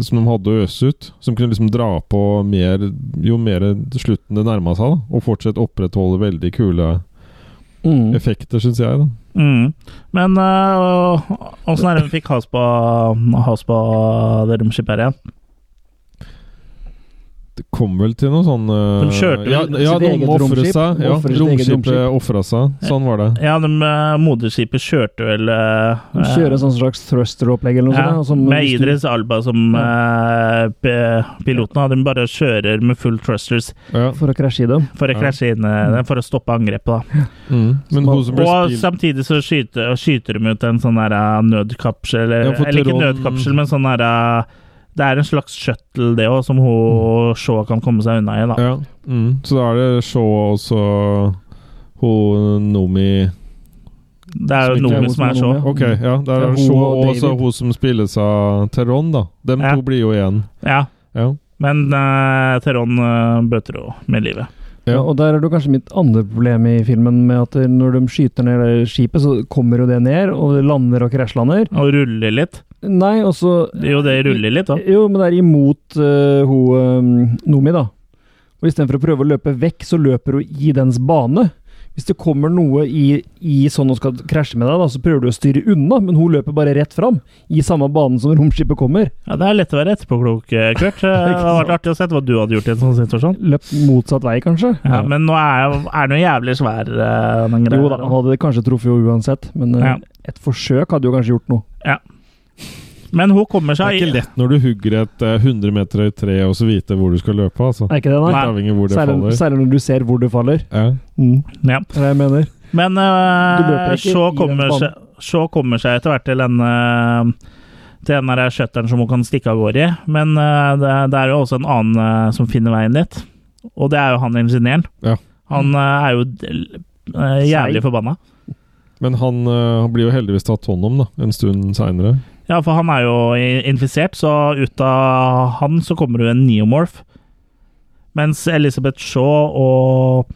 Speaker 4: som de hadde å øse ut. Som kunne liksom dra på mer jo mer slutten det nærma seg, da. Og fortsette å opprettholde veldig kule
Speaker 3: Mm.
Speaker 4: effekter, syns jeg. da
Speaker 1: Mm. Men eh, åssen er det de fikk has på, has på det romskipet her igjen?
Speaker 4: Det kom vel til noe sånn eh,
Speaker 1: De kjørte vel
Speaker 4: Ja,
Speaker 1: sitt
Speaker 4: ja de
Speaker 3: eget
Speaker 4: må ofre
Speaker 3: romskip.
Speaker 4: seg.
Speaker 3: De
Speaker 4: Ja,
Speaker 3: ofrer sitt eget romskip.
Speaker 4: romskipet ofra seg. Sånn var det.
Speaker 1: Ja, de, eh, moderskipet kjørte vel eh,
Speaker 3: De kjører en sånn slags thruster-opplegg eller noe
Speaker 1: Ja,
Speaker 3: sånt. og som-
Speaker 1: med
Speaker 3: hvis du-
Speaker 1: Idris Alba som eh, p- piloten. og De bare kjører med full thrusters
Speaker 4: Ja.
Speaker 3: For å krasje i dem.
Speaker 1: for å
Speaker 4: Ja.
Speaker 1: krasje inn eh, For å stoppe angrepet. da
Speaker 4: Mm. Men hun som ble
Speaker 1: Og
Speaker 4: spilt
Speaker 1: samtidig så skyter, skyter de ut en sånn der, eh, nødkapsel Eller,
Speaker 4: Ja, for
Speaker 1: eller ikke
Speaker 4: Teron-
Speaker 1: nødkapsel, men sånn der eh, Det er en slags shuttle, det òg, som hun Shaw kan komme seg unna i. da
Speaker 4: ja. mm. Så da er det Shaw og så hun Nomi
Speaker 1: Det er jo
Speaker 4: Som ikke er
Speaker 1: Nomi
Speaker 3: hun
Speaker 1: som
Speaker 3: som er
Speaker 1: er Shaw.
Speaker 3: Nomi,
Speaker 4: Ok,
Speaker 1: Mm.
Speaker 4: ja. Der
Speaker 3: Det
Speaker 4: er
Speaker 3: er
Speaker 4: det
Speaker 3: hun
Speaker 4: Shaw
Speaker 3: og
Speaker 4: og så
Speaker 3: David.
Speaker 4: hun som spilles av Teron, da. Dem
Speaker 1: Ja.
Speaker 4: to blir jo igjen.
Speaker 1: Ja,
Speaker 4: Ja.
Speaker 1: men uh, Teron eh, bøter jo med livet.
Speaker 3: Ja, og der er det jo kanskje mitt andre problem i filmen, med at når de skyter ned det skipet, så kommer jo det ned, og det lander og krasjlander.
Speaker 1: Og ruller litt.
Speaker 3: Nei, og så
Speaker 1: Jo, det ruller litt, da.
Speaker 3: Jo, men det er imot uh, hun eh, Nomi, da. Og istedenfor å prøve å løpe vekk, så løper hun i dens bane. Hvis det kommer noe i, i sånn hun skal krasje med deg, da, så prøver du å styre unna, men hun løper bare rett fram. I samme banen som romskipet kommer.
Speaker 1: Ja, Det er lett å være etterpåklok, eh, Kurt. Eh, Det hadde vært artig å se hva du hadde gjort i en sånn situasjon.
Speaker 3: Løpt motsatt vei, kanskje.
Speaker 1: Ja, Men nå er, er den jo jævlig svær, eh, den greia.
Speaker 3: Jo da, han hadde kanskje truffet henne uansett, men eh,
Speaker 1: Ja.
Speaker 3: et forsøk hadde jo kanskje gjort noe.
Speaker 1: Men hun kommer
Speaker 4: Det er
Speaker 1: seg
Speaker 4: ikke
Speaker 1: i
Speaker 4: lett når du hugger et eh, 100 meter høyt tre og så vite hvor du skal løpe, altså.
Speaker 3: Er ikke det,
Speaker 4: Litt
Speaker 3: nei?
Speaker 4: avhengig av hvor det
Speaker 3: Særlig,
Speaker 4: faller.
Speaker 3: særlig når du ser hvor det faller.
Speaker 4: Ja.
Speaker 3: Mm.
Speaker 1: ja.
Speaker 3: Det er det jeg mener.
Speaker 1: Men
Speaker 3: Du løper
Speaker 1: uh,
Speaker 3: ikke
Speaker 1: så,
Speaker 3: i den
Speaker 1: kommer
Speaker 3: banen.
Speaker 1: seg, så kommer seg etter hvert til den eh, til den der shutteren som hun kan stikke av gårde i. Men eh, det, er- det er jo også en annen eh, som finner veien dit, og det er jo han ingeniøren.
Speaker 4: Ja.
Speaker 1: Han eh, er jo d- eh, jævlig
Speaker 4: Seig.
Speaker 1: forbanna.
Speaker 4: Men han, eh, han blir jo heldigvis tatt hånd om da, en stund seinere.
Speaker 1: Ja, for han er jo i- infisert, så ut av han så kommer det jo en neomorph. Mens Elizabeth Shaw og,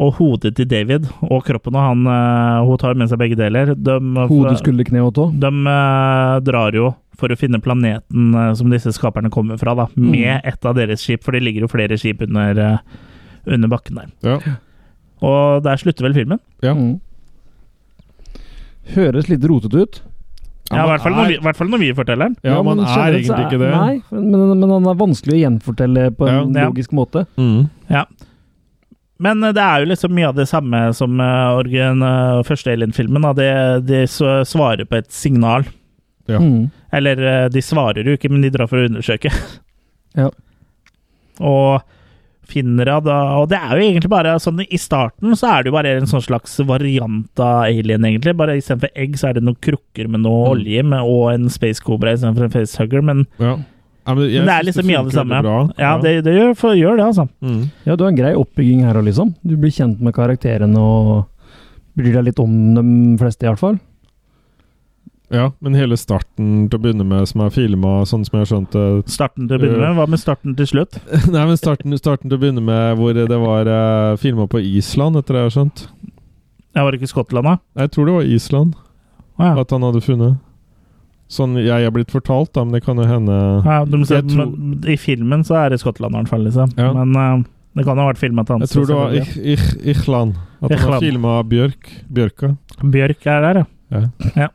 Speaker 1: og hodet til David og kroppen og han eh, Hun tar jo med seg begge deler. De,
Speaker 3: Hode, skulder, kne og tå.
Speaker 1: de eh, drar jo for å finne planeten eh, som disse skaperne kommer fra, da, med et av deres skip, for det ligger jo flere skip under, eh, under bakken der. Og der slutter vel filmen?
Speaker 3: Mm. Høres litt rotete ut.
Speaker 1: Ja, i hvert fall når vi- i hvert fall når vi forteller den.
Speaker 4: Ja, man
Speaker 3: men
Speaker 4: er
Speaker 3: generelt så
Speaker 4: egentlig ikke det.
Speaker 3: Nei, men, men han er vanskelig å gjenfortelle på en
Speaker 1: Ja.
Speaker 3: logisk måte.
Speaker 4: Mm.
Speaker 1: Ja. Men eh, det er jo liksom mye av det samme som eh, origin, eh, første Alien-filmen. da. De, de s- svarer på et signal.
Speaker 4: Ja.
Speaker 3: Mm.
Speaker 1: Eller eh, de svarer jo ikke, men de drar for å undersøke.
Speaker 3: Ja.
Speaker 1: Og finner av da Og det er jo egentlig bare sånn i starten så er det jo bare en sånn slags variant av alien, egentlig. Bare istedenfor egg så er det noen krukker med noe olje med, og en space cobra istedenfor en facehugger, men,
Speaker 4: Ja. Ja, men, jeg
Speaker 1: men det er
Speaker 4: synes
Speaker 1: liksom mye av det
Speaker 4: funker
Speaker 1: samme.
Speaker 4: veldig Bra.
Speaker 1: Ja, det, det gjør, for, gjør det, altså.
Speaker 4: Mm.
Speaker 3: Ja, du har en grei oppbygging her òg, liksom. Du blir kjent med karakterene og bryr deg litt om de fleste, i hvert fall.
Speaker 4: ja, men hele starten til å begynne med som er filma, sånn som jeg skjønte
Speaker 1: Starten til å begynne med. Hva med starten til slutt?
Speaker 4: Nei, men starten, starten til å begynne med hvor det var uh, filma på Island, etter det jeg har skjønt.
Speaker 1: Jeg var ikke i Skottland, da.
Speaker 4: Jeg tror det var Island
Speaker 1: Ja.
Speaker 4: at han hadde funnet. Sånn jeg er blitt fortalt, da, men det kan jo hende
Speaker 1: Ja, du må se,
Speaker 4: Jeg tror-
Speaker 1: men I filmen så er det Skottland, i hvert fall. Liksom.
Speaker 4: Ja.
Speaker 1: Men eh, det kan ha vært filma til
Speaker 4: Jeg tror det var Ich, ich, Ichland. At han
Speaker 1: Ichland.
Speaker 4: har filma Bjørk. Bjørka.
Speaker 1: Bjørk er der, ja.
Speaker 4: Ja.
Speaker 1: ja.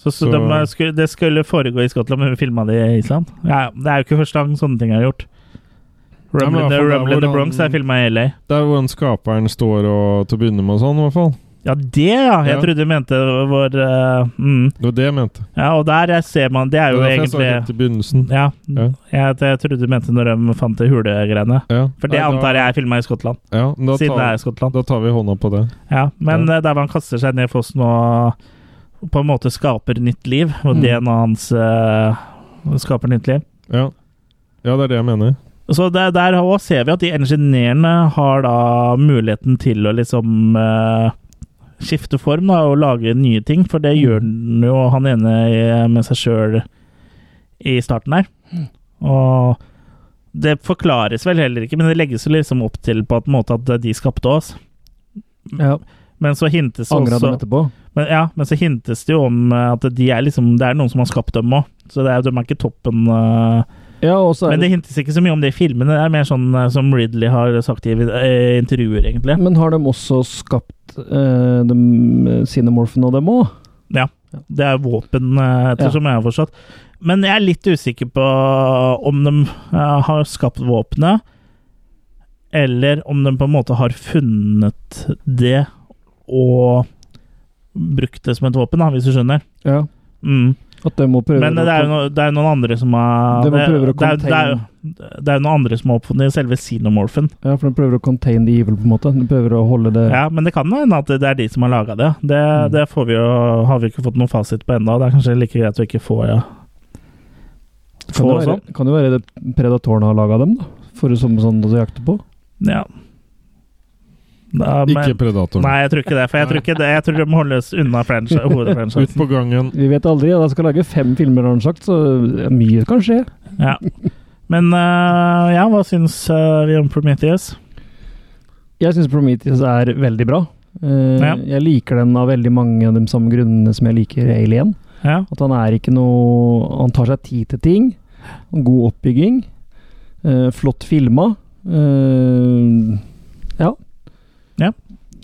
Speaker 1: Så, så,
Speaker 4: Så-
Speaker 1: De, eh, skulle, det skulle foregå i Skottland, men vi filma det i Island? Ja, ja. det er jo ikke første gang sånne ting er gjort.
Speaker 4: Ja, men i
Speaker 1: Rumble in
Speaker 4: hvert
Speaker 1: the,
Speaker 4: fall der
Speaker 1: Rumble in the
Speaker 4: hvor
Speaker 1: Bronx
Speaker 4: han-
Speaker 1: er filma i LA.
Speaker 4: Det er hvordan skaperen står og til å begynne med og sånn, i hvert fall.
Speaker 1: Ja, det, ja! Jeg
Speaker 4: Ja.
Speaker 1: trodde du mente hvor eh, mm.
Speaker 4: Det var det jeg mente.
Speaker 1: Ja, og der eh, ser man Det er
Speaker 4: Det
Speaker 1: jo
Speaker 4: var derfor jeg sa
Speaker 1: egentlig
Speaker 4: helt i begynnelsen.
Speaker 1: ja,
Speaker 4: Ja.
Speaker 1: Jeg, jeg trodde du mente når de fant det hulegreiene.
Speaker 4: Ja.
Speaker 1: For det
Speaker 4: Nei, da-
Speaker 1: antar jeg er filma i Skottland.
Speaker 4: Ja, men da
Speaker 1: Siden det er
Speaker 4: tar,
Speaker 1: Skottland.
Speaker 4: da tar vi hånda på det.
Speaker 1: Ja, men eh, der hvor han kaster seg ned i fossen og på en måte skaper nytt liv, og
Speaker 3: Mm.
Speaker 1: DNA-et hans eh, skaper nytt liv.
Speaker 4: Ja. ja, det er det jeg mener.
Speaker 1: Så der, der også ser vi at de ingeniørene har da muligheten til å liksom eh, skifte form da, og lage nye ting, for
Speaker 4: Mm.
Speaker 1: det gjør den jo han ene i- med seg sjøl i starten her.
Speaker 4: Mm.
Speaker 1: Og det forklares vel heller ikke, men det legges jo liksom opp til på en måte at de skapte oss.
Speaker 3: Ja.
Speaker 1: Men Mm. så hintes det
Speaker 3: Angra
Speaker 1: også
Speaker 3: dem etterpå.
Speaker 1: men, ja, men så hintes det jo om eh, at de er liksom, det er noen som har skapt dem òg. Så det er, de er ikke toppen eh,
Speaker 3: Ja, og så er
Speaker 1: Men det hintes ikke så mye om det i filmene. Det er mer sånn eh, som Ridley har sagt i eh, intervjuer, egentlig.
Speaker 3: Men har de også skapt eh, de, Cinemorphen og dem òg?
Speaker 1: Ja. Det er våpen, eh, ettersom jeg har forstått. Men jeg er litt usikker på om de eh, har skapt våpenet, eller om de på en måte har funnet det og brukt det som et våpen, da, hvis du skjønner.
Speaker 3: Ja.
Speaker 1: Mm.
Speaker 3: At de må prøve
Speaker 1: Men det er jo no, det er jo noen andre som har
Speaker 3: De må
Speaker 1: det,
Speaker 3: prøve å
Speaker 1: det, er, det, er,
Speaker 3: contain-
Speaker 1: jo- det er jo noen andre som har oppfunnet selve xenomorphen.
Speaker 3: Ja, for de prøver å contain the evil, på en måte. De prøver å holde det
Speaker 1: Ja, men det kan hende at det er de som har laga det. Det,
Speaker 3: Mm.
Speaker 1: det får vi jo, har vi ikke fått noen fasit på ennå. Det er kanskje like greit å ikke få ja.
Speaker 3: Kan
Speaker 1: få
Speaker 3: det være,
Speaker 1: sånn.
Speaker 3: kan det være det predatorene har laga dem, da? For som sånn å jakte på?
Speaker 1: Ja. Da, men,
Speaker 4: Ikke
Speaker 3: sånn.
Speaker 4: Predator.
Speaker 1: Nei, jeg tror ikke det. For jeg tror, ikke det, jeg tror de må holdes unna franchise,
Speaker 4: Ut
Speaker 1: hovedfranchisen.
Speaker 4: på gangen.
Speaker 3: Vi vet aldri. De skal lage fem filmer, har han sagt, så mye kan skje.
Speaker 1: Ja. Men eh, ja, hva syns eh, vi om Prometheus?
Speaker 3: Jeg syns Prometheus er veldig bra. Eh,
Speaker 1: Ja.
Speaker 3: Jeg liker den av veldig mange av de samme grunnene som jeg liker Alien.
Speaker 1: Ja.
Speaker 3: At han er ikke noe Han tar seg tid til ting. God oppbygging. Eh, flott filma. Eh, ja.
Speaker 1: Ja.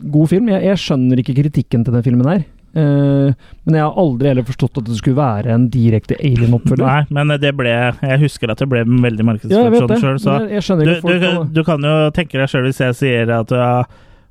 Speaker 3: God film. Jeg, jeg skjønner ikke kritikken til den filmen her. Eh, men jeg har aldri heller forstått at det skulle være en direkte alien-oppfølger.
Speaker 1: Nei, men det ble Jeg husker at det ble veldig
Speaker 3: Ja, jeg
Speaker 1: markedsført
Speaker 3: vet det.
Speaker 1: sånn sjøl, så
Speaker 3: Men jeg, jeg skjønner
Speaker 1: du,
Speaker 3: ikke folk
Speaker 1: du, du kan jo tenke deg sjøl hvis jeg sier at ja,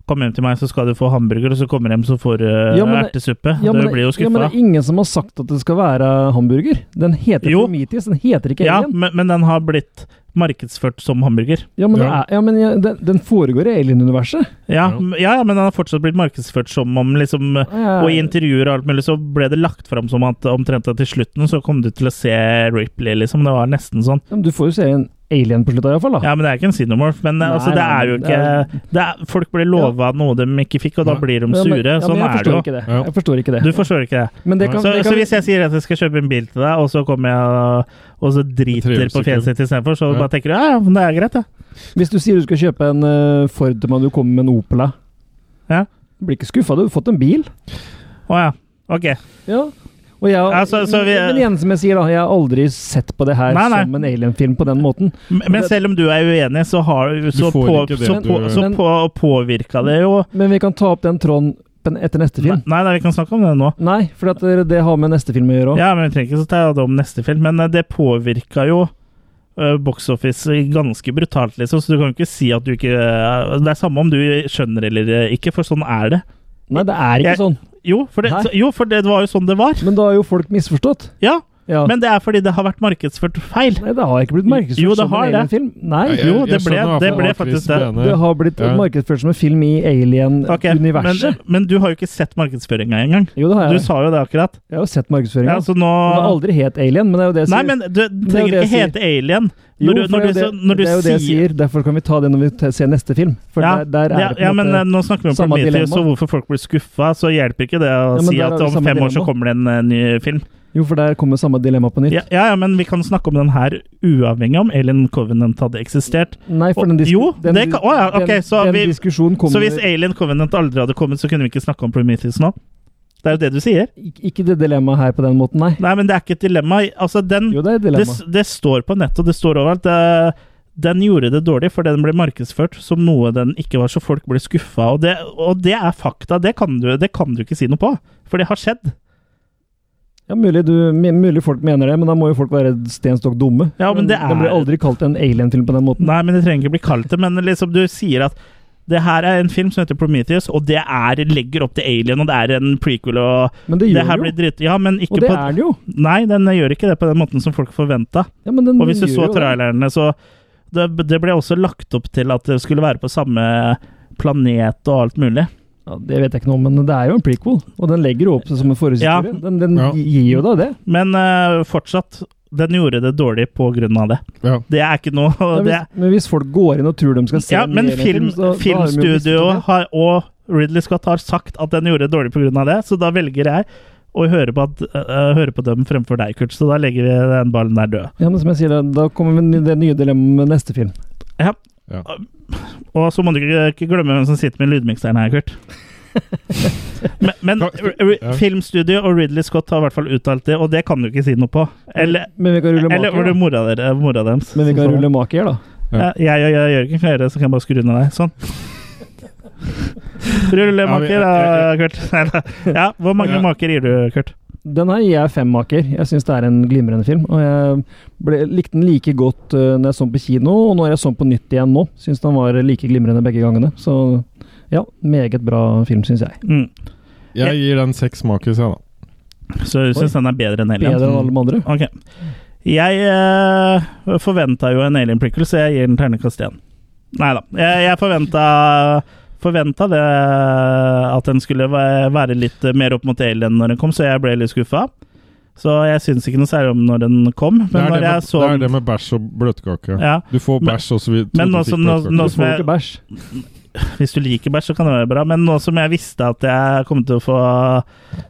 Speaker 1: Kom hjem til meg, så skal du få hamburger, og så kommer du hjem, så får du eh,
Speaker 3: Ja, men-
Speaker 1: ertesuppe.
Speaker 3: Ja,
Speaker 1: du
Speaker 3: men,
Speaker 1: blir jo
Speaker 3: ja, men
Speaker 1: skuffa.
Speaker 3: det er ingen som har sagt at det skal være hamburger. Den heter
Speaker 1: Jo.
Speaker 3: Prometheus, den heter ikke
Speaker 1: Ja,
Speaker 3: Alien.
Speaker 1: men, men den har blitt markedsført som hamburger.
Speaker 3: Ja, men, det
Speaker 4: Ja.
Speaker 3: Er, ja, men jeg, den, den foregår i Alien-universet.
Speaker 1: Ja,
Speaker 4: Ja.
Speaker 1: m- ja, ja, men den har fortsatt blitt markedsført som om liksom
Speaker 3: Ja.
Speaker 1: Og i intervjuer og alt mulig så ble det lagt fram som at omtrent at til slutten så kom du til å se Ripley, liksom. Det var nesten sånn.
Speaker 3: Ja, men Du får jo se en alien på slutten, iallfall.
Speaker 1: Ja, men det er ikke en xenomorph. Men eh,
Speaker 3: Ah. Nei,
Speaker 1: altså, det
Speaker 3: nei,
Speaker 1: er jo
Speaker 3: det
Speaker 1: ikke det er, Folk blir lova noe de ikke fikk, og da blir de
Speaker 3: Ja, men-
Speaker 1: sure.
Speaker 3: ja, men
Speaker 1: sånn
Speaker 3: jeg
Speaker 1: er
Speaker 3: forstår
Speaker 1: det jo.
Speaker 3: ikke det. Jeg forstår ikke det.
Speaker 1: Du forstår ikke det.
Speaker 3: Men det kan-
Speaker 1: så,
Speaker 3: det kan-
Speaker 1: så hvis jeg sier at jeg skal kjøpe en bil til deg, og så kommer jeg og, og så driter
Speaker 4: Trehjulssykkel.
Speaker 1: på fjeset ditt istedenfor, så
Speaker 4: Ja.
Speaker 1: bare tenker du ja, ja, men det er greit, det.
Speaker 3: Hvis du sier du skal kjøpe en eh, Ford, men du kommer med en Opel
Speaker 1: ja.
Speaker 3: Du blir ikke skuffa, du har fått en bil.
Speaker 1: Å ja. Ok.
Speaker 3: Ja. Og jeg,
Speaker 1: Ja, så- så vi-
Speaker 3: men igjen, som jeg sier, da, jeg har aldri sett på det her
Speaker 1: Nei, nei.
Speaker 3: som en alienfilm på den måten.
Speaker 1: Men selv om du er uenig, så, har, så,
Speaker 3: får
Speaker 1: på,
Speaker 3: ikke det
Speaker 1: så,
Speaker 3: du-
Speaker 1: på, så
Speaker 3: Men-
Speaker 1: på, påvirka det jo
Speaker 3: Men vi kan ta opp den tråden på en- etter neste film.
Speaker 1: Nei, nei, vi kan snakke om det nå.
Speaker 3: Nei, for at det- det har med neste film å gjøre òg.
Speaker 1: Ja, men vi trenger ikke så ta det om neste film, men eh, det påvirka jo eh, Box Office ganske brutalt, liksom, så du kan jo ikke si at du ikke eh, Det er samme om du skjønner eller eh, ikke, for sånn er det.
Speaker 3: Nei, det er ikke
Speaker 1: Jeg-
Speaker 3: sånn.
Speaker 1: Jo, for det,
Speaker 3: Nei.
Speaker 1: så- jo, for det var jo sånn det var.
Speaker 3: Men da har jo folk misforstått.
Speaker 1: Ja,
Speaker 3: Ja.
Speaker 1: men det er fordi det har vært markedsført feil.
Speaker 3: Nei, det har ikke blitt markedsført
Speaker 1: Jo, det
Speaker 3: som
Speaker 1: har
Speaker 3: en
Speaker 1: det.
Speaker 3: alienfilm. Nei.
Speaker 1: Nei, jeg- Jo, det jeg ble- skjønner det iallfall ble hva Chris faktisk det. mener.
Speaker 3: Det har blitt
Speaker 1: Ja.
Speaker 3: markedsført som en film i
Speaker 1: Ok,
Speaker 3: alien-universet.
Speaker 1: men, men du har jo ikke sett markedsføringa engang.
Speaker 3: Jo, det har
Speaker 1: Du
Speaker 3: jeg.
Speaker 1: sa jo det akkurat.
Speaker 3: Jeg har jo sett markedsføringa.
Speaker 1: Ja, så nå-
Speaker 3: Den har aldri het Alien, men det er jo det jeg
Speaker 1: Nei,
Speaker 3: sier.
Speaker 1: men du
Speaker 3: Det er jo
Speaker 1: trenger
Speaker 3: det
Speaker 1: ikke
Speaker 3: jeg
Speaker 1: hete Alien.
Speaker 3: Jo,
Speaker 1: Når du,
Speaker 3: for
Speaker 1: når du,
Speaker 3: det,
Speaker 1: så-
Speaker 3: er jo det,
Speaker 1: når du
Speaker 3: det er jo det jeg
Speaker 1: sier
Speaker 3: sier. Derfor kan vi ta det når vi te- ser neste film. For
Speaker 1: Ja,
Speaker 3: der, der er
Speaker 1: ja,
Speaker 3: det på en
Speaker 1: ja, men
Speaker 3: måte
Speaker 1: eh, nå snakker vi om
Speaker 3: samme
Speaker 1: Prometheus
Speaker 3: dilemma.
Speaker 1: og hvorfor folk blir skuffa, så hjelper ikke det å
Speaker 3: Ja, men
Speaker 1: si
Speaker 3: der er
Speaker 1: at
Speaker 3: det
Speaker 1: om
Speaker 3: samme
Speaker 1: fem år så
Speaker 3: dilemma.
Speaker 1: kommer det en eh, ny film.
Speaker 3: Jo, for der kommer samme dilemma på nytt.
Speaker 1: Ja, ja, ja, men vi kan snakke om den her uavhengig om Alien Covenant hadde eksistert.
Speaker 3: Nei, for den,
Speaker 1: Og-
Speaker 3: disku-
Speaker 1: jo,
Speaker 3: den,
Speaker 1: det kan, å, ja, ok,
Speaker 3: den,
Speaker 1: så,
Speaker 3: den
Speaker 1: vi,
Speaker 3: diskusjonen kommer
Speaker 1: så hvis Alien Covenant aldri hadde kommet, så kunne vi ikke snakke om Prometheus nå? Det er jo det du sier.
Speaker 3: Ik- Ikke det dilemmaet her på den måten, nei.
Speaker 1: Nei, men det er ikke et dilemma. Altså, den,
Speaker 3: Jo, det er et
Speaker 1: det,
Speaker 3: dilemma.
Speaker 1: s- det står på nettet, og det står overalt. Det, den gjorde det dårlig, for den ble markedsført som noe den ikke var, så folk ble skuffa. Og, det- og det er fakta. Det kan, du, det kan du ikke si noe på, for det har skjedd.
Speaker 3: Ja, mulig, du, me- mulig folk mener det, men da må jo folk være stenstokk dumme.
Speaker 1: Ja, men det
Speaker 3: Den
Speaker 1: er-
Speaker 3: blir aldri kalt en alien-film på den måten.
Speaker 1: Nei, men det trenger ikke bli kalt det, men liksom du sier at det her er en film som heter Prometheus, og det er, legger opp til Alien, og det er en prequel, og
Speaker 3: Men det gjør
Speaker 1: her
Speaker 3: jo.
Speaker 1: blir dritt... Ja, men ikke
Speaker 3: Og det
Speaker 1: på,
Speaker 3: er det jo.
Speaker 1: Nei, den gjør ikke det på den måten som folk forventa.
Speaker 3: Ja, men den
Speaker 1: Og hvis du
Speaker 3: gjør
Speaker 1: så
Speaker 3: jo det.
Speaker 1: trailerne, så det, det ble også lagt opp til at det skulle være på samme planet og alt mulig.
Speaker 3: Ja, det vet jeg ikke noe om, men det er jo en prequel, og den legger jo opp seg som en
Speaker 1: Ja.
Speaker 3: forhistorie. Den, den
Speaker 1: Ja.
Speaker 3: gir jo deg det.
Speaker 1: Men eh, fortsatt, den gjorde det dårlig på grunn av det.
Speaker 4: Ja.
Speaker 1: Det er ikke noe
Speaker 3: Ja,
Speaker 1: det,
Speaker 3: hvis, men hvis folk går inn og tror de skal se
Speaker 1: Ja,
Speaker 3: en
Speaker 1: men
Speaker 3: alien-film,
Speaker 1: film,
Speaker 3: så- da har de jo
Speaker 1: filmstudio
Speaker 3: misforstått det.
Speaker 1: har, og Ridley Scott har sagt at den gjorde det dårlig pga. det, så da velger jeg å høre på, at, øh, høre på dem fremfor deg, Kurt. Så da legger vi den ballen der død.
Speaker 3: Ja, men som jeg sier, da, da kommer vi det nye dilemmaet med neste film.
Speaker 1: Ja.
Speaker 4: Ja.
Speaker 1: Og så må du ikke ikke glemme hvem som sitter med lydmikseren her, Kurt. Men, men r- r-
Speaker 3: Ja.
Speaker 1: filmstudio og Ridley Scott har i hvert fall uttalt det, og det kan du ikke si noe på. Eller,
Speaker 3: Men vi kan rulle
Speaker 1: eller
Speaker 3: maker,
Speaker 1: var det
Speaker 3: da.
Speaker 1: mora, dere, mora deres?
Speaker 3: Men vi
Speaker 1: som
Speaker 3: kan
Speaker 1: sa det?
Speaker 3: rulle maker, da.
Speaker 1: Ja. Jeg og jeg- Jørgen kan gjøre det, så kan jeg bare skru ned deg. Sånn. Rullemaker, da, Kurt. Neida. Ja, hvor mange
Speaker 3: Ja.
Speaker 1: maker gir du, Kurt?
Speaker 3: Den her gir jeg fem maker. Jeg syns det er en glimrende film. Og jeg ble, likte den like godt uh, når jeg så den på kino, og når jeg så den på nytt igjen nå. Syns den var like glimrende begge gangene. Så ja, meget bra film, syns jeg.
Speaker 1: Mm.
Speaker 4: Jeg gir den seks makis, jeg, da.
Speaker 1: Så du syns den er bedre enn Alien? Mm.
Speaker 3: Bedre enn alle de andre.
Speaker 1: Ok. Jeg uh, forventa jo en Alien Prickle, så jeg gir den ternekast én. Nei da. Jeg, jeg forventa Forventa det at den skulle væ- være litt mer opp mot Alien når den kom, så jeg ble litt skuffa. Så jeg syns ikke noe særlig om når den kom. Men
Speaker 4: Det er
Speaker 1: når
Speaker 4: det
Speaker 1: jeg
Speaker 4: med,
Speaker 1: så
Speaker 4: det,
Speaker 1: den-
Speaker 4: er det med bæsj og bløtkake.
Speaker 1: Ja.
Speaker 4: Du får
Speaker 1: Men-
Speaker 4: bæsj og så vidt.
Speaker 1: men
Speaker 4: du
Speaker 1: nå
Speaker 4: fikk
Speaker 1: som- nå-
Speaker 4: bløtkake.
Speaker 1: nå
Speaker 4: Du
Speaker 1: som
Speaker 4: får
Speaker 1: jeg-
Speaker 4: ikke bæsj.
Speaker 1: Hvis du liker bæsj, så kan det være bra, men nå som jeg visste at jeg kom til å få,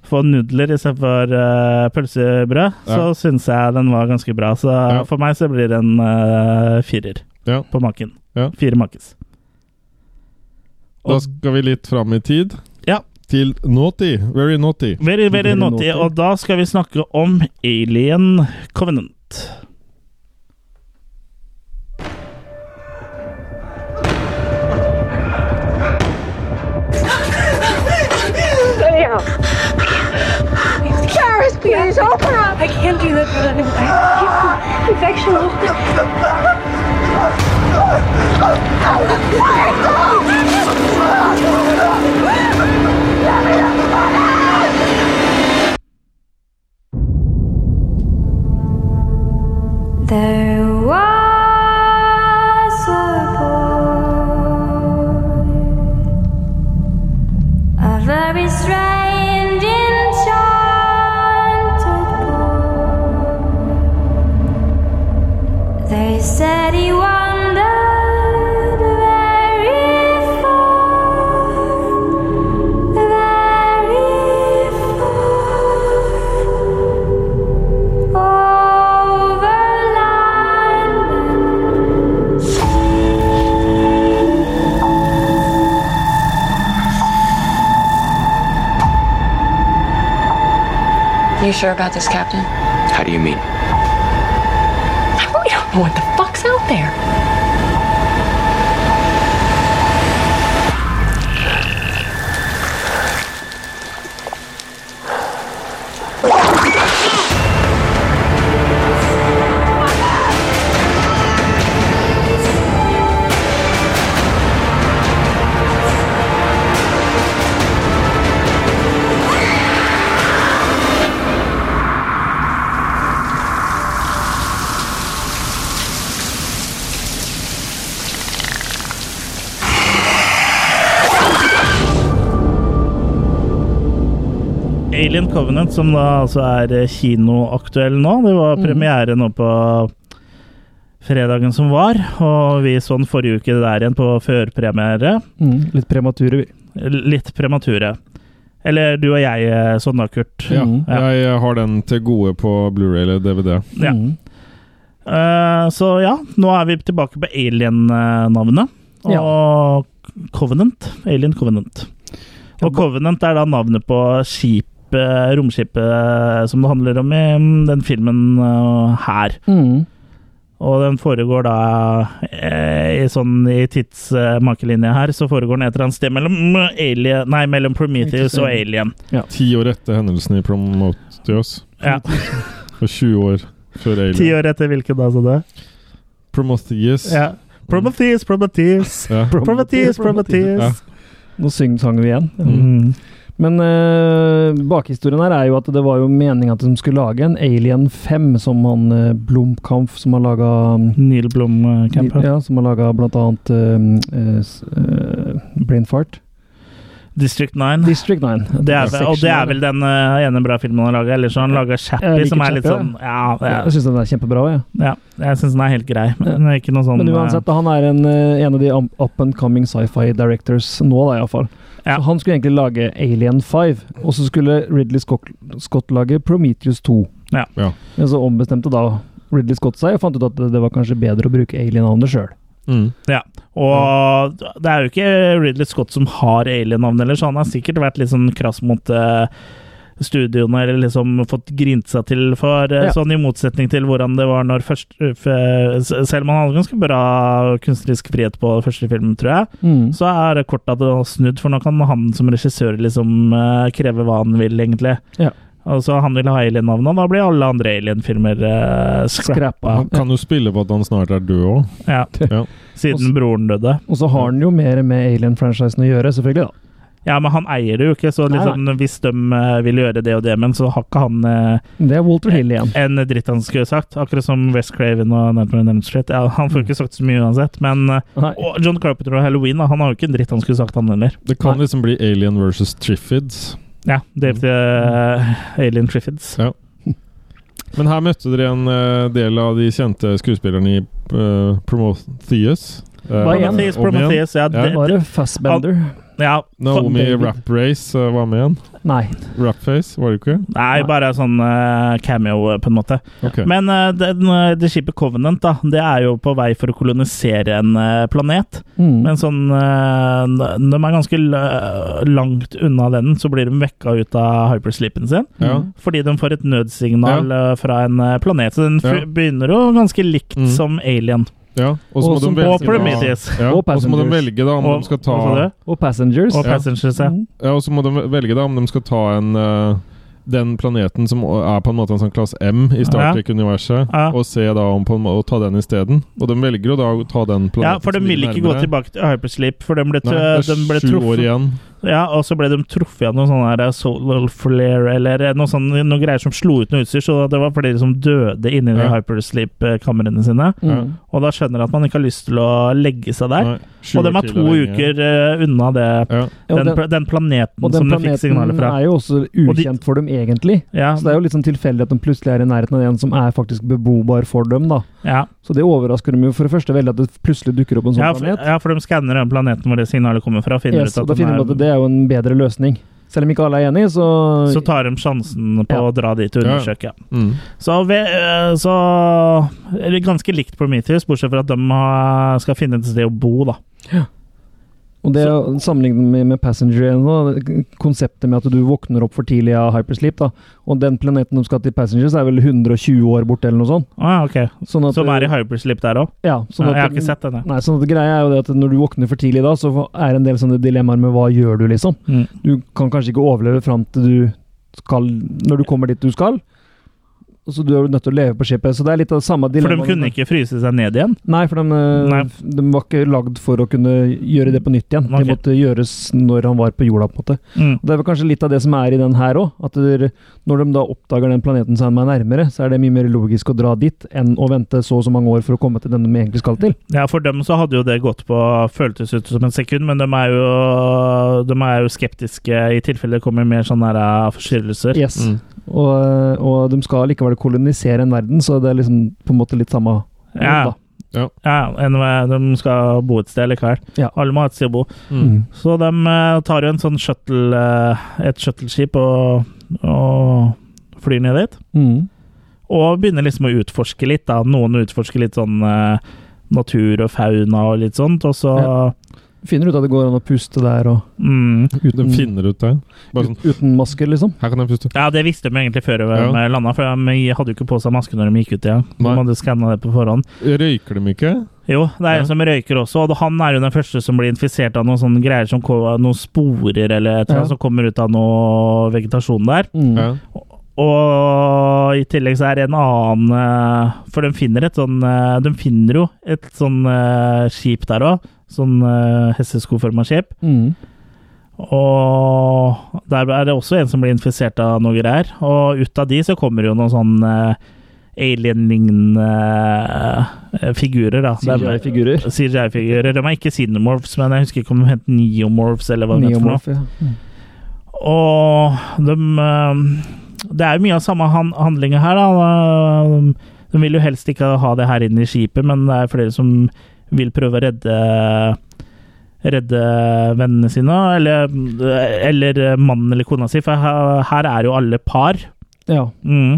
Speaker 1: få nudler istedenfor uh, pølsebrød, så
Speaker 4: Ja.
Speaker 1: syns jeg den var ganske bra. Så for meg så blir det en eh, firer
Speaker 4: Ja.
Speaker 1: på maken.
Speaker 4: Ja.
Speaker 1: Fire makes.
Speaker 4: Da skal vi litt fram i tid.
Speaker 1: Ja.
Speaker 4: Til naughty. Very naughty.
Speaker 1: Very, very naughty. Og da skal vi snakke om Alien Covenant.
Speaker 13: Sam! Paris, please, open up! I can't do that without an infection.
Speaker 14: There was a boy, a very strange, enchanted boy. They said he wandered very far, very far over land.
Speaker 15: You sure about this, Captain?
Speaker 11: How do you mean?
Speaker 15: We don't know what the fuck's out there.
Speaker 1: Alien Covenant, som da altså er eh, kinoaktuell nå. Det
Speaker 4: Mhm.
Speaker 1: var premiere nå på fredagen som var, og vi så den forrige uke der igjen på førpremiere.
Speaker 3: Mm, litt premature, vi.
Speaker 1: L- Litt premature. Eller du og jeg eh, så den da, Kurt.
Speaker 4: Ja, jeg eh, har den til gode på Blu-ray eller DVD.
Speaker 1: Ja.
Speaker 3: Mm.
Speaker 1: Eh, så ja, nå er vi tilbake på Alien-navnet. Og Covenant. Alien Covenant. Og Covenant er da navnet på skipet, romskipet eh, som det handler om i mm, den filmen eh, her.
Speaker 3: Mm.
Speaker 1: Og den foregår da eh, i sånn i tidsmakelinja her, så foregår den et eller annet sted mellom, mm, alien, nei, mellom Prometheus og Alien.
Speaker 4: Ti år etter hendelsen i Promotheus.
Speaker 1: Ja.
Speaker 4: Og 20 år før Alien.
Speaker 1: Ti år etter hvilken altså, da, sa du?
Speaker 4: Promotheus.
Speaker 1: Ja. Prometheus, Prometheus,
Speaker 4: Ja.
Speaker 1: Prometheus,
Speaker 3: Ja.
Speaker 1: Prometheus.
Speaker 3: Nå syng, sang vi igjen.
Speaker 1: Mm.
Speaker 3: Men eh, bakhistorien her er jo at det var jo meninga at de skulle lage en Alien 5, som han eh, Blomkampf, som har mm, laga
Speaker 1: Neil Blomkamp.
Speaker 3: Ja, som har laga blant annet eh, eh, s- eh, Brainfart.
Speaker 1: District 9.
Speaker 3: District 9.
Speaker 1: Det er, vel- og det er vel den eh, ene bra filmen han har laga. Eller så har han laga
Speaker 3: Jeg
Speaker 1: 'Chappie',
Speaker 3: liker
Speaker 1: som er litt
Speaker 3: Chappie,
Speaker 1: sånn Ja, ja.
Speaker 3: Jeg syns den er kjempebra, jeg.
Speaker 1: ja jeg syns den er helt grei, men det er ikke noe sånn
Speaker 3: Men
Speaker 1: eh,
Speaker 3: uansett, han er en, eh, en av de am- up and coming sci-fi directors nå, da iallfall. Så han skulle egentlig lage Alien 5, og så skulle Ridley Scott, Scott lage Prometheus 2.
Speaker 1: Ja.
Speaker 4: Ja.
Speaker 3: Men så ombestemte da Ridley Scott seg og fant ut at det var kanskje bedre å bruke Alien-navnet sjøl.
Speaker 4: Mm.
Speaker 1: Ja. Og det er jo ikke Ridley Scott som har alien-navn heller, så han har sikkert vært litt sånn krass mot eh, studioene, eller liksom fått grint seg til for eh,
Speaker 3: Ja.
Speaker 1: Sånn i motsetning til hvordan det var når først eh, f- s- Selv om han hadde ganske bra kunstnerisk frihet på første film, tror jeg,
Speaker 3: Mm.
Speaker 1: så er det kort at det har snudd, for nå kan han som regissør liksom eh, kreve hva han vil, egentlig.
Speaker 3: Ja.
Speaker 1: Altså, han vil ha alien-navnet, og da blir alle andre alien-filmer uh, scrappa.
Speaker 4: Han kan jo spille på at han snart er død òg.
Speaker 1: Ja.
Speaker 4: Ja.
Speaker 1: Siden broren døde.
Speaker 3: Og så har han jo mer med Alien-franchisen å gjøre, selvfølgelig. da.
Speaker 1: Ja, men han eier det jo ikke, så
Speaker 3: Nei,
Speaker 1: liksom, hvis de eh, vil gjøre det og det, men så har ikke han eh,
Speaker 3: Det er Walter Hill igjen.
Speaker 1: en dritt han skulle sagt. Akkurat som West Craven og Nightmare on Elm Street. Ja, han
Speaker 3: Mm.
Speaker 1: får ikke sagt så mye uansett, men eh, og John Carpenter og Halloween, da, han har jo ikke en dritt han skulle sagt, han heller.
Speaker 4: Det kan liksom bli Alien versus Triffids.
Speaker 1: Ja,
Speaker 3: Mm.
Speaker 1: Dave eh, Alien Triffids.
Speaker 4: Ja. Men her møtte dere en eh, del av de kjente skuespillerne i eh, Prometheus. Eh,
Speaker 1: Prometheus,
Speaker 4: om igjen.
Speaker 1: Prometheus, ja, det-
Speaker 3: Var det Fassbender?
Speaker 1: Ja,
Speaker 4: Naomi
Speaker 1: for-
Speaker 4: Raprace eh, var med igjen.
Speaker 3: Nei.
Speaker 4: Rapface, var det ikke?
Speaker 1: Nei, bare sånn eh, cameo, eh, på en måte.
Speaker 4: Ok.
Speaker 1: Men eh, den, eh, det skipet Covenant, da, det er jo på vei for å kolonisere en eh, planet.
Speaker 3: Mm.
Speaker 1: Men sånn eh, n- Når man er ganske l- langt unna den, så blir de vekka ut av hypersleepen sin.
Speaker 4: Ja.
Speaker 1: Fordi de får et nødsignal eh, fra en eh, planet. Så den fr-
Speaker 4: Ja. Mm.
Speaker 1: begynner jo ganske likt som Alien.
Speaker 4: Ja, og så må de velge
Speaker 1: og Prometheus.
Speaker 4: Ja, og så må de velge da om
Speaker 1: Og-
Speaker 4: de skal ta
Speaker 1: hva sa du?
Speaker 3: Og Passengers.
Speaker 1: Og Passengers, Mm. ja.
Speaker 4: Ja, og så må de velge da om de skal ta en eh, den planeten som er på en måte en sånn klasse M i
Speaker 1: Ja.
Speaker 4: Star Trek-universet, og se da om på en må og ta den isteden. Og de velger jo da å ta den planeten
Speaker 1: Ja, for de
Speaker 4: som
Speaker 1: vil
Speaker 4: ligger
Speaker 1: ikke gå
Speaker 4: nærmere.
Speaker 1: tilbake til hypersleep, for de ble,
Speaker 4: Nei, det er
Speaker 1: de ble
Speaker 4: sju år
Speaker 1: truffet
Speaker 4: igjen.
Speaker 1: Ja, og så ble de truffet av noen sånne her eh, solar flare eller noe sånn, noen greier som slo ut noe utstyr, så det var flere som døde inni de
Speaker 4: Ja.
Speaker 1: hypersleep-kamrene sine.
Speaker 4: Mm.
Speaker 1: Og da skjønner jeg at man ikke har lyst til å legge seg der.
Speaker 4: Nei, sju
Speaker 1: og de er
Speaker 4: kilo
Speaker 1: to
Speaker 4: lenge.
Speaker 1: uker eh, unna det,
Speaker 3: Ja, og
Speaker 1: den,
Speaker 3: den-
Speaker 1: pla- den planeten
Speaker 3: Og den
Speaker 1: som de fikk
Speaker 3: planeten
Speaker 1: signaler fra.
Speaker 3: er jo også ukjent for dem, egentlig. Så det er jo litt sånn tilfeldig at de plutselig er i nærheten av en som er faktisk bebobar for dem, da. Så det overrasker dem jo for det første veldig at det plutselig dukker opp en sånn
Speaker 1: Ja, for,
Speaker 3: planet.
Speaker 1: ja, for de skanner den planeten hvor det signalet kommer fra, og finner
Speaker 3: Yes,
Speaker 1: ut
Speaker 3: og
Speaker 1: at
Speaker 3: da
Speaker 1: den
Speaker 3: finner de
Speaker 1: er
Speaker 3: at det er jo en bedre løsning. Selv om ikke alle er enig, så
Speaker 1: Så tar de sjansen på
Speaker 3: Ja.
Speaker 1: å dra dit og
Speaker 3: Ja.
Speaker 1: undersøke.
Speaker 4: Mm,
Speaker 1: Så, ve- eh, så eller Ganske likt Prometheus, bortsett fra at de har- skal finne et sted å bo, da.
Speaker 3: Og det å sammenligne med, med Passenger igjen nå, konseptet med at du våkner opp for tidlig av hypersleep, da, og den planeten de skal til Passengers er vel 120 år borte, eller noe sånt.
Speaker 1: Ah, ok.
Speaker 3: Sånn at-
Speaker 1: Som er i hypersleep der òg?
Speaker 3: Ja, sånn at-
Speaker 1: jeg har ikke sett den, jeg.
Speaker 3: Nei, sånn at greia er jo det at når du våkner for tidlig da, så er det en del sånne dilemmaer med hva gjør du, liksom.
Speaker 1: Mm.
Speaker 3: Du kan kanskje ikke overleve fram til du skal Når du kommer dit du skal. Så du er jo nødt til å leve på skipet. Så det er litt av det samme
Speaker 1: For
Speaker 3: dilemmaet.
Speaker 1: de kunne ikke fryse seg ned igjen?
Speaker 3: Nei, for de, eh,
Speaker 1: Nei.
Speaker 3: de var ikke lagd for å kunne gjøre det på nytt igjen.
Speaker 1: Ok.
Speaker 3: Det måtte gjøres når han var på jorda, på en måte.
Speaker 1: Mm.
Speaker 3: Og Det er vel kanskje litt av det som er i den her òg. At dere- når de da oppdager den planeten som er nærmere, så er det mye mer logisk å dra dit enn å vente så og så mange år for å komme til den de egentlig skal til.
Speaker 1: Ja, for dem så hadde jo det gått på føltes ut som en sekund, men de er jo, de er jo skeptiske i tilfelle det kommer mer sånne her, eh, forstyrrelser.
Speaker 3: Yes.
Speaker 4: Mm.
Speaker 3: Og, og de skal likevel kolonisere en verden, så det er liksom på en måte litt samme
Speaker 1: Ja.
Speaker 4: Ja.
Speaker 1: enn hva- de skal bo et sted likevel. Alle må ha et sted å bo.
Speaker 4: Mm.
Speaker 1: Så de eh, tar jo en sånn shuttle, eh, et shuttleskip og, og flyr ned dit.
Speaker 3: Mm.
Speaker 1: Og begynner liksom å utforske litt. da. Noen utforsker litt sånn eh, natur og fauna og litt sånt, og så
Speaker 3: Ja. Finner ut at det går an å puste der og
Speaker 1: mm.
Speaker 4: De finner ut det. Bare sånn
Speaker 3: Uten masker, liksom?
Speaker 4: Her kan jeg puste.
Speaker 1: Ja, det visste de egentlig før de
Speaker 4: Ja.
Speaker 1: landa, for de hadde jo ikke på seg maske når de gikk ut igjen. De
Speaker 4: Nei.
Speaker 1: hadde skanna det på forhånd.
Speaker 4: Røyker de ikke?
Speaker 1: Jo, det er en som røyker også, og han er jo den første som blir infisert av noen sånne greier som ko- noen sporer eller et eller
Speaker 4: Ja.
Speaker 1: annet som kommer ut av noe vegetasjon der.
Speaker 3: Mm.
Speaker 4: Ja.
Speaker 1: Og i tillegg så er det en annen eh, For de finner et sånn eh, De finner jo et sånn eh, skip der òg. Sånn eh, hesteskoforma skip.
Speaker 3: Mm.
Speaker 1: Og der er det også en som blir infisert av noe greier. Og ut av de så kommer jo noen sånn eh, alien-lignende eh, figurer, da.
Speaker 3: CGI-figurer.
Speaker 1: CGI-figurer. De er ikke Cinemorphs, men jeg husker ikke om de het Neomorphs, eller hva de het for noe.
Speaker 3: Neomorph, ja. Mm.
Speaker 1: Og de eh, Det er jo mye av samme han, handlinga her, da. De, de vil jo helst ikke ha det her inne i skipet, men det er flere som vil prøve å redde Redde vennene sine, eller, eller mannen eller kona si, for her, her er jo alle par.
Speaker 3: Ja.
Speaker 1: Mm.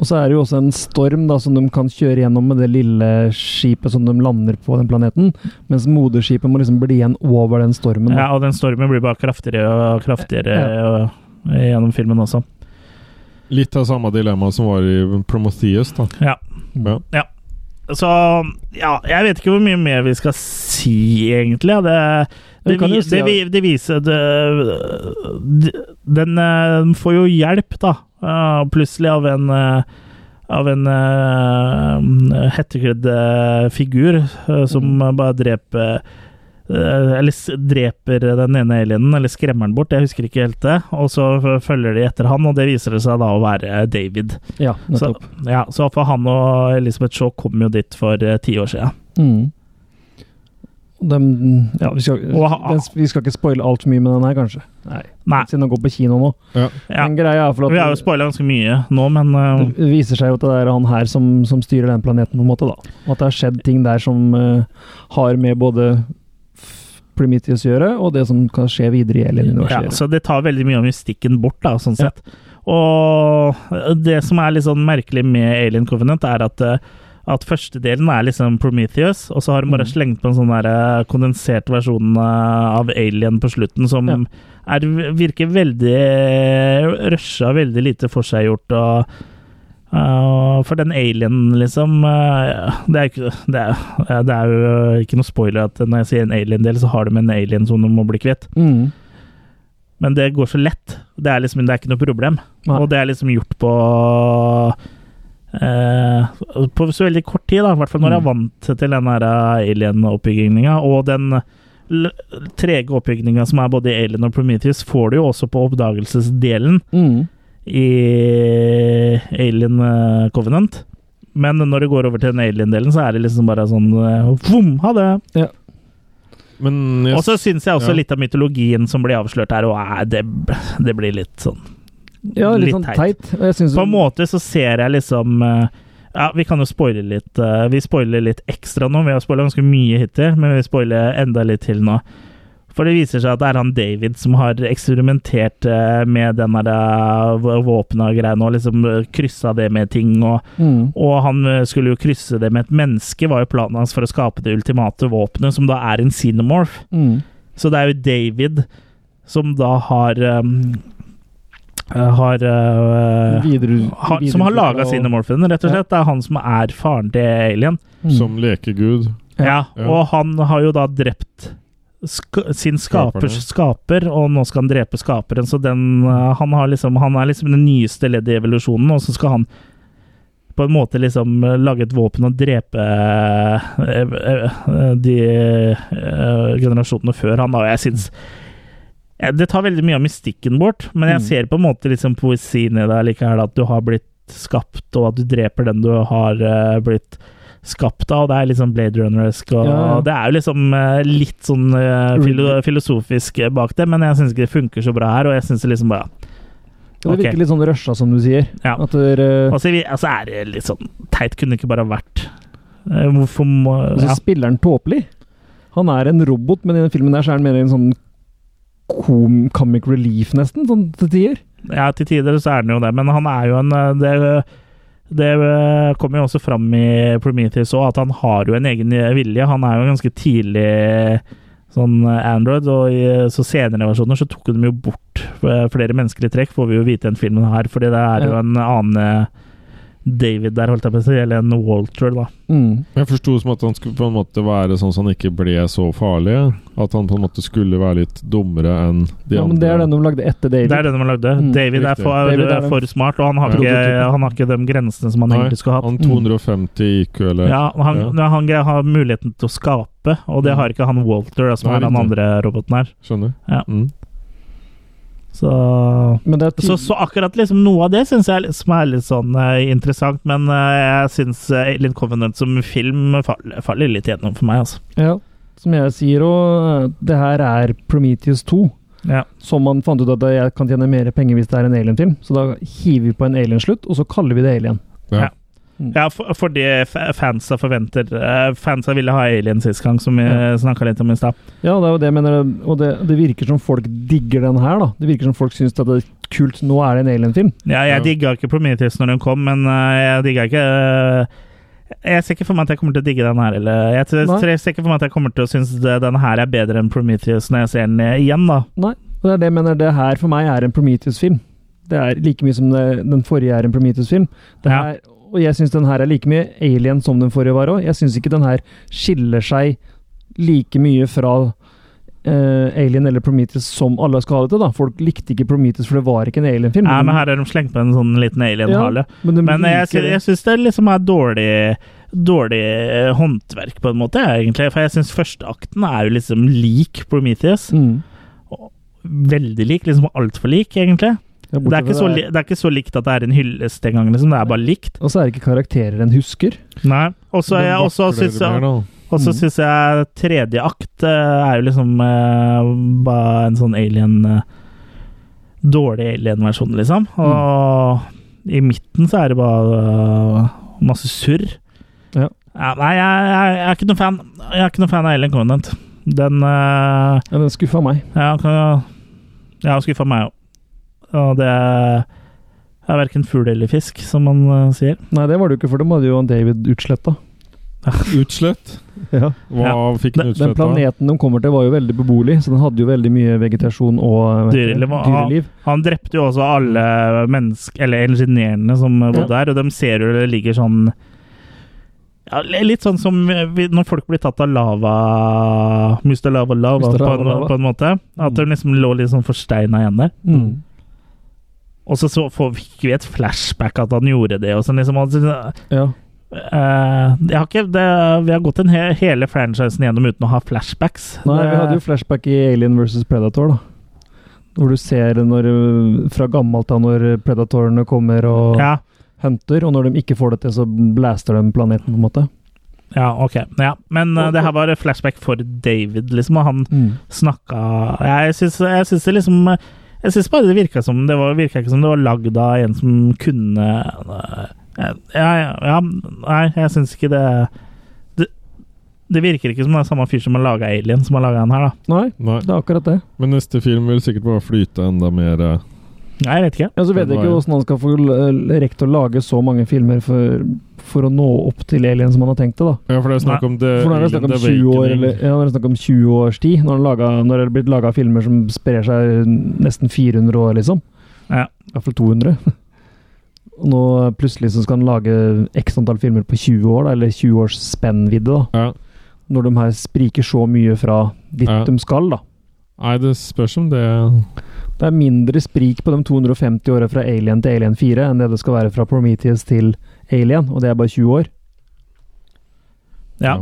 Speaker 3: Og så er det jo også en storm da, som de kan kjøre gjennom med det lille skipet som de lander på den planeten, mens moderskipet må liksom bli igjen over den stormen. da.
Speaker 1: Ja, og den stormen blir bare kraftigere og kraftigere og, gjennom filmen også.
Speaker 4: Litt av samme dilemma som var i Prometheus, da.
Speaker 1: Ja.
Speaker 4: Ja.
Speaker 1: Ja. Så ja, jeg vet ikke hvor mye mer vi skal si, egentlig. ja. Det,
Speaker 3: Vi
Speaker 1: det,
Speaker 3: kan jo
Speaker 1: vi,
Speaker 3: si
Speaker 1: det, vi- det viser det, det, Den eh, får jo hjelp, da, eh, plutselig, av en eh, av en eh, hettekledd eh, figur eh, som eh,
Speaker 3: Mm.
Speaker 1: bare dreper eh, Eller s- dreper den ene alienen, eller skremmer den bort, jeg husker ikke helt det. Og så f- følger de etter han, og det viser det seg da å være David.
Speaker 3: Ja,
Speaker 1: så,
Speaker 3: nettopp.
Speaker 1: ja, så for han og Elisabeth Shaw kom jo dit for eh, ti år siden.
Speaker 3: Mm. De, ja, vi, skal,
Speaker 1: Og ha-
Speaker 3: den, vi skal ikke spoile altfor mye med den her, kanskje. Nei. Siden den går på kino nå.
Speaker 4: Ja.
Speaker 3: Men greia er for at
Speaker 1: Ah. Vi har jo spoila ganske mye nå, men eh,
Speaker 3: det viser seg jo at det er han her som, som styrer den planeten, på en måte. da. Og at det har skjedd ting der som eh, har med både f- Prometheus å gjøre, og det som kan skje videre i Alien
Speaker 1: ja,
Speaker 3: Universet. å gjøre.
Speaker 1: Så det tar veldig mye av mystikken bort, da, sånn sett. Og det som er litt sånn merkelig med Alien Covenant, er at, eh, at første delen er liksom Prometheus, og så har de bare slengt på en sånn der eh, kondensert versjon eh, av Alien på slutten, som er, virker veldig rusha, veldig lite forseggjort. og eh, for den alien, liksom eh, Det er, ikke, det er, eh, det er jo ikke noe spoiler at når jeg sier en alien-del, så har de en alien som de må bli kvitt.
Speaker 3: Mm.
Speaker 1: Men det går så lett. Det er liksom det er ikke noe problem.
Speaker 3: Nei.
Speaker 1: Og det er liksom gjort på eh, På så veldig kort tid, da. I hvert fall når jeg er vant til den der alien-oppbygginga. eh, Og den l- trege oppbygninga som er både i Alien og Prometheus, får du jo også på oppdagelsesdelen
Speaker 3: Mm.
Speaker 1: i Alien eh, Covenant. Men når det går over til den alien-delen, så er det liksom bare sånn eh, Vom, ha det!
Speaker 4: Men jeg-
Speaker 1: Og så syns jeg også
Speaker 4: Ja.
Speaker 1: litt av mytologien som blir avslørt her, og eh, det, det blir litt sånn
Speaker 3: Ja, litt sånn teit. Og jeg syns-
Speaker 1: På en måte så ser jeg liksom eh, Ja, vi kan jo spoile litt. eh, Vi spoiler litt ekstra nå. Vi har spoila ganske mye hittil, men vi spoiler enda litt til nå. For det viser seg at det er han David som har eksperimentert eh, med den der våpna og greiene, og liksom eh, kryssa det med ting. Og,
Speaker 3: Mm.
Speaker 1: og han eh, skulle jo krysse det med et menneske, var jo planen hans for å skape det ultimate våpenet, som da er en xenomorph.
Speaker 3: Mm.
Speaker 1: Så det er jo David som da har um, eh, har, eh,
Speaker 3: Videre- Mm.
Speaker 1: har Som har
Speaker 3: videreutviklet
Speaker 1: laga
Speaker 3: og-
Speaker 1: Cinemorphen, rett og slett. Det er han som er faren til Alien.
Speaker 4: Som lekegud.
Speaker 1: Ja,
Speaker 4: Ja.
Speaker 1: og han har jo da drept sk sin skapers skaper, og nå skal han drepe skaperen. Så den, eh, han, har liksom, han er liksom det nyeste leddet i evolusjonen, og så skal han på en måte liksom eh, lage et våpen og drepe eh, eh, eh, de eh, generasjonene før han, da. Og jeg syns ja, Det tar veldig mye av mystikken bort, men jeg
Speaker 3: Mm.
Speaker 1: ser på en måte liksom poesien i det likevel, at du har blitt skapt, og at du dreper den du har eh, blitt skapt av. Det er liksom Blade Runner-esk, og
Speaker 3: Ja, ja.
Speaker 1: det er jo liksom eh, litt sånn eh, filo filosofisk eh, bak det, men jeg syns ikke det funker så bra her, og jeg syns det liksom bare
Speaker 3: Det
Speaker 1: Ok.
Speaker 3: virker litt sånn rusha, som du sier.
Speaker 1: Ja.
Speaker 3: At dere
Speaker 1: Og så vi- altså, er det litt sånn teit, kunne det ikke bare vært eh, Hvorfor må
Speaker 3: Og så
Speaker 1: ja.
Speaker 3: spiller han tåpelig. Han er en robot, men i den filmen der så er han mer en sånn kom comic relief, nesten, sånn til tider.
Speaker 1: Ja, til tider så er han jo det, men han er jo en eh, Det, det eh, kommer jo også fram i Prometheus òg, at han har jo en egen vilje. Han er jo ganske tidlig sånn eh, Android, og i eh, så senere versjoner så tok de jo bort eh, flere menneskelige trekk, får vi jo vite i den filmen her, fordi det er jo
Speaker 4: Ja.
Speaker 1: en annen eh, David der, holdt jeg på å si, eller en Walter, da.
Speaker 3: Mm.
Speaker 4: Jeg forsto som at han skulle på en måte være sånn så han ikke ble så farlig. At han på en måte skulle være litt dummere enn de
Speaker 3: ja, men
Speaker 4: andre.
Speaker 3: det er den de lagde etter David. Mm,
Speaker 1: Det er den de lagde. David er
Speaker 4: Riktig.
Speaker 1: for, eh,
Speaker 3: David er den-
Speaker 1: for smart, og han har,
Speaker 4: Ja.
Speaker 1: ikke, han har ikke de grensene som han
Speaker 4: Nei,
Speaker 1: egentlig skulle hatt.
Speaker 3: Mm.
Speaker 4: Han 250 IQ, eller
Speaker 1: Ja, han, ja. han gre- har muligheten til å skape, og det har ikke han Walter, da, som
Speaker 4: Nei,
Speaker 1: er den
Speaker 4: riktig.
Speaker 1: andre roboten her.
Speaker 4: Skjønner. Mm.
Speaker 1: Ja. Så,
Speaker 3: Men det er
Speaker 1: så, så akkurat liksom noe av det syns jeg er litt- som er litt sånn eh, interessant, men eh, jeg syns eh, Alien Covenant som film faller, faller litt gjennom for meg, altså.
Speaker 3: Ja, som jeg sier, og eh, det her er Prometheus 2.
Speaker 1: Ja.
Speaker 3: Som man fant ut at jeg kan tjene mer penger hvis det er en alien-film. Så da hiver vi på en alien-slutt, og så kaller vi det alien.
Speaker 1: Ja. Ja, for- fordi f- fansa forventer eh, Fansa ville ha Alien sist gang, som vi
Speaker 3: Ja.
Speaker 1: snakka litt om i stad.
Speaker 3: Ja, det er jo det jeg mener, og det, det virker som folk digger den her, da. Det virker som folk syns at det er kult, nå er det en alien-film.
Speaker 1: Ja, jeg digga ikke Prometheus når den kom, men øh, jeg digga ikke øh, Jeg ser ikke for meg at jeg kommer til å digge den her. Eller, jeg ser
Speaker 3: Nei.
Speaker 1: ser ikke for meg at jeg kommer til å synes det- den her er bedre enn Prometheus når jeg ser den eh, igjen, da.
Speaker 3: Nei, og det er det jeg mener. Det her for meg er en Prometheus-film. Det er like mye som det, den forrige er en Prometheus-film. Det
Speaker 1: Ja.
Speaker 3: her- Og jeg syns den her er like mye alien som den forrige var òg. Jeg syns ikke den her skiller seg like mye fra eh, Alien eller Prometheus som alle skal ha det til. da. Folk likte ikke Prometheus, for det var ikke en alien-film.
Speaker 1: Nei, men her er de slengt på en sånn liten alien-hale.
Speaker 3: Mm. Ja, men de
Speaker 1: men eh, jeg,
Speaker 3: liker
Speaker 1: sy-
Speaker 3: det.
Speaker 1: jeg syns det liksom er dårlig Dårlig eh, håndverk, på en måte, jeg, egentlig. For jeg syns førsteakten er jo liksom lik Prometheus.
Speaker 3: Mm.
Speaker 1: Og Veldig lik, liksom altfor lik, egentlig. det,
Speaker 3: Ja,
Speaker 1: er
Speaker 3: bortsett
Speaker 1: ikke
Speaker 3: fra
Speaker 1: så,
Speaker 3: det
Speaker 1: li-
Speaker 3: er-
Speaker 1: det er ikke så likt at det er en hyllest engang, liksom. Det er bare likt.
Speaker 3: Og så er det ikke karakterer en husker.
Speaker 1: Nei. Og så
Speaker 3: Den
Speaker 1: jeg- og så
Speaker 3: vakler
Speaker 1: syns
Speaker 3: mer
Speaker 1: jeg,
Speaker 3: nå.
Speaker 1: og så
Speaker 3: Mm.
Speaker 1: syns jeg tredje akt eh, er jo liksom eh, bare en sånn alien eh, Dårlig alien-versjon, liksom.
Speaker 3: Mm.
Speaker 1: Og i midten så er det bare eh, masse surr.
Speaker 3: Ja.
Speaker 1: Ja, nei, jeg, jeg, jeg er ikke noen fan Jeg er ikke noen fan av Alien Covenant. Den eh,
Speaker 3: Ja, den skuffa meg.
Speaker 1: Ja, kan, ja skuffa meg òg. Og det er verken fugl eller fisk, som man eh, sier.
Speaker 3: Nei, det var det jo ikke, for dem hadde jo han David utsletta.
Speaker 4: Utslett?
Speaker 3: Ja.
Speaker 4: Hva fikk den
Speaker 3: Den
Speaker 4: utslett av?
Speaker 3: planeten de kommer til, var jo veldig beboelig, så den hadde jo veldig mye vegetasjon og eh,
Speaker 1: Dyreliv. og
Speaker 3: dyreliv.
Speaker 1: Han, han drepte jo også alle mennesk, eller engineerne som bodde der, og de ser jo det ligger sånn ja, li- Litt sånn som vi, når folk blir tatt av lava Mr. Lava Lava,
Speaker 3: Mr.
Speaker 1: på,
Speaker 3: Lava
Speaker 1: en,
Speaker 3: Lava.
Speaker 1: på en måte. At de liksom lå litt sånn forsteina igjen der.
Speaker 3: Mm.
Speaker 1: Og så, så får- fikk vi et flashback at han gjorde det. Og sånn liksom, altså,
Speaker 3: Ja.
Speaker 1: Eh, jeg har ikke, det, vi har gått en he, hele franchisen gjennom uten å ha flashbacks.
Speaker 3: Nei, vi hadde jo flashback i Alien vs. Predator, da. Hvor du ser når, øh, fra gammelt av når predatorene kommer og
Speaker 1: Eh, Ja.
Speaker 3: hunter, og når de ikke får det til, så blaster de planeten, på en måte.
Speaker 1: Ja, ok. Ja. Men eh, det her var flashback for David, liksom, og han snakka Jeg syns jeg syns det liksom eh, Jeg syns bare det virka som det var, virka ikke som det var lagd av en som kunne eh, Ja, ja, ja Nei, jeg syns ikke det, det Det virker ikke som det er samme fyr som har laga Alien, som har laga den her, da.
Speaker 3: Nei,
Speaker 4: Nei.
Speaker 3: det er akkurat det.
Speaker 4: Men neste film vil sikkert bare flyte enda mer eh,
Speaker 1: Nei, jeg vet ikke.
Speaker 3: Ja, så vet jeg ikke hvordan han skal få øh, rekt å lage så mange filmer for, for å nå opp til Alien som han har tenkt det, da.
Speaker 4: Ja, for det er snakk om The
Speaker 3: For nå er det snakk om
Speaker 4: Alien
Speaker 3: 20 år,
Speaker 4: Awakening.
Speaker 3: eller, ja, nå er det snakk om 20 års tid. Når, han laget, når det er blitt laga filmer som sprer seg nesten 400 år, liksom.
Speaker 1: Ja.
Speaker 3: I hvert fall 200. Og nå plutselig så skal han lage x antall filmer på 20 år, da, eller 20 års spennvidde. da. Når de her spriker så mye fra dit
Speaker 4: Ja.
Speaker 3: de skal, da.
Speaker 4: Nei, det spørs om det
Speaker 3: Det er mindre sprik på de 250 åra fra Alien til Alien 4 enn det det skal være fra Prometheus til Alien, og det er bare 20 år.
Speaker 1: Ja.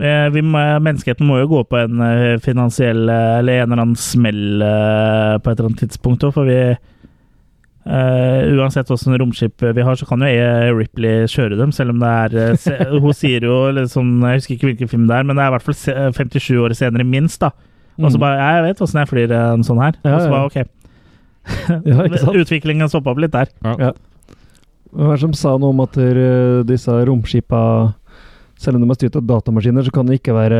Speaker 1: Eh, Vi må, menneskeheten må jo gå på en eh, finansiell eh, eller en eller annen smell eh, på et eller annet tidspunkt òg, for vi eh, Uansett åssen romskip vi har, så kan jo eh, Ripley kjøre dem, selv om det er eh, se, Hun sier jo liksom Jeg husker ikke hvilken film det er, men det er i hvert fall se- 57 år senere, minst, da. Og så
Speaker 3: Mm.
Speaker 1: bare Jeg vet åssen jeg flyr en sånn her. Og
Speaker 3: Ja,
Speaker 1: så
Speaker 3: ja.
Speaker 1: bare OK.
Speaker 3: Ja, ikke sant?
Speaker 1: Utviklingen stoppa opp litt der.
Speaker 3: Ja. Hvem er det som sa noe om at eh, disse romskipa, selv om de er styrt av datamaskiner, så kan det ikke være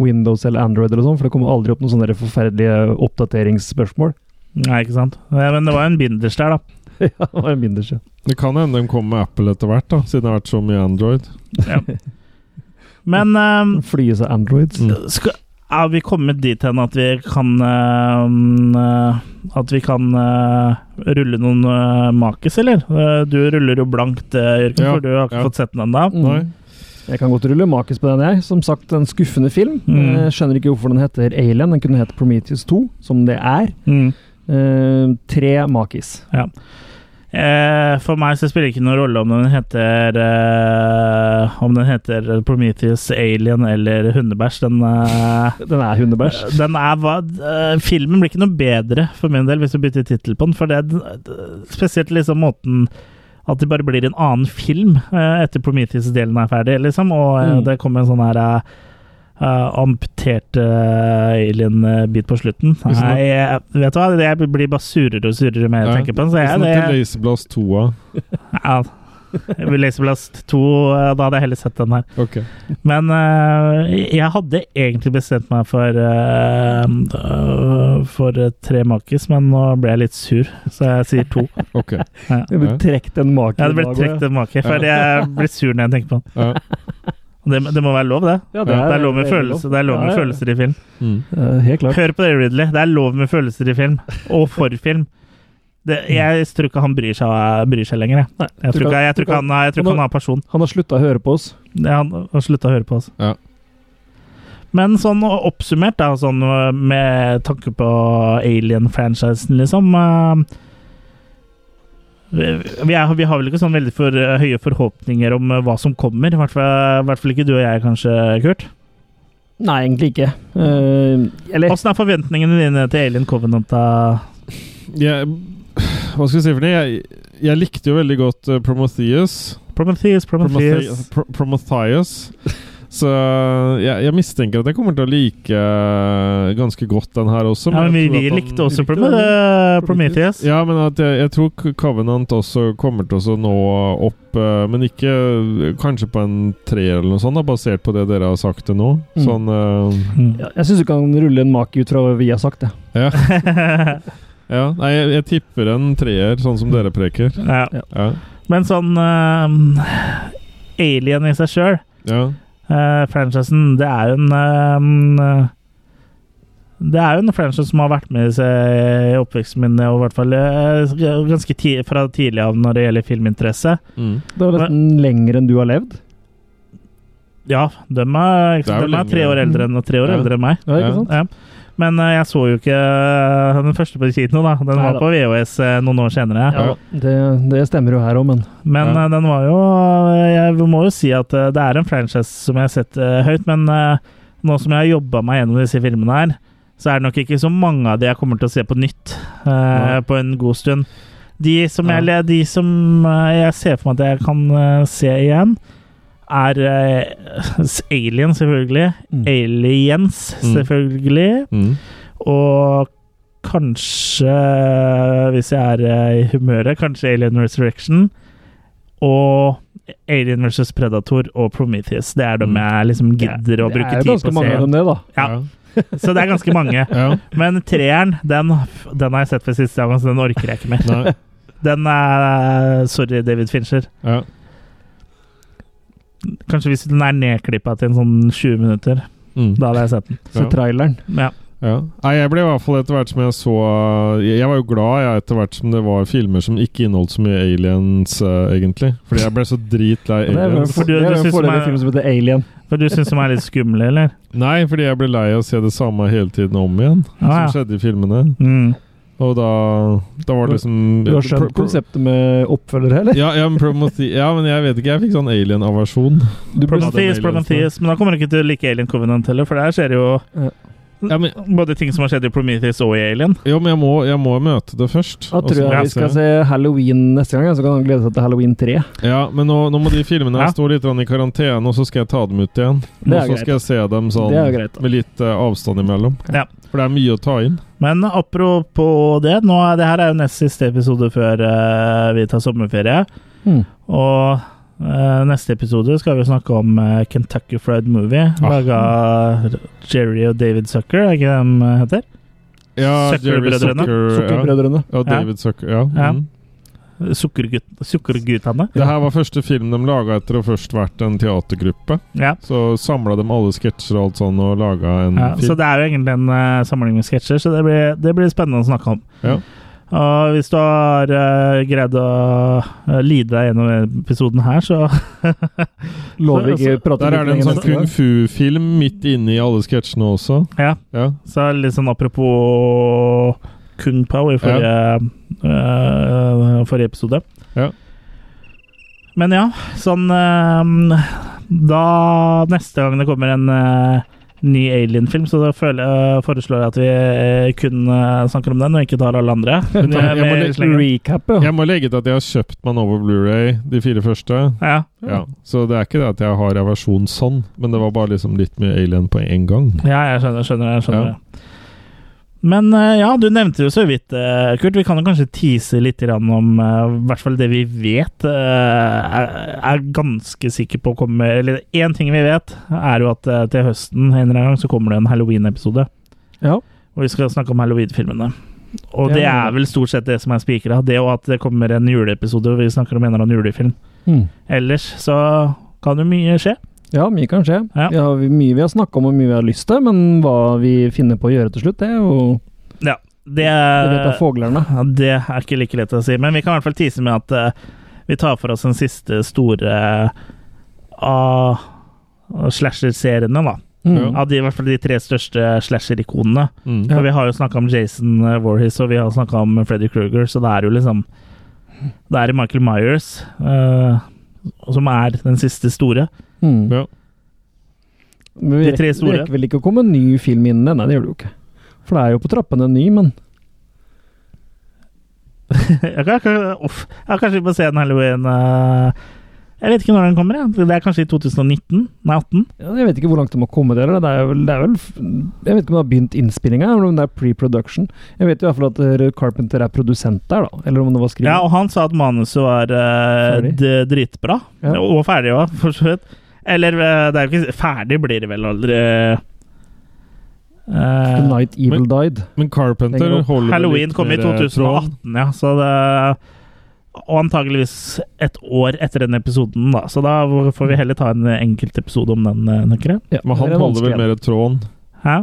Speaker 3: Windows eller Android eller sånn, for det kommer aldri opp noen sånne der forferdelige oppdateringsspørsmål.
Speaker 1: Nei, ikke sant. Eh, Men det var en binders der, da.
Speaker 3: ja, det var en binders, ja.
Speaker 4: Det kan hende de kommer med Apple etter hvert, da, siden det har vært så mye Android.
Speaker 1: Men eh,
Speaker 3: Flyet seg Androids.
Speaker 1: Skal, er vi kommet dit hen at vi kan eh, At vi kan eh, rulle noen eh, makis, eller? Eh, du ruller jo blankt, eh, Jørgen,
Speaker 3: Ja,
Speaker 1: for du har ikke
Speaker 3: ja.
Speaker 1: fått sett den ennå.
Speaker 3: Nei. Mm. Jeg kan godt rulle makis på den, jeg. Som sagt, en skuffende film.
Speaker 1: Mm.
Speaker 3: Jeg skjønner ikke hvorfor den heter Alien. Den kunne hett Prometheus 2, som det er.
Speaker 1: Mm.
Speaker 3: Eh, tre makis.
Speaker 1: Ja. Eh, for meg så spiller det ikke noen rolle om den heter eh, Om den heter Prometheus, Alien eller Hundebæsj. Den, eh,
Speaker 3: Den er hundebæsj.
Speaker 1: Den er hva eh, Filmen blir ikke noe bedre for min del hvis du bytter tittel på den, for det er spesielt liksom måten at det bare blir en annen film eh, etter Prometheus-delen er ferdig, liksom. Og eh,
Speaker 3: Mm.
Speaker 1: det kommer en sånn her eh, eh, amputert eh, alien-bit på slutten.
Speaker 4: Hvis den er-
Speaker 1: Nei, jeg, vet du hva, jeg blir bare surere og surere med jeg
Speaker 4: Ja.
Speaker 1: tenker på den. Så jeg,
Speaker 4: Hvis den heter
Speaker 1: det,
Speaker 4: Laserblast 2 av.
Speaker 1: ja. Laserblast 2, eh, da hadde jeg heller sett den her.
Speaker 4: Ok.
Speaker 1: Men eh, jeg hadde egentlig bestemt meg for eh, eh, For tre makis, men nå ble jeg litt sur, så jeg sier to.
Speaker 4: Ok.
Speaker 1: Ja.
Speaker 3: Det blir trukket en make.
Speaker 1: Jeg hadde
Speaker 3: i dag
Speaker 1: blitt
Speaker 3: også,
Speaker 1: trukket en make, for
Speaker 3: ja.
Speaker 1: jeg blir sur når jeg tenker på den.
Speaker 4: Ja.
Speaker 1: Og Det, det må være lov, det.
Speaker 3: Ja,
Speaker 1: det, er, lov med,
Speaker 3: veldig
Speaker 1: følelser,
Speaker 3: lov.
Speaker 1: det er lov med
Speaker 3: Ja, ja.
Speaker 1: følelser i film.
Speaker 4: Mm.
Speaker 3: Eh, Helt klart.
Speaker 1: Hør på det, Ridley. Det er lov med følelser i film. Og for film. Det, jeg tror ikke han bryr seg, bryr seg lenger, jeg. Jeg tror ikke jeg tror ikke han, jeg tror ikke han har person.
Speaker 3: Han har slutta å høre på oss.
Speaker 1: Ja, Han har slutta å høre på oss.
Speaker 4: Ja.
Speaker 1: Men sånn oppsummert, da, sånn med tanke på alien-franchisen, liksom eh, vi, er, vi har vel ikke sånn veldig for høye forhåpninger om eh, hva som kommer. I hvert fall, i hvert fall ikke du og jeg, kanskje, Kurt?
Speaker 3: Nei, egentlig ikke. Eh, eller
Speaker 1: Åssen er forventningene dine til Alien Covenant? Da?
Speaker 4: Jeg, hva skal jeg si for det? Jeg, jeg likte jo veldig godt eh, Prometheus.
Speaker 1: Prometheus, Prometheus.
Speaker 4: Promethe- Pro- Prometheus. Så eh, jeg, jeg mistenker at jeg kommer til å like eh, ganske godt den her også.
Speaker 1: Ja, men vi,
Speaker 4: jeg tror
Speaker 1: vi
Speaker 4: at han-
Speaker 1: likte også Prome eh, Prometheus.
Speaker 4: Ja, men at jeg, jeg tror K- Covenant også kommer til å nå opp, eh, men ikke eh, kanskje på en treer eller noe sånt, da, basert på det dere har sagt til nå.
Speaker 3: Mm.
Speaker 4: Sånn eh,
Speaker 3: Ja, Jeg syns du kan rulle en make ut fra hva vi har sagt, jeg.
Speaker 4: Ja. ja. Nei, jeg, jeg tipper en treer, sånn som dere preker.
Speaker 1: Ja.
Speaker 4: Ja.
Speaker 1: Men sånn eh, Alien i seg sjøl
Speaker 4: ja.
Speaker 1: Eh, franchisen, det er jo en eh, Det er jo en franchise som har vært med seg i oppveksten min, og i hvert fall eh, ganske ti fra tidlig av når det gjelder filminteresse.
Speaker 4: Mm.
Speaker 3: Det er nesten lenger enn du har levd.
Speaker 1: Ja, de er, ikke
Speaker 3: Det er
Speaker 1: sant,
Speaker 3: vel
Speaker 1: dem er tre
Speaker 3: lenge,
Speaker 1: år
Speaker 3: ja.
Speaker 1: eldre enn tre år
Speaker 3: Ja.
Speaker 1: eldre enn meg.
Speaker 3: Ja, ikke sant?
Speaker 1: Ja. Men eh, jeg så jo ikke eh, den første på kino, da. Den var
Speaker 3: Neida.
Speaker 1: på VHS eh, noen år senere.
Speaker 3: Ja, det, det stemmer jo her òg, men
Speaker 1: Men eh, den var jo eh, Jeg må jo si at eh, det er en franchise som jeg har sett eh, høyt, men eh, nå som jeg har jobba meg gjennom disse filmene her, så er det nok ikke så mange av de jeg kommer til å se på nytt eh, på en god stund. De som, jeg, eller de som eh, jeg ser for meg at jeg kan eh, se igjen, er eh, Alien, selvfølgelig.
Speaker 3: Mm.
Speaker 1: Aliens,
Speaker 4: Mm.
Speaker 1: selvfølgelig. Og kanskje, hvis jeg er eh, i humøret, kanskje Alien Resurrection. Og Alien versus Predator og Prometheus. Det er dem jeg liksom gidder å
Speaker 3: Mm. det
Speaker 1: bruke
Speaker 3: er
Speaker 1: tid på. å
Speaker 3: ganske
Speaker 1: se
Speaker 3: mange av
Speaker 1: igjen.
Speaker 3: dem, det, da.
Speaker 1: Ja. Så det er ganske mange. Men treeren, den, den har jeg sett for siste gang, så den orker jeg ikke mer.
Speaker 4: Nei.
Speaker 1: Den er Sorry, David Fincher.
Speaker 4: Ja.
Speaker 1: Kanskje hvis den er nedklippa til en sånn 20 minutter. Da hadde jeg sett den.
Speaker 4: Så Ja.
Speaker 3: traileren.
Speaker 1: Ja.
Speaker 4: Mm. Ja. Nei, jeg ble i hvert fall etter hvert som jeg så eh, Jeg jeg var jo glad jeg etter hvert som det var filmer som ikke inneholdt så mye aliens, eh, egentlig. Fordi jeg ble så dritlei
Speaker 3: Det er jo en
Speaker 4: aliens.
Speaker 3: for- det er jo en fordel i film som heter Alien.
Speaker 1: For du syns de er litt skumle, eller?
Speaker 4: Nei, fordi jeg ble lei av å se det samme hele tiden om igjen,
Speaker 1: Ah,
Speaker 4: som
Speaker 1: ja.
Speaker 4: skjedde i filmene.
Speaker 1: Mm.
Speaker 4: Og da, da var det liksom
Speaker 3: Du har skjønt
Speaker 4: Pro- pro-
Speaker 3: konseptet med oppfølgere, eller?
Speaker 4: Ja, ja, men Promothe ja, men jeg vet ikke. Jeg fikk sånn alien-aversjon.
Speaker 1: Prometheus, Prometheus. Men da kommer du ikke til å like Alien Covenant heller, for der skjer det jo både ting som har skjedd i Prometheus og i Alien.
Speaker 4: Jo, men jeg må, jeg må møte det først.
Speaker 3: Da
Speaker 4: og
Speaker 3: tror
Speaker 4: så må
Speaker 3: jeg vi skal se Halloween neste gang, ja, så kan han glede seg til Halloween 3.
Speaker 4: Ja, men nå, nå må de filmene
Speaker 3: Ja.
Speaker 4: stå litt grann i karantene, og så skal jeg ta dem ut igjen.
Speaker 3: Det
Speaker 4: Og
Speaker 3: er
Speaker 4: så
Speaker 3: greit.
Speaker 4: skal jeg se dem sånn
Speaker 3: Det er greit,
Speaker 4: med litt eh, avstand imellom.
Speaker 1: Ja.
Speaker 4: For det er mye å ta inn.
Speaker 1: Men apropos det, nå er det her er jo nest siste episode før eh, vi tar sommerferie. Hmm.
Speaker 3: Mm.
Speaker 1: Og eh, neste episode skal vi snakke om eh, Kentucky Fried Movie,
Speaker 4: Ah.
Speaker 1: laga av Jerry og David Sucker, er ikke det de heter?
Speaker 4: Ja, Jerry Zucker,
Speaker 1: Sucker-brødrene.
Speaker 4: ja. ja, David Zucker. Ja.
Speaker 1: Ja.
Speaker 4: Mm.
Speaker 1: Sukkergutt- Sukkerguttene.
Speaker 4: Det her var første film de laga etter å først vært en teatergruppe.
Speaker 1: Ja.
Speaker 4: Så samla de alle sketsjer og alt sånn og laga en
Speaker 1: Ja, så
Speaker 4: film.
Speaker 1: det er jo egentlig en eh, samling med sketsjer, så det blir, det blir spennende å snakke om.
Speaker 4: Ja.
Speaker 1: Og hvis du har eh, greid å eh, lide deg gjennom denne episoden her, så
Speaker 3: Lover ikke å prate
Speaker 4: Der er det en
Speaker 3: lenger
Speaker 4: sånn
Speaker 3: neste gang.
Speaker 4: kung fu-film midt inne i alle sketsjene også.
Speaker 1: Ja.
Speaker 4: Ja.
Speaker 1: Så litt sånn apropos Kung Pao i forrige, eh, forrige episode.
Speaker 4: Ja.
Speaker 1: Men ja, sånn eh, Da neste gang det kommer en eh, ny Alien-film, så da føler, jeg- foreslår jeg at vi eh, kun eh, snakker om den, og ikke tar alle andre.
Speaker 4: Men jeg, jeg, må
Speaker 1: Med
Speaker 4: legge,
Speaker 1: slenger.
Speaker 4: jeg må legge til at jeg har kjøpt meg Nova Blu-ray, de fire første.
Speaker 1: Ja.
Speaker 4: Ja, Så det er ikke det at jeg har aversjon sånn, men det var bare liksom litt mye alien på en gang.
Speaker 1: Ja, jeg skjønner, skjønner, jeg skjønner. Men eh, ja, du nevnte jo så vidt, eh, Kurt. Vi kan jo kanskje tease litt grann om eh, i hvert fall det vi vet. eh, er, er ganske sikker på å komme Eller én ting vi vet, er jo at eh, til høsten en eller annen gang så kommer det en Halloween-episode.
Speaker 3: Ja.
Speaker 1: Og vi skal snakke om Halloween-filmene. Og
Speaker 3: Det
Speaker 1: det
Speaker 3: er
Speaker 1: er vel stort sett det som er spikra. Det og at det kommer en juleepisode hvor vi snakker om en eller annen julefilm.
Speaker 3: Mm.
Speaker 1: Ellers så kan jo mye skje.
Speaker 3: Ja, mye kan skje. Vi har vi- mye vi har snakka om og mye vi har lyst til, men hva vi finner på å gjøre til slutt, det er jo
Speaker 1: Ja, det,
Speaker 3: Det
Speaker 1: Eh,
Speaker 3: vet da foglerne.
Speaker 1: Ja, det er ikke like lett å si, men vi kan i hvert fall tise med at eh, vi tar for oss den siste store eh, av slasher-seriene, da.
Speaker 3: Mm.
Speaker 1: Av de, i hvert fall de tre største slasher-ikonene.
Speaker 4: Mm.
Speaker 1: For Vi har jo snakka om Jason eh, Voorhees, og vi har snakka om Freddy Kruger, så det er jo liksom Det er Michael Myers eh, som er den siste store.
Speaker 3: Mm.
Speaker 4: Ja.
Speaker 3: Men
Speaker 1: De
Speaker 3: vi
Speaker 1: tre
Speaker 3: rekker, vi
Speaker 1: store.
Speaker 3: rekker vel ikke å komme en ny film innen det? Nei, det gjør det jo ikke. For det er jo på trappene en ny, men
Speaker 1: Jeg kan, kan- uff. Ja, kanskje vi må se en halloween eh, Jeg vet ikke når den kommer. Ja. Det er kanskje i 2019? Nei, 18?
Speaker 3: ja, jeg vet ikke hvor langt de har kommet. Eller. Det er vel, det er vel, f- jeg vet ikke om de har begynt innspillinga, eller om det er pre-production. Jeg vet jo i hvert fall at eh, Carpenter er produsent der, da. Eller om det var skriving.
Speaker 1: Ja, og han sa at manuset var eh,
Speaker 3: Ferdig.
Speaker 1: d- dritbra.
Speaker 3: Ja.
Speaker 1: Og ferdig òg, for så vidt. Eller eh, det er jo ikke Ferdig blir det vel aldri eh,
Speaker 3: The Night Evil Died.
Speaker 4: Men Carpenter
Speaker 3: Lenger opp.
Speaker 4: holder
Speaker 1: Halloween kom i
Speaker 4: eh,
Speaker 1: 2018, ja, så det Og antageligvis et år etter den episoden, da. Så da får vi heller ta en enkeltepisode om den, eh, tenker jeg.
Speaker 3: Ja,
Speaker 4: Men han holder vel mer tråden,
Speaker 1: Hæ?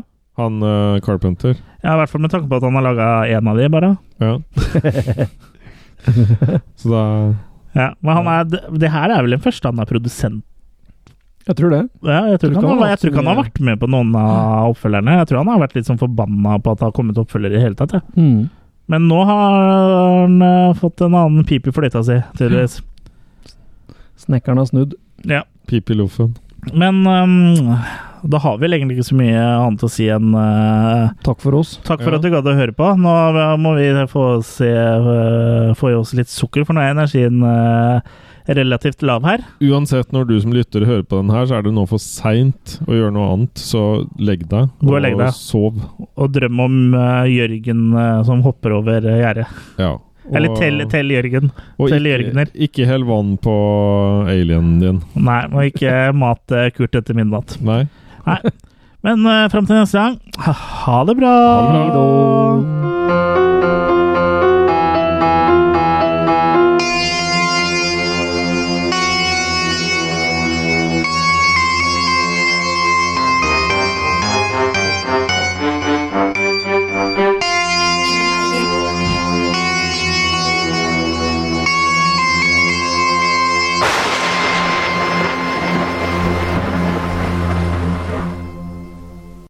Speaker 4: han eh, Carpenter.
Speaker 1: Ja, I hvert fall med tanke på at han har laga én av de, bare.
Speaker 4: Ja. så da
Speaker 1: Ja, men han er, det her er vel den første han er produsent
Speaker 3: Jeg tror det.
Speaker 1: Ja, jeg tror, ikke han, har- jeg tror ikke han har
Speaker 3: vært
Speaker 1: vært med på noen av oppfølgerne. Jeg tror han har vært litt sånn forbanna på at det har kommet oppfølgere i det hele tatt. jeg.
Speaker 3: Mm.
Speaker 1: Men nå har han eh, fått en annen pip i fløyta si, tydeligvis.
Speaker 3: Snekkeren har snudd.
Speaker 1: Ja.
Speaker 4: Pip i loffen.
Speaker 1: Men ehm, da har vi vel egentlig ikke så mye annet å si enn eh,
Speaker 3: Takk for oss.
Speaker 1: Takk for at du gadd å høre på. Nå må vi få, se, eh, få i oss litt sukker, for nå er energien eh, relativt lav her.
Speaker 4: Uansett, når du som lytter hører på den her, så er det nå for seint å gjøre noe annet, så legg deg.
Speaker 1: Gå og legg deg.
Speaker 4: sov.
Speaker 1: Og drøm om eh, Jørgen eh, som hopper over eh, gjerdet.
Speaker 4: Ja.
Speaker 1: Eller tell, tell Jørgen.
Speaker 4: og
Speaker 1: Tell
Speaker 4: ikke,
Speaker 1: Jørgener.
Speaker 4: ikke hell vann på alienen din.
Speaker 1: Nei, og ikke mat eh, Kurt etter midnatt. eh,
Speaker 4: Nei.
Speaker 1: Nei. Men uh, fram til neste gang, ha det bra!
Speaker 4: Ha det bra.